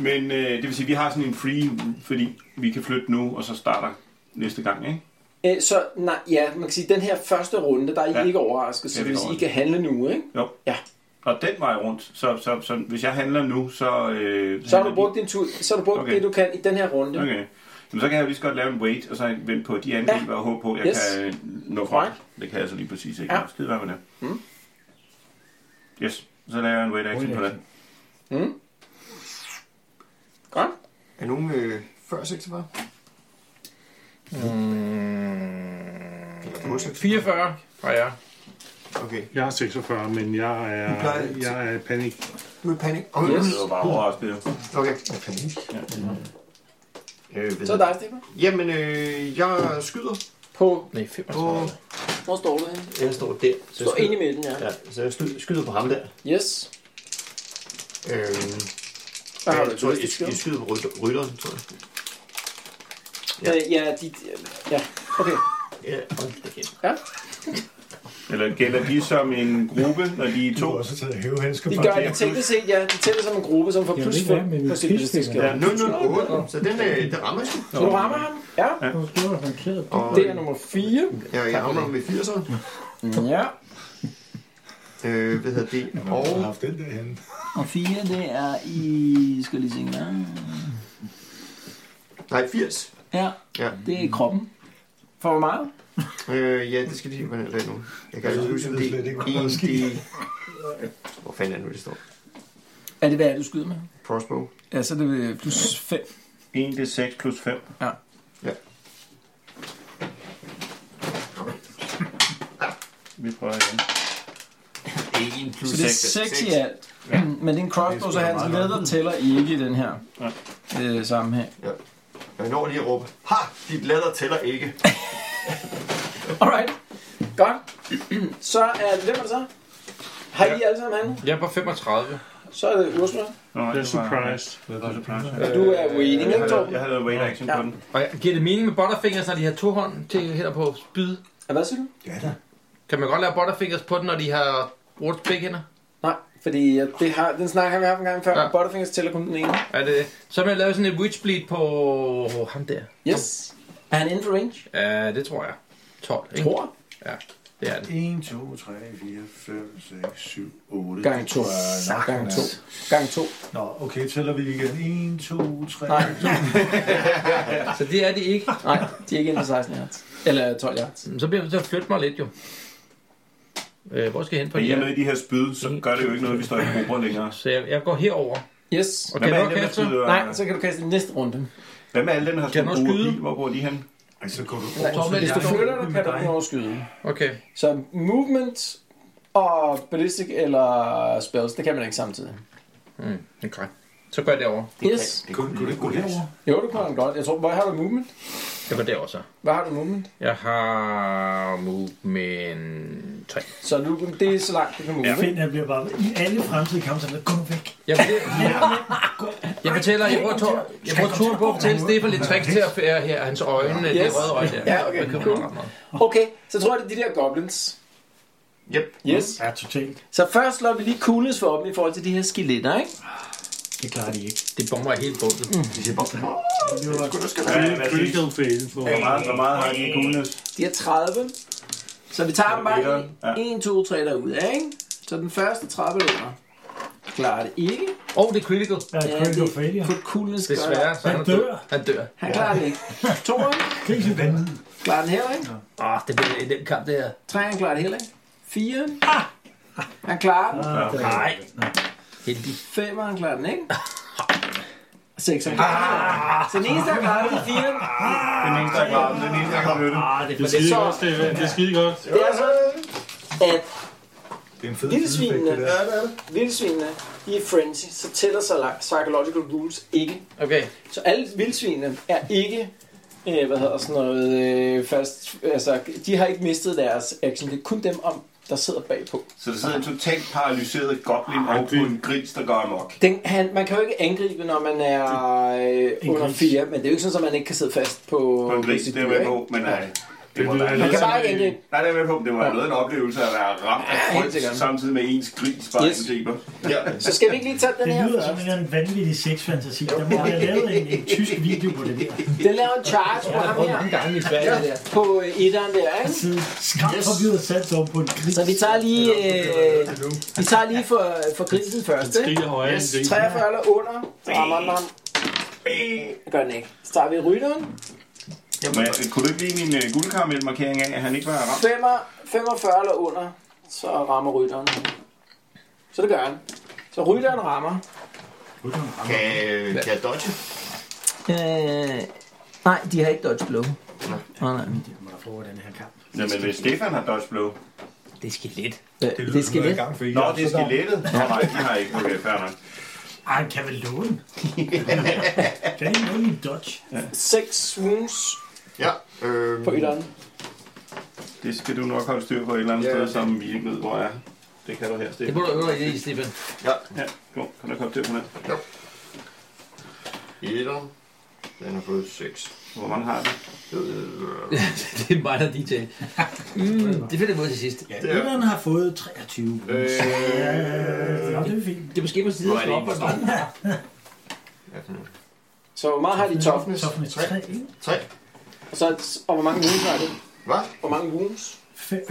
Speaker 8: Men øh, det vil sige, at vi har sådan en free, fordi vi kan flytte nu, og så starter næste gang, ikke?
Speaker 3: Æ, så nej, ja, man kan sige, den her første runde, der er I ja.
Speaker 8: Ja.
Speaker 3: ikke overrasket, så
Speaker 8: Ja,
Speaker 3: ja,
Speaker 8: det
Speaker 3: hvis
Speaker 8: går
Speaker 3: I
Speaker 8: ikke.
Speaker 3: kan handle nu, ikke?
Speaker 8: Jo.
Speaker 3: Ja.
Speaker 8: Og den vej rundt, så, så, så hvis jeg handler nu, så... Øh,
Speaker 3: Så har du
Speaker 8: handler
Speaker 3: brugt din tur, så har du brugt okay.
Speaker 8: Okay.
Speaker 3: det, du kan i den her runde.
Speaker 8: de- Okay. Jamen, så kan jeg jo lige så godt lave en wait, og så vente på, at de angriber og håbe på, at jeg
Speaker 3: Yes.
Speaker 8: kan øh, nå frem.
Speaker 3: Right.
Speaker 8: Det kan jeg så lige præcis ikke.
Speaker 3: Ja.
Speaker 8: Ja. Skide være med det. Mm. Yes, så laver jeg en wait action på det.
Speaker 3: Godt.
Speaker 7: Er nogen øh, før 46? Mm.
Speaker 9: 44 har jeg.
Speaker 7: Okay.
Speaker 4: Jeg er 46, men jeg er,
Speaker 7: plejer-
Speaker 4: jeg er i panik.
Speaker 7: Du er i panik. Okay.
Speaker 3: Yes.
Speaker 7: Yes.
Speaker 8: Det var bare overrasket, jo.
Speaker 7: Okay. Jeg er panik. Ja. Øh, ved
Speaker 3: Så er
Speaker 7: jeg-
Speaker 3: dig, Stefan.
Speaker 7: Jamen, øh, jeg skyder
Speaker 3: På,
Speaker 9: Nej,
Speaker 7: på...
Speaker 9: 35.
Speaker 3: hvor står du henne?
Speaker 7: Jeg står der. Så
Speaker 3: Står ind i midten, ja.
Speaker 7: Ja, så jeg skyder, skyder på ham der.
Speaker 3: Yes.
Speaker 7: Øh,
Speaker 3: Der har du
Speaker 7: jeg, tror, jeg,
Speaker 3: et
Speaker 7: jeg
Speaker 3: skid.
Speaker 7: skyder på rytter, rytteren, tror jeg.
Speaker 3: Ja, Øh, ja, dit, ja, okay.
Speaker 7: Ja, hold da kæft.
Speaker 8: Eller gælder de som en gruppe, når de er
Speaker 5: Du har
Speaker 8: to?
Speaker 5: også taget hævehændsker
Speaker 3: De
Speaker 5: fra.
Speaker 3: gør det teknisk set, ja. De tæller som en gruppe, som får
Speaker 6: Jeg
Speaker 3: plus
Speaker 6: ved ikke, hvad
Speaker 3: 5
Speaker 6: med
Speaker 3: på sit
Speaker 6: min
Speaker 3: belastningsskade.
Speaker 8: Ja,
Speaker 7: Ja, 008, så den, øh, den rammer jeg sgu.
Speaker 3: Så du rammer ham. Ja,
Speaker 6: Nu skal jeg have klæder på.
Speaker 7: Og
Speaker 3: det er nummer 4.
Speaker 7: ja, jeg rammer med 80'eren.
Speaker 3: Ja.
Speaker 7: Øh, hvad hedder det?
Speaker 5: Og har
Speaker 7: Og
Speaker 5: haft den der henne.
Speaker 3: Og 4, det er i... Skal lige se
Speaker 7: Nej, 80.
Speaker 3: Ja,
Speaker 7: Ja.
Speaker 3: det er i kroppen. For hvor meget?
Speaker 7: Øh, ja, det skal lige være det nu. Jeg kan
Speaker 5: Jeg
Speaker 7: altså
Speaker 5: ved
Speaker 7: huske, om
Speaker 5: slet
Speaker 7: det
Speaker 5: ikke,
Speaker 7: er
Speaker 5: hvad der
Speaker 7: en,
Speaker 5: sker.
Speaker 7: det... Hvor fanden er det nu, det står?
Speaker 3: Er det, hvad er det, du skyder med?
Speaker 7: Crossbow.
Speaker 3: Ja, så er det øh, plus 5.
Speaker 8: 1, det er 6 plus 5.
Speaker 7: Ja.
Speaker 8: Vi prøver igen.
Speaker 7: 1 plus
Speaker 3: Så det er 6 i alt.
Speaker 8: Ja.
Speaker 3: Men det er en crossbow, så hans leder tæller ikke i den her øh, sammenhæng.
Speaker 7: Jeg når lige at råbe, ha, dit lader tæller ikke.
Speaker 3: Alright. Godt. <clears throat> Så er det, hvem er det så? Har I alle sammen handlet?
Speaker 9: Jeg er på 35.
Speaker 3: Så er det Ursula.
Speaker 8: Nå, nej,
Speaker 4: Jeg
Speaker 8: det
Speaker 4: er
Speaker 8: var-
Speaker 4: surprised.
Speaker 8: Det var surprise.
Speaker 3: Og du er waiting, ikke
Speaker 8: Jeg havde,
Speaker 3: Torben?
Speaker 8: jeg havde wait action
Speaker 3: Øh, Ja.
Speaker 8: på den.
Speaker 9: Og jeg- giver det mening med butterfingers, når de har to hånd til her på spyd?
Speaker 3: Ja, Hvad siger du?
Speaker 5: Ja da.
Speaker 9: Kan man godt lave butterfingers på den, når de har brugt begge hænder?
Speaker 3: Nej, fordi øh, det har, den snak har vi haft en gang før. Ja.
Speaker 9: Ja.
Speaker 3: Butterfingers tæller kun den ene.
Speaker 9: Er det, så vil jeg lave sådan et witchbleed på ham der.
Speaker 3: Yes. Er han inden for range?
Speaker 9: Ja, det tror jeg. 12, ikke?
Speaker 3: Tror.
Speaker 9: Det er det.
Speaker 5: 1, 2, 3, 4, 5, 6, 7, 8.
Speaker 3: Gang to. Gang to. Gang to.
Speaker 5: Nå, okay, tæller vi igen. 1, 2, 3.
Speaker 3: Nej. <laughs>
Speaker 9: Så det er det ikke.
Speaker 3: Nej, de er ikke inden for 16 yards. Eller 12 yards.
Speaker 9: Så bliver jeg nødt til at flytte mig lidt, jo. Øh, hvor skal jeg hen på
Speaker 8: Og i og
Speaker 9: det
Speaker 8: med de her spyd, så gør det jo ikke noget, at vi står i grupper længere.
Speaker 9: Så jeg, jeg går herover.
Speaker 3: Yes.
Speaker 9: Og
Speaker 8: Hvad
Speaker 9: kan
Speaker 8: med
Speaker 9: jeg
Speaker 8: alle
Speaker 9: nå
Speaker 8: dem, der
Speaker 9: kaste?
Speaker 8: skyder?
Speaker 3: Nej, så kan du kaste den næste runde.
Speaker 8: Hvad med alle dem, der har
Speaker 9: Kan jeg
Speaker 8: skudt
Speaker 9: nå
Speaker 8: gode
Speaker 9: skyde?
Speaker 8: pil? Hvor bor de hen?
Speaker 5: Ej, så går du
Speaker 3: Torben, hvis du flytter dig, kan du prøve at skyde.
Speaker 9: Okay.
Speaker 3: Så movement og ballistic eller spells, det kan man ikke samtidig.
Speaker 9: Mm, okay. Så går jeg derover.
Speaker 3: Yes.
Speaker 5: Kunne, kunne du ikke gå herover?
Speaker 3: Jo, det kunne man godt. Jeg tror, hvor har du movement?
Speaker 9: Jeg går derover så.
Speaker 3: Hvad har du movement?
Speaker 9: Jeg har movement 3.
Speaker 3: Så nu, det er så langt, du kan move.
Speaker 6: Finn, jeg bliver bare i alle fremtidige kampe, så er det, gå nu <laughs> væk.
Speaker 9: Jeg, jeg fortæller, jeg bruger, tur, jeg bruger turen på at fortælle Stefan lidt tricks til at fære her, hans øjne, yes. det
Speaker 3: Yes.
Speaker 9: røde øje der.
Speaker 3: Ja, okay,
Speaker 9: Det kan man
Speaker 3: cool.
Speaker 9: ret meget.
Speaker 3: Okay, så tror jeg, det er de der goblins.
Speaker 7: Yep.
Speaker 3: Yes.
Speaker 6: Ja, totalt.
Speaker 3: Så først slår vi lige coolness for dem i forhold til de her skeletter, ikke?
Speaker 6: Det klarer de ikke.
Speaker 9: Det bomber helt bundet.
Speaker 7: Vi siger bare,
Speaker 6: Det var
Speaker 7: du skal
Speaker 8: Ja,
Speaker 7: være.
Speaker 8: hvad siger du?
Speaker 4: Critical fail for...
Speaker 8: Hvor meget, hvor meget har de i coolness?
Speaker 3: De er 30. Så vi tager dem bare
Speaker 8: Etteren, ja.
Speaker 3: 1, 2, 3 derud, ikke? Så den første trappe under. Klarer det ikke.
Speaker 9: Og oh, det er critical.
Speaker 6: ja,
Speaker 3: Ja,
Speaker 6: critical
Speaker 3: det-
Speaker 6: failure.
Speaker 3: Kun coolness gør
Speaker 9: Desværre,
Speaker 3: det.
Speaker 9: så han
Speaker 6: Han
Speaker 9: er død.
Speaker 6: dør.
Speaker 9: Han dør.
Speaker 3: Han klarer det ikke. Toren
Speaker 6: Krise vandet.
Speaker 3: klarer den heller ikke.
Speaker 9: Åh, oh, det bliver en nem kamp, det her.
Speaker 3: Træeren klarer det heller ikke. 4. Han klarer den.
Speaker 9: Nej. Heldig.
Speaker 3: Femeren klarer den ikke. <laughs> Ah. Sekseren klarer den heller ikke. Så den eneste, der klarer det, er firen.
Speaker 8: Den eneste, der klarer den, den eneste, der kan flytte.
Speaker 4: Det er skide
Speaker 3: så-
Speaker 4: godt, Stefan. Det er skide godt.
Speaker 3: Det er sådan, at
Speaker 5: Det er en fed
Speaker 3: Lille
Speaker 5: sidefægt,
Speaker 3: svinene.
Speaker 5: det der.
Speaker 3: vildsvinene, de er frenzy, så tæller sig lang- psychological rules ikke.
Speaker 9: Okay.
Speaker 3: Så alle vildsvinene er ikke, øh, hvad hedder sådan noget, øh, fast, altså, de har ikke mistet deres action. Det er kun dem om, der sidder bagpå.
Speaker 8: Så der sidder en totalt paralyseret goblin
Speaker 4: Ej,
Speaker 8: og på en gris, der går amok.
Speaker 3: Den, han, man kan jo ikke angribe, når man er øh, under
Speaker 6: gris.
Speaker 3: 4, men det er jo ikke sådan, at man ikke kan sidde fast på,
Speaker 8: På en gris,
Speaker 3: sit
Speaker 8: det er jeg
Speaker 3: dyr,
Speaker 8: med
Speaker 3: ikke?
Speaker 8: på, men nej. Det
Speaker 4: Det
Speaker 8: må
Speaker 4: lyder
Speaker 8: være
Speaker 3: Man
Speaker 4: lidt
Speaker 3: kan
Speaker 4: som
Speaker 3: bare ikke
Speaker 4: en-
Speaker 3: angribe.
Speaker 8: Nej, det er jeg med på, men det var
Speaker 3: Ja.
Speaker 8: noget af en oplevelse at være ramt af
Speaker 3: Ja, helt sikkert.
Speaker 8: frygt, samtidig med ens gris bare
Speaker 3: Yes.
Speaker 8: angriber.
Speaker 3: Så skal vi ikke lige tage den
Speaker 6: Det
Speaker 3: her
Speaker 6: lyder
Speaker 3: først?
Speaker 6: som en eller anden vanvittig sexfantasi. Der må have lavet en, en tysk video på det der.
Speaker 3: Den laver en charge på ham her,
Speaker 9: Mange gange i Sverige, det der.
Speaker 3: på øh, etteren der, ikke?
Speaker 6: Siden skræmt forvirret sat sig oven på en gris.
Speaker 3: Så vi tager lige, øh, vi tager lige for, for grisen først, ikke?
Speaker 4: Skriger højere end det.
Speaker 3: 43 eller under, så rammer den ham. Det gør den ikke. Så tager vi rytteren.
Speaker 8: Men øh, kunne du ikke lide min uh, guldkaramel-markering af, at han ikke var ramt?
Speaker 3: Femmer- 45 eller under, så rammer rytteren. Så det gør han. Så rytteren rammer.
Speaker 7: Kan, kan jeg dodge?
Speaker 3: Øh, nej, de har ikke dodge blow. Nej, nej.
Speaker 8: Jamen, hvis Stefan har dodge blow.
Speaker 9: Det skal lidt.
Speaker 3: Det,
Speaker 5: Det
Speaker 3: det,
Speaker 5: lyder
Speaker 3: det
Speaker 5: som
Speaker 3: skal
Speaker 5: noget,
Speaker 3: lidt.
Speaker 5: jeg gang fik.
Speaker 8: Nå, det er skelettet. Nå, nej, de har ikke. Okay, fair nok.
Speaker 6: Ej, han kan vel
Speaker 3: <laughs>
Speaker 6: låne. Kan I låne en dodge?
Speaker 3: 6 wounds
Speaker 7: Ja. Øhm,
Speaker 3: på etteren.
Speaker 8: Det skal du nok holde styr på et eller andet
Speaker 7: Ja,
Speaker 8: sted,
Speaker 7: okay.
Speaker 8: som vi ikke ved, hvor er. Det kan du her,
Speaker 9: Det
Speaker 8: Stefan.
Speaker 9: må du øve dig i, Stefan. <laughs>
Speaker 7: Ja.
Speaker 8: Ja, kom, kan du komme til på den?
Speaker 7: Etter. Den har fået 6.
Speaker 8: Hvor mange har du?
Speaker 7: Øh,
Speaker 9: det er mig, der DJ. Mm, det finder jeg ud til sidst.
Speaker 7: det er,
Speaker 6: Etteren har fået 23.
Speaker 7: øh,
Speaker 6: Nå, det er fint.
Speaker 9: Det er måske på siden,
Speaker 7: nu
Speaker 9: at
Speaker 7: er
Speaker 9: slå
Speaker 7: det
Speaker 9: op
Speaker 7: en
Speaker 9: på
Speaker 7: stor.
Speaker 3: Så hvor meget har de toughness?
Speaker 6: Så får vi 3.
Speaker 7: 3.
Speaker 3: Og, så, og hvor mange wounds har det?
Speaker 7: Hvad?
Speaker 3: Hvor mange wounds?
Speaker 6: 5.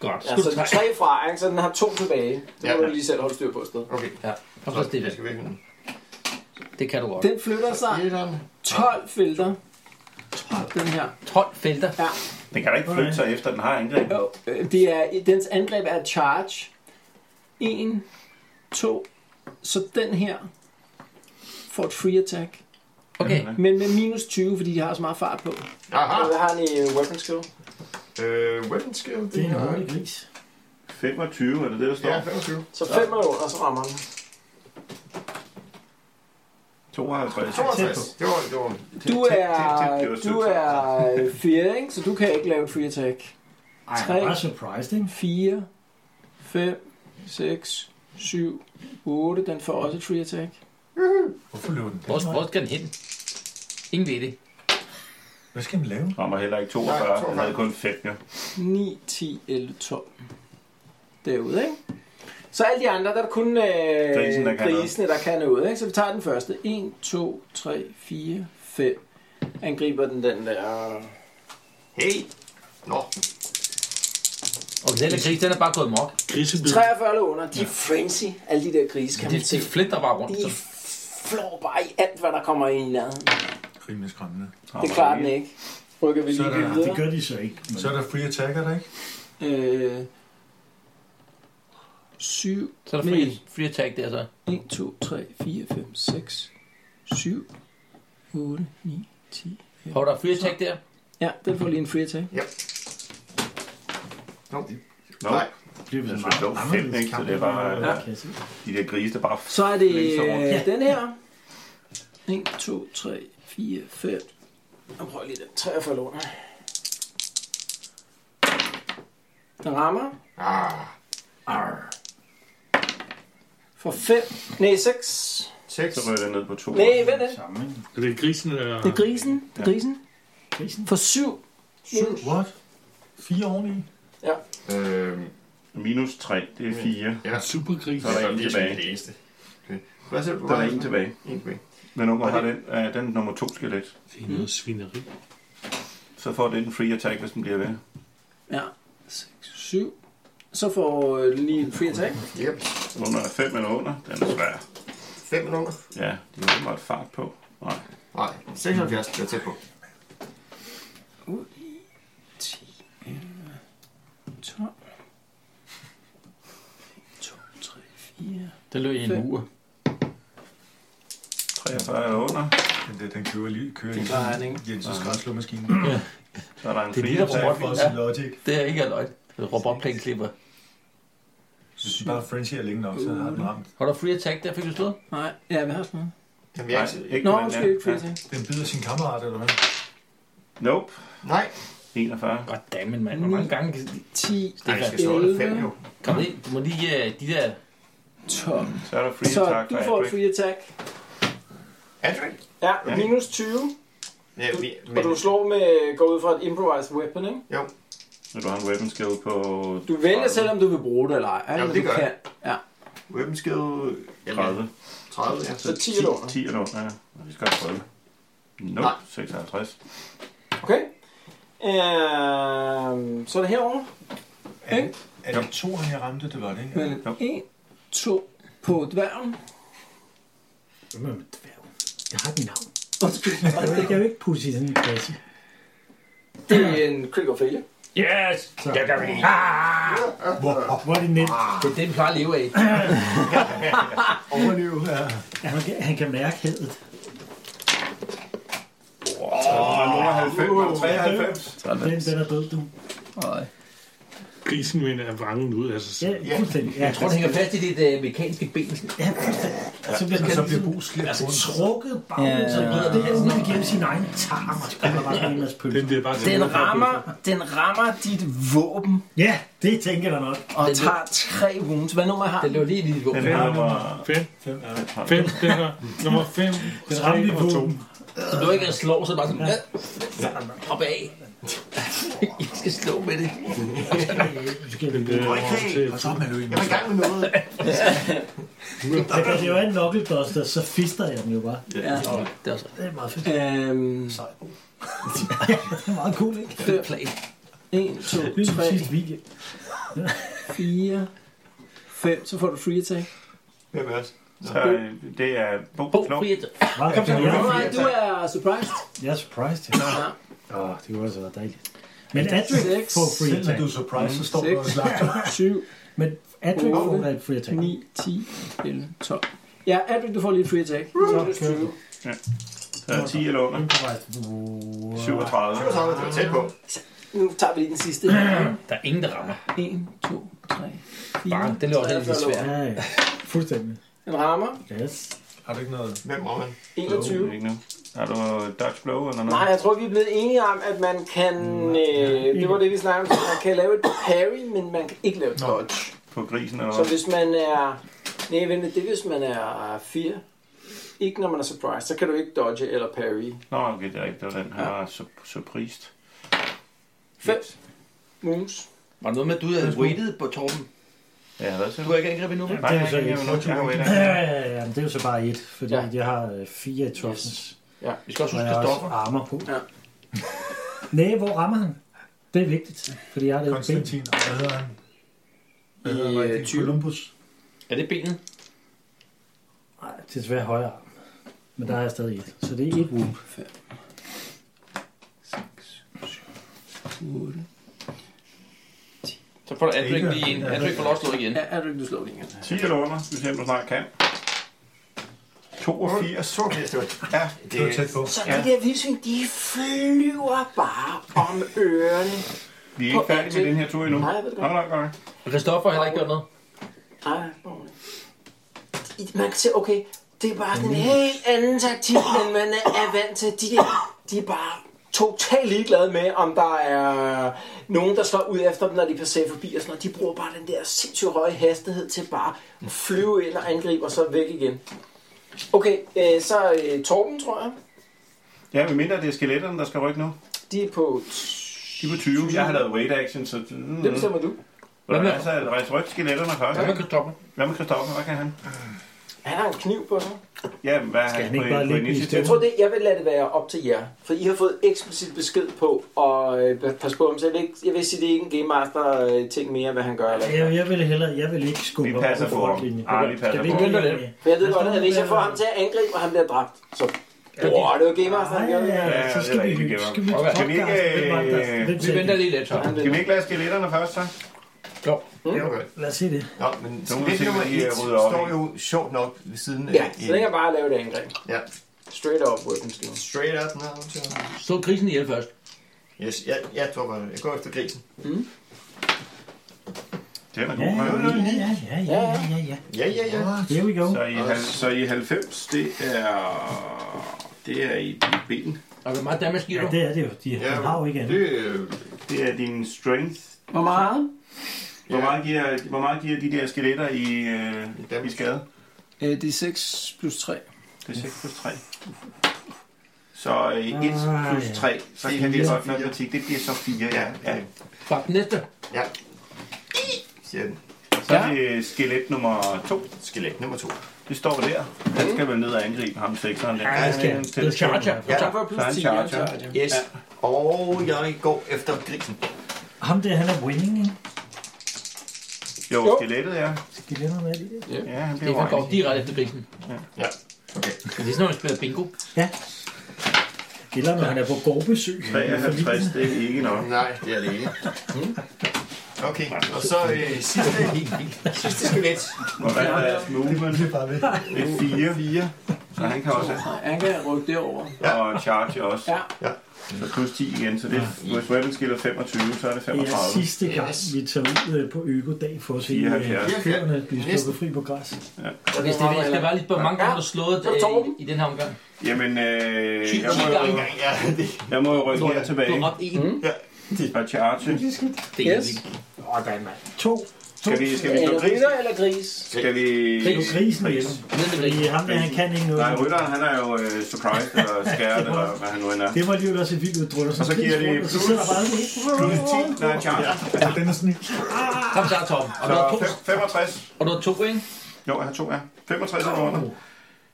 Speaker 9: Godt.
Speaker 3: Ja,
Speaker 9: Skud
Speaker 3: så
Speaker 9: tre.
Speaker 3: tre fra, ikke? så den har to tilbage. Det må
Speaker 7: Ja.
Speaker 3: du lige selv holde styr på et sted.
Speaker 7: Okay.
Speaker 9: Kom så,
Speaker 7: Så det
Speaker 9: Stefan.
Speaker 7: skal væk nu.
Speaker 9: Det kan du godt.
Speaker 3: Den flytter sig
Speaker 7: Etteren.
Speaker 3: 12 felter. Den her.
Speaker 9: 12 felter.
Speaker 8: Den kan da ikke flytte sig efter, den har angreb.
Speaker 3: Jo, øh, det er, dens angreb er et charge. 1, 2, så den her får et free attack.
Speaker 9: Okay.
Speaker 3: Men med minus 20, fordi de har så meget fart på.
Speaker 7: Aha.
Speaker 3: Og hvad har han i weapon skill?
Speaker 7: Øh, weapon skill.
Speaker 6: Det er en
Speaker 7: har-
Speaker 6: hurtig gris.
Speaker 8: 25, er det det, der står?
Speaker 7: Ja, 25.
Speaker 3: Så 5 er under, så rammer han.
Speaker 8: 52.
Speaker 7: 62. Det var, det var.
Speaker 3: Du er, du er 4, ikke? så du kan ikke lave et free attack.
Speaker 6: Ej,
Speaker 3: Tre.
Speaker 6: jeg var surprised, ikke?
Speaker 3: 4, 5, 6, 7, 8. Den får også et free attack.
Speaker 5: Hvorfor løber den?
Speaker 9: Hvor, hvor skal den hen? Ingen ved det.
Speaker 5: Hvad skal man lave?
Speaker 8: Rammer heller ikke
Speaker 7: Nej,
Speaker 8: 42,
Speaker 7: 42.
Speaker 8: den havde kun 5, jo.
Speaker 3: 9, 10, 11, 12. Derude, ikke? Så alle de andre, der er der kun øh,
Speaker 8: Grisen, der kan noget.
Speaker 3: grisene, der kan noget. Ikke? Så vi tager den første. 1, 2, 3, 4, 5. Angriber den den der...
Speaker 7: Hey. Nå.
Speaker 9: Og den her gris, den er bare gået mok.
Speaker 4: Grisebid.
Speaker 3: 43 eller under, de er frenzy, alle de der grise, kan
Speaker 9: De,
Speaker 3: man se.
Speaker 9: de flitter bare rundt.
Speaker 3: De flår bare i alt, hvad der kommer ind i nærheden.
Speaker 5: Rimelig skræmmende.
Speaker 3: Det klarer den ikke. Rykker vi lige
Speaker 5: Så er der-
Speaker 6: Det
Speaker 3: videre.
Speaker 6: gør de så ikke. Men
Speaker 5: Så er der free attacker, der ikke?
Speaker 3: Øh, 7,
Speaker 9: Så er der free, free attack der så.
Speaker 3: 1, 2, 3, 4, 5, 6, 7, 8, 9, 10,
Speaker 9: Hov, der er free attack der.
Speaker 3: Ja, den får lige en free attack.
Speaker 8: Nå,
Speaker 7: Nej.
Speaker 8: det er jo fedt, ikke? Så det er bare øh, de der grise, der bare...
Speaker 3: Så er det
Speaker 8: Længst over.
Speaker 3: øh, den her. 1, 2, 3, 4, 5. Jeg prøver lige den. 43 låner. Den rammer.
Speaker 7: Ah,
Speaker 3: For 5. Nej, 6.
Speaker 7: seks.
Speaker 8: Så rører det ned på to.
Speaker 3: Nej, vent lidt.
Speaker 4: Så det er grisen, der...
Speaker 3: Det er grisen. Det er grisen. For 7.
Speaker 5: What? Fire oveni?
Speaker 7: Øhm,
Speaker 8: Minus 3, det er 4.
Speaker 4: Supergris.
Speaker 8: Så er der en
Speaker 7: det er
Speaker 8: tilbage.
Speaker 7: sådan det eneste. Okay. Hvad siger du?
Speaker 8: Der er en tilbage.
Speaker 7: En tilbage.
Speaker 8: Men nummer har den, øh, den er nummer 2 skelet.
Speaker 4: Det er noget svineri.
Speaker 8: Så får den en free attack, hvis den bliver ved.
Speaker 3: Ja. 6, 7. Så får øh, den lige en free attack.
Speaker 7: Yep.
Speaker 8: Under 5 eller under, den er svær.
Speaker 7: Fem minutter.
Speaker 8: Ja, de har åbenbart fart på. Nej.
Speaker 7: Nej, 76. Det er tæt på.
Speaker 3: 12. 2, 3, 4.
Speaker 9: Der lå i en mur.
Speaker 8: 43 eller under,
Speaker 5: Den, der, den kører lige kører
Speaker 3: Det klarer han, ikke?
Speaker 5: i Jensens græsslåmaskine.
Speaker 8: så er der en
Speaker 9: Det er
Speaker 8: free
Speaker 9: lige der
Speaker 8: attack.
Speaker 9: robot.
Speaker 5: For sin logic.
Speaker 9: Det er ikke løgn. Robotplæneklipper.
Speaker 5: Hvis den bare frenzy er længe nok, så har den ramt.
Speaker 9: Har du free attack der, fik du slået?
Speaker 3: Nej, ja, vi har sådan noget.
Speaker 7: Den
Speaker 8: Nej,
Speaker 7: virker ikke.
Speaker 8: ikke
Speaker 3: Nå,
Speaker 8: på den
Speaker 3: måske
Speaker 8: der.
Speaker 3: ikke free
Speaker 8: Ja.
Speaker 3: attack.
Speaker 5: Den bider sin kammerat, eller hvad?
Speaker 8: Nope.
Speaker 7: Nej.
Speaker 8: 41.
Speaker 9: Goddammit, mand. Hvor mange gange kan
Speaker 3: 10,
Speaker 7: Nej, vi skal slå det fem jo.
Speaker 9: Kom ind. Du må lige øh, de der...
Speaker 3: 12.
Speaker 8: Så er der free
Speaker 3: Så
Speaker 8: attack
Speaker 3: du
Speaker 8: fra
Speaker 3: får et
Speaker 8: Adric.
Speaker 3: free attack.
Speaker 7: Adrian?
Speaker 3: Ja, minus 20.
Speaker 7: Ja, vi,
Speaker 3: Og du slår med, går ud fra et improvised weapon, ikke?
Speaker 8: Så du har en weapon skill på...
Speaker 3: Du vælger selv, om du vil bruge det eller ej.
Speaker 7: Jamen,
Speaker 3: men
Speaker 7: det
Speaker 3: du
Speaker 7: gør
Speaker 3: kan. Ja.
Speaker 7: Weapon skill... Jamen,
Speaker 8: 30.
Speaker 7: 30, ja.
Speaker 3: Så 10 låner.
Speaker 8: 10 eller under, ja. Og Vi skal have 30. Nope.
Speaker 7: Nej.
Speaker 8: 56.
Speaker 3: Okay. Øhm, så er det herovre.
Speaker 5: Er det, er det to, han jeg ramte, det var det, ikke?
Speaker 3: Men 1, 2 på dværgen.
Speaker 6: Hvad med dværg?
Speaker 10: Jeg har den navn.
Speaker 3: Undskyld.
Speaker 6: Det kan jo ikke putte i sådan en kasse.
Speaker 3: Det er en critical failure.
Speaker 9: Yes! Det gør vi.
Speaker 6: Hvor er det net?
Speaker 9: Det er det, den plejer at leve af.
Speaker 5: Overlev, ja.
Speaker 6: Han kan, han kan mærke hædet.
Speaker 8: Nummer 90, 93.
Speaker 6: Den, den er død, du.
Speaker 4: Grisen vender vrangen ud af sig
Speaker 6: Ja,
Speaker 4: selv.
Speaker 6: fuldstændig. Ja,
Speaker 9: Jeg tror, den hænger fast i dit øh, mekaniske ben.
Speaker 6: Ja, fuldstændig. Så bliver den
Speaker 5: Så bliver Bo slæbt
Speaker 6: altså,
Speaker 5: rundt.
Speaker 6: trukket baglæns og glider det her ud igennem sin egen tarm, og så kommer der bare sådan en masse pølser.
Speaker 4: Den bliver bare
Speaker 3: Den rammer, den rammer dit våben
Speaker 6: Ja, det tænker jeg da nok.
Speaker 3: og tager tre wounds. Hvad nummer har
Speaker 9: Den
Speaker 3: den?
Speaker 9: lå lige i dit våben.
Speaker 8: Den har nummer...
Speaker 4: 5.
Speaker 5: Fem, ja.
Speaker 4: 5. Den er nummer 5.
Speaker 6: Den ramte i
Speaker 4: 3 og 2.
Speaker 6: våben.
Speaker 9: Du lå ikke at slå, så bare sådan... Ja. Hop
Speaker 2: <laughs>
Speaker 9: af. I skal slå med det.
Speaker 4: Den bliver rammer til...
Speaker 5: Og så er man jo en
Speaker 7: Jeg var i gang med noget.
Speaker 6: Da det var en knucklebuster, så fister jeg den jo bare.
Speaker 9: Det er også
Speaker 6: Det er meget fedt.
Speaker 3: Øhm,
Speaker 6: Det er meget cool, ikke?
Speaker 9: en plan.
Speaker 3: 1, 2,
Speaker 6: Det er
Speaker 3: 3,
Speaker 6: præcis weekend.
Speaker 3: 4, 5. Så får du free attack.
Speaker 7: Hvem er os?
Speaker 8: Så øh, det er... Bo,
Speaker 9: Bo,
Speaker 8: Knop.
Speaker 9: fri et-
Speaker 6: Meget
Speaker 8: Kom så,
Speaker 6: cool.
Speaker 8: Jørgen.
Speaker 3: Nej, du er surprised.
Speaker 6: Jeg er surprised. Ja. Åh, det kunne også være dejligt. Men Adric
Speaker 3: Seks,
Speaker 6: får free
Speaker 5: Selv når
Speaker 6: attack.
Speaker 5: du er surprised, så står du og
Speaker 3: Seks.
Speaker 5: slagter.
Speaker 3: 7,
Speaker 6: <laughs> Men Adric
Speaker 3: Otte.
Speaker 6: får da et free attack.
Speaker 3: 9, 10, 11, 12. Ja, Adric, du får lige et free attack. Så kører du.
Speaker 8: Så er 10 eller under.
Speaker 6: Improvised.
Speaker 8: 37.
Speaker 7: 37, det var tæt på.
Speaker 3: Nu tager vi lige den sidste.
Speaker 9: Der er ingen, der rammer.
Speaker 3: 1, 2, 3,
Speaker 9: Bare,
Speaker 3: 4.
Speaker 9: det løber også lidt svært.
Speaker 6: Ja, ja. Fuldstændig.
Speaker 3: Den rammer.
Speaker 6: Yes.
Speaker 5: Har du ikke noget?
Speaker 7: Hvem rammer han?
Speaker 3: 21.
Speaker 8: Ikke nu. Har du Dutch Blow eller noget?
Speaker 3: Nej, jeg tror, vi er blevet enige om, at man kan... Øh, det var det, vi snakkede om. Man kan lave et parry, men man kan ikke lave et dodge.
Speaker 8: På grisen eller
Speaker 3: Så
Speaker 8: noget?
Speaker 3: hvis man er... Nej, vent lidt, det er, hvis man er 4. Ikke når man er surprised, så kan du ikke dodge eller parry.
Speaker 8: Nå, okay, det er rigtigt. Det var den her var sur- surprised.
Speaker 3: 5. Moons.
Speaker 9: Var der noget med, at du havde waited på Torben?
Speaker 8: Ja, hvad siger
Speaker 9: Du
Speaker 8: du?
Speaker 9: har ikke angrebet endnu, vel?
Speaker 8: Nej,
Speaker 6: Det er
Speaker 8: jeg
Speaker 6: så
Speaker 8: kan ikke
Speaker 6: ikke
Speaker 8: lave noget. Jeg har været
Speaker 6: Ja,
Speaker 8: der.
Speaker 6: ja, ja, ja, men det er jo så bare et, fordi
Speaker 3: Ja.
Speaker 6: ja. jeg har øh, fire i toughness,
Speaker 9: Vi skal også
Speaker 6: og
Speaker 9: huske
Speaker 6: jeg har også
Speaker 9: Kristoffer.
Speaker 6: armer på.
Speaker 3: Ja.
Speaker 6: Ja. Næh, hvor rammer han? Det er vigtigt, fordi jeg har det ikke ben.
Speaker 5: Konstantin, og hvad hedder han? Hvad hedder
Speaker 3: I,
Speaker 5: han
Speaker 3: øh,
Speaker 5: rigtig?
Speaker 3: 20.
Speaker 5: Columbus.
Speaker 9: Er det benet?
Speaker 6: Nej, det er desværre højre arm. Men der er jeg stadig et, så det er et wound.
Speaker 3: 8.
Speaker 9: Så får du Adric lige en. Adric får lov at slå igen.
Speaker 3: Ja, er du ikke, du slår det igen?
Speaker 8: 10 eller under, hvis jeg nu snart kan. 42. 82.
Speaker 7: Så det stort. Ja,
Speaker 5: Det var tæt på.
Speaker 3: Så de der vildsvin, de flyver bare om ørerne.
Speaker 8: Vi er ikke færdige med den her tur endnu.
Speaker 3: Nej, jeg ved det
Speaker 8: Nej,
Speaker 3: godt.
Speaker 8: nej, nej.
Speaker 9: Og Christoffer har heller ikke gjort noget.
Speaker 3: Nej, I- man kan se, okay, det er bare sådan en helt anden taktik, end man er vant til. De, er- de er bare totalt ligeglade med, om der er nogen, der slår ud efter dem, når de passerer forbi og sådan noget. De bruger bare den der sindssygt høje hastighed til bare at flyve ind og angribe, og så væk igen. Okay, øh, så øh, Torben, tror jeg.
Speaker 8: Ja, men mindre det er skeletterne, der skal rykke nu.
Speaker 3: De er på...
Speaker 8: De er på 20. Jeg har lavet raid action, så... Mm. altså,
Speaker 3: Det bestemmer du.
Speaker 8: Hvordan er det så? Rejs ryk skeletterne først.
Speaker 9: Hvad med Christoffer?
Speaker 8: Hvad med Christoffer? Hvad kan han?
Speaker 3: Han har en kniv på sig.
Speaker 8: Ja, men hvad er han,
Speaker 6: han
Speaker 8: på,
Speaker 6: ikke bare
Speaker 8: på
Speaker 6: ligge i
Speaker 8: initiativ?
Speaker 3: Jeg tror, det, jeg vil lade det være op til jer. For I har fået eksplicit besked på at øh, passe på ham. Så jeg vil, ikke, jeg vil sige, det er ikke en Game Master øh, ting mere, hvad han gør. Eller.
Speaker 6: Jeg, jeg vil hellere, jeg vil ikke skubbe
Speaker 8: Vi passer
Speaker 6: op på
Speaker 8: på ham.
Speaker 6: frontlinjen.
Speaker 8: Ah, vi passer
Speaker 6: Skal
Speaker 8: på
Speaker 6: ikke
Speaker 9: ham.
Speaker 6: gøre det?
Speaker 3: For jeg ved
Speaker 6: Han
Speaker 3: godt,
Speaker 6: står
Speaker 3: at hvis jeg får
Speaker 6: med-
Speaker 3: ham til at angribe, og han bliver dræbt, så... Wow, det var Game Master, han gjorde det her.
Speaker 8: Ja,
Speaker 6: Ja, så
Speaker 8: det
Speaker 6: skal
Speaker 8: er
Speaker 6: vi
Speaker 8: rigtigt,
Speaker 6: lytte.
Speaker 8: det var-
Speaker 6: Skal vi
Speaker 9: Okay.
Speaker 8: Kan vi ikke, øh,
Speaker 6: lytte?
Speaker 9: Vi venter lige lidt, så.
Speaker 3: Han
Speaker 8: Skal vi
Speaker 3: blev-
Speaker 8: ikke lade skeletterne først, så?
Speaker 7: okay.
Speaker 6: Lad os se det.
Speaker 7: Nå, men
Speaker 8: Så må vi
Speaker 7: skelet
Speaker 8: se,
Speaker 7: nummer
Speaker 8: hvad de, øh,
Speaker 7: 1
Speaker 8: rydder op
Speaker 7: står
Speaker 8: i.
Speaker 7: jo sjovt nok ved siden af...
Speaker 3: Ja, så den kan bare lave det angreb.
Speaker 7: ja.
Speaker 3: Straight up weapons skill.
Speaker 7: Straight up now. så.
Speaker 9: Så krisen ihjel først.
Speaker 7: Yes, jeg, jeg tror bare, jeg går efter grisen.
Speaker 8: Det er da god prøve.
Speaker 6: Ja, ja, ja, ja, ja, ja.
Speaker 7: Ja, ja, ja.
Speaker 6: Here we go.
Speaker 8: Så i, hal- så i 90, det er... Det er i dit ben.
Speaker 9: Og hvor Altså, meget damage giver
Speaker 6: Ja,
Speaker 9: du?
Speaker 6: det er det jo. De
Speaker 7: ja
Speaker 6: har jo ikke andet.
Speaker 7: det, øh,
Speaker 8: Det er din strength.
Speaker 3: Hvor meget?
Speaker 8: Hvor meget giver, hvor meget giver de der skeletter i, øh, i skade?
Speaker 3: Øh, det er 6 plus 3.
Speaker 8: Det er 6 plus 3. Så øh, 1 plus 3, så
Speaker 7: Det
Speaker 8: kan vi
Speaker 7: bliver så
Speaker 8: godt
Speaker 7: fire.
Speaker 8: matematik. Det bliver så 4, ja. ja.
Speaker 9: Fuck, næste.
Speaker 7: ja. Siger den.
Speaker 8: Så er det øh, skelet nummer 2.
Speaker 7: Skelet nummer to.
Speaker 8: Det står der. Han skal vel ned og angribe ham sekseren der.
Speaker 9: Ja, det skal han.
Speaker 8: Til-
Speaker 9: Charger.
Speaker 8: Så
Speaker 7: Ja.
Speaker 3: Han får plus
Speaker 8: er han
Speaker 3: 10. ja,
Speaker 8: charger.
Speaker 3: ja.
Speaker 7: Yes. Ja. Og jeg går efter grisen.
Speaker 6: Ham der, han er winning, ikke?
Speaker 8: Jo, skelettet, ja.
Speaker 6: Skal vi have noget af det der?
Speaker 8: Ja, han
Speaker 9: Det
Speaker 8: bliver
Speaker 9: går
Speaker 8: orange.
Speaker 9: direkte efter krisen.
Speaker 7: Ja. Okay.
Speaker 9: Det er sådan, når man spiller bingo.
Speaker 6: Eller når han er på gårdbesøg.
Speaker 8: 53, det er ikke nok.
Speaker 7: Nej, det er det ikke. Hmm? Okay, og så øh, sidste, sidste skelet.
Speaker 8: Og hvad er deres movement?
Speaker 5: Det er bare væk.
Speaker 8: Det er 4. 4. Så han kan også have.
Speaker 3: Han kan rykke derover.
Speaker 8: Og charge også.
Speaker 3: Ja.
Speaker 7: Ja.
Speaker 8: Så plus 10 igen, så det er, hvis weapon skill er 25, så er det
Speaker 6: Det er
Speaker 8: 35.
Speaker 6: sidste gang,
Speaker 7: Yes.
Speaker 6: vi tager ud øh, på økodag for at se øh,
Speaker 8: 74.
Speaker 6: køerne blive
Speaker 7: Næsten.
Speaker 6: sluppet fri på græs.
Speaker 9: Hvis det, jeg skal bare lige på, hvor mange gange du har slået
Speaker 3: Så er det Torben.
Speaker 9: øh, i den her omgang.
Speaker 8: Jamen, øh,
Speaker 9: Ti-
Speaker 8: jeg,
Speaker 9: ti
Speaker 8: må jo,
Speaker 9: gange.
Speaker 7: Ja, det,
Speaker 8: jeg må jo rykke her
Speaker 9: Du
Speaker 8: tilbage
Speaker 9: er op en.
Speaker 8: og charge.
Speaker 9: Det er
Speaker 3: Mm. Yes.
Speaker 9: vildt.
Speaker 6: To.
Speaker 8: Skal vi, skal vi slå
Speaker 3: Eller
Speaker 8: gris?
Speaker 3: rytter eller gris?
Speaker 8: Skal vi...
Speaker 6: Nu grisen
Speaker 8: Pris.
Speaker 6: igen.
Speaker 9: Ned med
Speaker 6: Fordi
Speaker 9: krisen.
Speaker 6: Øh, ham der, han kan ikke noget.
Speaker 8: Nej, rytteren han er jo øh, surprised eller scared, eller hvad han nu end er.
Speaker 6: Det var lige også et vildt udtryk. Og så,
Speaker 8: Og så giver det
Speaker 6: rundt, og så sidder der bare det.
Speaker 8: Plus 10, nej, charge.
Speaker 5: Altså, den er sådan
Speaker 9: Kom så, Torben. Og du har
Speaker 8: Så
Speaker 9: to,
Speaker 8: fem- 65.
Speaker 9: og du har to ikke?
Speaker 8: Jo, jeg har to, ja. 65 er under.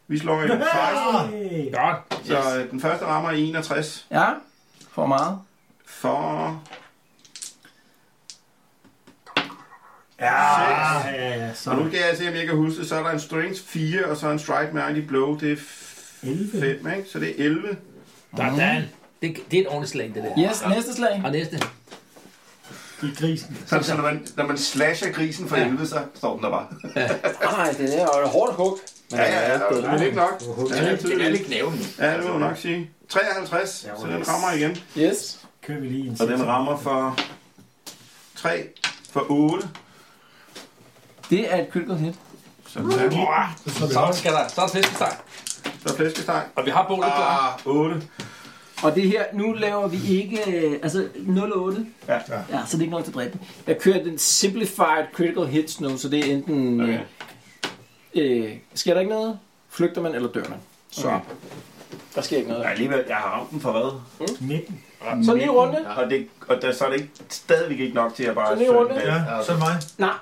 Speaker 8: Vi slår en 16,
Speaker 6: Hey.
Speaker 9: Godt.
Speaker 8: så øh, den første rammer i 61.
Speaker 3: Ja. For meget.
Speaker 8: For...
Speaker 6: Ja, ja, ja. Så
Speaker 8: Og nu skal jeg se, om jeg kan huske det. Så er der en strength 4, og så en strike med Andy Blow. Det er
Speaker 6: 11.
Speaker 8: 5, ikke? Så det er 11. Mhm.
Speaker 9: Sådan. Det, det er et ordentligt slag, det der.
Speaker 3: Yes, næste slag.
Speaker 9: Og næste.
Speaker 6: i grisen.
Speaker 8: Så, så når, man, når man slasher grisen for 11, så står den der bare.
Speaker 3: Nej, den er jo et hårdt hug.
Speaker 8: Ja, ja, ja. Men det er ikke nok. Ja, det er
Speaker 7: det er
Speaker 8: tydeligt.
Speaker 7: lidt knæven.
Speaker 8: Ja, det må man nok sige. 53, så den rammer igen.
Speaker 3: Yes.
Speaker 6: Kører vi lige en
Speaker 8: Og den rammer for 3, for 8.
Speaker 3: Det er et critical hit.
Speaker 8: Så der er
Speaker 9: Så skal der, så er der flæskesteg.
Speaker 8: der er flæskesteg.
Speaker 9: Og vi har bålet klar.
Speaker 8: Ah, 8.
Speaker 3: Og det her, nu laver vi ikke, øh, altså 08.
Speaker 8: Ja.
Speaker 3: Ja, så det er ikke nok til at dræbe. Jeg kører den simplified critical hits nu, så det er enten,
Speaker 8: Okay.
Speaker 3: okay. øh, sker der ikke noget, flygter man eller dør man. Så
Speaker 8: Okay.
Speaker 3: der sker ikke noget.
Speaker 8: Ja, alligevel, jeg har ramt den for hvad?
Speaker 6: midten.
Speaker 3: Så lige runde.
Speaker 8: Og, det, og der, så er det ikke, stadigvæk ikke nok til at bare...
Speaker 3: Så lige
Speaker 8: slå
Speaker 3: runde.
Speaker 8: den af.
Speaker 5: Ja, så er det mig.
Speaker 3: Nej,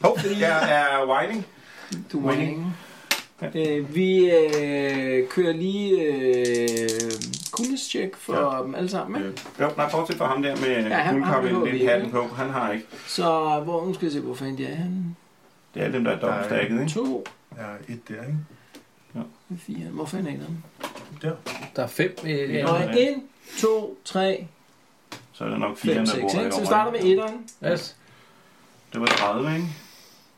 Speaker 8: Hov, jeg er whining.
Speaker 3: du er winning. Øh, vi øh, kører lige øh, coolness check for ja. dem alle sammen. Ja.
Speaker 8: Jo, nej, fortsæt for ham der med
Speaker 3: Ja, han-
Speaker 8: guldkappen,
Speaker 3: han behøver vi
Speaker 8: den
Speaker 3: ikke.
Speaker 8: hatten på. Han har ikke.
Speaker 3: Så hvor, nu skal jeg se, hvor fanden de er henne.
Speaker 8: Det er dem, der er dobbeltstækket, ikke?
Speaker 3: 2,
Speaker 5: Ja, et der, ikke?
Speaker 3: 4, hvor fanden er en af dem?
Speaker 9: Der er fem. Øh, ja.
Speaker 3: Og 1, 2, 3,
Speaker 8: Så er der nok fire,
Speaker 3: 5,
Speaker 8: der
Speaker 3: 6,
Speaker 8: bor
Speaker 3: ikke? Så vi
Speaker 8: derovre.
Speaker 3: starter med 1'eren.
Speaker 9: Yes.
Speaker 8: Det var 30, ikke?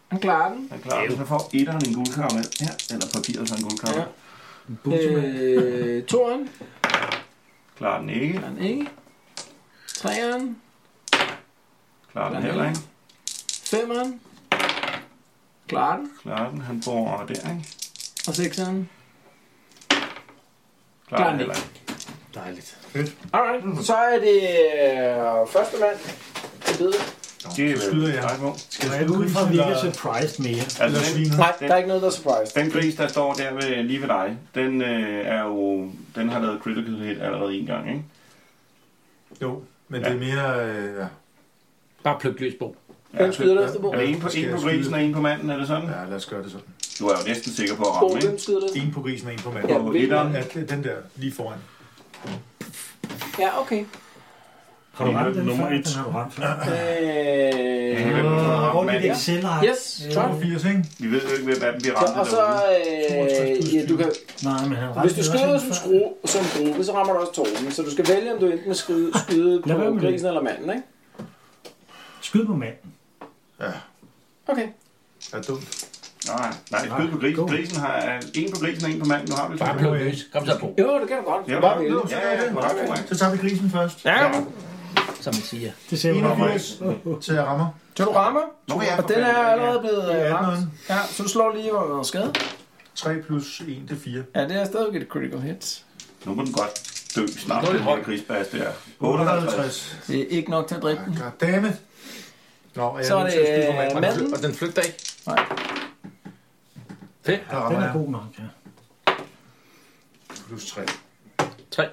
Speaker 3: Han klarer den.
Speaker 8: Er klar. Så får etteren en guldkappe her. Eller papiret så en guldkappe.
Speaker 3: Ja.
Speaker 8: Ja.
Speaker 3: Øh, toren.
Speaker 8: Klarer den ikke.
Speaker 3: Klarer den ikke. Træeren.
Speaker 8: Klarer den heller ikke.
Speaker 3: Femeren. Klarer den.
Speaker 8: Klarer den. Han bor over der, ikke?
Speaker 3: Og sekseren.
Speaker 8: Klarer
Speaker 3: den
Speaker 8: den heller ikke.
Speaker 9: Dejligt.
Speaker 3: Alright, så er det øh, første mand til bede.
Speaker 8: Det er skyder jeg.
Speaker 5: Skal
Speaker 6: Jeg er ud fra, at vi ikke er surprised mere.
Speaker 8: Altså,
Speaker 5: Eller
Speaker 8: den,
Speaker 5: sviner.
Speaker 3: Nej,
Speaker 8: den-
Speaker 3: der er ikke noget, der er surprise.
Speaker 8: den gris, der står der ved, lige ved dig, den øh, er jo... Den har lavet critical hit allerede en gang, ikke?
Speaker 5: Jo, men det er mere... Øh, ja.
Speaker 2: Bare pluk løs på.
Speaker 3: Hvem skyder du efter, Bo?
Speaker 8: Er det en på, en på grisen og en på manden, er det sådan?
Speaker 5: ja, lad os gøre det sådan.
Speaker 8: Du er jo næsten sikker på at
Speaker 3: Bo,
Speaker 8: ramme,
Speaker 3: hvem
Speaker 8: ikke?
Speaker 3: skyder du efter?
Speaker 5: En på grisen og en på manden.
Speaker 3: Ja,
Speaker 8: På
Speaker 3: hvilken-
Speaker 8: etteren.
Speaker 5: Ja, det er den der lige foran.
Speaker 3: Ja, okay.
Speaker 6: Har du ramt den
Speaker 4: Nummer
Speaker 6: før?
Speaker 4: et.
Speaker 6: Den har du ramt før.
Speaker 8: Ja,
Speaker 3: Øh,
Speaker 8: hvem der har ramt
Speaker 6: Hvor er
Speaker 8: manden.
Speaker 6: det Excel-ark?
Speaker 3: yes, klar.
Speaker 5: 80, ikke?
Speaker 8: Vi ved jo ikke, hvem af dem bliver
Speaker 3: Så,
Speaker 8: ramt
Speaker 3: og så,
Speaker 8: derude.
Speaker 3: øh, ja, du kan,
Speaker 6: Nej, men han ramte
Speaker 3: hvis du
Speaker 6: også
Speaker 3: skyder
Speaker 6: hende
Speaker 3: som,
Speaker 6: før.
Speaker 3: skru, som gruppe, så rammer du også Torben. Så du skal vælge, om du enten vil skyde, skyde
Speaker 6: Lad være
Speaker 3: på
Speaker 6: med det.
Speaker 3: grisen eller manden, ikke?
Speaker 6: Skyd på manden.
Speaker 3: Okay.
Speaker 5: Er det dumt?
Speaker 8: Nej, nej, skyd på grisen. Grisen har en på grisen og en på manden. Nu har vi to.
Speaker 2: Bare pluk løs. Kom så på.
Speaker 3: Jo, det kan du godt. Du
Speaker 8: Ja,
Speaker 3: kan bare
Speaker 8: ja,
Speaker 3: vælge.
Speaker 8: ja, ja, ja.
Speaker 5: Så tager vi grisen først.
Speaker 3: Ja,
Speaker 2: Som man siger.
Speaker 6: Det ser man.
Speaker 5: 81 til jeg rammer.
Speaker 3: så du rammer,
Speaker 8: Nå, ja,
Speaker 3: og den er allerede blevet
Speaker 5: Det
Speaker 3: øh,
Speaker 5: er
Speaker 3: ramt.
Speaker 5: 18'eren.
Speaker 3: Ja, så du slår lige, hvor du er skade.
Speaker 5: 3 plus 1 til 4.
Speaker 3: Ja, det er stadigvæk et critical hit.
Speaker 8: Nu må den godt dø snart, den her grisbas der. 58.
Speaker 5: 58.
Speaker 3: Det er ikke nok til at dræbe den.
Speaker 5: Goddammit. Nå, og jeg
Speaker 3: Så er
Speaker 5: nødt
Speaker 3: det
Speaker 5: til at skyde på
Speaker 3: øh,
Speaker 5: manden.
Speaker 3: manden.
Speaker 9: Og den flygter ikke.
Speaker 5: Der
Speaker 6: Den
Speaker 5: rammer
Speaker 6: er
Speaker 5: jeg.
Speaker 6: god nok, ja.
Speaker 5: Plus 3.
Speaker 9: 3.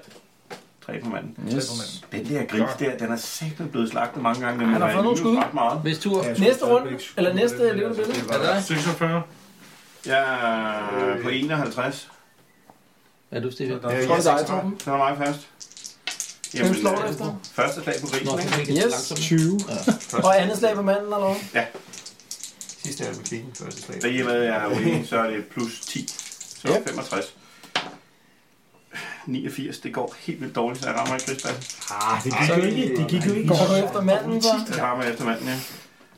Speaker 8: 3 på manden.
Speaker 5: Yes. på manden.
Speaker 8: Den der gris der, den er sikkert blevet slagtet mange gange. Den
Speaker 3: Han har
Speaker 8: er
Speaker 3: fået nogle
Speaker 8: alligevel
Speaker 3: skud.
Speaker 8: ret meget.
Speaker 9: Hvis tur.
Speaker 5: Ja, jeg
Speaker 3: Næste
Speaker 5: skulle
Speaker 3: runde,
Speaker 5: stadigvæk skyde
Speaker 3: eller
Speaker 5: på
Speaker 3: næste
Speaker 5: den, men
Speaker 3: levende
Speaker 5: altså,
Speaker 3: billede.
Speaker 5: det var-
Speaker 2: Er det dig?
Speaker 4: 46.
Speaker 8: Jeg er på 51.
Speaker 9: Er du Stefan?
Speaker 5: Ja,
Speaker 3: Tror det er
Speaker 5: jeg-
Speaker 3: dig, Torben?
Speaker 8: Så er mig først. øh,
Speaker 3: Hvem slår du efter?
Speaker 8: Første slag på
Speaker 9: Nå,
Speaker 8: grisen,
Speaker 9: den
Speaker 8: ikke?
Speaker 9: fik
Speaker 3: Yes,
Speaker 9: langsomt.
Speaker 3: 20. Og andet slag på manden, eller hvad?
Speaker 7: Sidste er med klikken, første slag.
Speaker 8: Og i og med, at jeg er uenig, så er det plus 10. Så er det 65. 89, det går helt vildt dårligt, så jeg rammer ikke grisbassen.
Speaker 6: Ah, det gik jo ikke. Det gik jo ikke.
Speaker 3: Går du efter manden, så?
Speaker 8: Jeg rammer efter manden, ja.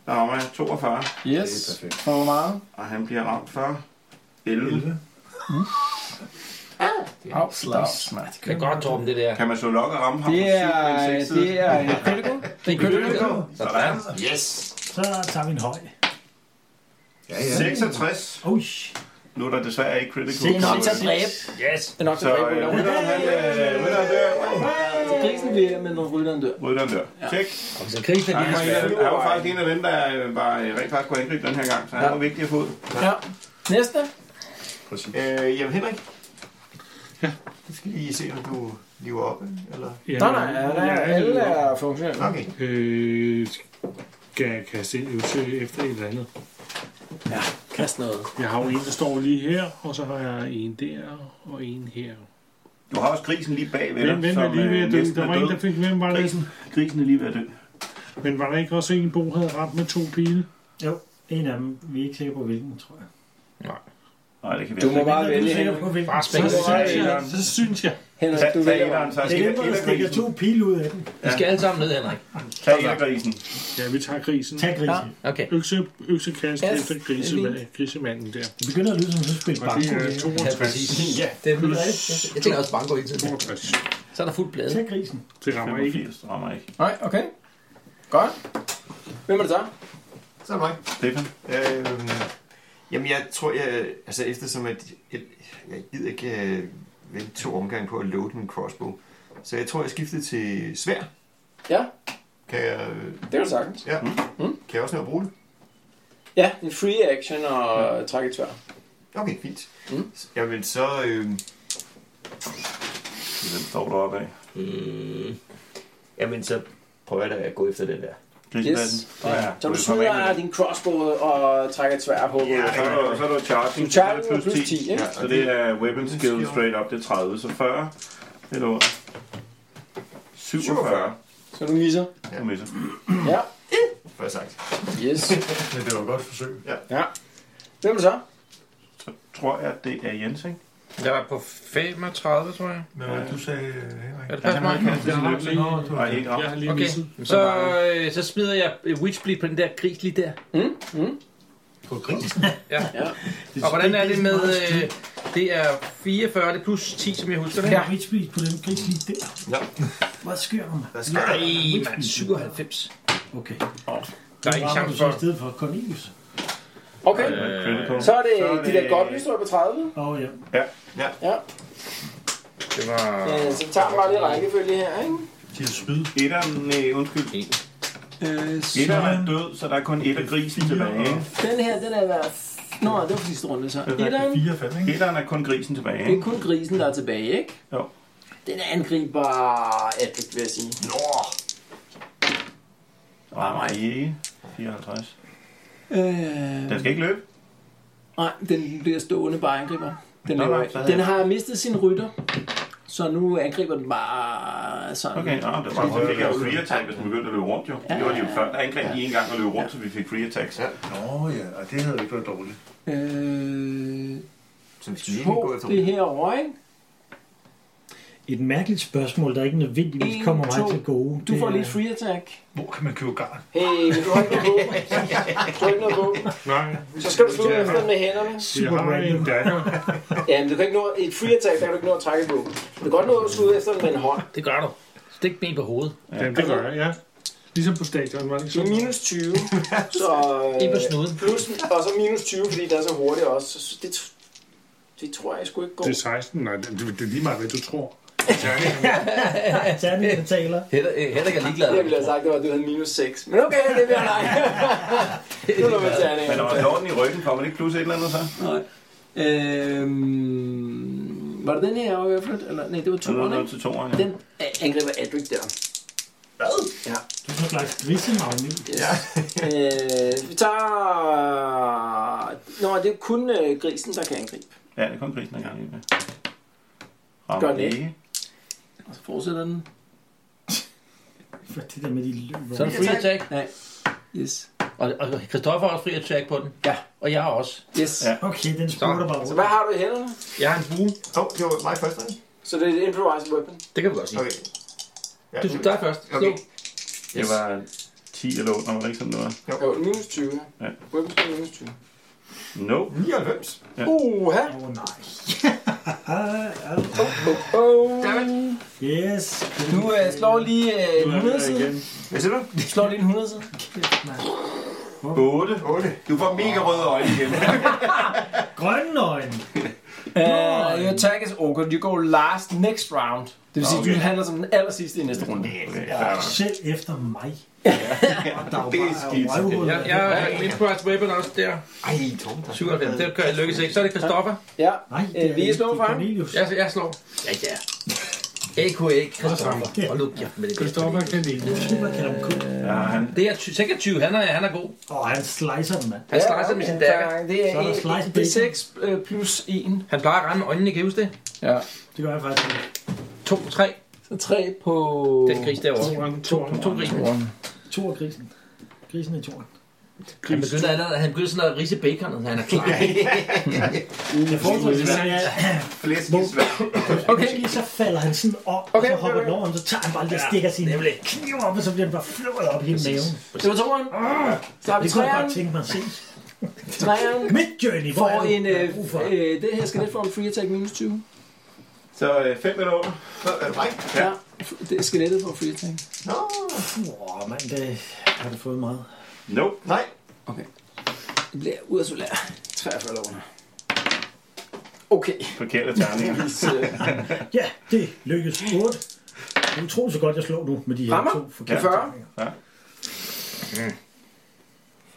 Speaker 8: Der rammer jeg 42,
Speaker 3: Yes. For hvor meget?
Speaker 8: og han bliver ramt for 11.
Speaker 5: 11.
Speaker 3: Au, slags.
Speaker 9: Det er godt, Torben, det der.
Speaker 8: Kan man så lokke og ramme ham
Speaker 3: Det
Speaker 8: på syv med en
Speaker 3: er,
Speaker 8: seksside?
Speaker 3: det er en critical.
Speaker 9: Det er kødøkker.
Speaker 8: Sådan.
Speaker 7: Yes!
Speaker 6: Så tager vi en høj.
Speaker 5: Ja, ja.
Speaker 8: 66.
Speaker 6: Oj,
Speaker 8: Nu er der desværre ikke critical.
Speaker 3: Det er nok til at dræbe.
Speaker 9: Yes.
Speaker 3: Det er nok til
Speaker 8: Så
Speaker 3: at
Speaker 8: øh,
Speaker 3: dræbe. rytteren.
Speaker 8: rytteren, han øh, rytteren dør.
Speaker 3: Så grisen bliver, men når rytteren dør.
Speaker 8: Rytteren dør. Tjek.
Speaker 9: Og så grisen er
Speaker 8: Han var,
Speaker 9: lige
Speaker 8: en, han var faktisk en af dem, der øh, var øh, rent faktisk kunne angribe den her gang, så han
Speaker 3: Ja.
Speaker 8: var vigtig at få ud.
Speaker 3: Ja. Næste.
Speaker 7: Øh, jamen Henrik? Ja? skal lige se, om du lever op, eller?
Speaker 4: Ja,
Speaker 3: Nej, nej, ja, der er, alle er funktionelle.
Speaker 7: Okay.
Speaker 4: Øh, skal jeg kaste ind søge efter et eller andet?
Speaker 3: Ja, kast noget.
Speaker 4: Jeg har jo en, der står lige her, og så har jeg en der og en her.
Speaker 8: Du har også grisen lige bagved
Speaker 4: Hvem, hvem er
Speaker 8: som
Speaker 4: lige ved
Speaker 8: øh,
Speaker 4: at dø?
Speaker 8: næsten
Speaker 4: Der
Speaker 8: er
Speaker 4: var en,
Speaker 8: død.
Speaker 4: der fik... Hvem var det?
Speaker 8: Grisen, grisen er lige ved at dø.
Speaker 4: Men var der ikke også en, Bo havde ramt med to pile?
Speaker 6: Jo, en af dem. Vi er ikke sikre på, hvilken, tror jeg.
Speaker 8: Nej, det kan vi
Speaker 3: Du må
Speaker 8: altså ikke.
Speaker 3: bare vælge,
Speaker 6: sikre
Speaker 3: Henrik.
Speaker 6: på, hvilken.
Speaker 9: Bare spænd.
Speaker 4: Så
Speaker 3: det
Speaker 4: synes
Speaker 3: var
Speaker 4: jeg,
Speaker 8: etteren.
Speaker 4: så synes jeg.
Speaker 3: Henrik,
Speaker 8: Tag,
Speaker 3: du
Speaker 8: tag
Speaker 3: vælger.
Speaker 8: etteren, så
Speaker 6: Det
Speaker 8: skal
Speaker 6: er
Speaker 8: jeg
Speaker 6: dem, der stikker
Speaker 8: grisen.
Speaker 6: to pile ud af den.
Speaker 9: Vi skal alle sammen ned, Henrik.
Speaker 8: Tag grisen.
Speaker 4: Ja, vi tager grisen.
Speaker 6: Tag grisen.
Speaker 9: Okay.
Speaker 4: Økse, øksekast
Speaker 3: Ja,
Speaker 4: efter
Speaker 3: det
Speaker 4: grisema- grisemanden der.
Speaker 6: Det begynder at lyde som sådan et spil
Speaker 4: Og det
Speaker 6: banko.
Speaker 4: er
Speaker 6: det her.
Speaker 9: Ja,
Speaker 4: 62.
Speaker 9: præcis. Ja, det er Jeg tænker også banko hele tiden.
Speaker 4: 62.
Speaker 9: Så er der fuldt blade.
Speaker 6: Tag grisen.
Speaker 4: Det rammer ikke.
Speaker 8: 85 rammer ikke.
Speaker 3: Nej, okay. Godt. Hvem er det så?
Speaker 7: Så er det mig.
Speaker 8: Stefan,
Speaker 7: Øhm, jamen, jeg tror, jeg... Altså, eftersom at jeg, jeg gider ikke øh, vente to omgange på at load min crossbow, så jeg tror, jeg skiftede til svær.
Speaker 3: Ja, Mm.
Speaker 7: Kan jeg, øh,
Speaker 3: det kan du sagtens.
Speaker 7: ja. kan jeg også nå at bruge det?
Speaker 3: Ja, en free action og ja. trække et svær.
Speaker 7: Okay, fint.
Speaker 3: Mm.
Speaker 7: Jamen, så... Øh,
Speaker 8: den står du op af.
Speaker 7: øh, jamen, så prøver jeg da at gå efter den der.
Speaker 8: Grisebassen.
Speaker 3: Yes.
Speaker 8: Ja, ja.
Speaker 3: Så du
Speaker 8: Det kommer ikke
Speaker 3: smider
Speaker 8: med.
Speaker 3: din crossbow og trækker et svær på.
Speaker 8: Ja, så er du, så er du charging.
Speaker 3: Du charger
Speaker 8: så er det
Speaker 3: plus 10, ikke?
Speaker 8: Ja, så det er weapon skill straight up, det er 30, så 40. Det er under. 47.
Speaker 3: Så du misser.
Speaker 8: Du misser.
Speaker 3: Ja.
Speaker 7: Før sagt.
Speaker 3: Yes.
Speaker 5: Men det var et godt forsøg.
Speaker 3: Hvem er det så?
Speaker 8: Så tror jeg, det er Jens, ikke?
Speaker 9: Jeg var på 35, tror jeg.
Speaker 5: Men hvad du sagde, Henrik?
Speaker 9: Er det pas mig?
Speaker 8: kastet
Speaker 4: Jeg
Speaker 8: sin
Speaker 4: har
Speaker 8: lykke.
Speaker 4: lige,
Speaker 5: Nå, du
Speaker 8: Nej, ikke
Speaker 4: jeg
Speaker 8: ramt.
Speaker 4: har lige
Speaker 9: Okay,
Speaker 4: misset.
Speaker 9: så, øh, så smider jeg øh, Witchbleed på den der gris lige der.
Speaker 3: Mm, mm.
Speaker 5: På kunsten?
Speaker 9: <laughs> Ja. Og hvordan er det med... Øh, det er 44 det er plus 10, som jeg husker det.
Speaker 6: Ja. Rich Beat på den gris lige der.
Speaker 7: Ja.
Speaker 6: Hvad sker der, mand?
Speaker 7: Hvad sker der?
Speaker 9: Nej, mand. 97.
Speaker 6: Okay.
Speaker 9: Der er ikke
Speaker 6: Rammer
Speaker 9: chance
Speaker 6: du så
Speaker 9: for...
Speaker 6: i stedet for Cornelius?
Speaker 3: Okay,
Speaker 8: øh, Critical.
Speaker 3: så er det
Speaker 8: så er
Speaker 3: de
Speaker 8: det-
Speaker 3: der godt lystrøjer på 30.
Speaker 6: Åh, oh, ja.
Speaker 9: Det var...
Speaker 3: Øh, Så vi tager dem bare lidt i rækkefølge her, ikke?
Speaker 5: Til at spyd.
Speaker 8: Etteren, nej, undskyld. Etteren
Speaker 3: Øh,
Speaker 8: er død, så der er kun et af grisen tilbage. ikke?
Speaker 3: Den her, den er i hvert Nå, det var for sidste runde, så. Etteren,
Speaker 5: Fire fem, ikke?
Speaker 8: Etteren er kun grisen tilbage.
Speaker 3: det er
Speaker 8: ikke?
Speaker 3: kun grisen, der er tilbage, ikke?
Speaker 8: Jo.
Speaker 3: Den angriber Epic, vil jeg sige.
Speaker 8: Nej, ikke. 54.
Speaker 3: Øh,
Speaker 8: Den skal ikke løbe.
Speaker 3: nej, den bliver stående bare angriber. Den,
Speaker 8: Nå,
Speaker 3: laver
Speaker 8: nej,
Speaker 3: ikke.
Speaker 8: så havde
Speaker 3: den
Speaker 8: jeg-
Speaker 3: har mistet sin rytter, så nu angriber den bare sådan.
Speaker 8: Okay, nå, det var så fik jeg jo free attack, hvis man begyndte at løbe rundt jo. Det var de jo før. Der angreb de en gang og løb rundt, så vi fik free attacks. Ja.
Speaker 5: Nå ja, og det havde ikke været dårligt.
Speaker 3: Øh,
Speaker 7: Så vi skal lige gå
Speaker 3: to,
Speaker 7: efter
Speaker 3: det her over, ikke?
Speaker 6: Et mærkeligt spørgsmål, der ikke nødvendigvis
Speaker 3: En,
Speaker 6: kommer mig
Speaker 3: to.
Speaker 6: til gode.
Speaker 3: Du
Speaker 6: Det
Speaker 3: får
Speaker 6: er-
Speaker 3: lige et free attack.
Speaker 5: Hvor kan man købe garn?
Speaker 3: Hey, men du har ikke
Speaker 8: <laughs>
Speaker 3: noget på. Du har ikke noget på.
Speaker 4: Nej,
Speaker 3: Så skal du slå efter den med hænderne.
Speaker 4: jeg
Speaker 6: Super
Speaker 4: har
Speaker 6: random.
Speaker 4: en dagger.
Speaker 3: Ja, men du kan ikke nå, i et free attack, der kan du ikke nå at trække på. Du kan godt nå at slutte efter den med en hånd.
Speaker 9: Det gør du. Stik ben på hovedet.
Speaker 4: Jamen, det gør jeg, ja. Ligesom på stadion, var det ikke
Speaker 3: Så
Speaker 4: sådan?
Speaker 3: minus 20, så... øh,
Speaker 9: Lige på snuden.
Speaker 3: Plus, og så minus 20, fordi der er så hurtigt også. Så det, tr- det tror jeg sgu ikke går.
Speaker 4: Det er 16. Nej, det, det er lige meget, hvad du tror.
Speaker 6: Terningen betaler.
Speaker 9: Heller, øh, heller ikke er ligeglad.
Speaker 3: Jeg ville have sagt, det var, at du havde minus 6. Men okay, det bliver <laughs> nej. nu er med terninger.
Speaker 8: Men øh, når man har den i ryggen, kommer det ikke plus et eller andet så?
Speaker 3: Nej. Øhm, var det den her, jeg var i hvert fald? Eller, nej, det var
Speaker 8: Så er det
Speaker 3: toeren,
Speaker 8: noget
Speaker 3: ikke?
Speaker 8: til toeren, ja.
Speaker 3: Den øh, angriber Adric der.
Speaker 6: Du er sådan en slags grisemagnet.
Speaker 3: Yes. øh, vi tager... Nå, det er kun øh, grisen, der kan angribe.
Speaker 8: Ja, det er kun grisen, der gang i det.
Speaker 3: Gør
Speaker 8: Rammer
Speaker 3: den
Speaker 8: det
Speaker 3: ikke.
Speaker 8: ikke.
Speaker 3: Og så fortsætter den.
Speaker 6: For det der med de løber.
Speaker 9: Så er det free attack.
Speaker 3: Nej. Yes.
Speaker 9: Og, og Christoffer har også free attack på den.
Speaker 3: Ja.
Speaker 9: Og jeg har også.
Speaker 3: Yes.
Speaker 8: Ja.
Speaker 6: Okay, den spurgte bare
Speaker 3: Så
Speaker 6: rundt.
Speaker 3: hvad har du i hænderne?
Speaker 9: Jeg har en bue.
Speaker 7: Hov, det var mig først, ikke?
Speaker 3: Så det er et improvised weapon.
Speaker 9: Det kan vi godt sige.
Speaker 7: Okay. Ja,
Speaker 9: Du
Speaker 7: det-
Speaker 9: der er først.
Speaker 7: Okay.
Speaker 9: Slå.
Speaker 8: Det var 10 eller under, var det ikke sådan noget?
Speaker 3: Jo, minus 20.
Speaker 8: Ja.
Speaker 3: Weapon skill minus 20.
Speaker 8: No.
Speaker 7: 99.
Speaker 3: Uha!
Speaker 6: Åh, nej. Ah, ah.
Speaker 3: Oh.
Speaker 6: Yes.
Speaker 3: Du øh, slår lige øh, en 100 side.
Speaker 7: Hvad siger du?
Speaker 3: Du slår lige en 100 side.
Speaker 8: 8.
Speaker 7: 8.
Speaker 8: Du får mega røde øjne igen.
Speaker 6: Grønne øjne.
Speaker 3: Uh, your attack is awkward. You go last next round. Det vil sige, okay. du handler som den aller sidste i næste runde.
Speaker 8: Okay, fair nok.
Speaker 6: Selv efter mig. Og der
Speaker 8: Det er skidt.
Speaker 6: røvhul.
Speaker 9: Jeg, jeg har en Enterprise Weapon også der.
Speaker 7: Ej, tom.
Speaker 9: 97. Det kan jeg lykkes ikke. Så er det Christoffer.
Speaker 3: Ja.
Speaker 6: Nej,
Speaker 3: Øh, vi er slået
Speaker 6: det
Speaker 3: for ham.
Speaker 6: Cornelius.
Speaker 9: Jeg, jeg slår. Ja, ja. AKA Christoffer. Hold nu kæft med det.
Speaker 4: Christoffer kan lide.
Speaker 6: Super kan ham kun.
Speaker 8: Ja, han,
Speaker 9: Det er ty- sikkert 20. Han er, han er god.
Speaker 6: Åh, han slicer den, mand.
Speaker 9: Han slicer med sin dagger.
Speaker 3: Det er,
Speaker 6: Så er der slice
Speaker 3: en- det er 6 øh, plus 1.
Speaker 9: Han plejer at ramme øjnene, kan I huske det?
Speaker 3: Ja.
Speaker 6: Det gør jeg faktisk.
Speaker 9: 2, 3.
Speaker 3: Så 3 på...
Speaker 9: Den gris derovre.
Speaker 4: Toren, toren.
Speaker 9: To gris.
Speaker 6: To af grisen. Grisen er i toren.
Speaker 9: Han begynder, allerede- han begynder sådan at rise bacon, og han er klar.
Speaker 6: Jeg foreslår, at han er
Speaker 8: flæsk i svær.
Speaker 6: Okay. Måske så falder han sådan op, okay, og så hopper den over, ham, så tager han bare lige og stikker sin kniv op, og så bliver den bare flået op i hele maven.
Speaker 3: Det var toeren. Så har vi
Speaker 6: Ah, Det kunne jeg
Speaker 3: træeren.
Speaker 6: godt tænke mig at se.
Speaker 3: Træeren
Speaker 6: Mid Journey, hvor er
Speaker 3: får
Speaker 6: du?
Speaker 3: en...
Speaker 6: Hvad er
Speaker 3: Øh,
Speaker 6: du brug for?
Speaker 3: øh, det her skal lidt få en free attack minus 20.
Speaker 8: Så øh, 5 eller under.
Speaker 7: Nå, er det mig?
Speaker 3: Ja. Det er skelettet for free attack.
Speaker 7: Nå,
Speaker 6: Åh, mand, det har du fået meget.
Speaker 8: No.
Speaker 7: nej.
Speaker 3: Det bliver Ursula. 43 eller under. Okay.
Speaker 8: Forkerte terninger.
Speaker 3: Så,
Speaker 6: Ja, det lykkedes godt. Det er utroligt så godt, jeg slår nu med de her
Speaker 3: Rammer?
Speaker 6: to forkerte
Speaker 3: 40.
Speaker 6: terninger.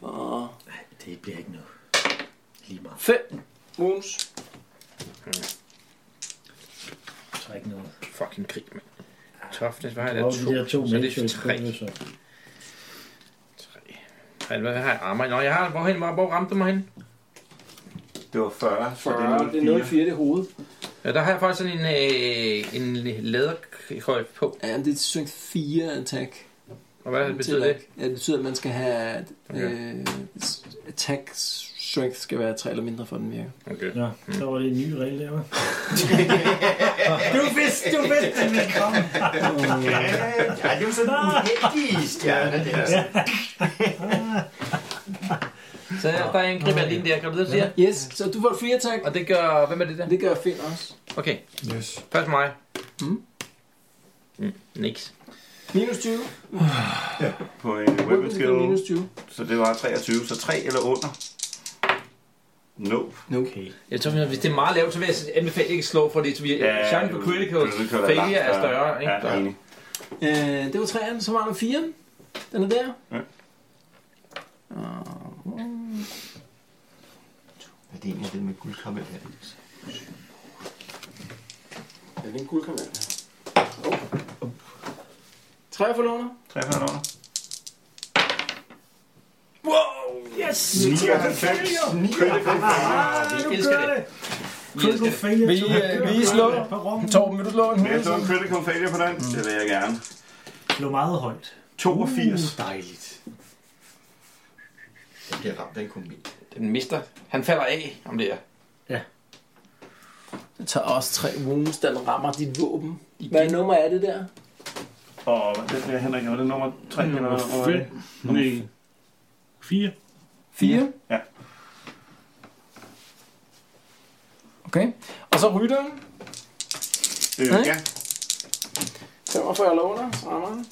Speaker 3: og
Speaker 6: Nej, det bliver ikke noget. Lige meget.
Speaker 3: 5. Måns.
Speaker 6: Så er ikke noget.
Speaker 9: Fucking krig, mand. Toughness, hvad har jeg
Speaker 6: Og de
Speaker 9: der?
Speaker 6: der to
Speaker 9: To, så er
Speaker 6: mennesker,
Speaker 9: det tre.
Speaker 6: så
Speaker 9: Hvad hvad har jeg armer? Nå, jeg har... Hvorhen, hvor, hvor ramte du mig hen?
Speaker 8: Det var 40, så
Speaker 3: 40. Det
Speaker 8: det
Speaker 3: er
Speaker 8: er
Speaker 3: 0,4
Speaker 8: 04.
Speaker 3: det hoved.
Speaker 9: Ja, der har jeg faktisk sådan en, øh, en læderkøj på.
Speaker 3: Ja, men det er strength 4 attack.
Speaker 9: Og hvad betyder det?
Speaker 3: Ja, det betyder, at man skal have...
Speaker 9: Okay.
Speaker 3: Øh, s- attack strength skal være 3 eller mindre for den virker.
Speaker 9: Okay.
Speaker 6: Ja, så var det en ny regel der, hva'? du vidste, du vidste, den ville komme.
Speaker 7: Ja, det er jo sådan en uheldig stjerne, det er.
Speaker 9: Så der er en grib af din der, kan du det, siger?
Speaker 3: Yes, så du får et free attack.
Speaker 9: Og det gør, hvem er det der?
Speaker 3: Det gør Finn også.
Speaker 9: Okay,
Speaker 5: Yes.
Speaker 9: først mig.
Speaker 3: Mm.
Speaker 9: Mm, niks.
Speaker 3: Minus 20.
Speaker 8: på en weapon
Speaker 3: Weapon skill minus
Speaker 8: skill.
Speaker 3: 20.
Speaker 8: Så det var 23, så 3 eller under. Nope.
Speaker 3: Okay.
Speaker 9: Jeg tror, hvis det er meget lavt, så vil jeg anbefale ikke at slå, fordi så vi,
Speaker 8: Ja,
Speaker 9: ja, chancen for
Speaker 8: det-
Speaker 9: critical
Speaker 8: det- det er langt
Speaker 9: failure er større. Ikke?
Speaker 8: Ja, enig.
Speaker 3: Øh, det var 3'eren, så var der 4'eren. Den er der.
Speaker 7: Er det en af dem med guldkammel her?
Speaker 3: Ja, det er en guldkammel. Tre forlåner.
Speaker 8: 3 eller under.
Speaker 3: Yes!
Speaker 9: Vi elsker det. Vi elsker det.
Speaker 3: Vi, øh, vi slår. Torben, vil du slå en
Speaker 8: Men jeg så en
Speaker 3: 100?
Speaker 8: critical failure på den. Det vil jeg gerne.
Speaker 6: Slå meget højt.
Speaker 8: 82.
Speaker 3: Dejligt.
Speaker 7: Den bliver ramt af en kombi.
Speaker 9: Den mister. Han falder af om det her.
Speaker 3: Det tager også tre wounds, den rammer dit våben. Hvad nummer er det der?
Speaker 8: Og det bliver Henrik, var det nummer 3 eller
Speaker 4: Nummer
Speaker 8: hvor var det?
Speaker 4: 5. Nej. 4.
Speaker 3: 4.
Speaker 8: Ja.
Speaker 3: Okay. Og så rytteren.
Speaker 8: Øh,
Speaker 3: Nej.
Speaker 8: ja,
Speaker 3: 45 låner. Rammer. den.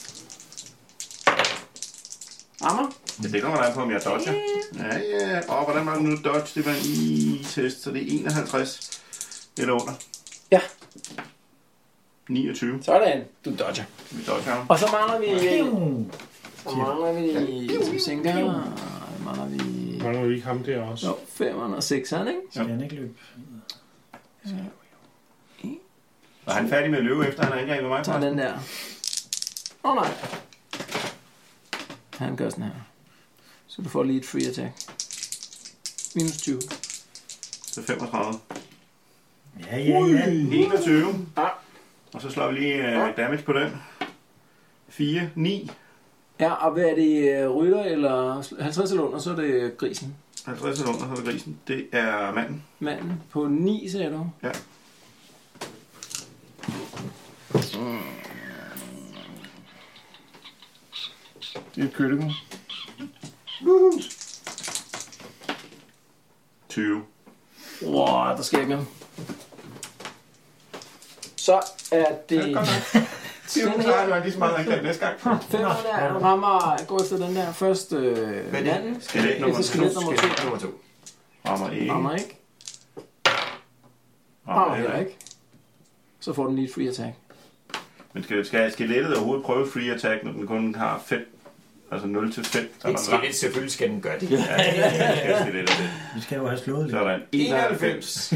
Speaker 3: Rammer.
Speaker 8: det er kommer der an på, om jeg dodger. Ja, ja. Og hvordan var det nu dodge? Det var en i-test, så det er 51 eller under.
Speaker 3: Ja.
Speaker 8: 29.
Speaker 3: Sådan. Du dodger.
Speaker 8: Vi dodger ham.
Speaker 3: Og så mangler vi... Så mangler vi... Som sænker... Mangler vi...
Speaker 4: Mangler vi ikke ham der også?
Speaker 3: Jo, 5'eren og 6'eren, ikke?
Speaker 6: Skal han ikke løbe?
Speaker 8: Og han er færdig med at løbe efter, han har angrebet mig.
Speaker 3: Tager den der. Åh oh, nej. Han gør sådan her. Så du får lige et free attack. Minus 20.
Speaker 8: Så 35.
Speaker 6: Ja, ja, ja.
Speaker 8: 21.
Speaker 3: Ja.
Speaker 8: Og så slår vi lige uh, damage på den. 4, 9,
Speaker 3: Ja, og hvad er det? øh, Rytter eller sl- 50 eller under, så er det øh, grisen.
Speaker 8: 50 eller under, så er det grisen. Det er manden.
Speaker 3: Manden på 9, sagde du?
Speaker 8: Ja. Det er critical. 20.
Speaker 3: Wow, der sker ikke noget. Så er det...
Speaker 8: Ja, godt
Speaker 3: Den
Speaker 8: Det
Speaker 3: her,
Speaker 8: klarer du lige så meget angreb næste gang.
Speaker 3: femmer der, rammer, går efter den der første øh,
Speaker 7: Hvad er det?
Speaker 3: manden.
Speaker 8: Skelet nummer
Speaker 3: Efter skelet nummer 2.
Speaker 7: Skelet nummer to.
Speaker 8: Rammer ikke.
Speaker 3: Rammer ikke.
Speaker 8: Rammer
Speaker 3: Rammer heller ikke. Så får den lige et free attack.
Speaker 8: Men skal, skal skelettet overhovedet prøve free attack, når den kun har 5? Altså 0 til 5. Der
Speaker 7: Et skelet, selvfølgelig skal den gøre det.
Speaker 8: Ja, det skal skelettet det.
Speaker 6: Vi skal jo have slået lidt.
Speaker 8: Sådan.
Speaker 7: 91.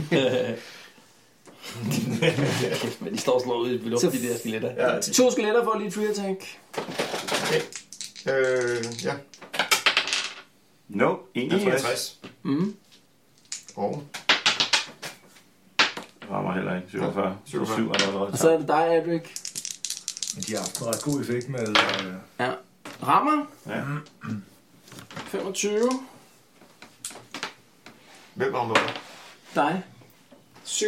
Speaker 9: Men de står og slår ud i luften, de der skeletter.
Speaker 7: Ja,
Speaker 3: To skeletter får lige et free attack.
Speaker 7: okay. Øh, ja.
Speaker 8: No, 61.
Speaker 7: 61.
Speaker 3: Mm.
Speaker 7: Og
Speaker 8: Rammer heller ikke. 47. Så
Speaker 7: 47.
Speaker 8: 7 er der allerede.
Speaker 3: Og så er det dig, Adric.
Speaker 5: Men de har haft en ret god effekt med... Øh,
Speaker 3: Rammer.
Speaker 8: Ja.
Speaker 3: 25.
Speaker 7: hvem var nummer?
Speaker 3: Dig. 7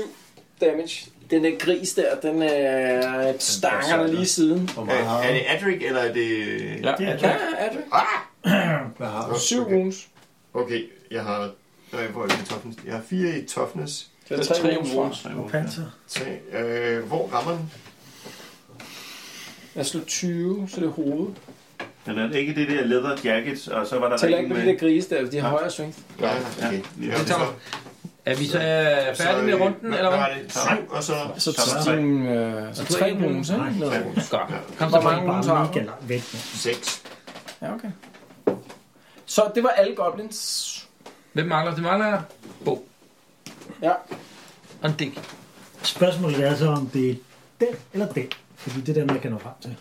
Speaker 3: damage. Den der gris der, den øh, stanger dig lige i siden.
Speaker 5: hvor
Speaker 7: Er,
Speaker 5: meget har
Speaker 7: er
Speaker 5: du?
Speaker 7: det Adric, eller er det...
Speaker 9: Ja.
Speaker 3: Ja, Adric.
Speaker 7: Ah!
Speaker 5: Hvad har du?
Speaker 7: Nå,
Speaker 3: 7
Speaker 7: okay.
Speaker 3: wounds.
Speaker 7: Okay, jeg har... Nej, hvor er det toughness? Jeg har fire i toughness.
Speaker 3: Det er 3 wounds fra.
Speaker 6: Og panser.
Speaker 7: Så, øh, hvor rammer den?
Speaker 3: Jeg slog 20, så det er hovedet.
Speaker 8: Den er ikke det der leather jacket, og så var der
Speaker 3: Tæller
Speaker 8: ringen
Speaker 3: ikke med
Speaker 8: med.
Speaker 3: de der grise der, de har højere strength.
Speaker 7: Ja, okay.
Speaker 8: Ja,
Speaker 7: Ja,
Speaker 8: det
Speaker 7: så-
Speaker 9: Er vi så øh,
Speaker 7: så,
Speaker 9: færdige med
Speaker 7: øh,
Speaker 9: runden,
Speaker 7: hvad-
Speaker 9: eller hvad?
Speaker 7: Hvad var det? Syv, og så...
Speaker 3: Så
Speaker 8: Så er der
Speaker 3: tre, øh, så
Speaker 9: Så
Speaker 3: tre
Speaker 9: en
Speaker 3: wounds,
Speaker 9: wound.
Speaker 3: ikke?
Speaker 7: Tre
Speaker 3: Noget.
Speaker 7: wounds.
Speaker 9: Godt.
Speaker 7: Ja.
Speaker 9: Kom så,
Speaker 3: Hvor
Speaker 6: Det
Speaker 3: mange
Speaker 6: er
Speaker 3: wounds
Speaker 6: bare
Speaker 3: har
Speaker 6: mega
Speaker 3: du?
Speaker 6: langt væk. mand.
Speaker 7: Seks.
Speaker 3: Ja, okay. Så det var alle goblins.
Speaker 9: hvem mangler? Det mangler jeg. Bo.
Speaker 3: Ja.
Speaker 9: Og en dæk.
Speaker 6: Spørgsmålet er så, om det er den eller den. Fordi det er dem, jeg kan nå frem til.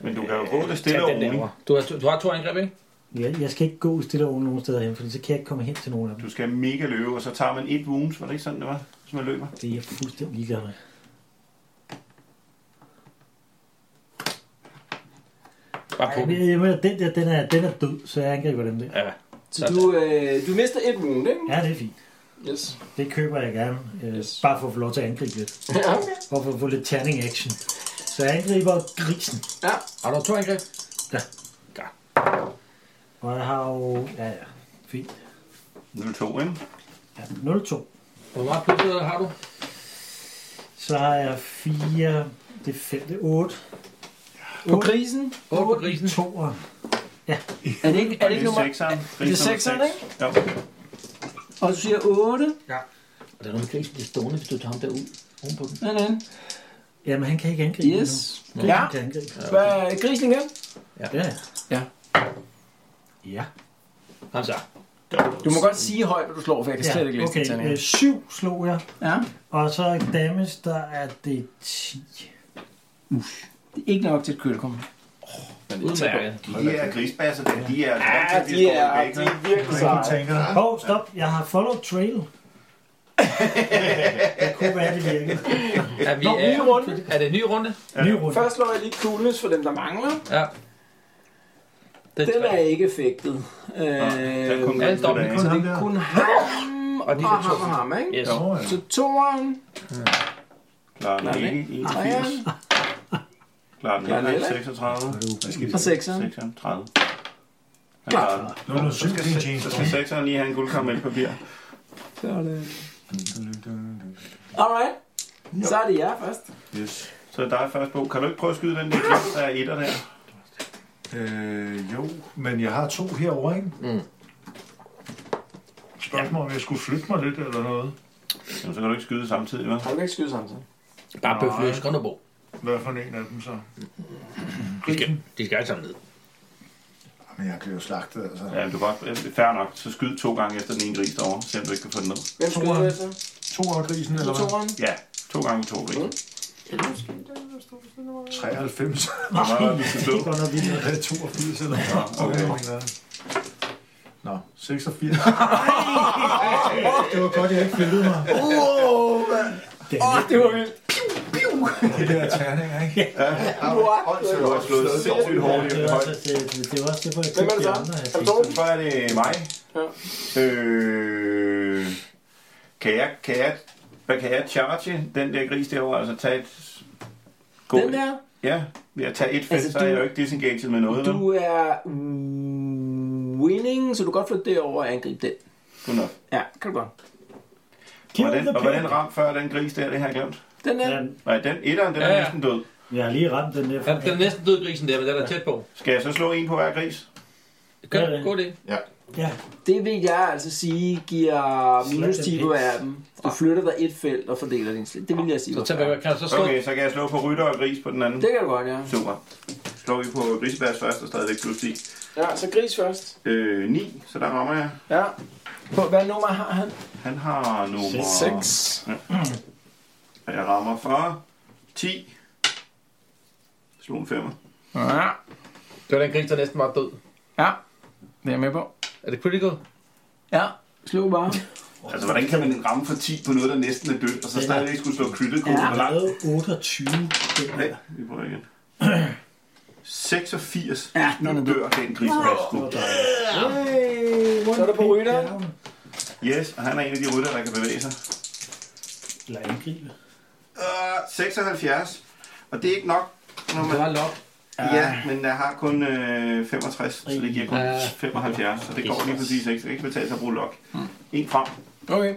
Speaker 8: Men du kan jo gå det stille og roligt.
Speaker 9: Du har, du har to angreb, ikke?
Speaker 6: Jeg, jeg skal ikke gå stille over nogen steder hen, fordi så kan jeg ikke komme hen til nogen af dem.
Speaker 8: Du skal mega løbe, og så tager man et wounds. Var det ikke sådan, det var? Hvis man løber.
Speaker 6: Det er jeg fuldstændig ligeglad med.
Speaker 9: Bare på
Speaker 6: Ej,
Speaker 9: dem.
Speaker 6: jeg, jeg mener, den der, den er, den er død, så jeg angriber dem der.
Speaker 9: Ja.
Speaker 3: Så du, øh, du mister et wound, ikke?
Speaker 6: Ja, det er fint.
Speaker 3: Yes.
Speaker 6: Det køber jeg gerne. Øh,
Speaker 3: Yes.
Speaker 6: Bare for at få lov til at angribe lidt.
Speaker 3: <laughs> Ja, okay.
Speaker 6: For at få lidt tanning action. Så jeg angriber grisen.
Speaker 3: Ja.
Speaker 9: Har du to angreb?
Speaker 6: Ja.
Speaker 9: Ja.
Speaker 6: Og jeg har jo... Ja, ja. Fint.
Speaker 8: 0-2, ikke?
Speaker 6: Ja, 0-2.
Speaker 12: Hvor meget plus har du?
Speaker 6: Så har jeg 4... Det er 5, det er 8.
Speaker 3: På grisen?
Speaker 12: 8 på grisen.
Speaker 6: 2. Ja.
Speaker 3: Er det ikke, er det ikke nummer...
Speaker 8: sekseren.
Speaker 3: Er det sekseren, ikke?
Speaker 8: Jo.
Speaker 3: Og du siger 8?
Speaker 9: Og der er nogle gris, der bliver stående, hvis du tager ham derud. Ovenpå den.
Speaker 3: Sådan. den.
Speaker 6: Jamen, han kan ikke angribe
Speaker 3: Yes.
Speaker 6: nu.
Speaker 3: Ja.
Speaker 6: Kan angribe.
Speaker 3: Hvad er grisen igen?
Speaker 6: Ja.
Speaker 3: Ja.
Speaker 6: Ja.
Speaker 9: Kom så.
Speaker 3: Du må godt sige højt, hvad du slår, for jeg kan slet ikke læse
Speaker 6: okay.
Speaker 3: det.
Speaker 6: øh, syv slog jeg.
Speaker 3: Ja.
Speaker 6: Og så damage, der er det 10.
Speaker 3: Det er ikke nok til et kølekum.
Speaker 9: Udmærket.
Speaker 8: De her grisbasser, der, de
Speaker 3: Ja,
Speaker 8: er vant til at
Speaker 3: de
Speaker 8: blive
Speaker 3: er,
Speaker 8: skåret i
Speaker 3: de
Speaker 8: bækkenet.
Speaker 3: er virkelig
Speaker 5: Ikke
Speaker 3: seje.
Speaker 5: tænker.
Speaker 6: Åh, oh, stop. Jeg har follow trail. <laughs> det kunne være, det virkede.
Speaker 9: Er, vi,
Speaker 3: Nå,
Speaker 9: er,
Speaker 3: ny runde.
Speaker 9: er det en ny runde?
Speaker 6: Ny runde.
Speaker 3: Først slår jeg lige coolness for dem, der mangler.
Speaker 9: Ja. Det
Speaker 3: Den
Speaker 9: tre.
Speaker 3: er ikke effektet. Øh,
Speaker 8: Der er kun
Speaker 9: Ja,
Speaker 8: grisen
Speaker 9: dobbelt.
Speaker 8: tilbage.
Speaker 5: Kun
Speaker 3: så
Speaker 5: ham
Speaker 3: det er
Speaker 5: der.
Speaker 3: kun ham og
Speaker 9: Og
Speaker 3: de
Speaker 9: de
Speaker 3: og
Speaker 9: der to.
Speaker 3: ham og ham, ikke?
Speaker 9: Yes.
Speaker 5: Nå, ja.
Speaker 3: Så toeren,
Speaker 8: Klarer den ikke. 81.
Speaker 3: treeren
Speaker 8: Klarer den
Speaker 3: Klarer den
Speaker 8: ikke.
Speaker 3: heller
Speaker 8: 36.
Speaker 3: og sekseren.
Speaker 8: 36. Han klarer den.
Speaker 5: Nu er der
Speaker 8: Så
Speaker 5: syv,
Speaker 8: skal,
Speaker 5: det er en James
Speaker 8: så skal
Speaker 5: Bond.
Speaker 8: sekseren lige have en guldkaramelpapir.
Speaker 3: Så er det... Alright. Så er det jer først.
Speaker 8: Yes. Så der er først på. Kan du ikke prøve at skyde den der gris, der er etter der?
Speaker 5: Øh, jo, men jeg har to herovre, ikke?
Speaker 9: Mm.
Speaker 5: Spørgsmål, om jeg skulle flytte mig lidt eller noget.
Speaker 8: Jamen, så kan du ikke skyde samtidig, hva'?
Speaker 3: Har du ikke skyde samtidig?
Speaker 9: Bare bøfløs, kom nu på.
Speaker 5: Hvad for en af dem så?
Speaker 9: De skal, de skal alle sammen ned.
Speaker 5: Men jeg blev jo slagtet, altså.
Speaker 8: Ja, men du kan godt. Fair nok. Så skyd to gange efter den ene gris derovre, selvom du ikke kan få den ned.
Speaker 3: Hvem skyder
Speaker 5: Toeren.
Speaker 3: jeg så?
Speaker 5: To af grisen, eller hvad?
Speaker 3: Toeren?
Speaker 8: Ja, to gange to gris.
Speaker 3: Mm.
Speaker 5: <laughs> 93.
Speaker 8: Hvor meget var det, vi skulle slå?
Speaker 6: Det går nok vildt.
Speaker 5: Eller 82 eller
Speaker 8: Nå, okay.
Speaker 5: okay. Nå, 86. det var godt, jeg ikke fældede mig.
Speaker 3: Åh, oh, det var vildt.
Speaker 5: Det der terninger, ikke?
Speaker 8: Åndssvagt, du har slået sindssygt hårdt i
Speaker 6: Det
Speaker 8: den
Speaker 6: var
Speaker 8: højde.
Speaker 6: også, det, det, det var også derfor, jeg
Speaker 3: Hvem er
Speaker 6: købte
Speaker 3: det
Speaker 6: de
Speaker 3: så?
Speaker 6: andre. her.
Speaker 3: Er det Torben?
Speaker 8: Så er det mig. Øh, kan jeg, kan jeg, hvad kan jeg charge den der gris derovre? Altså tage et... Gå,
Speaker 3: Den der?
Speaker 8: Ja, ved at tage et fedt,
Speaker 3: Altså,
Speaker 8: altså, så er
Speaker 3: du-
Speaker 8: jeg jo ikke disengaged med noget.
Speaker 3: Du
Speaker 8: Du...
Speaker 3: er winning, så du kan godt flytte derover og angribe den.
Speaker 8: Nå.
Speaker 3: Ja, kan du godt.
Speaker 8: Var den, og var den ramt før den gris der, det har jeg glemt?
Speaker 3: Den der.
Speaker 6: Ja,
Speaker 8: Nej, den etteren, den
Speaker 9: Ja,
Speaker 8: er
Speaker 9: ja.
Speaker 8: næsten død.
Speaker 6: Jeg har lige ramt den der.
Speaker 9: Ja, den er næsten død grisen der, men den er tæt på.
Speaker 8: Skal jeg så slå en på hver gris?
Speaker 9: Gør
Speaker 6: Ja, ja.
Speaker 9: det. Gå det.
Speaker 6: Ja,
Speaker 3: Det vil jeg altså sige giver minus
Speaker 6: den
Speaker 3: 10
Speaker 6: pæk.
Speaker 3: på hver af dem. Du flytter dig et felt og fordeler din slet. Det vil jeg sige.
Speaker 9: Så
Speaker 3: var
Speaker 9: tag,
Speaker 3: fair.
Speaker 9: kan du så slå?
Speaker 8: Okay, så kan jeg slå på rytter og gris på den anden.
Speaker 3: Det kan du godt, ja.
Speaker 8: Super. Slår vi på grisebærs først og stadigvæk plus 10.
Speaker 3: Ja, så gris først.
Speaker 8: Øh, 9, så der rammer jeg.
Speaker 3: Ja. På, hvad nummer har han?
Speaker 8: Han har nummer...
Speaker 3: 6.
Speaker 8: Og jeg rammer for 10. Slå en femmer.
Speaker 3: Ja,
Speaker 9: Det var den gris, der næsten var død.
Speaker 3: ja. Det er jeg med på.
Speaker 9: Er det critical?
Speaker 3: Ja, slå bare.
Speaker 8: Altså, hvordan kan man ramme for 10 på noget, der næsten er dødt, og så stadigvæk skulle slå critical?
Speaker 6: jeg
Speaker 8: Ja. Hvor
Speaker 6: har
Speaker 8: langt?
Speaker 6: lavet 28. Den
Speaker 8: Nej,
Speaker 6: der.
Speaker 8: vi prøver igen. <clears throat> 86.
Speaker 3: Ja,
Speaker 8: nu dør den grisebærs.
Speaker 3: Så er der på rytteren.
Speaker 8: Yes, og han er en af de rytter, der kan bevæge sig.
Speaker 6: Eller angribe.
Speaker 8: Øh, 76. Og det er ikke nok, når man...
Speaker 9: Du har lov.
Speaker 8: Ja, men jeg har kun øh, 65, så det giver kun
Speaker 9: Ja.
Speaker 8: 75, så det går lige præcis ikke. Så det kan ikke betale sig at bruge lok. En frem.
Speaker 3: Okay.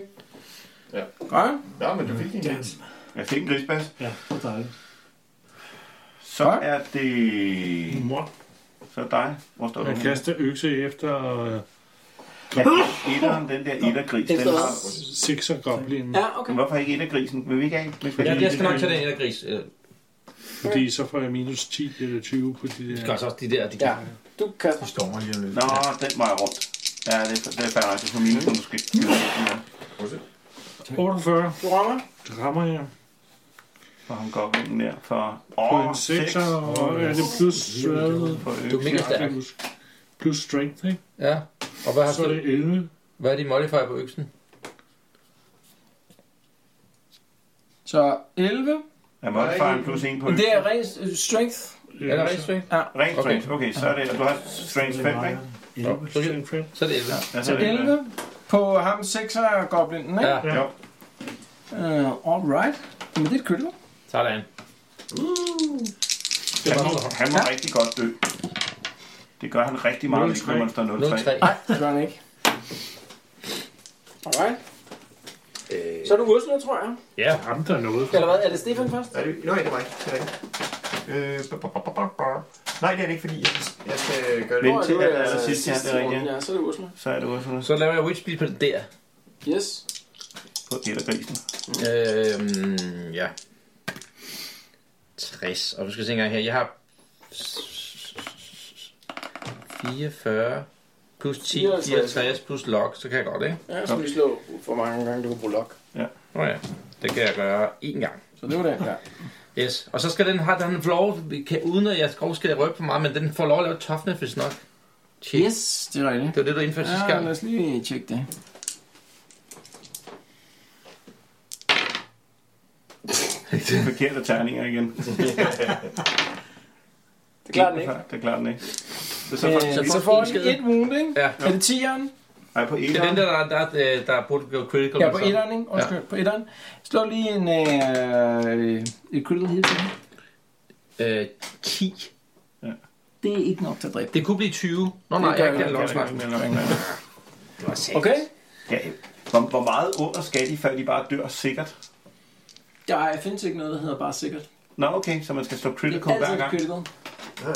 Speaker 13: Ja.
Speaker 3: Godt.
Speaker 13: Ja, men du fik din gris.
Speaker 8: Jeg fik en grisbas.
Speaker 6: Ja, det er dejligt.
Speaker 8: Så er det...
Speaker 4: Mor.
Speaker 8: Så er det dig. Hvor står du?
Speaker 4: Jeg
Speaker 8: henne?
Speaker 4: kaster økse efter øh,
Speaker 8: Ja, etteren, den der ettergris, den
Speaker 3: Efter-
Speaker 8: har...
Speaker 4: sekser goblinen,
Speaker 3: Ja, okay.
Speaker 8: Men hvorfor ikke ettergrisen? Vil vi ikke have? Hvis vi
Speaker 9: Ja, jeg skal nok tage den ene af gris. Øh,
Speaker 4: fordi så får jeg minus 10 eller 20 på de
Speaker 9: Det gør
Speaker 4: der.
Speaker 9: så også de der, de
Speaker 3: Ja.
Speaker 9: kan.
Speaker 3: Du kaster.
Speaker 5: De stormer lige om lidt.
Speaker 8: Nå, den vej rundt. Ja, det, er- det er færdigt. Det er for minus, når du skal...
Speaker 4: 48,
Speaker 3: Du rammer.
Speaker 4: det rammer jeg.
Speaker 8: For ham går den der for...
Speaker 4: På
Speaker 8: Åh,
Speaker 4: en
Speaker 8: 6.
Speaker 4: 6, og er det plus, hvad?
Speaker 9: Du er mega stærk.
Speaker 4: plus strength, ikke?
Speaker 9: Ja. Og hvad har
Speaker 4: Så er
Speaker 9: du?
Speaker 4: det 11.
Speaker 9: Hvad er din modifier på øksen?
Speaker 3: Så 11.
Speaker 8: Ja, modifieren plus 1 på...
Speaker 3: Men det er rent øh, strength.
Speaker 9: Er det rigtig strength?
Speaker 8: Rent
Speaker 9: Okay.
Speaker 8: strength. Okay, så er det... Og du har strength 5, ikke?
Speaker 9: Jo, så er det-
Speaker 4: strength?
Speaker 9: Så er det 11.
Speaker 8: Ja, så
Speaker 3: Så
Speaker 8: er det
Speaker 3: 11 på ham 6'er goblinen, ikke?
Speaker 9: Ja,
Speaker 8: Jo.
Speaker 3: Uh, alright. Men det er et krytter.
Speaker 9: sådan.
Speaker 8: Han må, han må rigtig godt dø. Det gør han rigtig meget, hvis man står 0-3.
Speaker 3: Nej, det gør han ikke. Alright.
Speaker 9: Øh.
Speaker 3: Så er du Ursula, tror jeg.
Speaker 4: Ja, ham der er noget.
Speaker 3: Eller hvad? Er det Stefan først?
Speaker 7: Er det, nej, det var ikke. Det er rigtigt. Øh, ba- ba- ba- ba- ba. nej, det er det ikke, fordi jeg, jeg skal gøre det.
Speaker 8: Vent til, at der er allersidst, ja, det er rigtigt.
Speaker 3: Ja, så er det Ursula.
Speaker 8: Så er det Ursula.
Speaker 9: Så laver jeg witch speed på den der.
Speaker 3: Yes.
Speaker 8: På et af grisen.
Speaker 9: Øhm, ja. 60. Og nu skal jeg se engang her. Jeg har 44 plus 10,
Speaker 3: 54.
Speaker 9: 64 plus log, så kan jeg godt, ikke?
Speaker 3: Ja, så skal vi slå for mange gange, du kan bruge lok.
Speaker 9: Nå ja, det kan jeg gøre én gang.
Speaker 3: Så det var det. Ja.
Speaker 9: Yes. Og så skal den have den får lov, vi kan, uden at jeg skal skal røbe for meget, men den får lov at lave toughness, hvis nok. Tjek.
Speaker 3: Yes, det er rigtigt.
Speaker 9: Det var det, du indførte sidste
Speaker 3: Ja,
Speaker 9: gang.
Speaker 3: Ah, lad os lige tjekke det.
Speaker 8: Det er forkerte terninger igen.
Speaker 3: Det klarer den ikke.
Speaker 8: Det klarer den ikke. Så, så får
Speaker 3: Øh,
Speaker 8: den
Speaker 3: så
Speaker 8: så
Speaker 3: får
Speaker 9: en skade.
Speaker 3: den et wound, ikke?
Speaker 9: Ja.
Speaker 3: Er det 10'eren?
Speaker 8: Nej, på
Speaker 9: Det er den
Speaker 8: etteren.
Speaker 9: der, der, der, der, der burde gå critical.
Speaker 3: Ja,
Speaker 9: men
Speaker 3: på
Speaker 9: så-
Speaker 3: etteren, ikke? Undskyld, på etteren. Slå lige en, øh, et critical hit. på den.
Speaker 9: Øh, 10.
Speaker 3: Det er ikke nok til at dræbe.
Speaker 9: Det kunne blive 20. Nå
Speaker 3: Det
Speaker 9: nej,
Speaker 3: gør
Speaker 9: jeg
Speaker 3: jeg
Speaker 9: kan lov snakke.
Speaker 3: Okay.
Speaker 8: Ja, hvor, hvor meget under skal de, før de bare dør sikkert?
Speaker 3: Der findes ikke noget, der hedder bare sikkert.
Speaker 8: Nå, okay, så man skal slå
Speaker 3: Det
Speaker 8: critical
Speaker 3: er
Speaker 8: hver
Speaker 3: altid
Speaker 8: gang.
Speaker 3: critical.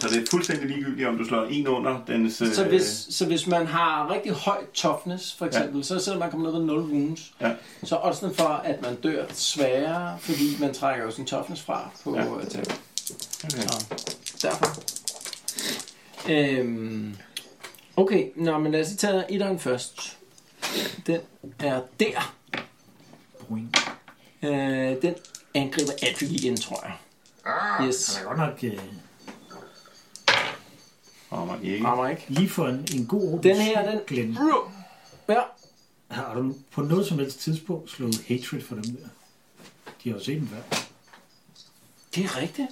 Speaker 8: Så det er fuldstændig ligegyldigt, om du slår en under dens... Øh,
Speaker 3: Så hvis, så hvis man har rigtig høj toughness, for eksempel, ja. så selvom man kommer ned med 0 wounds,
Speaker 8: Ja.
Speaker 3: så er oddsen for, at man dør sværere, fordi man trækker jo sin toughness fra på øh, ja.
Speaker 8: Ja.
Speaker 3: tab.
Speaker 8: Okay.
Speaker 3: Derfor. Øhm, okay, nå, men lad os lige tage etteren først. Den er der. Øh, den angriber Adric igen, tror jeg. Ah, yes,
Speaker 6: Han er godt nok øh,
Speaker 8: Rammer ikke.
Speaker 3: rammer ikke.
Speaker 6: lige for en, en god ordens
Speaker 3: Den her, den...
Speaker 6: skyld, Glenn.
Speaker 3: Ja,
Speaker 6: <clears throat> Har du på noget som helst tidspunkt slået hatred for dem der? De har jo set dem før.
Speaker 3: det er rigtigt.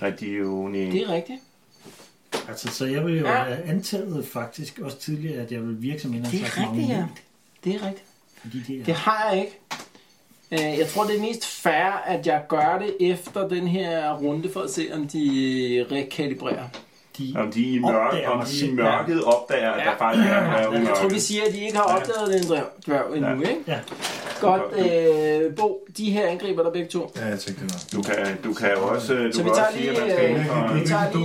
Speaker 8: Nej, de er jo... Nej.
Speaker 3: Det er rigtigt.
Speaker 6: Altså, så jeg ville jo
Speaker 3: Ja.
Speaker 6: ja. have antaget faktisk også tidligere, at jeg ville virke som en af
Speaker 3: Det er rigtigt, ja. Det er rigtigt.
Speaker 6: Fordi det er...
Speaker 3: Det har jeg ikke. Øh, Jeg tror, det er mest fair, at jeg gør det efter den her runde, for at se, om de rekalibrerer.
Speaker 6: De,
Speaker 8: Om de i, mørk,
Speaker 6: Opdager
Speaker 8: om
Speaker 6: mig
Speaker 8: de i
Speaker 6: selv.
Speaker 8: mørket opdager, at der faktisk er en dværg
Speaker 3: Jeg
Speaker 8: i
Speaker 3: tror, vi
Speaker 8: mørket.
Speaker 3: siger, at de ikke har opdaget den dværg- dværg endnu, ikke?
Speaker 6: Ja.
Speaker 3: Godt, øh, Bo, de her angriber der begge to.
Speaker 5: Ja, jeg tænkte det var.
Speaker 8: Du kan, du kan jo også, du
Speaker 3: Så vi
Speaker 8: kan også
Speaker 3: tager
Speaker 8: sige,
Speaker 3: lige,
Speaker 8: at man skal
Speaker 3: øh,
Speaker 8: ind for...
Speaker 3: vi tager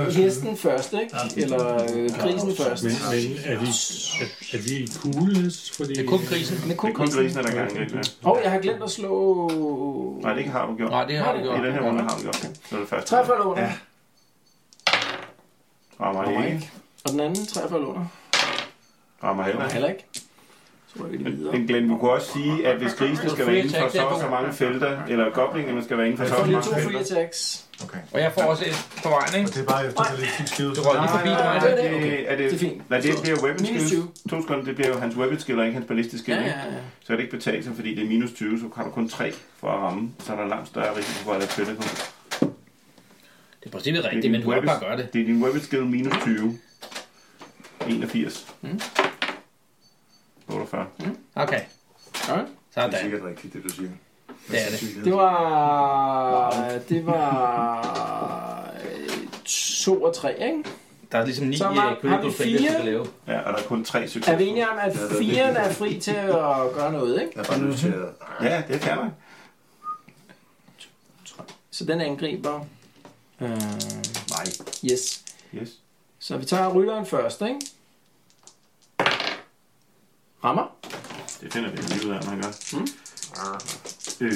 Speaker 3: lige øh, hesten først, ikke? Eller øh, grisen først.
Speaker 4: Men, men er vi, er, er vi coolness? Fordi...
Speaker 9: Det er kun grisen.
Speaker 3: Men
Speaker 8: Det
Speaker 3: kun
Speaker 8: er kun
Speaker 3: grisen.
Speaker 8: grisene, der kan angribe. ja.
Speaker 3: Og jeg har glemt at slå...
Speaker 8: Nej, det har du gjort.
Speaker 9: Nej, det har du
Speaker 8: I
Speaker 9: gjort.
Speaker 8: den her runde har du gjort det. Det var det første.
Speaker 3: Træffer eller under?
Speaker 8: Rammer
Speaker 3: Rammer
Speaker 8: ikke.
Speaker 3: ikke. Og den anden træffer eller under?
Speaker 8: Rammer heller ikke.
Speaker 3: Heller ikke. Så rykker de videre.
Speaker 8: Men Glenn, du kunne også sige, at hvis grisene skal være inden for så og så mange felter, eller goblingerne skal være inden for så
Speaker 3: Så
Speaker 8: og så
Speaker 3: det er to
Speaker 8: mange
Speaker 3: free
Speaker 8: felter.
Speaker 3: attacks.
Speaker 5: Okay.
Speaker 9: Og jeg får også et på vejen,
Speaker 5: Og
Speaker 9: ikke?
Speaker 5: det er bare efter, at lidt fik skidt.
Speaker 9: Du røg lige
Speaker 8: Nej,
Speaker 9: forbi
Speaker 8: nej,
Speaker 9: mig.
Speaker 8: nej,
Speaker 3: det er
Speaker 8: det, er det,
Speaker 3: Det er fint.
Speaker 8: Nej, det bliver weapon
Speaker 3: Minus
Speaker 8: skill.
Speaker 3: 20.
Speaker 8: To sekunder, det bliver jo hans weapon skill og ikke hans ballistisk skill.
Speaker 3: Ja,
Speaker 8: ikke?
Speaker 3: ja, ja.
Speaker 8: Så kan det ikke betale sig, fordi det er minus 20, så har du kun 3 for at ramme. Så er der langt større risiko for at lade critical.
Speaker 9: Det er præcis rigtigt, men du kan bare gøre det.
Speaker 8: Det er din weapon skill minus 20. 81. Mm. 48. Mm.
Speaker 9: Okay.
Speaker 3: Alright.
Speaker 5: Det er
Speaker 9: Sådan.
Speaker 5: sikkert rigtigt, det du siger.
Speaker 9: Det er det.
Speaker 3: Det var... Det var... øh, To og tre, ikke?
Speaker 9: Der er ligesom ni
Speaker 3: Så har-
Speaker 9: øh,
Speaker 3: har vi
Speaker 9: critical failures,
Speaker 3: fire?
Speaker 9: du kan lave.
Speaker 8: Ja, og der er kun 3
Speaker 3: Er
Speaker 8: succeser.
Speaker 3: vi enige om, at firen er fri til at gøre noget, ikke?
Speaker 7: Jeg er bare nødt til at...
Speaker 8: Ja, det kan man.
Speaker 3: Så den angriber... Øh,
Speaker 7: Nej.
Speaker 3: yes.
Speaker 8: Yes.
Speaker 3: Så vi tager rytteren først, ikke? Rammer.
Speaker 8: Det finder vi lige ud af, man gør.
Speaker 3: Hmm?
Speaker 8: Mm. Øh.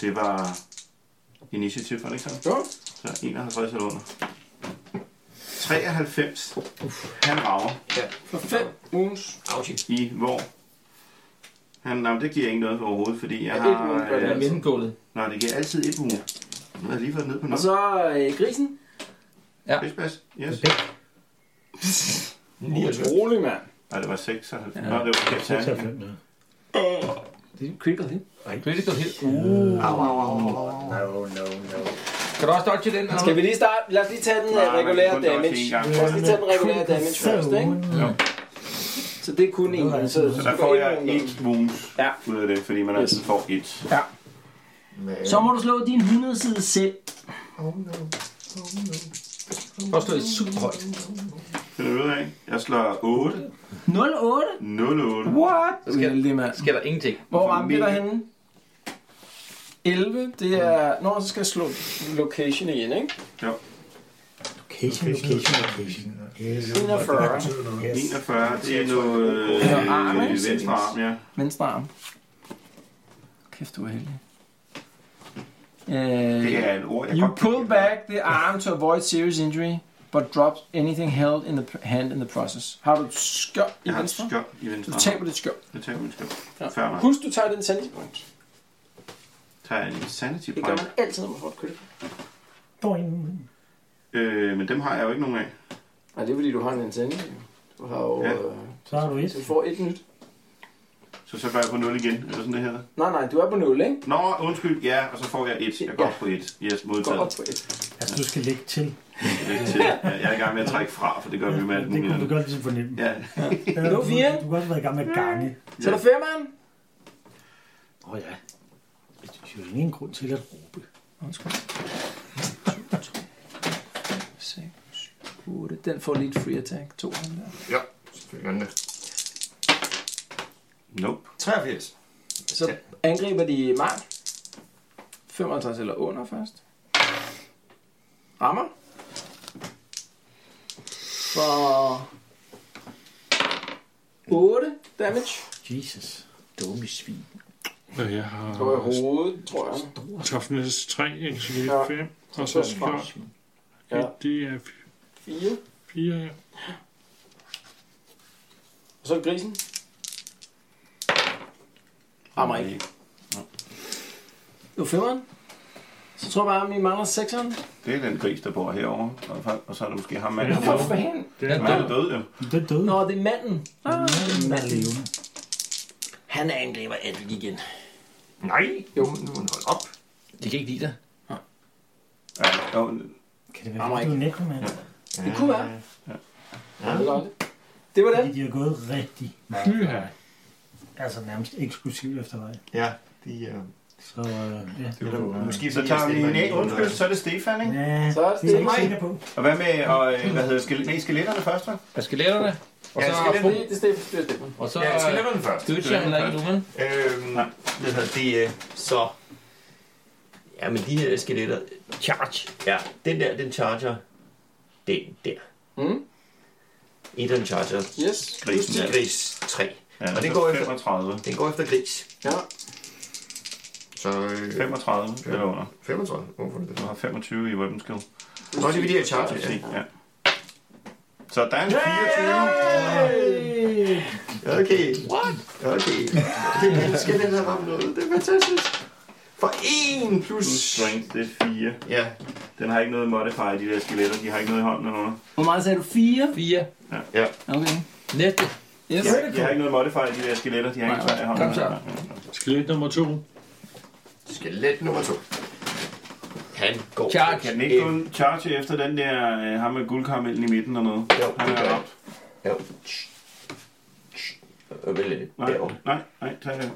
Speaker 8: Det var initiativ, var det ikke sådan?
Speaker 3: Jo.
Speaker 8: Så 51 eller under. 93. Han rager
Speaker 3: For fem wounds.
Speaker 8: i hvor? Han, nej, det giver ikke noget overhovedet, fordi jeg
Speaker 3: Ja, et
Speaker 8: har...
Speaker 3: wound gør det
Speaker 8: øh,
Speaker 3: altså.
Speaker 9: Mellemgulvet.
Speaker 8: Nej, det giver altid et uge. Nu har jeg lige fået den ned på
Speaker 3: Og
Speaker 8: noget.
Speaker 3: så øh, grisen.
Speaker 8: Spidsbas, yes.
Speaker 3: Utrolig, mand.
Speaker 8: Nej, det var 96. Ja. Nå, det var Katana.
Speaker 6: 95, ja.
Speaker 3: Det er en critical hit.
Speaker 9: Critical hit. Uh.
Speaker 5: No, no, no.
Speaker 9: Kan du også dodge den?
Speaker 3: Skal vi lige starte? Lad os lige tage den øh, regulære damage. Lad os lige tage den regulære damage først, ikke?
Speaker 8: Jo.
Speaker 3: Så det er kun en, så,
Speaker 8: Så der får jeg et wounds ja. ud af det, fordi man altid får et.
Speaker 3: Ja.
Speaker 7: Men-
Speaker 3: Så må du slå din 100 side selv.
Speaker 14: Hvor står det super højt?
Speaker 8: Finder du ud af? Jeg slår 8.
Speaker 3: 08?
Speaker 8: 08.
Speaker 3: What?
Speaker 9: Skal, skal der ingenting?
Speaker 3: Hvor ramte vi dig henne? 11, det er... Nå, så skal jeg slå location igen, ikke?
Speaker 8: Jo.
Speaker 6: Location, location, location. Yes.
Speaker 3: 41.
Speaker 8: 41, det er noget øh,
Speaker 3: arm, ikke?
Speaker 8: venstre arm, ja.
Speaker 3: Venstre arm. Kæft, du er heldig. Øh,
Speaker 8: Det er et ord, jeg
Speaker 3: you
Speaker 8: godt
Speaker 3: pull back the arm to avoid serious injury, but drop anything held in the p- hand in the process. Har du et skjold i
Speaker 8: Jeg har et
Speaker 3: venstre?
Speaker 8: skjold i venstre
Speaker 3: Du
Speaker 8: arm.
Speaker 3: taber dit skjold.
Speaker 8: Jeg tager min skjold. Før mig.
Speaker 3: Husk, du tager den sanity point.
Speaker 8: Tager jeg en sanity
Speaker 3: Det gør man
Speaker 8: point.
Speaker 3: altid, når man får et critical.
Speaker 6: Boing.
Speaker 8: Øh, men dem har jeg jo ikke nogen af.
Speaker 3: Nej, det er fordi, du har en antenne. Du har jo...
Speaker 8: Ja.
Speaker 3: Øh,
Speaker 6: Så har du et.
Speaker 3: du får et nyt.
Speaker 8: Så så går jeg på 0 igen, eller sådan det hedder.
Speaker 3: Nej, nej, du er på 0, ikke?
Speaker 8: Nå, undskyld, ja, og så får jeg 1. Jeg går op på 1. Yes,
Speaker 3: Du går op
Speaker 8: modtaget.
Speaker 3: på et.
Speaker 6: Altså, du skal lægge til.
Speaker 8: Læg til. Ja, Jeg er i gang med at trække fra, for det gør vi med alt
Speaker 6: Det
Speaker 8: muligt.
Speaker 6: kunne du
Speaker 8: andet.
Speaker 6: godt ligesom fornemme.
Speaker 8: Ja,
Speaker 6: Ja,
Speaker 3: Det
Speaker 6: du,
Speaker 3: var fire.
Speaker 6: du kan også være i gang med at gange.
Speaker 3: Så er der firmaen.
Speaker 6: Åh oh, ja. Jeg synes jo ingen grund til at råbe.
Speaker 3: Den får lige et free attack. To han der.
Speaker 7: Ja, selvfølgelig gør den det.
Speaker 8: <laughs> nope.
Speaker 7: 83.
Speaker 3: Så angriber de Mark. 55 eller under først. Rammer. For 8 damage.
Speaker 6: Jesus. Dumme svin.
Speaker 3: Det var
Speaker 4: Og jeg
Speaker 3: i
Speaker 4: har
Speaker 3: hovedet, tror jeg.
Speaker 4: toughness 3, ikke? Så det
Speaker 3: Ja.
Speaker 4: er 5. Og så skjold.
Speaker 3: Ja.
Speaker 4: Det er
Speaker 3: 4.
Speaker 4: 4 her.
Speaker 3: Og så grisen. Rammer ikke. Nu femmeren. Så tror jeg bare, at vi mangler sekseren.
Speaker 8: Det er den gris, der bor herovre. Og så- Og så er der måske ham mand.
Speaker 3: For fanden.
Speaker 4: Det er
Speaker 8: Han er død, jo.
Speaker 6: Det døde.
Speaker 3: Nå, det er manden. Ah, det er
Speaker 6: den er
Speaker 3: manden.
Speaker 6: levende.
Speaker 3: Han angriber Edvig igen.
Speaker 7: Nej, jo, nu er den holdt op.
Speaker 9: Det kan ikke lide dig.
Speaker 8: Ja, jo,
Speaker 6: Kan det være,
Speaker 3: Rammer
Speaker 6: fordi du er nekromant?
Speaker 3: Det kunne være. Ja. det var det. Det var det.
Speaker 6: Fordi de har gået rigtig meget.
Speaker 4: Hyha.
Speaker 6: Altså nærmest eksklusivt efter dig.
Speaker 7: Ja, de er...
Speaker 6: Så øh, ja.
Speaker 7: Øh, måske
Speaker 8: Så tager vi en af. Undskyld, så er det Stefan, ikke?
Speaker 6: Ja,
Speaker 3: Så er det
Speaker 6: det er jeg
Speaker 3: mig.
Speaker 6: ikke sikker på.
Speaker 8: Og hvad med, og, øh, hvad hedder skelet, nej, skeletterne først, hva'?
Speaker 9: Hvad skal letterne? Og
Speaker 7: Ja,
Speaker 9: så
Speaker 7: skal
Speaker 9: fod,
Speaker 7: det,
Speaker 3: Det er Steffen, det er Steffen.
Speaker 9: og så
Speaker 7: ja, skal det være den først?
Speaker 9: dødt jeg heller ikke nu, men.
Speaker 7: Øhm, hvad hedder det, øh, så... Ja, men de her skeletter... Charge. Ja, den der, den charger. Den der.
Speaker 3: Mm.
Speaker 7: Etteren charger.
Speaker 3: Yes.
Speaker 8: Grisen, ja.
Speaker 7: Gris 3.
Speaker 8: Ja,
Speaker 7: Og det
Speaker 8: så
Speaker 7: går efter-
Speaker 8: 35.
Speaker 7: Den går efter gris.
Speaker 3: Ja.
Speaker 7: Så øh,
Speaker 8: 35 eller under.
Speaker 7: 35. Hvorfor er det
Speaker 8: Du
Speaker 7: det?
Speaker 8: har 25 i weapon skill.
Speaker 7: Så er det ved de her charger.
Speaker 8: Se,
Speaker 7: Ja.
Speaker 8: ja. Så der er en 24.
Speaker 7: Okay. What? Okay. Det elsker den her ramme noget. Det er fantastisk. For 1 plus...
Speaker 8: Plus strength, det er 4.
Speaker 7: Ja,
Speaker 8: Den har ikke noget modifier, de der skeletter. De har ikke noget i hånden eller noget.
Speaker 3: Hvor meget sagde du? 4?
Speaker 9: Fire.
Speaker 7: ja.
Speaker 3: Okay.
Speaker 9: Næste.
Speaker 3: Yes.
Speaker 8: Ja, de har ikke noget modifier, de der skeletter. De har ikke noget i hånden.
Speaker 9: Kom så.
Speaker 4: Skelet nummer 2.
Speaker 7: Skelet nummer 2. Han går... Øh,
Speaker 9: Charge.
Speaker 8: Kan den ikke kun charge efter den der, øh, ham med guldkaramellen i midten og noget?
Speaker 7: Jo,
Speaker 8: Han
Speaker 7: det
Speaker 8: er
Speaker 7: gør
Speaker 8: op.
Speaker 7: Ja. Øh, vel,
Speaker 8: Nej,
Speaker 7: derovre.
Speaker 8: nej, nej, tag det.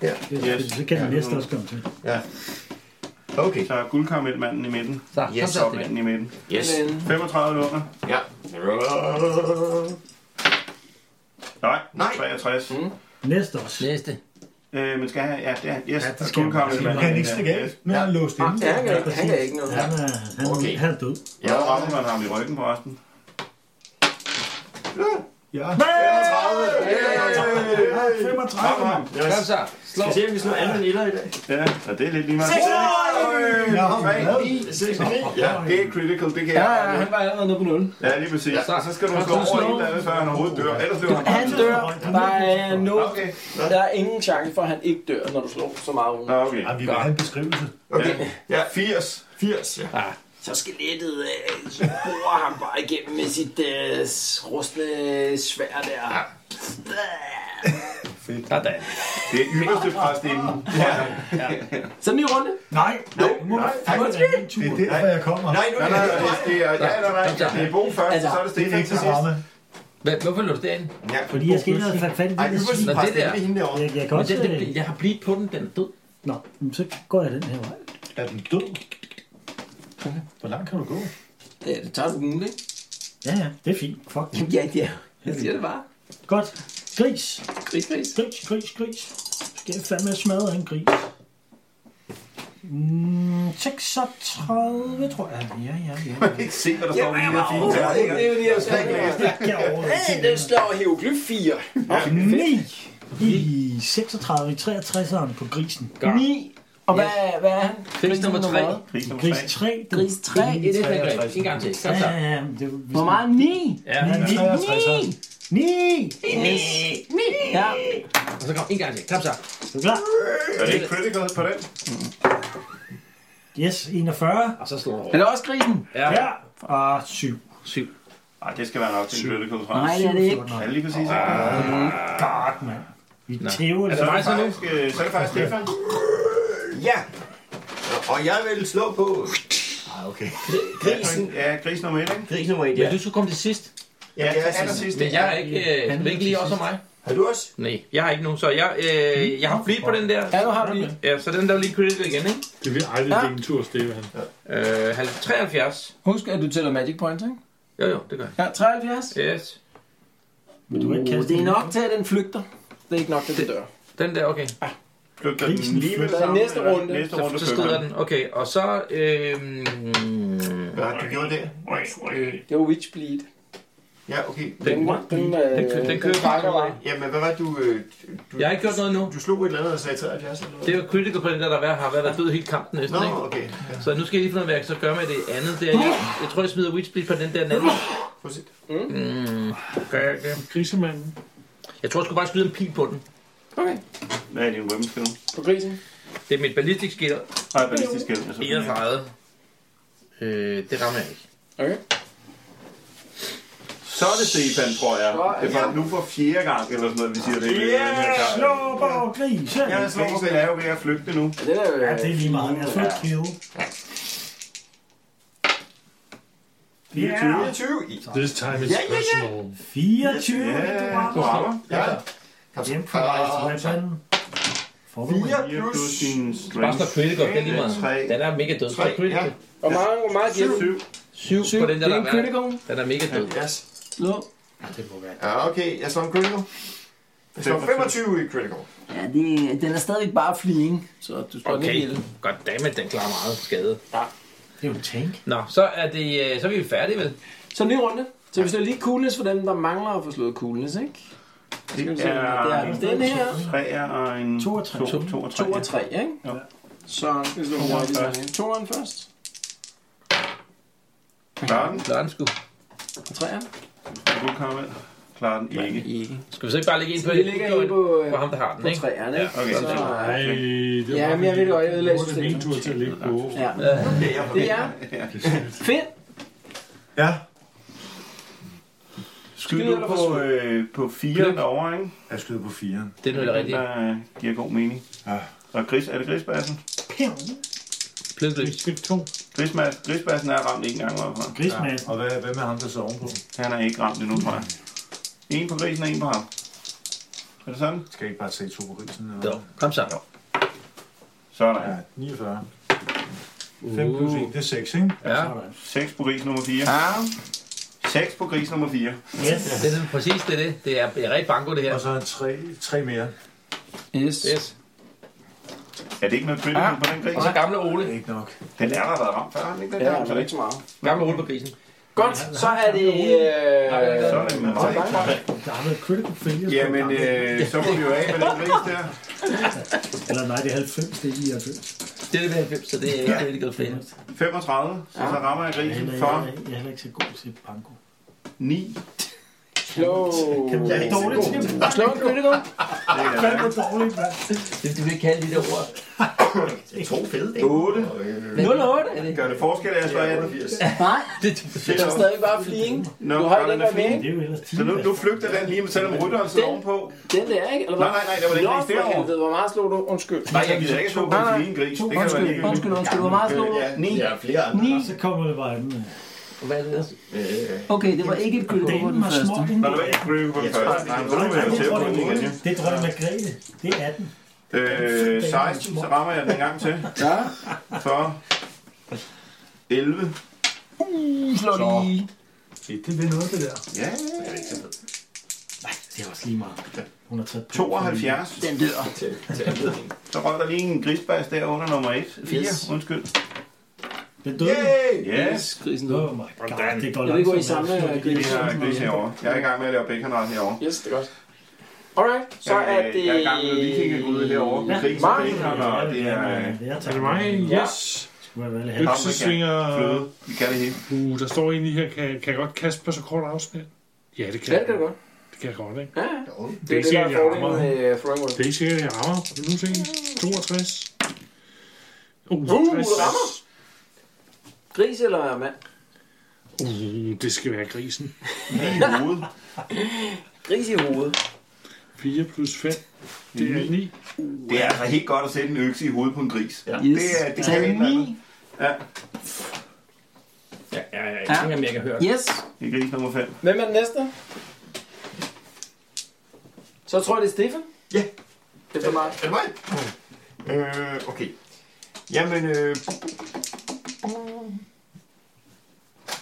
Speaker 8: Der.
Speaker 6: Yes. Så kan den
Speaker 8: Ja.
Speaker 6: næste også komme til.
Speaker 7: Okay.
Speaker 8: Så er guldkaramelmanden i midten.
Speaker 9: Så,
Speaker 7: Yes,
Speaker 9: yes, kom så.
Speaker 8: Manden i midten.
Speaker 7: Yes.
Speaker 8: 35 eller under.
Speaker 7: Ja.
Speaker 8: Nej,
Speaker 7: Nej.
Speaker 8: 63. Mm.
Speaker 6: Næste også.
Speaker 9: Næste.
Speaker 8: Øh, men skal jeg have... Ja, det er... Yes,
Speaker 6: Ja,
Speaker 8: ja,
Speaker 6: det skal man.
Speaker 8: guldkaramelmanden.
Speaker 5: Han er ikke stikke af. Nu er han låst
Speaker 3: Ja,
Speaker 5: inde.
Speaker 3: han kan, han kan ikke noget.
Speaker 6: Han er, han,
Speaker 7: Okay.
Speaker 6: okay. han er død.
Speaker 8: Ja, og rammer man ham i ryggen på resten.
Speaker 5: Ja.
Speaker 6: 35.
Speaker 8: Rammer ham.
Speaker 9: Kom så. Slå.
Speaker 7: Skal se, om vi slår anden eller i dag.
Speaker 8: Ja, og det er lidt lige meget.
Speaker 5: Nå, hvad?
Speaker 7: 9, 6, 9. Ja.
Speaker 8: Det er critical, det kan
Speaker 3: Ja,
Speaker 8: jeg.
Speaker 3: ja, han var allerede nede på 0.
Speaker 8: Ja, lige præcis.
Speaker 9: Ja.
Speaker 8: Ja. Så skal du slå
Speaker 9: Så slå.
Speaker 8: over en eller anden, før han overhovedet dør. Ellers løber han
Speaker 3: Han
Speaker 8: bare.
Speaker 3: dør. Der er, no,
Speaker 8: Okay.
Speaker 3: der er ingen chance for, at han ikke dør, når du slår så meget rundt.
Speaker 8: Nå, okay.
Speaker 5: Ej, vi vil have en beskrivelse.
Speaker 7: Okay. Ja.
Speaker 8: 80.
Speaker 7: 80, ja.
Speaker 3: Så skelettet øh, så borer ham bare igennem med sit øh, rustne svær der.
Speaker 9: Sådan.
Speaker 8: Det er yderste præst inden.
Speaker 3: Så en ny runde.
Speaker 5: Nej,
Speaker 7: Nej, nej, nej.
Speaker 5: det er derfor, jeg kommer.
Speaker 7: Nej, nu er
Speaker 8: Nej, nej,
Speaker 7: det
Speaker 8: nej, det- det er... Ja, nej, nej. Det er Bo først, og så er det
Speaker 5: Det er ikke
Speaker 8: Stefan til
Speaker 5: så
Speaker 8: sidst.
Speaker 5: meget.
Speaker 9: Hvad- Hvorfor lå du derinde?
Speaker 7: Ja,
Speaker 6: Fordi jeg skal ikke have fat fat i
Speaker 7: Ej,
Speaker 6: det
Speaker 7: nu
Speaker 6: der
Speaker 7: var
Speaker 6: svin.
Speaker 7: det
Speaker 9: Nå, det
Speaker 7: præst, det
Speaker 9: der.
Speaker 7: er hende derovre.
Speaker 6: Jeg, jeg kan
Speaker 9: Men
Speaker 6: også...
Speaker 9: den,
Speaker 6: øh,
Speaker 9: den, jeg har blivet på den, den er død.
Speaker 6: Nå, men så går jeg den her vej.
Speaker 5: Er den død? Hvor langt kan du gå?
Speaker 3: Det, det tager sådan en uge, ikke?
Speaker 6: Ja, ja, det er fint. Fuck.
Speaker 3: Ja, ja. Jeg siger det bare.
Speaker 6: Godt. Gris.
Speaker 3: Gris, gris.
Speaker 6: Gris, gris, gris. Skal jeg fandme smadre en gris? Mm, 36, tror jeg. Ja, ja, ja.
Speaker 7: Man kan ikke se, hvad der står i de her fine terninger.
Speaker 3: Det er jo det, jeg skal
Speaker 6: ikke
Speaker 3: Hey, den står hieroglyf 4.
Speaker 6: Nej. I 36, 63'eren på grisen.
Speaker 3: 9. Og hvad, hvad er han?
Speaker 1: Gris nummer tre.
Speaker 3: hvad?
Speaker 8: Gris nummer
Speaker 6: Gris 3.
Speaker 3: Gris 3.
Speaker 1: Et eftergreb. En gang til. Kom
Speaker 9: Altså,
Speaker 1: så.
Speaker 6: Ja, ja, ja. men Det, er jo- hvis
Speaker 3: Hvor meget? 9.
Speaker 1: Ja,
Speaker 6: man- Ni-
Speaker 5: 63.
Speaker 6: 9.
Speaker 3: Ja.
Speaker 1: og så kom en gang til. Kom så.
Speaker 6: Er du klar?
Speaker 5: Er det ikke critical på den?
Speaker 6: Yes, 41.
Speaker 1: Og så slår du over.
Speaker 3: Er det også grisen?
Speaker 6: Ja. Ah, Og 7.
Speaker 1: Syv.
Speaker 8: Ej, det skal være nok til en critical fra.
Speaker 3: Nej, det er det ikke.
Speaker 8: Ja, lige præcis. ikke?
Speaker 6: Godt, mand. Vi tæver
Speaker 1: Er det mig så nu?
Speaker 8: Faktisk, øh, Så er det faktisk Stefan.
Speaker 7: Ja, og jeg vil slå på
Speaker 5: Ah, okay.
Speaker 7: grisen.
Speaker 8: Ja, gris nummer et, ikke?
Speaker 7: Gris nummer 1,
Speaker 1: Men
Speaker 7: ja.
Speaker 1: du skulle komme til sidst.
Speaker 7: Ja, det er sidst.
Speaker 8: sidst.
Speaker 1: Men jeg er ikke... Øh, er det ikke lige også som mig?
Speaker 7: Har du også?
Speaker 9: Nej, jeg har ikke nogen, så jeg, øh, jeg har flit på den der.
Speaker 3: Ja, nu har du det.
Speaker 9: Ja, så den der er lige critical igen, ikke?
Speaker 4: Det bliver aldrig ja. din tur, Stefan.
Speaker 9: Øh, halv- 73.
Speaker 3: Husk, at du tæller Magic Points, ikke?
Speaker 9: Jo, jo, det gør jeg.
Speaker 3: Ja, 73.
Speaker 9: Yes.
Speaker 6: Men du har ikke
Speaker 3: Uh,
Speaker 6: kastet
Speaker 3: det er
Speaker 6: den.
Speaker 3: nok til, at den flygter. Det er ikke nok, at den dør.
Speaker 9: Den der, okay.
Speaker 8: Flygter den lige med det
Speaker 3: flygter.
Speaker 8: samme?
Speaker 3: Næste
Speaker 8: eller?
Speaker 3: runde.
Speaker 8: Næste
Speaker 9: Så,
Speaker 8: runde
Speaker 9: så
Speaker 8: flygter
Speaker 9: skrider
Speaker 8: den.
Speaker 9: den. Okay, og så... Øh,
Speaker 7: Hvad har du gjort der?
Speaker 3: Det var Witchbleed.
Speaker 7: Ja, okay.
Speaker 9: den,
Speaker 3: den,
Speaker 9: den kø- den kører
Speaker 3: trækker
Speaker 9: bare.
Speaker 3: bare.
Speaker 7: Jamen, hvad var du... øh, du
Speaker 9: jeg har ikke gjort noget endnu.
Speaker 7: Du slog et eller andet og sagde 73 eller noget?
Speaker 9: Det er jo critical på den der, der hver- har været der død hele kampen næsten, ikke?
Speaker 7: Nå, okay. Ja,
Speaker 9: Så nu skal jeg lige finde ud af, hvad jeg så gør med det andet der. Jeg, jeg tror, jeg smider Witchblade på den der den anden.
Speaker 7: prøv at se.
Speaker 9: Mm, gør jeg, ikke det?
Speaker 4: Grisemanden.
Speaker 9: jeg tror, jeg skulle bare skyde en pil på den.
Speaker 3: Okay,
Speaker 8: Hvad er din rømmeskæld?
Speaker 3: på grisen.
Speaker 9: Det er mit ballistisk skill.
Speaker 8: Nej, ballistisk skæld. altså.
Speaker 9: 31. Øh, det rammer jeg ikke.
Speaker 3: Okay.
Speaker 8: Så er det Stefan, tror jeg. Det var nu for fjerde gang, eller sådan noget, vi siger det.
Speaker 7: Ja,
Speaker 8: slå!
Speaker 6: Åh, gris. Ja,
Speaker 8: Ja, slå, den er jo ved at flygte nu.
Speaker 3: Ja, det er øh, jo...
Speaker 6: Ja, det er lige meget. Jeg skal kill.
Speaker 8: 24.
Speaker 7: 24 i.
Speaker 4: This time it's
Speaker 7: Ja, ja, ja.
Speaker 4: personal.
Speaker 6: 24.
Speaker 8: Ja, du rammer.
Speaker 7: Ja,
Speaker 6: Hjemme fra rejsen. Hvad fanden? Forbered.
Speaker 7: 4
Speaker 8: 4 plus
Speaker 7: plus...
Speaker 8: din
Speaker 1: Bare slå
Speaker 8: strength.
Speaker 1: critical. Det er lige meget.
Speaker 8: Tre.
Speaker 1: Den er mega død. Tre critical.
Speaker 7: Ja.
Speaker 3: Hvor mange, hvor meget giver du?
Speaker 8: Syv.
Speaker 9: Syv på den
Speaker 3: Det
Speaker 9: der, der
Speaker 3: er
Speaker 9: er
Speaker 3: en
Speaker 9: værre.
Speaker 3: critical.
Speaker 9: Den er mega død.
Speaker 7: Yes.
Speaker 3: Nå.
Speaker 7: Ja, okay. Jeg slår en critical. Jeg slår 25 i critical.
Speaker 3: Ja, det, den er stadigvæk bare flying, så du står okay.
Speaker 9: Okay,
Speaker 3: ikke i det.
Speaker 9: goddammit, den klarer meget skade.
Speaker 6: Det er jo en tank.
Speaker 9: Nå, så er, det, øh, så er vi jo færdige, vel?
Speaker 3: Så ny runde. Så hvis det er lige coolness for dem, der mangler at få slået coolness, ikke?
Speaker 8: Det
Speaker 3: Så det er
Speaker 8: er
Speaker 3: den her.
Speaker 8: Træer og en...
Speaker 6: To og tre.
Speaker 8: To, to og tre.
Speaker 3: 2 og 3, ikke?
Speaker 8: Ja.
Speaker 3: Så skal vi slå
Speaker 8: Toeren
Speaker 3: hurtigt
Speaker 8: først.
Speaker 3: sådan her. Toeren først.
Speaker 8: Klarer den?
Speaker 9: Klarer den sgu.
Speaker 3: Og træeren.
Speaker 8: Du kommer. Klarer den ikke.
Speaker 3: Ikke.
Speaker 9: Skal vi så ikke bare lægge en på,
Speaker 3: Vi ligger i på, øh,
Speaker 9: på ham, der har den,
Speaker 3: på
Speaker 9: ikke?
Speaker 3: træerne, ikke?
Speaker 8: Okay,
Speaker 3: Så,
Speaker 8: så-
Speaker 3: øh,
Speaker 4: Ej, det var
Speaker 3: Ja,
Speaker 4: bare
Speaker 3: men jeg
Speaker 4: fordi-
Speaker 3: ved godt, jeg ødelagde
Speaker 4: Nu er det min
Speaker 3: systemet.
Speaker 4: tur til at ligge på.
Speaker 3: Ja.
Speaker 7: Ja, jeg får
Speaker 3: Det er Finn.
Speaker 5: Ja.
Speaker 8: Skyd nu på, øh, på fire derovre, ikke?
Speaker 5: Jeg skyder på 4.
Speaker 9: Det er noget, der er rigtigt.
Speaker 8: Der øh, giver god mening.
Speaker 5: Ja.
Speaker 8: Og gris, er det grisbassen?
Speaker 9: Plødløs.
Speaker 4: Skridt to.
Speaker 8: Grismas, grisbassen er ramt en gang, hvorfor?
Speaker 6: Grismad.
Speaker 5: Og hvad, hvad med ham, der sidder ovenpå?
Speaker 8: Han er ikke ramt endnu, tror jeg. En på grisen og en på ham. Er det sådan?
Speaker 5: Skal jeg ikke bare tage to på grisen? Eller?
Speaker 9: Jo, kom så.
Speaker 8: Sådan.
Speaker 5: Ja, 49. 5 plus 1, det er 6, ikke?
Speaker 9: Ja,
Speaker 8: 6 på gris nummer 4.
Speaker 3: Ja.
Speaker 8: 6 på gris nummer 4.
Speaker 6: Yes.
Speaker 9: det er præcis det, er det. Det er, det er rigtig banko, det her.
Speaker 5: Og så 3, 3 mere.
Speaker 3: Yes.
Speaker 9: Yes.
Speaker 8: Er det ikke noget critical på den gris?
Speaker 9: Og så gamle Ole.
Speaker 5: Det er ikke nok.
Speaker 8: Den er der været ramt før, har den ikke den
Speaker 3: Ja,
Speaker 8: der?
Speaker 3: men ikke så meget.
Speaker 9: Gamle Ole på grisen.
Speaker 3: Godt, så er det... Øh,
Speaker 8: Så er det meget ikke.
Speaker 6: Der har været critical failure.
Speaker 8: Jamen, øh, så må vi jo af med den gris der.
Speaker 6: Eller nej, det er 90, det er 99.
Speaker 9: Det er det ved 90, så det er ikke rigtig godt fedt.
Speaker 8: 35, så, så rammer jeg grisen
Speaker 6: Eller
Speaker 8: for
Speaker 6: jeg, er- jeg er heller ikke så god til banko.
Speaker 8: 9.
Speaker 3: slå...
Speaker 7: Jeg er ikke så god.
Speaker 3: Slå en critical.
Speaker 6: Hvad er dårligt, mand?
Speaker 9: Det du vil ikke kalde de der ord.
Speaker 7: To fede dage.
Speaker 8: 8.
Speaker 3: 0 og 8.
Speaker 8: Gør det forskel, at jeg slår 18?
Speaker 3: Nej,
Speaker 9: Det er du
Speaker 3: det er stadig bare flying.
Speaker 8: Nå,
Speaker 3: Du har jo
Speaker 8: gør
Speaker 3: den
Speaker 8: den
Speaker 3: der
Speaker 8: er
Speaker 3: med,
Speaker 8: fin.
Speaker 6: Det
Speaker 3: ikke?
Speaker 6: er jo ellers 10.
Speaker 8: Så nu, nu flygter den lige, selvom rytteren sidder ovenpå.
Speaker 3: Den der, ikke? Eller hvad?
Speaker 8: Nej, nej, nej, det var den
Speaker 3: Nå,
Speaker 8: gris
Speaker 3: for
Speaker 8: derovre.
Speaker 3: helvede, Hvor meget slog du? Undskyld.
Speaker 8: Nej, jeg gider ikke slå på en fin gris. Det kan være
Speaker 3: Undskyld,
Speaker 8: ligegyldigt.
Speaker 3: undskyld, undskyld. Hvor meget slog du?
Speaker 7: Ja, ni. Ja, flere andre.
Speaker 6: Så kommer det bare andet.
Speaker 9: Hvad er det ellers?
Speaker 3: Okay, det var ikke et critical på
Speaker 6: Damen
Speaker 3: den
Speaker 6: var små
Speaker 3: første.
Speaker 8: Når du ikke
Speaker 6: indgået.
Speaker 8: krybe på den første, så må vi jo
Speaker 6: Jeg
Speaker 8: til
Speaker 6: tror,
Speaker 8: på
Speaker 6: det
Speaker 8: den
Speaker 6: er
Speaker 8: igen.
Speaker 6: det. Det er dronning Margrethe. Det er 18.
Speaker 8: Øh, 16, så rammer jeg den en gang til. Ja. For 11.
Speaker 3: Uh, slå
Speaker 8: Så.
Speaker 3: lige.
Speaker 5: Det vil noget, det der.
Speaker 8: Ja, det er ikke så fedt.
Speaker 6: Det er også lige meget. Hun har taget på.
Speaker 8: 72.
Speaker 3: Den lyder.
Speaker 8: Så røg der lige en grisbas der under nummer 1. 4,
Speaker 3: Yes.
Speaker 8: undskyld.
Speaker 6: Den døde.
Speaker 8: Ja,
Speaker 3: Grisen død.
Speaker 6: Oh my god, det går
Speaker 3: Jeg ved ikke, hvor I
Speaker 6: langsomt med at
Speaker 3: samler
Speaker 6: slukke
Speaker 8: vi
Speaker 3: grisen.
Speaker 8: har gris herovre. Jeg er i gang med at lave baconret herovre.
Speaker 3: Yes, det er godt. Alright, så
Speaker 8: Jeg, øh,
Speaker 3: er det...
Speaker 8: jeg er i gang med vikingegryde herovre med gris og
Speaker 3: Martin.
Speaker 8: bacon, og det er... øh,
Speaker 4: Er det mig?
Speaker 3: Ja.
Speaker 4: Yes.
Speaker 6: Skulle jeg være lidt halvt.
Speaker 4: Øksesvinger.
Speaker 8: Fløde. Vi kan det hele.
Speaker 4: Uh, der står en i her. Kan, kan jeg godt kaste på så kort afsnit? Ja, det kan
Speaker 3: Ja,
Speaker 4: jeg.
Speaker 3: det er godt.
Speaker 4: Det kan jeg godt, ikke?
Speaker 3: Ja, ja.
Speaker 4: Det
Speaker 3: det
Speaker 4: er
Speaker 3: er
Speaker 4: ikke
Speaker 3: det, der
Speaker 4: sikkert,
Speaker 3: er
Speaker 4: jeg rammer.
Speaker 3: fordelen med Throwing World.
Speaker 4: Det er ikke sikkert, jeg rammer. Vil du se? 62. Uh,
Speaker 3: Uh,
Speaker 4: 60.
Speaker 3: rammer. Gris eller mand?
Speaker 4: Uh, det skal være grisen.
Speaker 8: Lige i hovedet.
Speaker 3: Gris i hovedet.
Speaker 4: 4 plus 5. Det er 9.
Speaker 8: Det er altså helt godt at sætte en økse i hovedet på en gris. Ja.
Speaker 3: Yes.
Speaker 8: Det, er- det
Speaker 3: Så er
Speaker 8: kan
Speaker 3: det
Speaker 8: ikke
Speaker 3: ni.
Speaker 8: noget. Ja,
Speaker 15: Ja, ja, ja. Jeg tænker, om jeg kan høre det.
Speaker 3: Yes.
Speaker 8: det er gris nummer 5.
Speaker 3: Hvem er den næste? Så tror jeg, det er Stefan.
Speaker 7: Ja.
Speaker 3: Efter mig.
Speaker 7: Er det mig? Øh, okay. Jamen, øh...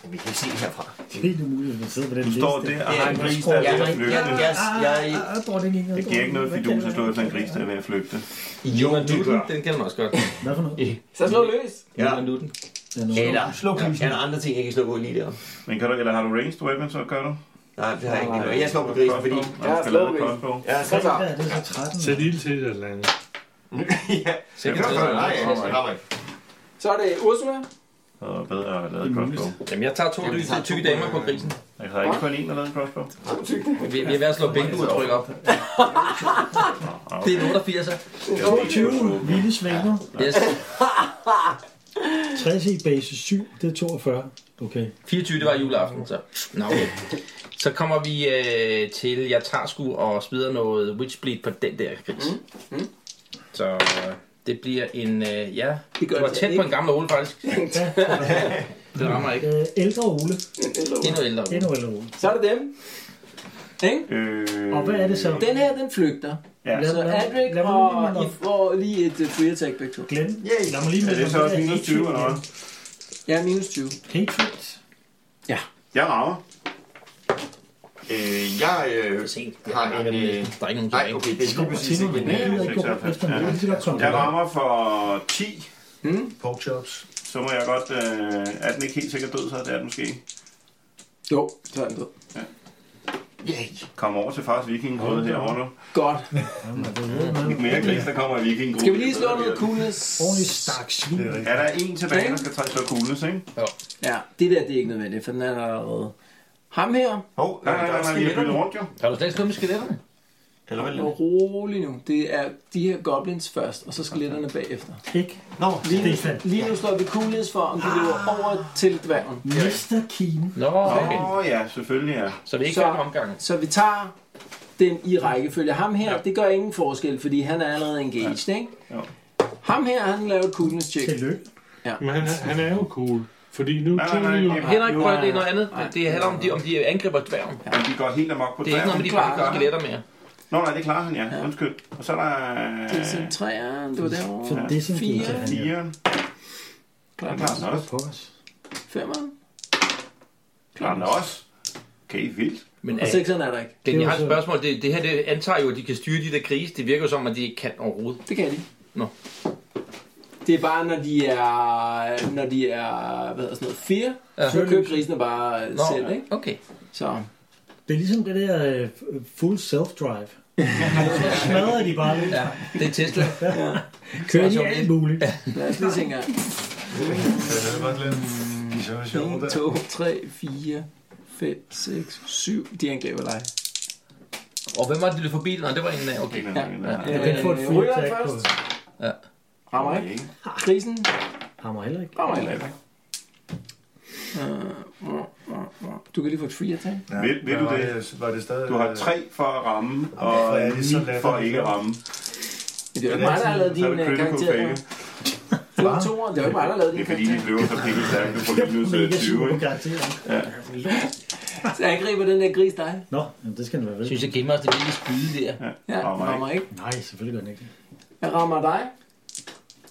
Speaker 7: Jamen, vi kan ikke se herfra.
Speaker 6: Helt umuligt, at man sidder på den
Speaker 8: Du
Speaker 6: liste.
Speaker 8: står der og har en
Speaker 6: Jeg
Speaker 8: gris,
Speaker 6: tror,
Speaker 8: der er
Speaker 6: jeg-
Speaker 8: ved at flygte.
Speaker 7: Jeg, jeg,
Speaker 6: Ah, ah, dronning Ingrid,
Speaker 8: Det giver ikke noget
Speaker 6: dronning.
Speaker 8: fidus at slå efter en gris, der er ved at flygte.
Speaker 7: jo,
Speaker 9: Du,
Speaker 7: det
Speaker 9: den,
Speaker 7: gør.
Speaker 9: den kan man også godt.
Speaker 6: Hvad for noget?
Speaker 3: Så slå løs.
Speaker 7: Ja.
Speaker 9: Men nu den.
Speaker 7: Eller,
Speaker 5: Slå
Speaker 7: er der andre ting, jeg kan slå på lige der?
Speaker 8: Men kan du, eller har du ranged weapon, så gør du?
Speaker 7: Nej, det har jeg ikke. Jeg slår på grisen, fordi...
Speaker 8: Ja,
Speaker 3: Ja,
Speaker 8: skal
Speaker 3: slå
Speaker 8: lave et
Speaker 3: grisen.
Speaker 8: crossbow.
Speaker 7: Ja,
Speaker 3: Så
Speaker 7: så...
Speaker 3: så.
Speaker 6: Hvad er det så 13?
Speaker 4: Sæt ild til et eller andet.
Speaker 7: ja.
Speaker 8: Ja,
Speaker 7: Det var godt. Nej, jeg har mig.
Speaker 3: Så er det Ursula.
Speaker 8: Så er det bedre at have lavet et crossbow.
Speaker 9: Jamen, jeg tager to
Speaker 7: Jamen, vi
Speaker 9: lyse
Speaker 7: tager
Speaker 9: tykke
Speaker 7: to,
Speaker 9: damer
Speaker 7: øh,
Speaker 9: på grisen.
Speaker 8: Altså, der er ikke kun en, der lavede et crossbow.
Speaker 9: Vi, vi er ved at slå bænkeudtryk
Speaker 7: <laughs>
Speaker 9: op. Det er en 88'er.
Speaker 8: Det er ikke et crossbow.
Speaker 6: Vilde svaner.
Speaker 9: Yes.
Speaker 6: 60 i base 7, det er 42. Okay.
Speaker 9: 24, det var juleaften, så. Nå, okay. Så kommer vi øh, til, jeg tager sgu og smider noget witchbleed på den der gris. Mm. Mm. Så øh, det bliver en, øh, ja, det,
Speaker 3: gør
Speaker 9: det var
Speaker 3: det
Speaker 9: tæt
Speaker 3: ikke.
Speaker 9: på en gammel Ole faktisk. det rammer ikke.
Speaker 6: Øh, ældre Ole.
Speaker 9: Det er noget ældre Ole.
Speaker 6: Endnu ældre Ole.
Speaker 3: Så er det dem. Ikke?
Speaker 8: Øh,
Speaker 6: Og hvad er det så?
Speaker 3: Den her, den flygter.
Speaker 8: Ja,
Speaker 6: Lad,
Speaker 3: Så
Speaker 6: lad,
Speaker 3: Adric
Speaker 6: lad mig
Speaker 3: og
Speaker 6: lige minde
Speaker 3: I
Speaker 6: om.
Speaker 3: får lige et øh, free attack begge to.
Speaker 6: Glem.
Speaker 7: Yay.
Speaker 6: Lad mig lige
Speaker 8: er
Speaker 6: minde
Speaker 8: det
Speaker 6: om,
Speaker 8: så også
Speaker 6: der
Speaker 8: minus 20 eller hvad?
Speaker 3: Ja, minus 20.
Speaker 6: Hatred.
Speaker 8: Jeg rager.
Speaker 7: Øh, jeg øh, har en... Øh,
Speaker 9: Der er ikke nogen
Speaker 7: nej,
Speaker 9: tilbage.
Speaker 7: okay, det er lige
Speaker 6: Til
Speaker 7: præcis
Speaker 6: nu,
Speaker 7: ikke
Speaker 6: men
Speaker 7: en...
Speaker 6: jeg
Speaker 7: Øh,
Speaker 6: gider ikke gå rundt efter mig. Jeg kan godt komme
Speaker 8: Jeg
Speaker 6: tilbage.
Speaker 8: rammer for 10.
Speaker 5: Pork chops.
Speaker 8: Så må jeg godt... Øh, er den ikke helt sikkert død, så er det er den måske.
Speaker 3: Jo, så er den død.
Speaker 7: yay.
Speaker 8: Kom over til fars vikingegrøde herovre nu.
Speaker 3: Godt.
Speaker 8: Ikke mere gris, der kommer i vikingegrøde.
Speaker 3: Skal vi lige slå noget coolness?
Speaker 6: Ordentlig stak svin.
Speaker 5: Det er rigtigt.
Speaker 8: Er der en tilbage, der skal tage slå kugles, ikke?
Speaker 3: Ja, det der, det er ikke nødvendigt, for den er der allerede. Ham her,
Speaker 7: Hov,
Speaker 8: Nej, nej, nej, nej, vi har byttet rundt jo.
Speaker 9: Har du slet ikke slået med skeletterne?
Speaker 7: Eller hvad?
Speaker 3: og rolig nu. Det er de her goblins først, og så skeletterne bagefter.
Speaker 6: Pik.
Speaker 7: Nå,
Speaker 3: Lige nu,
Speaker 6: Stefan.
Speaker 3: lige nu slår vi coolness for, om de løber over til dværgen.
Speaker 6: Mr. Keen.
Speaker 9: Nå, okay.
Speaker 8: Åh oh, ja, selvfølgelig ja.
Speaker 9: Så vi er ikke
Speaker 3: Så-
Speaker 9: så... omgangen.
Speaker 3: Så vi tager dem i rækkefølge. Ham her, det gør ingen forskel, fordi han er allerede engaged, ikke?
Speaker 8: Jo.
Speaker 3: Ham her, han laver et coolness check.
Speaker 6: Tillykke.
Speaker 4: Men han, han er jo cool. Fordi nu
Speaker 8: Nej,
Speaker 4: tog
Speaker 8: nej,
Speaker 4: vi jo...
Speaker 8: nej.
Speaker 9: Henrik,
Speaker 3: nu
Speaker 9: prøv
Speaker 3: er-
Speaker 9: at det er noget andet.
Speaker 3: nej.
Speaker 9: Det handler om, de, om de angriber dværgen.
Speaker 8: Men de går helt amok på
Speaker 9: Det er ikke noget
Speaker 8: dværgen.
Speaker 9: med de
Speaker 3: Klarer
Speaker 9: brændte
Speaker 3: han.
Speaker 9: skeletter mere.
Speaker 8: Nå nej, det klarer han ja. Undskyld. Og så er der...
Speaker 3: Centreren, det var
Speaker 6: Så
Speaker 3: derovre.
Speaker 6: det er sådan,
Speaker 3: Fire.
Speaker 6: det er.
Speaker 8: Digeren. Den øh, klarer den også.
Speaker 6: På os.
Speaker 3: Femeren.
Speaker 8: Klarer den også. Okay, vildt.
Speaker 9: Men
Speaker 3: Og sekseren er der ikke.
Speaker 9: Den,
Speaker 6: Det
Speaker 9: jeg
Speaker 6: var
Speaker 9: har et
Speaker 6: så-
Speaker 9: spørgsmål. Det, det her det antager jo, at de kan styre de der grise. Det virker jo som, at de ikke kan overhovedet.
Speaker 3: Det kan de.
Speaker 9: Nå.
Speaker 3: Det er bare, når de er, når de er hvad hedder sådan noget, fire,
Speaker 9: Ja.
Speaker 3: så kører grisene bare øh,
Speaker 9: Nå,
Speaker 3: selv, ikke?
Speaker 9: okay.
Speaker 3: Så
Speaker 6: Det er ligesom det der øh, full self-drive. Så smadrer de bare lidt.
Speaker 9: Ja, det er Tesla.
Speaker 6: Kører de
Speaker 9: Så-
Speaker 6: alt muligt.
Speaker 3: lad os lige <laughs> tænke her.
Speaker 5: Det var lidt... De er så sjove
Speaker 3: 1,
Speaker 5: der.
Speaker 3: 2, 3, 4, 5, 6, 7. De angriber dig.
Speaker 9: Og hvem var det, der løb forbi? Nå, det var en... øh, Okay.
Speaker 8: Ja.
Speaker 6: Du kan ikke få et
Speaker 3: Øh,
Speaker 6: free
Speaker 3: ryger
Speaker 6: attack på.
Speaker 3: først.
Speaker 9: Ja.
Speaker 3: Rammer ikke. Grisen
Speaker 6: Hammer heller ikke.
Speaker 3: rammer heller ikke. Øh, Du kan lige få et free attack.
Speaker 5: Ja,
Speaker 8: Ved- ved du
Speaker 5: var
Speaker 8: det?
Speaker 5: Var det stadig...
Speaker 8: Du har tre for at ramme,
Speaker 5: hvor
Speaker 8: og
Speaker 5: er det så
Speaker 8: ni for
Speaker 5: latterligt.
Speaker 8: ikke at ramme.
Speaker 3: Men det er jo
Speaker 8: Det
Speaker 3: ikke
Speaker 8: er
Speaker 3: mig, der har lavet
Speaker 8: Så er
Speaker 3: din
Speaker 8: det
Speaker 3: øh,
Speaker 8: critical
Speaker 3: karakter.
Speaker 8: fail.
Speaker 3: Det var toeren. Det er jo ikke mig, der har lavet
Speaker 8: Det
Speaker 3: din
Speaker 8: er fordi, de
Speaker 3: karakter.
Speaker 8: flyver så pænt stærkt. Du får minus
Speaker 6: Mega
Speaker 8: 20,
Speaker 6: super
Speaker 8: ikke?
Speaker 6: karakter.
Speaker 3: Så angriber den der gris dig.
Speaker 6: Nå, jamen, det skal den være vel.
Speaker 9: Synes jeg gemmer os det lille spyde der.
Speaker 8: Ja,
Speaker 3: Ja, rammer rammer ikke. ikke.
Speaker 6: Nej, selvfølgelig gør den ikke.
Speaker 3: Jeg rammer dig.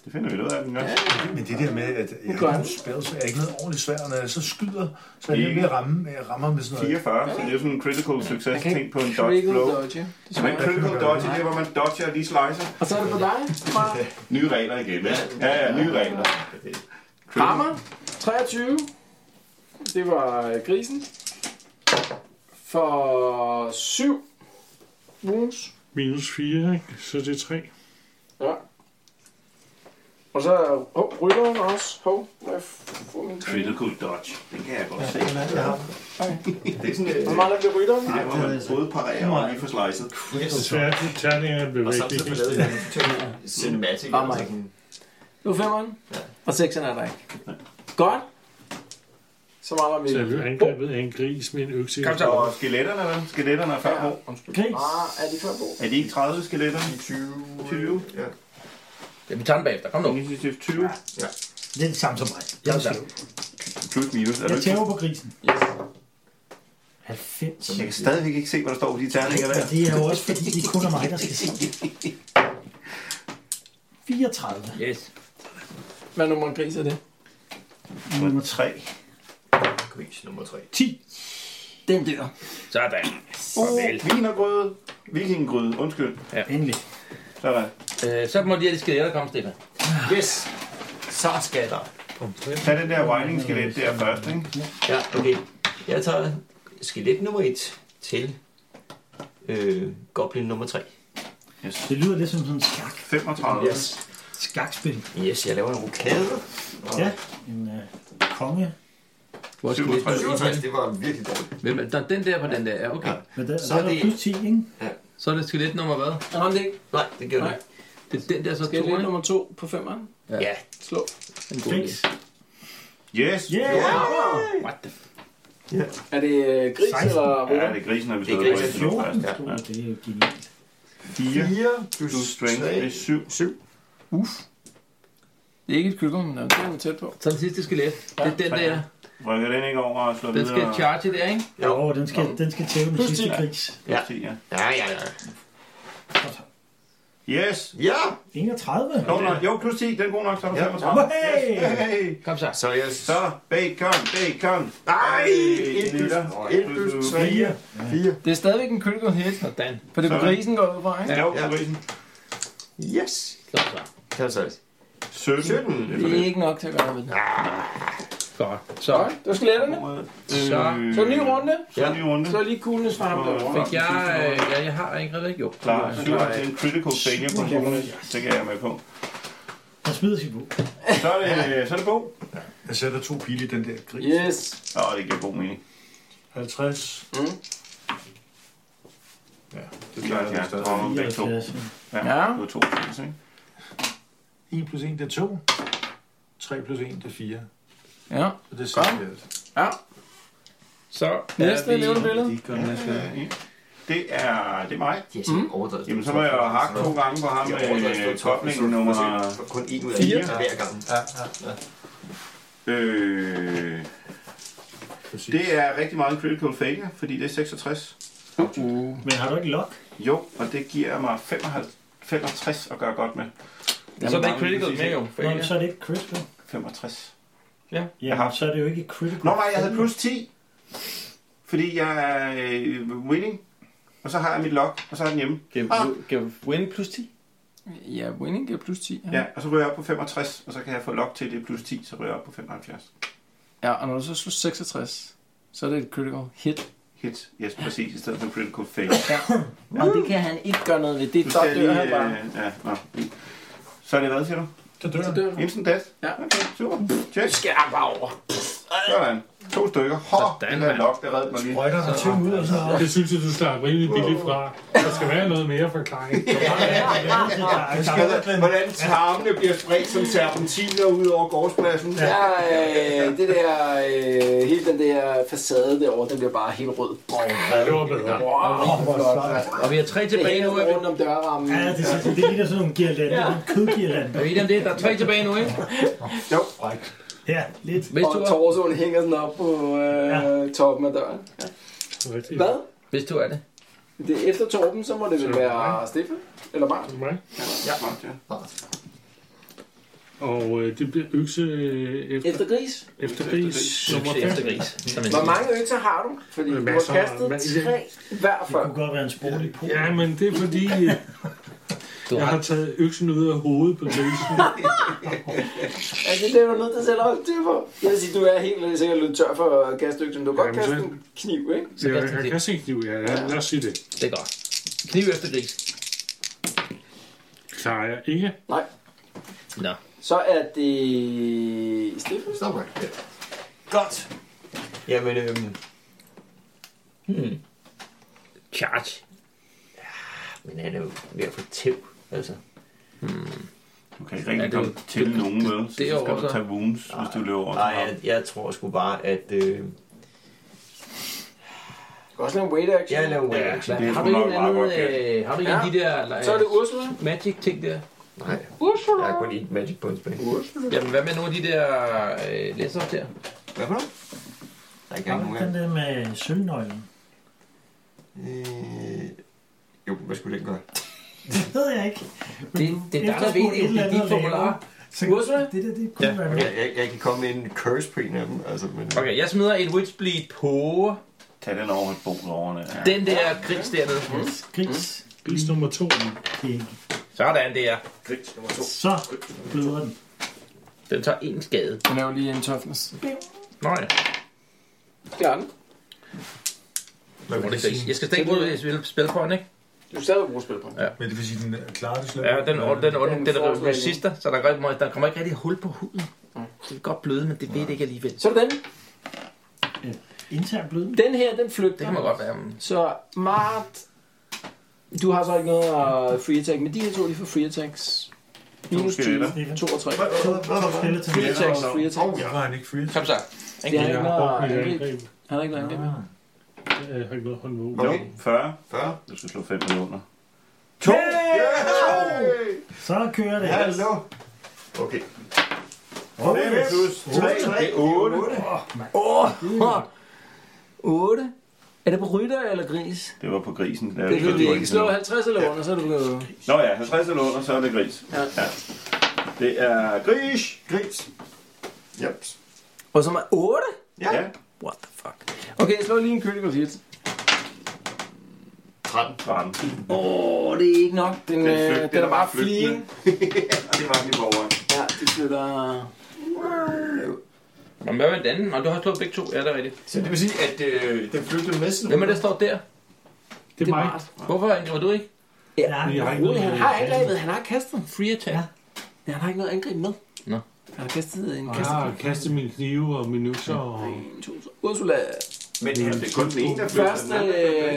Speaker 8: Det finder vi ud af den også.
Speaker 5: Ja. Men det der med, at jeg
Speaker 3: Gør
Speaker 5: har
Speaker 3: han.
Speaker 5: nogle spil, så jeg er ikke noget ordentligt svært, når jeg så skyder, så er
Speaker 8: Det er
Speaker 5: jeg ved at ramme, jeg rammer med sådan noget.
Speaker 8: 44, så det er sådan en critical success
Speaker 3: kan
Speaker 8: ting på en
Speaker 3: ikke
Speaker 8: dodge
Speaker 3: critical
Speaker 8: blow.
Speaker 3: dodge, ja. Det
Speaker 8: Så man
Speaker 3: smager.
Speaker 8: critical dodge, det er, hvor man dodger og lige slicer.
Speaker 3: Og så er det på dig. Fra
Speaker 8: Nye regler igen, ja. Ja, ja, nye regler.
Speaker 3: Rammer. 23. Det var øh, grisen. For 7 wounds.
Speaker 4: Minus 4, ikke? Så det er 3.
Speaker 3: Ja. Og så oh, rytteren også. Hov, må jeg få min ting?
Speaker 8: Critical dodge, den kan jeg godt se.
Speaker 5: Jeg har
Speaker 8: Det er sådan
Speaker 7: øh,
Speaker 8: et...
Speaker 3: Hvor meget er det rytteren?
Speaker 8: Nej, hvor man både parerer og lige får slicet.
Speaker 4: Svært, terninger blev
Speaker 7: Og
Speaker 4: væk.
Speaker 7: samtidig får lavet en tømmer cinematic.
Speaker 3: Rammer
Speaker 7: altså
Speaker 3: ikke.
Speaker 7: sådan-
Speaker 3: Nu er femmeren.
Speaker 7: Ja.
Speaker 3: Og sekseren er der ikke. Godt. Så mangler
Speaker 4: Så jeg
Speaker 3: vi...
Speaker 4: blev angrebet af en gris med en økse.
Speaker 9: Kom så.
Speaker 8: Og skeletterne, hvad? Skeletterne er 5 år.
Speaker 6: Gris.
Speaker 3: Ah, er de før på?
Speaker 8: Er de ikke 30 skeletterne? 20. 20.
Speaker 7: Ja.
Speaker 9: Det er vi tager den bagefter. Kom nu.
Speaker 8: Initiativ 20.
Speaker 6: Det er det samme som mig. Jeg,
Speaker 9: Kom så.
Speaker 8: Plus minus. Er du
Speaker 6: jeg
Speaker 8: ikke
Speaker 6: tæver på grisen.
Speaker 3: Yes.
Speaker 6: 90.
Speaker 8: jeg kan stadigvæk ikke se, hvad der står på de terninger der.
Speaker 6: Det er jo også fordi, det kun er mig, der skal se. det. 34.
Speaker 9: Yes.
Speaker 3: Hvad nummer en gris er det?
Speaker 8: Nummer 3.
Speaker 7: Gris nummer 3.
Speaker 3: Den dør.
Speaker 9: Sådan. Farvel.
Speaker 8: Vinergrøde. Vikinggrøde. Undskyld.
Speaker 6: Endelig.
Speaker 8: Sådan.
Speaker 9: Øh, så må de her de skeletter komme, Stefan.
Speaker 7: Yes! Så skal der.
Speaker 8: Tag den der whining skelet der først, ikke?
Speaker 7: Ja, okay. Jeg tager skelet nummer 1 til øh, goblin nummer 3.
Speaker 8: Yes.
Speaker 6: Det lyder lidt som sådan en skak,
Speaker 8: 35.
Speaker 7: Yes.
Speaker 6: skakspil.
Speaker 7: Yes, jeg laver en rokade.
Speaker 6: Ja, en øh, konge.
Speaker 9: Hvor er
Speaker 7: Faktisk,
Speaker 9: skeletterne?
Speaker 7: det var virkelig dårligt.
Speaker 9: Hvem er der, den der på den der? Ja, okay.
Speaker 6: Men der,
Speaker 7: Så
Speaker 6: så
Speaker 7: er
Speaker 6: er der
Speaker 7: det-
Speaker 6: plus 10, ikke?
Speaker 9: Så er det skelet nummer hvad?
Speaker 3: Jeg ramte ikke.
Speaker 7: Nej, det gjorde det
Speaker 3: Nej.
Speaker 7: ikke.
Speaker 9: Det er den der så to,
Speaker 3: Skal jeg
Speaker 9: ikke?
Speaker 3: lige nummer 2 på femmeren?
Speaker 7: Ja.
Speaker 3: Slå.
Speaker 9: En god idé.
Speaker 8: Yes.
Speaker 6: Yeah!
Speaker 9: What the f-
Speaker 3: Er det øh, gris
Speaker 6: 16.
Speaker 3: eller
Speaker 8: Ja,
Speaker 3: rytter?
Speaker 8: det er grisen, der vi
Speaker 7: Det er
Speaker 8: stået på.
Speaker 7: grisen.
Speaker 8: indtil nu først.
Speaker 6: Ja. Det er jo genialt.
Speaker 8: 4
Speaker 7: 4 plus,
Speaker 8: plus strength, det er 7.
Speaker 7: 7.
Speaker 3: Det er ikke et kykker, men øh, det er tæt på.
Speaker 9: Så den sidste skelet. Det er den der.
Speaker 8: Rykker den ikke over og slår
Speaker 9: Den skal
Speaker 8: videre?
Speaker 9: charge der, ikke?
Speaker 6: Jo, den skal, den skal tæve den
Speaker 3: Plus
Speaker 6: sidste
Speaker 3: 10.
Speaker 6: gris.
Speaker 8: Plus 10, ja.
Speaker 7: Ja, ja, ja.
Speaker 8: Yes.
Speaker 7: Ja!
Speaker 6: 31.
Speaker 8: Nå, nå, jo, plus 10, den er god nok, så er der
Speaker 7: Ja.
Speaker 8: 35.
Speaker 6: Hey!
Speaker 8: Yes. Hey.
Speaker 9: Kom så.
Speaker 7: Så jeg... Så... Øh,
Speaker 8: Så, bacon, bacon.
Speaker 7: Ej! 1 plus,
Speaker 8: Liter.
Speaker 7: 1 plus 3. 4.
Speaker 3: Det er stadigvæk en critical hit,
Speaker 9: Sådan.
Speaker 3: for det er
Speaker 8: Sådan.
Speaker 3: grisen går ud fra, ikke?
Speaker 8: Jo, på grisen.
Speaker 7: Yes!
Speaker 9: Kom så.
Speaker 7: Det var så
Speaker 8: 17.
Speaker 7: 17.
Speaker 8: Det er for
Speaker 3: Det er
Speaker 8: lidt.
Speaker 3: ikke nok til at gøre noget ved det.
Speaker 9: Godt. Så
Speaker 3: Godt, det var skeletterne.
Speaker 9: Så.
Speaker 8: Øh,
Speaker 3: Så en ny runde.
Speaker 8: Så en ny runde.
Speaker 3: Så lige kuglenes fra ham derovre.
Speaker 9: fik jeg... øh, Ja, jeg har ikke rigtig. Jo.
Speaker 8: Klar, 7 til en critical failure på bonus. Det kan jeg med på.
Speaker 6: Han smider sit bog.
Speaker 8: Så er det, så er det Bo.
Speaker 5: Jeg sætter to pile i den der gris.
Speaker 3: Yes.
Speaker 8: Åh, det giver god mening.
Speaker 5: 50.
Speaker 3: Mm.
Speaker 5: Ja, det
Speaker 8: Det er
Speaker 5: klarer
Speaker 8: klart,
Speaker 5: jeg
Speaker 8: ja.
Speaker 5: stadig.
Speaker 8: Og nogle begge to. Ja.
Speaker 3: Ja.
Speaker 8: Det var to, ikke?
Speaker 5: 1 plus 1, det er 2. 3 plus 1, det er 4.
Speaker 3: Ja.
Speaker 5: Så det er 6.
Speaker 3: Ja.
Speaker 9: Så
Speaker 3: Næste levende billede.
Speaker 8: Det er, det er mig.
Speaker 7: Det er simpelthen overdrevet.
Speaker 8: Jamen, så må jeg jo hakke to øh, gange på ham
Speaker 7: Jeg
Speaker 8: med
Speaker 7: overdrevet.
Speaker 8: koblingen nummer...
Speaker 7: Kun en ud af
Speaker 3: Fire.
Speaker 7: fire hver gang. Ja, ja, ja.
Speaker 8: Øh, det er rigtig meget en critical failure, fordi det er 66.
Speaker 6: Men har du ikke lok?
Speaker 8: Jo, og det giver mig 55, 65 at gøre godt med.
Speaker 9: Så er det ikke critical med jo. for
Speaker 6: Nå,
Speaker 9: ikke-
Speaker 6: så er det ikke critical.
Speaker 8: 65.
Speaker 6: Jamen, så er det jo ikke critical.
Speaker 8: Nå nej, jeg havde plus 10. Fordi jeg er øh, winning. Og så har jeg mit lock, og så er den hjemme.
Speaker 9: Kan
Speaker 8: Ah.
Speaker 9: kan win plus 10?
Speaker 3: Ja, winning giver plus 10.
Speaker 8: Ja, og så ryger jeg op på 65, og så kan jeg få lock til det er plus 10, så ryger jeg op på 75.
Speaker 3: Ja, og når du så slår 66, så er det et critical hit.
Speaker 8: Hit, yes, præcis, i stedet for critical fail.
Speaker 3: Og det kan han ikke gøre noget ved. Det er
Speaker 8: Nu
Speaker 3: et
Speaker 8: skal
Speaker 3: godt
Speaker 8: jeg
Speaker 3: dør,
Speaker 8: lige,
Speaker 3: han bare.
Speaker 8: øh, ja, nå. Så er det hvad, siger du?
Speaker 5: Så dør
Speaker 3: Så
Speaker 5: han.
Speaker 3: dør han.
Speaker 8: Instant death?
Speaker 3: Ja.
Speaker 8: Okay, super. Check.
Speaker 3: Skal han bare over.
Speaker 8: Sådan. To stykker. Hår,
Speaker 9: Sådan,
Speaker 8: den der
Speaker 9: mand.
Speaker 8: lock, der redde mig lige.
Speaker 5: Røgter der til ud og sådan noget.
Speaker 4: Det synes jeg, du slap rimelig billigt fra. Der skal være noget mere forklaring.
Speaker 5: Jeg skal
Speaker 7: Hvordan- Hvordan tarmene bliver spredt som serpentiner ud over gårdspladsen. Ja.
Speaker 3: Ja, øh, det der, øh, hele den der facade derovre, den bliver bare helt rød.
Speaker 4: Det var bedre.
Speaker 3: Wow,
Speaker 9: Og vi har tre tilbage nu. Er vi,
Speaker 3: rundt om dørrammen.
Speaker 6: Ja, det, er, det ligner sådan nogle girlander, ja. en kødgirlander.
Speaker 9: er vi enige om det? Der er tre tilbage nu, ikke?
Speaker 8: Jo.
Speaker 6: Ja, Ja, lidt.
Speaker 3: Hvis og torsoen hænger sådan op på øh, ja. toppen af døren. Ja. Hvad?
Speaker 9: Hvis du er det.
Speaker 3: Det er efter Torben, så må det vel være Steffen? Eller Bart?
Speaker 4: Mig.
Speaker 3: Ja,
Speaker 4: Og øh, det bliver økse øh, efter,
Speaker 3: Efter gris.
Speaker 4: efter gris. Nummer
Speaker 9: Økse efter
Speaker 4: 5.
Speaker 9: gris. Som en-
Speaker 3: Hvor mange økser har du? Fordi du
Speaker 4: Men
Speaker 3: har
Speaker 4: masser.
Speaker 3: kastet
Speaker 4: Hvad-
Speaker 3: tre hver
Speaker 6: Det
Speaker 3: før.
Speaker 6: kunne godt være en spor i polen.
Speaker 4: Ja, men det er fordi, øh, jeg har taget øksen ud af hovedet på grisen.
Speaker 3: Altså, det er du nødt til selv at holde styr på. Jeg vil sige, du er helt sikkert lidt tør for kastdygt, men du kan godt
Speaker 4: Jamen,
Speaker 3: kaste
Speaker 4: så-
Speaker 3: en kniv, ikke?
Speaker 4: Så jeg, jeg kan se kniv, ja. ja. Lad os sige det.
Speaker 9: Det er godt. Kniv efter gris.
Speaker 4: Klarer jeg ikke.
Speaker 3: Nej.
Speaker 9: Nå.
Speaker 3: Så er det... Steffen?
Speaker 7: Stop mig. Ja.
Speaker 3: Godt.
Speaker 7: Jamen, øhm,
Speaker 9: Charge.
Speaker 7: men han er jo ved at få tæv, altså.
Speaker 8: Du kan ikke
Speaker 9: Ja,
Speaker 8: rigtig
Speaker 9: det-
Speaker 8: komme til
Speaker 9: det-
Speaker 8: nogen med, så
Speaker 9: det er
Speaker 8: skal
Speaker 9: over,
Speaker 8: du
Speaker 9: så.
Speaker 8: tage wounds, hvis du løber over til
Speaker 7: Nej,
Speaker 8: ham.
Speaker 7: jeg, jeg tror sgu bare, at... Øh,
Speaker 3: Du kan også lave en weight action.
Speaker 7: jeg laver way
Speaker 9: Ja,
Speaker 7: action.
Speaker 8: det er sgu
Speaker 9: har du en
Speaker 8: nok
Speaker 9: eller
Speaker 8: meget
Speaker 9: anden,
Speaker 8: godt gæt.
Speaker 9: øh, har du en af
Speaker 3: Ja.
Speaker 9: de der øh,
Speaker 3: Så er det Ursula.
Speaker 9: magic ting der?
Speaker 7: Nej,
Speaker 3: Ursula.
Speaker 7: jeg har kun et magic points bag.
Speaker 9: Jamen, hvad med nogle af de der øh, læser der?
Speaker 7: Hvad for noget? Der er ikke
Speaker 6: Har
Speaker 7: engang
Speaker 6: du
Speaker 7: nogen
Speaker 6: ikke
Speaker 7: af
Speaker 6: den der med sølvnøglen?
Speaker 7: dem. øh, Jo, hvad skulle den gøre?
Speaker 6: Det ved jeg ikke.
Speaker 9: Det, det er dig, der ved det. Det er dit formular.
Speaker 6: Så
Speaker 9: Ursula?
Speaker 6: det der, det kunne
Speaker 9: Ja,
Speaker 6: ja, være
Speaker 7: Jeg,
Speaker 6: med.
Speaker 7: jeg, jeg kan komme med en curse på en af dem, altså, men...
Speaker 9: Okay, jeg smider et Witchbleed på
Speaker 8: Tag den over et bord over. Ja.
Speaker 9: den der gris dernede.
Speaker 6: Gris.
Speaker 4: Gris nummer 2.
Speaker 6: Æg.
Speaker 9: Sådan der.
Speaker 6: Så bløder den.
Speaker 9: Den tager en skade.
Speaker 3: Jeg laver lige en toughness.
Speaker 9: Nå ja.
Speaker 3: Klarer den.
Speaker 5: Hvad vil det sige?
Speaker 9: Jeg skal stadig bruge et spil på den, ikke?
Speaker 3: Du skal stadig bruge spil på den.
Speaker 5: Men det vil sige, den klarer det slet
Speaker 9: Ja, den, den,
Speaker 3: Den
Speaker 9: den, den, den er
Speaker 3: forslag.
Speaker 9: resister, så der, gør- der kommer ikke rigtig hul på huden. Det er godt bløde, men det ved det ikke alligevel.
Speaker 3: Så er det den.
Speaker 6: Intern bløden.
Speaker 3: Den her, den
Speaker 9: Det
Speaker 3: flygter.
Speaker 9: kan man godt være. men-
Speaker 3: Så Mart, du har så ikke noget at free attack, men de her to, de får free attacks. Minus 20,
Speaker 8: skeletter.
Speaker 3: 2 og 3.
Speaker 6: Spiller til
Speaker 3: Free attacks, free attacks.
Speaker 5: Jeg var han ikke free.
Speaker 9: Kom så.
Speaker 3: Det er
Speaker 4: Jeg
Speaker 3: ikke
Speaker 4: har brugt
Speaker 3: noget
Speaker 4: mit
Speaker 3: angreb.
Speaker 4: angreb.
Speaker 3: Han har ikke noget angreb.
Speaker 4: Jeg har ikke noget håndvåben.
Speaker 7: Hvor
Speaker 8: Jo,
Speaker 7: mange?
Speaker 8: 40.
Speaker 7: 40?
Speaker 8: Du skal slå 5 millioner.
Speaker 7: To! Yeah!
Speaker 6: Så kører det.
Speaker 7: Hallo! Okay.
Speaker 8: 5 plus 3. Det er 8.
Speaker 3: 8. Er det på rytter eller gris?
Speaker 8: Det var på grisen. Der
Speaker 3: Det vil de ikke. Slå 50 eller under, så er det blevet...
Speaker 8: Nå ja, 50 eller under, så er det gris.
Speaker 3: Ja.
Speaker 8: Det er gris.
Speaker 7: Gris. Yep.
Speaker 3: Og så er 8?
Speaker 7: Ja.
Speaker 8: Ja,
Speaker 3: What the fuck? Okay, jeg slår lige en critical hit.
Speaker 7: 13.
Speaker 8: 13.
Speaker 3: Åh, det er ikke nok. Den, Øh, den,
Speaker 8: flygt-
Speaker 3: øh, den er bare
Speaker 8: flygtende.
Speaker 3: fligen.
Speaker 8: Det var lige over.
Speaker 3: Ja, det flytter...
Speaker 9: Nå, men hvad med den anden? Nå, du har slået begge to. Ja, det er rigtigt.
Speaker 7: Så det vil sige, at øh, den flygtede med sådan
Speaker 9: Hvem er det, der står der?
Speaker 4: Det er mig.
Speaker 9: Hvorfor angriber du ikke?
Speaker 6: Ja,
Speaker 4: Jeg har ikke
Speaker 3: Rudi,
Speaker 4: noget
Speaker 3: han har angrebet. Han har kastet.
Speaker 9: Free attack.
Speaker 6: Ja.
Speaker 3: Ja, han har ikke noget angreb med.
Speaker 9: Nå.
Speaker 3: Han har kastet en
Speaker 4: Jeg
Speaker 3: kasse.
Speaker 4: har kastet mine knive og min økser. Og...
Speaker 3: En, to, tre. Ursula,
Speaker 7: Men
Speaker 8: Ja, det er kun den ene, der flytter.
Speaker 3: først,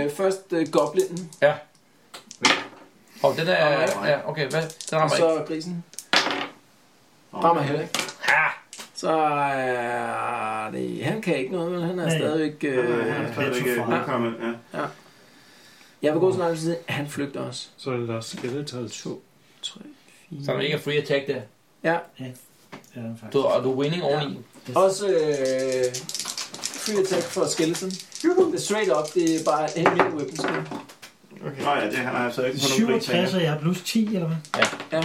Speaker 3: øh, først øh, goblinen,
Speaker 9: Og den der...
Speaker 3: Rammer
Speaker 9: Ja, okay, hvad? Den
Speaker 3: og
Speaker 9: rammer
Speaker 3: så
Speaker 9: ikke.
Speaker 3: grisen. Rammer heller ikke.
Speaker 9: Ha!
Speaker 3: Så er det... Han kan ikke noget, men han er
Speaker 6: Nej.
Speaker 3: stadigvæk... Øh,
Speaker 8: Ja, så er det ikke velkommen. Ja.
Speaker 3: jeg vil gå så langt til siden, at han flygter også.
Speaker 4: Så er der skeletals.
Speaker 9: Så er der ikke er free attack der.
Speaker 6: Ja,
Speaker 9: Du,
Speaker 6: faktisk.
Speaker 9: og du er winning oveni.
Speaker 3: Også øh, free attack for skeleton. Det er straight up, det er bare en mere weapon skill.
Speaker 8: Nå ja, det han har altså ikke på nogen gris.
Speaker 6: 67, og jeg har plus 10, eller hvad?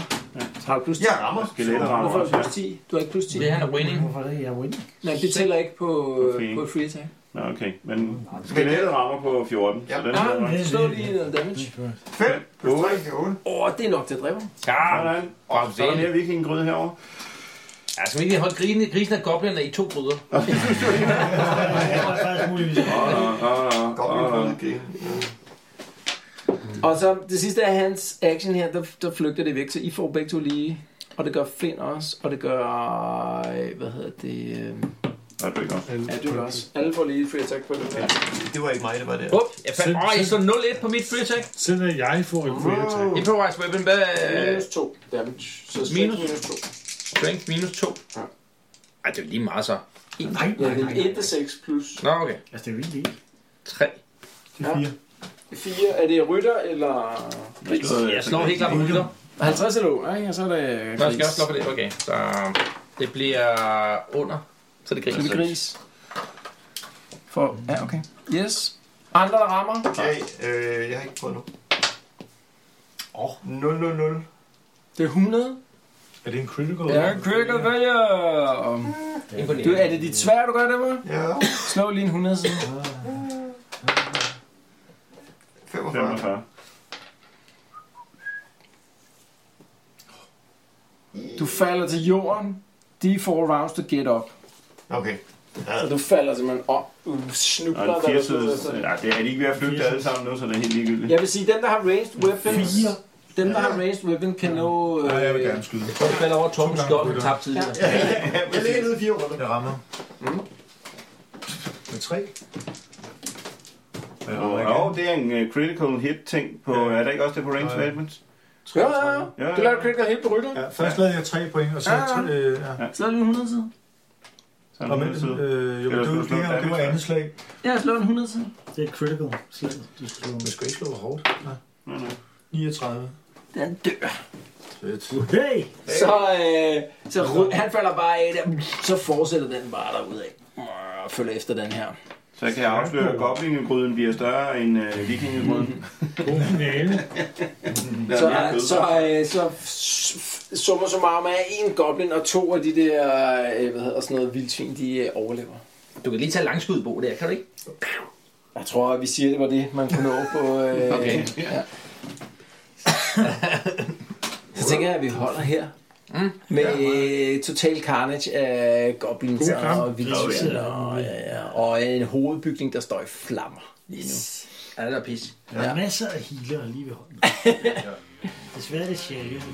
Speaker 3: Så har du plus 10.
Speaker 7: Jeg rammer.
Speaker 8: Skeletter rammer
Speaker 3: Hvorfor har du
Speaker 8: også, ja.
Speaker 3: plus 10? Du har ikke plus 10.
Speaker 9: Det er han er winning.
Speaker 6: Hvorfor er det, jeg winner?
Speaker 3: Nej, det tæller ikke på,
Speaker 8: Okay.
Speaker 3: okay. på free attack.
Speaker 8: Nå, okay. Men skelettet rammer på 14. Så
Speaker 7: Ja.
Speaker 8: den
Speaker 3: Ja,
Speaker 8: er
Speaker 3: men slå lige noget damage.
Speaker 7: 5 plus 3 er 8.
Speaker 3: Åh, oh, det er nok til at dræbe ham.
Speaker 9: Ja,
Speaker 8: Sådan. Og så er der mere vikingegryde herovre.
Speaker 9: Ja, skal vi ikke lige holde grisen, grisen og gobliner i to gryder?
Speaker 6: Jeg har faktisk muligvis
Speaker 8: Åh, åh, åh,
Speaker 7: Godt, vi
Speaker 8: åh,
Speaker 7: har
Speaker 8: åh.
Speaker 7: fået lidt game.
Speaker 3: Og så det sidste af hans action her, der, der flygter det væk, så I får begge to lige. Og det gør Finn også, og det gør... øh, Hvad hedder det? Øh,
Speaker 8: Nej, du er ikke også.
Speaker 3: ja, det gør også. Alle får lige free attack på det. Ja.
Speaker 7: Det var ikke mig, der var der.
Speaker 9: Up. Jeg fandt, åh, jeg så 0-1 på mit free attack.
Speaker 4: Selv at jeg får en free attack.
Speaker 9: Improvised weapon, hvad?
Speaker 3: Minus 2 damage. Så strength
Speaker 9: Minus?
Speaker 3: minus 2.
Speaker 9: Strength minus 2.
Speaker 3: Ja.
Speaker 9: Ej, det er jo lige meget så.
Speaker 6: Nej,
Speaker 3: Ja,
Speaker 6: nej, nej.
Speaker 3: det er 1 6 plus
Speaker 9: Nå, okay.
Speaker 6: Altså, det er vildt ikke.
Speaker 9: 3.
Speaker 3: Ja. 4. Er det rytter eller...
Speaker 9: Jeg slår helt klart på hylder.
Speaker 3: Og 50 eller under, ikke? Og så er det...
Speaker 9: Nå, jeg skal også slå på det. Okay, så... Det bliver under. Så det gris.
Speaker 3: Så det gris. For, ja, okay. Yes. Andre, der rammer?
Speaker 7: Nej, øh, jeg har ikke prøvet nu.
Speaker 5: Åh.
Speaker 7: 0, 0, 0.
Speaker 3: Det er 100.
Speaker 5: Er det en critical?
Speaker 3: Ja, critical failure. Du, er det dit svær, du gør det med?
Speaker 7: Ja.
Speaker 3: Slå lige en 100 siden.
Speaker 7: 45.
Speaker 8: 45.
Speaker 3: Du falder til jorden. De får rounds to get up.
Speaker 7: Okay.
Speaker 3: Så du falder simpelthen op. Du snubler.
Speaker 8: Og
Speaker 3: der
Speaker 8: en
Speaker 3: er
Speaker 8: firesides...
Speaker 3: sådan-
Speaker 8: Ja, det er de ikke ved at flygte alle sammen nu, så det er helt ligegyldigt.
Speaker 3: Jeg vil sige, dem der har raised weapons... Dem, der har raised weapon, kan nå...
Speaker 5: Nej, jeg vil
Speaker 3: Øh,
Speaker 5: gerne skyde.
Speaker 16: Du falder over Torbens skjold, du tabte tidligere.
Speaker 3: ja,
Speaker 7: Jeg ligger nede i fire runder.
Speaker 5: Jeg rammer. Med tre. Og jeg rammer
Speaker 8: Og,
Speaker 5: igen.
Speaker 8: og det er en øh, critical hit ting på... Er der ikke også det på
Speaker 5: Ja,
Speaker 8: range
Speaker 5: ja.
Speaker 8: statements?
Speaker 3: ja, ja, ja. Du lader critical helt på rytteren.
Speaker 5: Ja, først lavede jeg tre point, og så...
Speaker 3: Ja, ja.
Speaker 5: tre- øh, ja.
Speaker 3: Slå den 100 side.
Speaker 8: Så er
Speaker 5: Og
Speaker 8: den
Speaker 5: men,
Speaker 8: anden side.
Speaker 5: øh, jo,
Speaker 8: Eller
Speaker 5: det,
Speaker 8: skal
Speaker 5: var,
Speaker 8: du slå
Speaker 5: det, her, det var
Speaker 8: damage?
Speaker 5: andet slag.
Speaker 3: Ja, slå den 100 side.
Speaker 6: Det er critical slaget, du skal slå
Speaker 5: Du
Speaker 6: med.
Speaker 5: skal ikke slå hårdt. Nej.
Speaker 8: Nej, nej.
Speaker 5: 39.
Speaker 3: Den dør.
Speaker 5: Fedt.
Speaker 6: Hey!
Speaker 3: Så, øh, så ry- han falder bare af der. Så fortsætter den bare derudad. Og følger efter den her.
Speaker 8: Så kan jeg afsløre, at goblingegryden bliver større end øh, vikingegryden.
Speaker 17: God finale.
Speaker 3: Så, så, øh, så f- summa summarum er en goblin og to af de der, øh, hvad hedder sådan noget, vildsvin, de øh, overlever.
Speaker 9: Du kan lige tage langskudbo der, kan du ikke?
Speaker 3: Jeg tror, at vi siger, det var det, man kunne nå på... Øh, <laughs> okay. Ja. Så tænker jeg, at vi holder her. Mm. Med øh, total carnage af goblins
Speaker 17: God kamp.
Speaker 3: og vildsvin og, ja, og en hovedbygning, der står i flammer lige nu.
Speaker 9: Ja, det er da pis.
Speaker 6: Der er masser af healer lige ved
Speaker 3: <laughs>
Speaker 6: hånden. Desværre er det sjældent.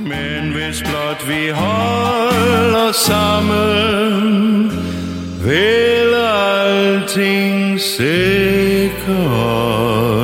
Speaker 1: Men hvis blot vi holder sammen, vil alting sikkert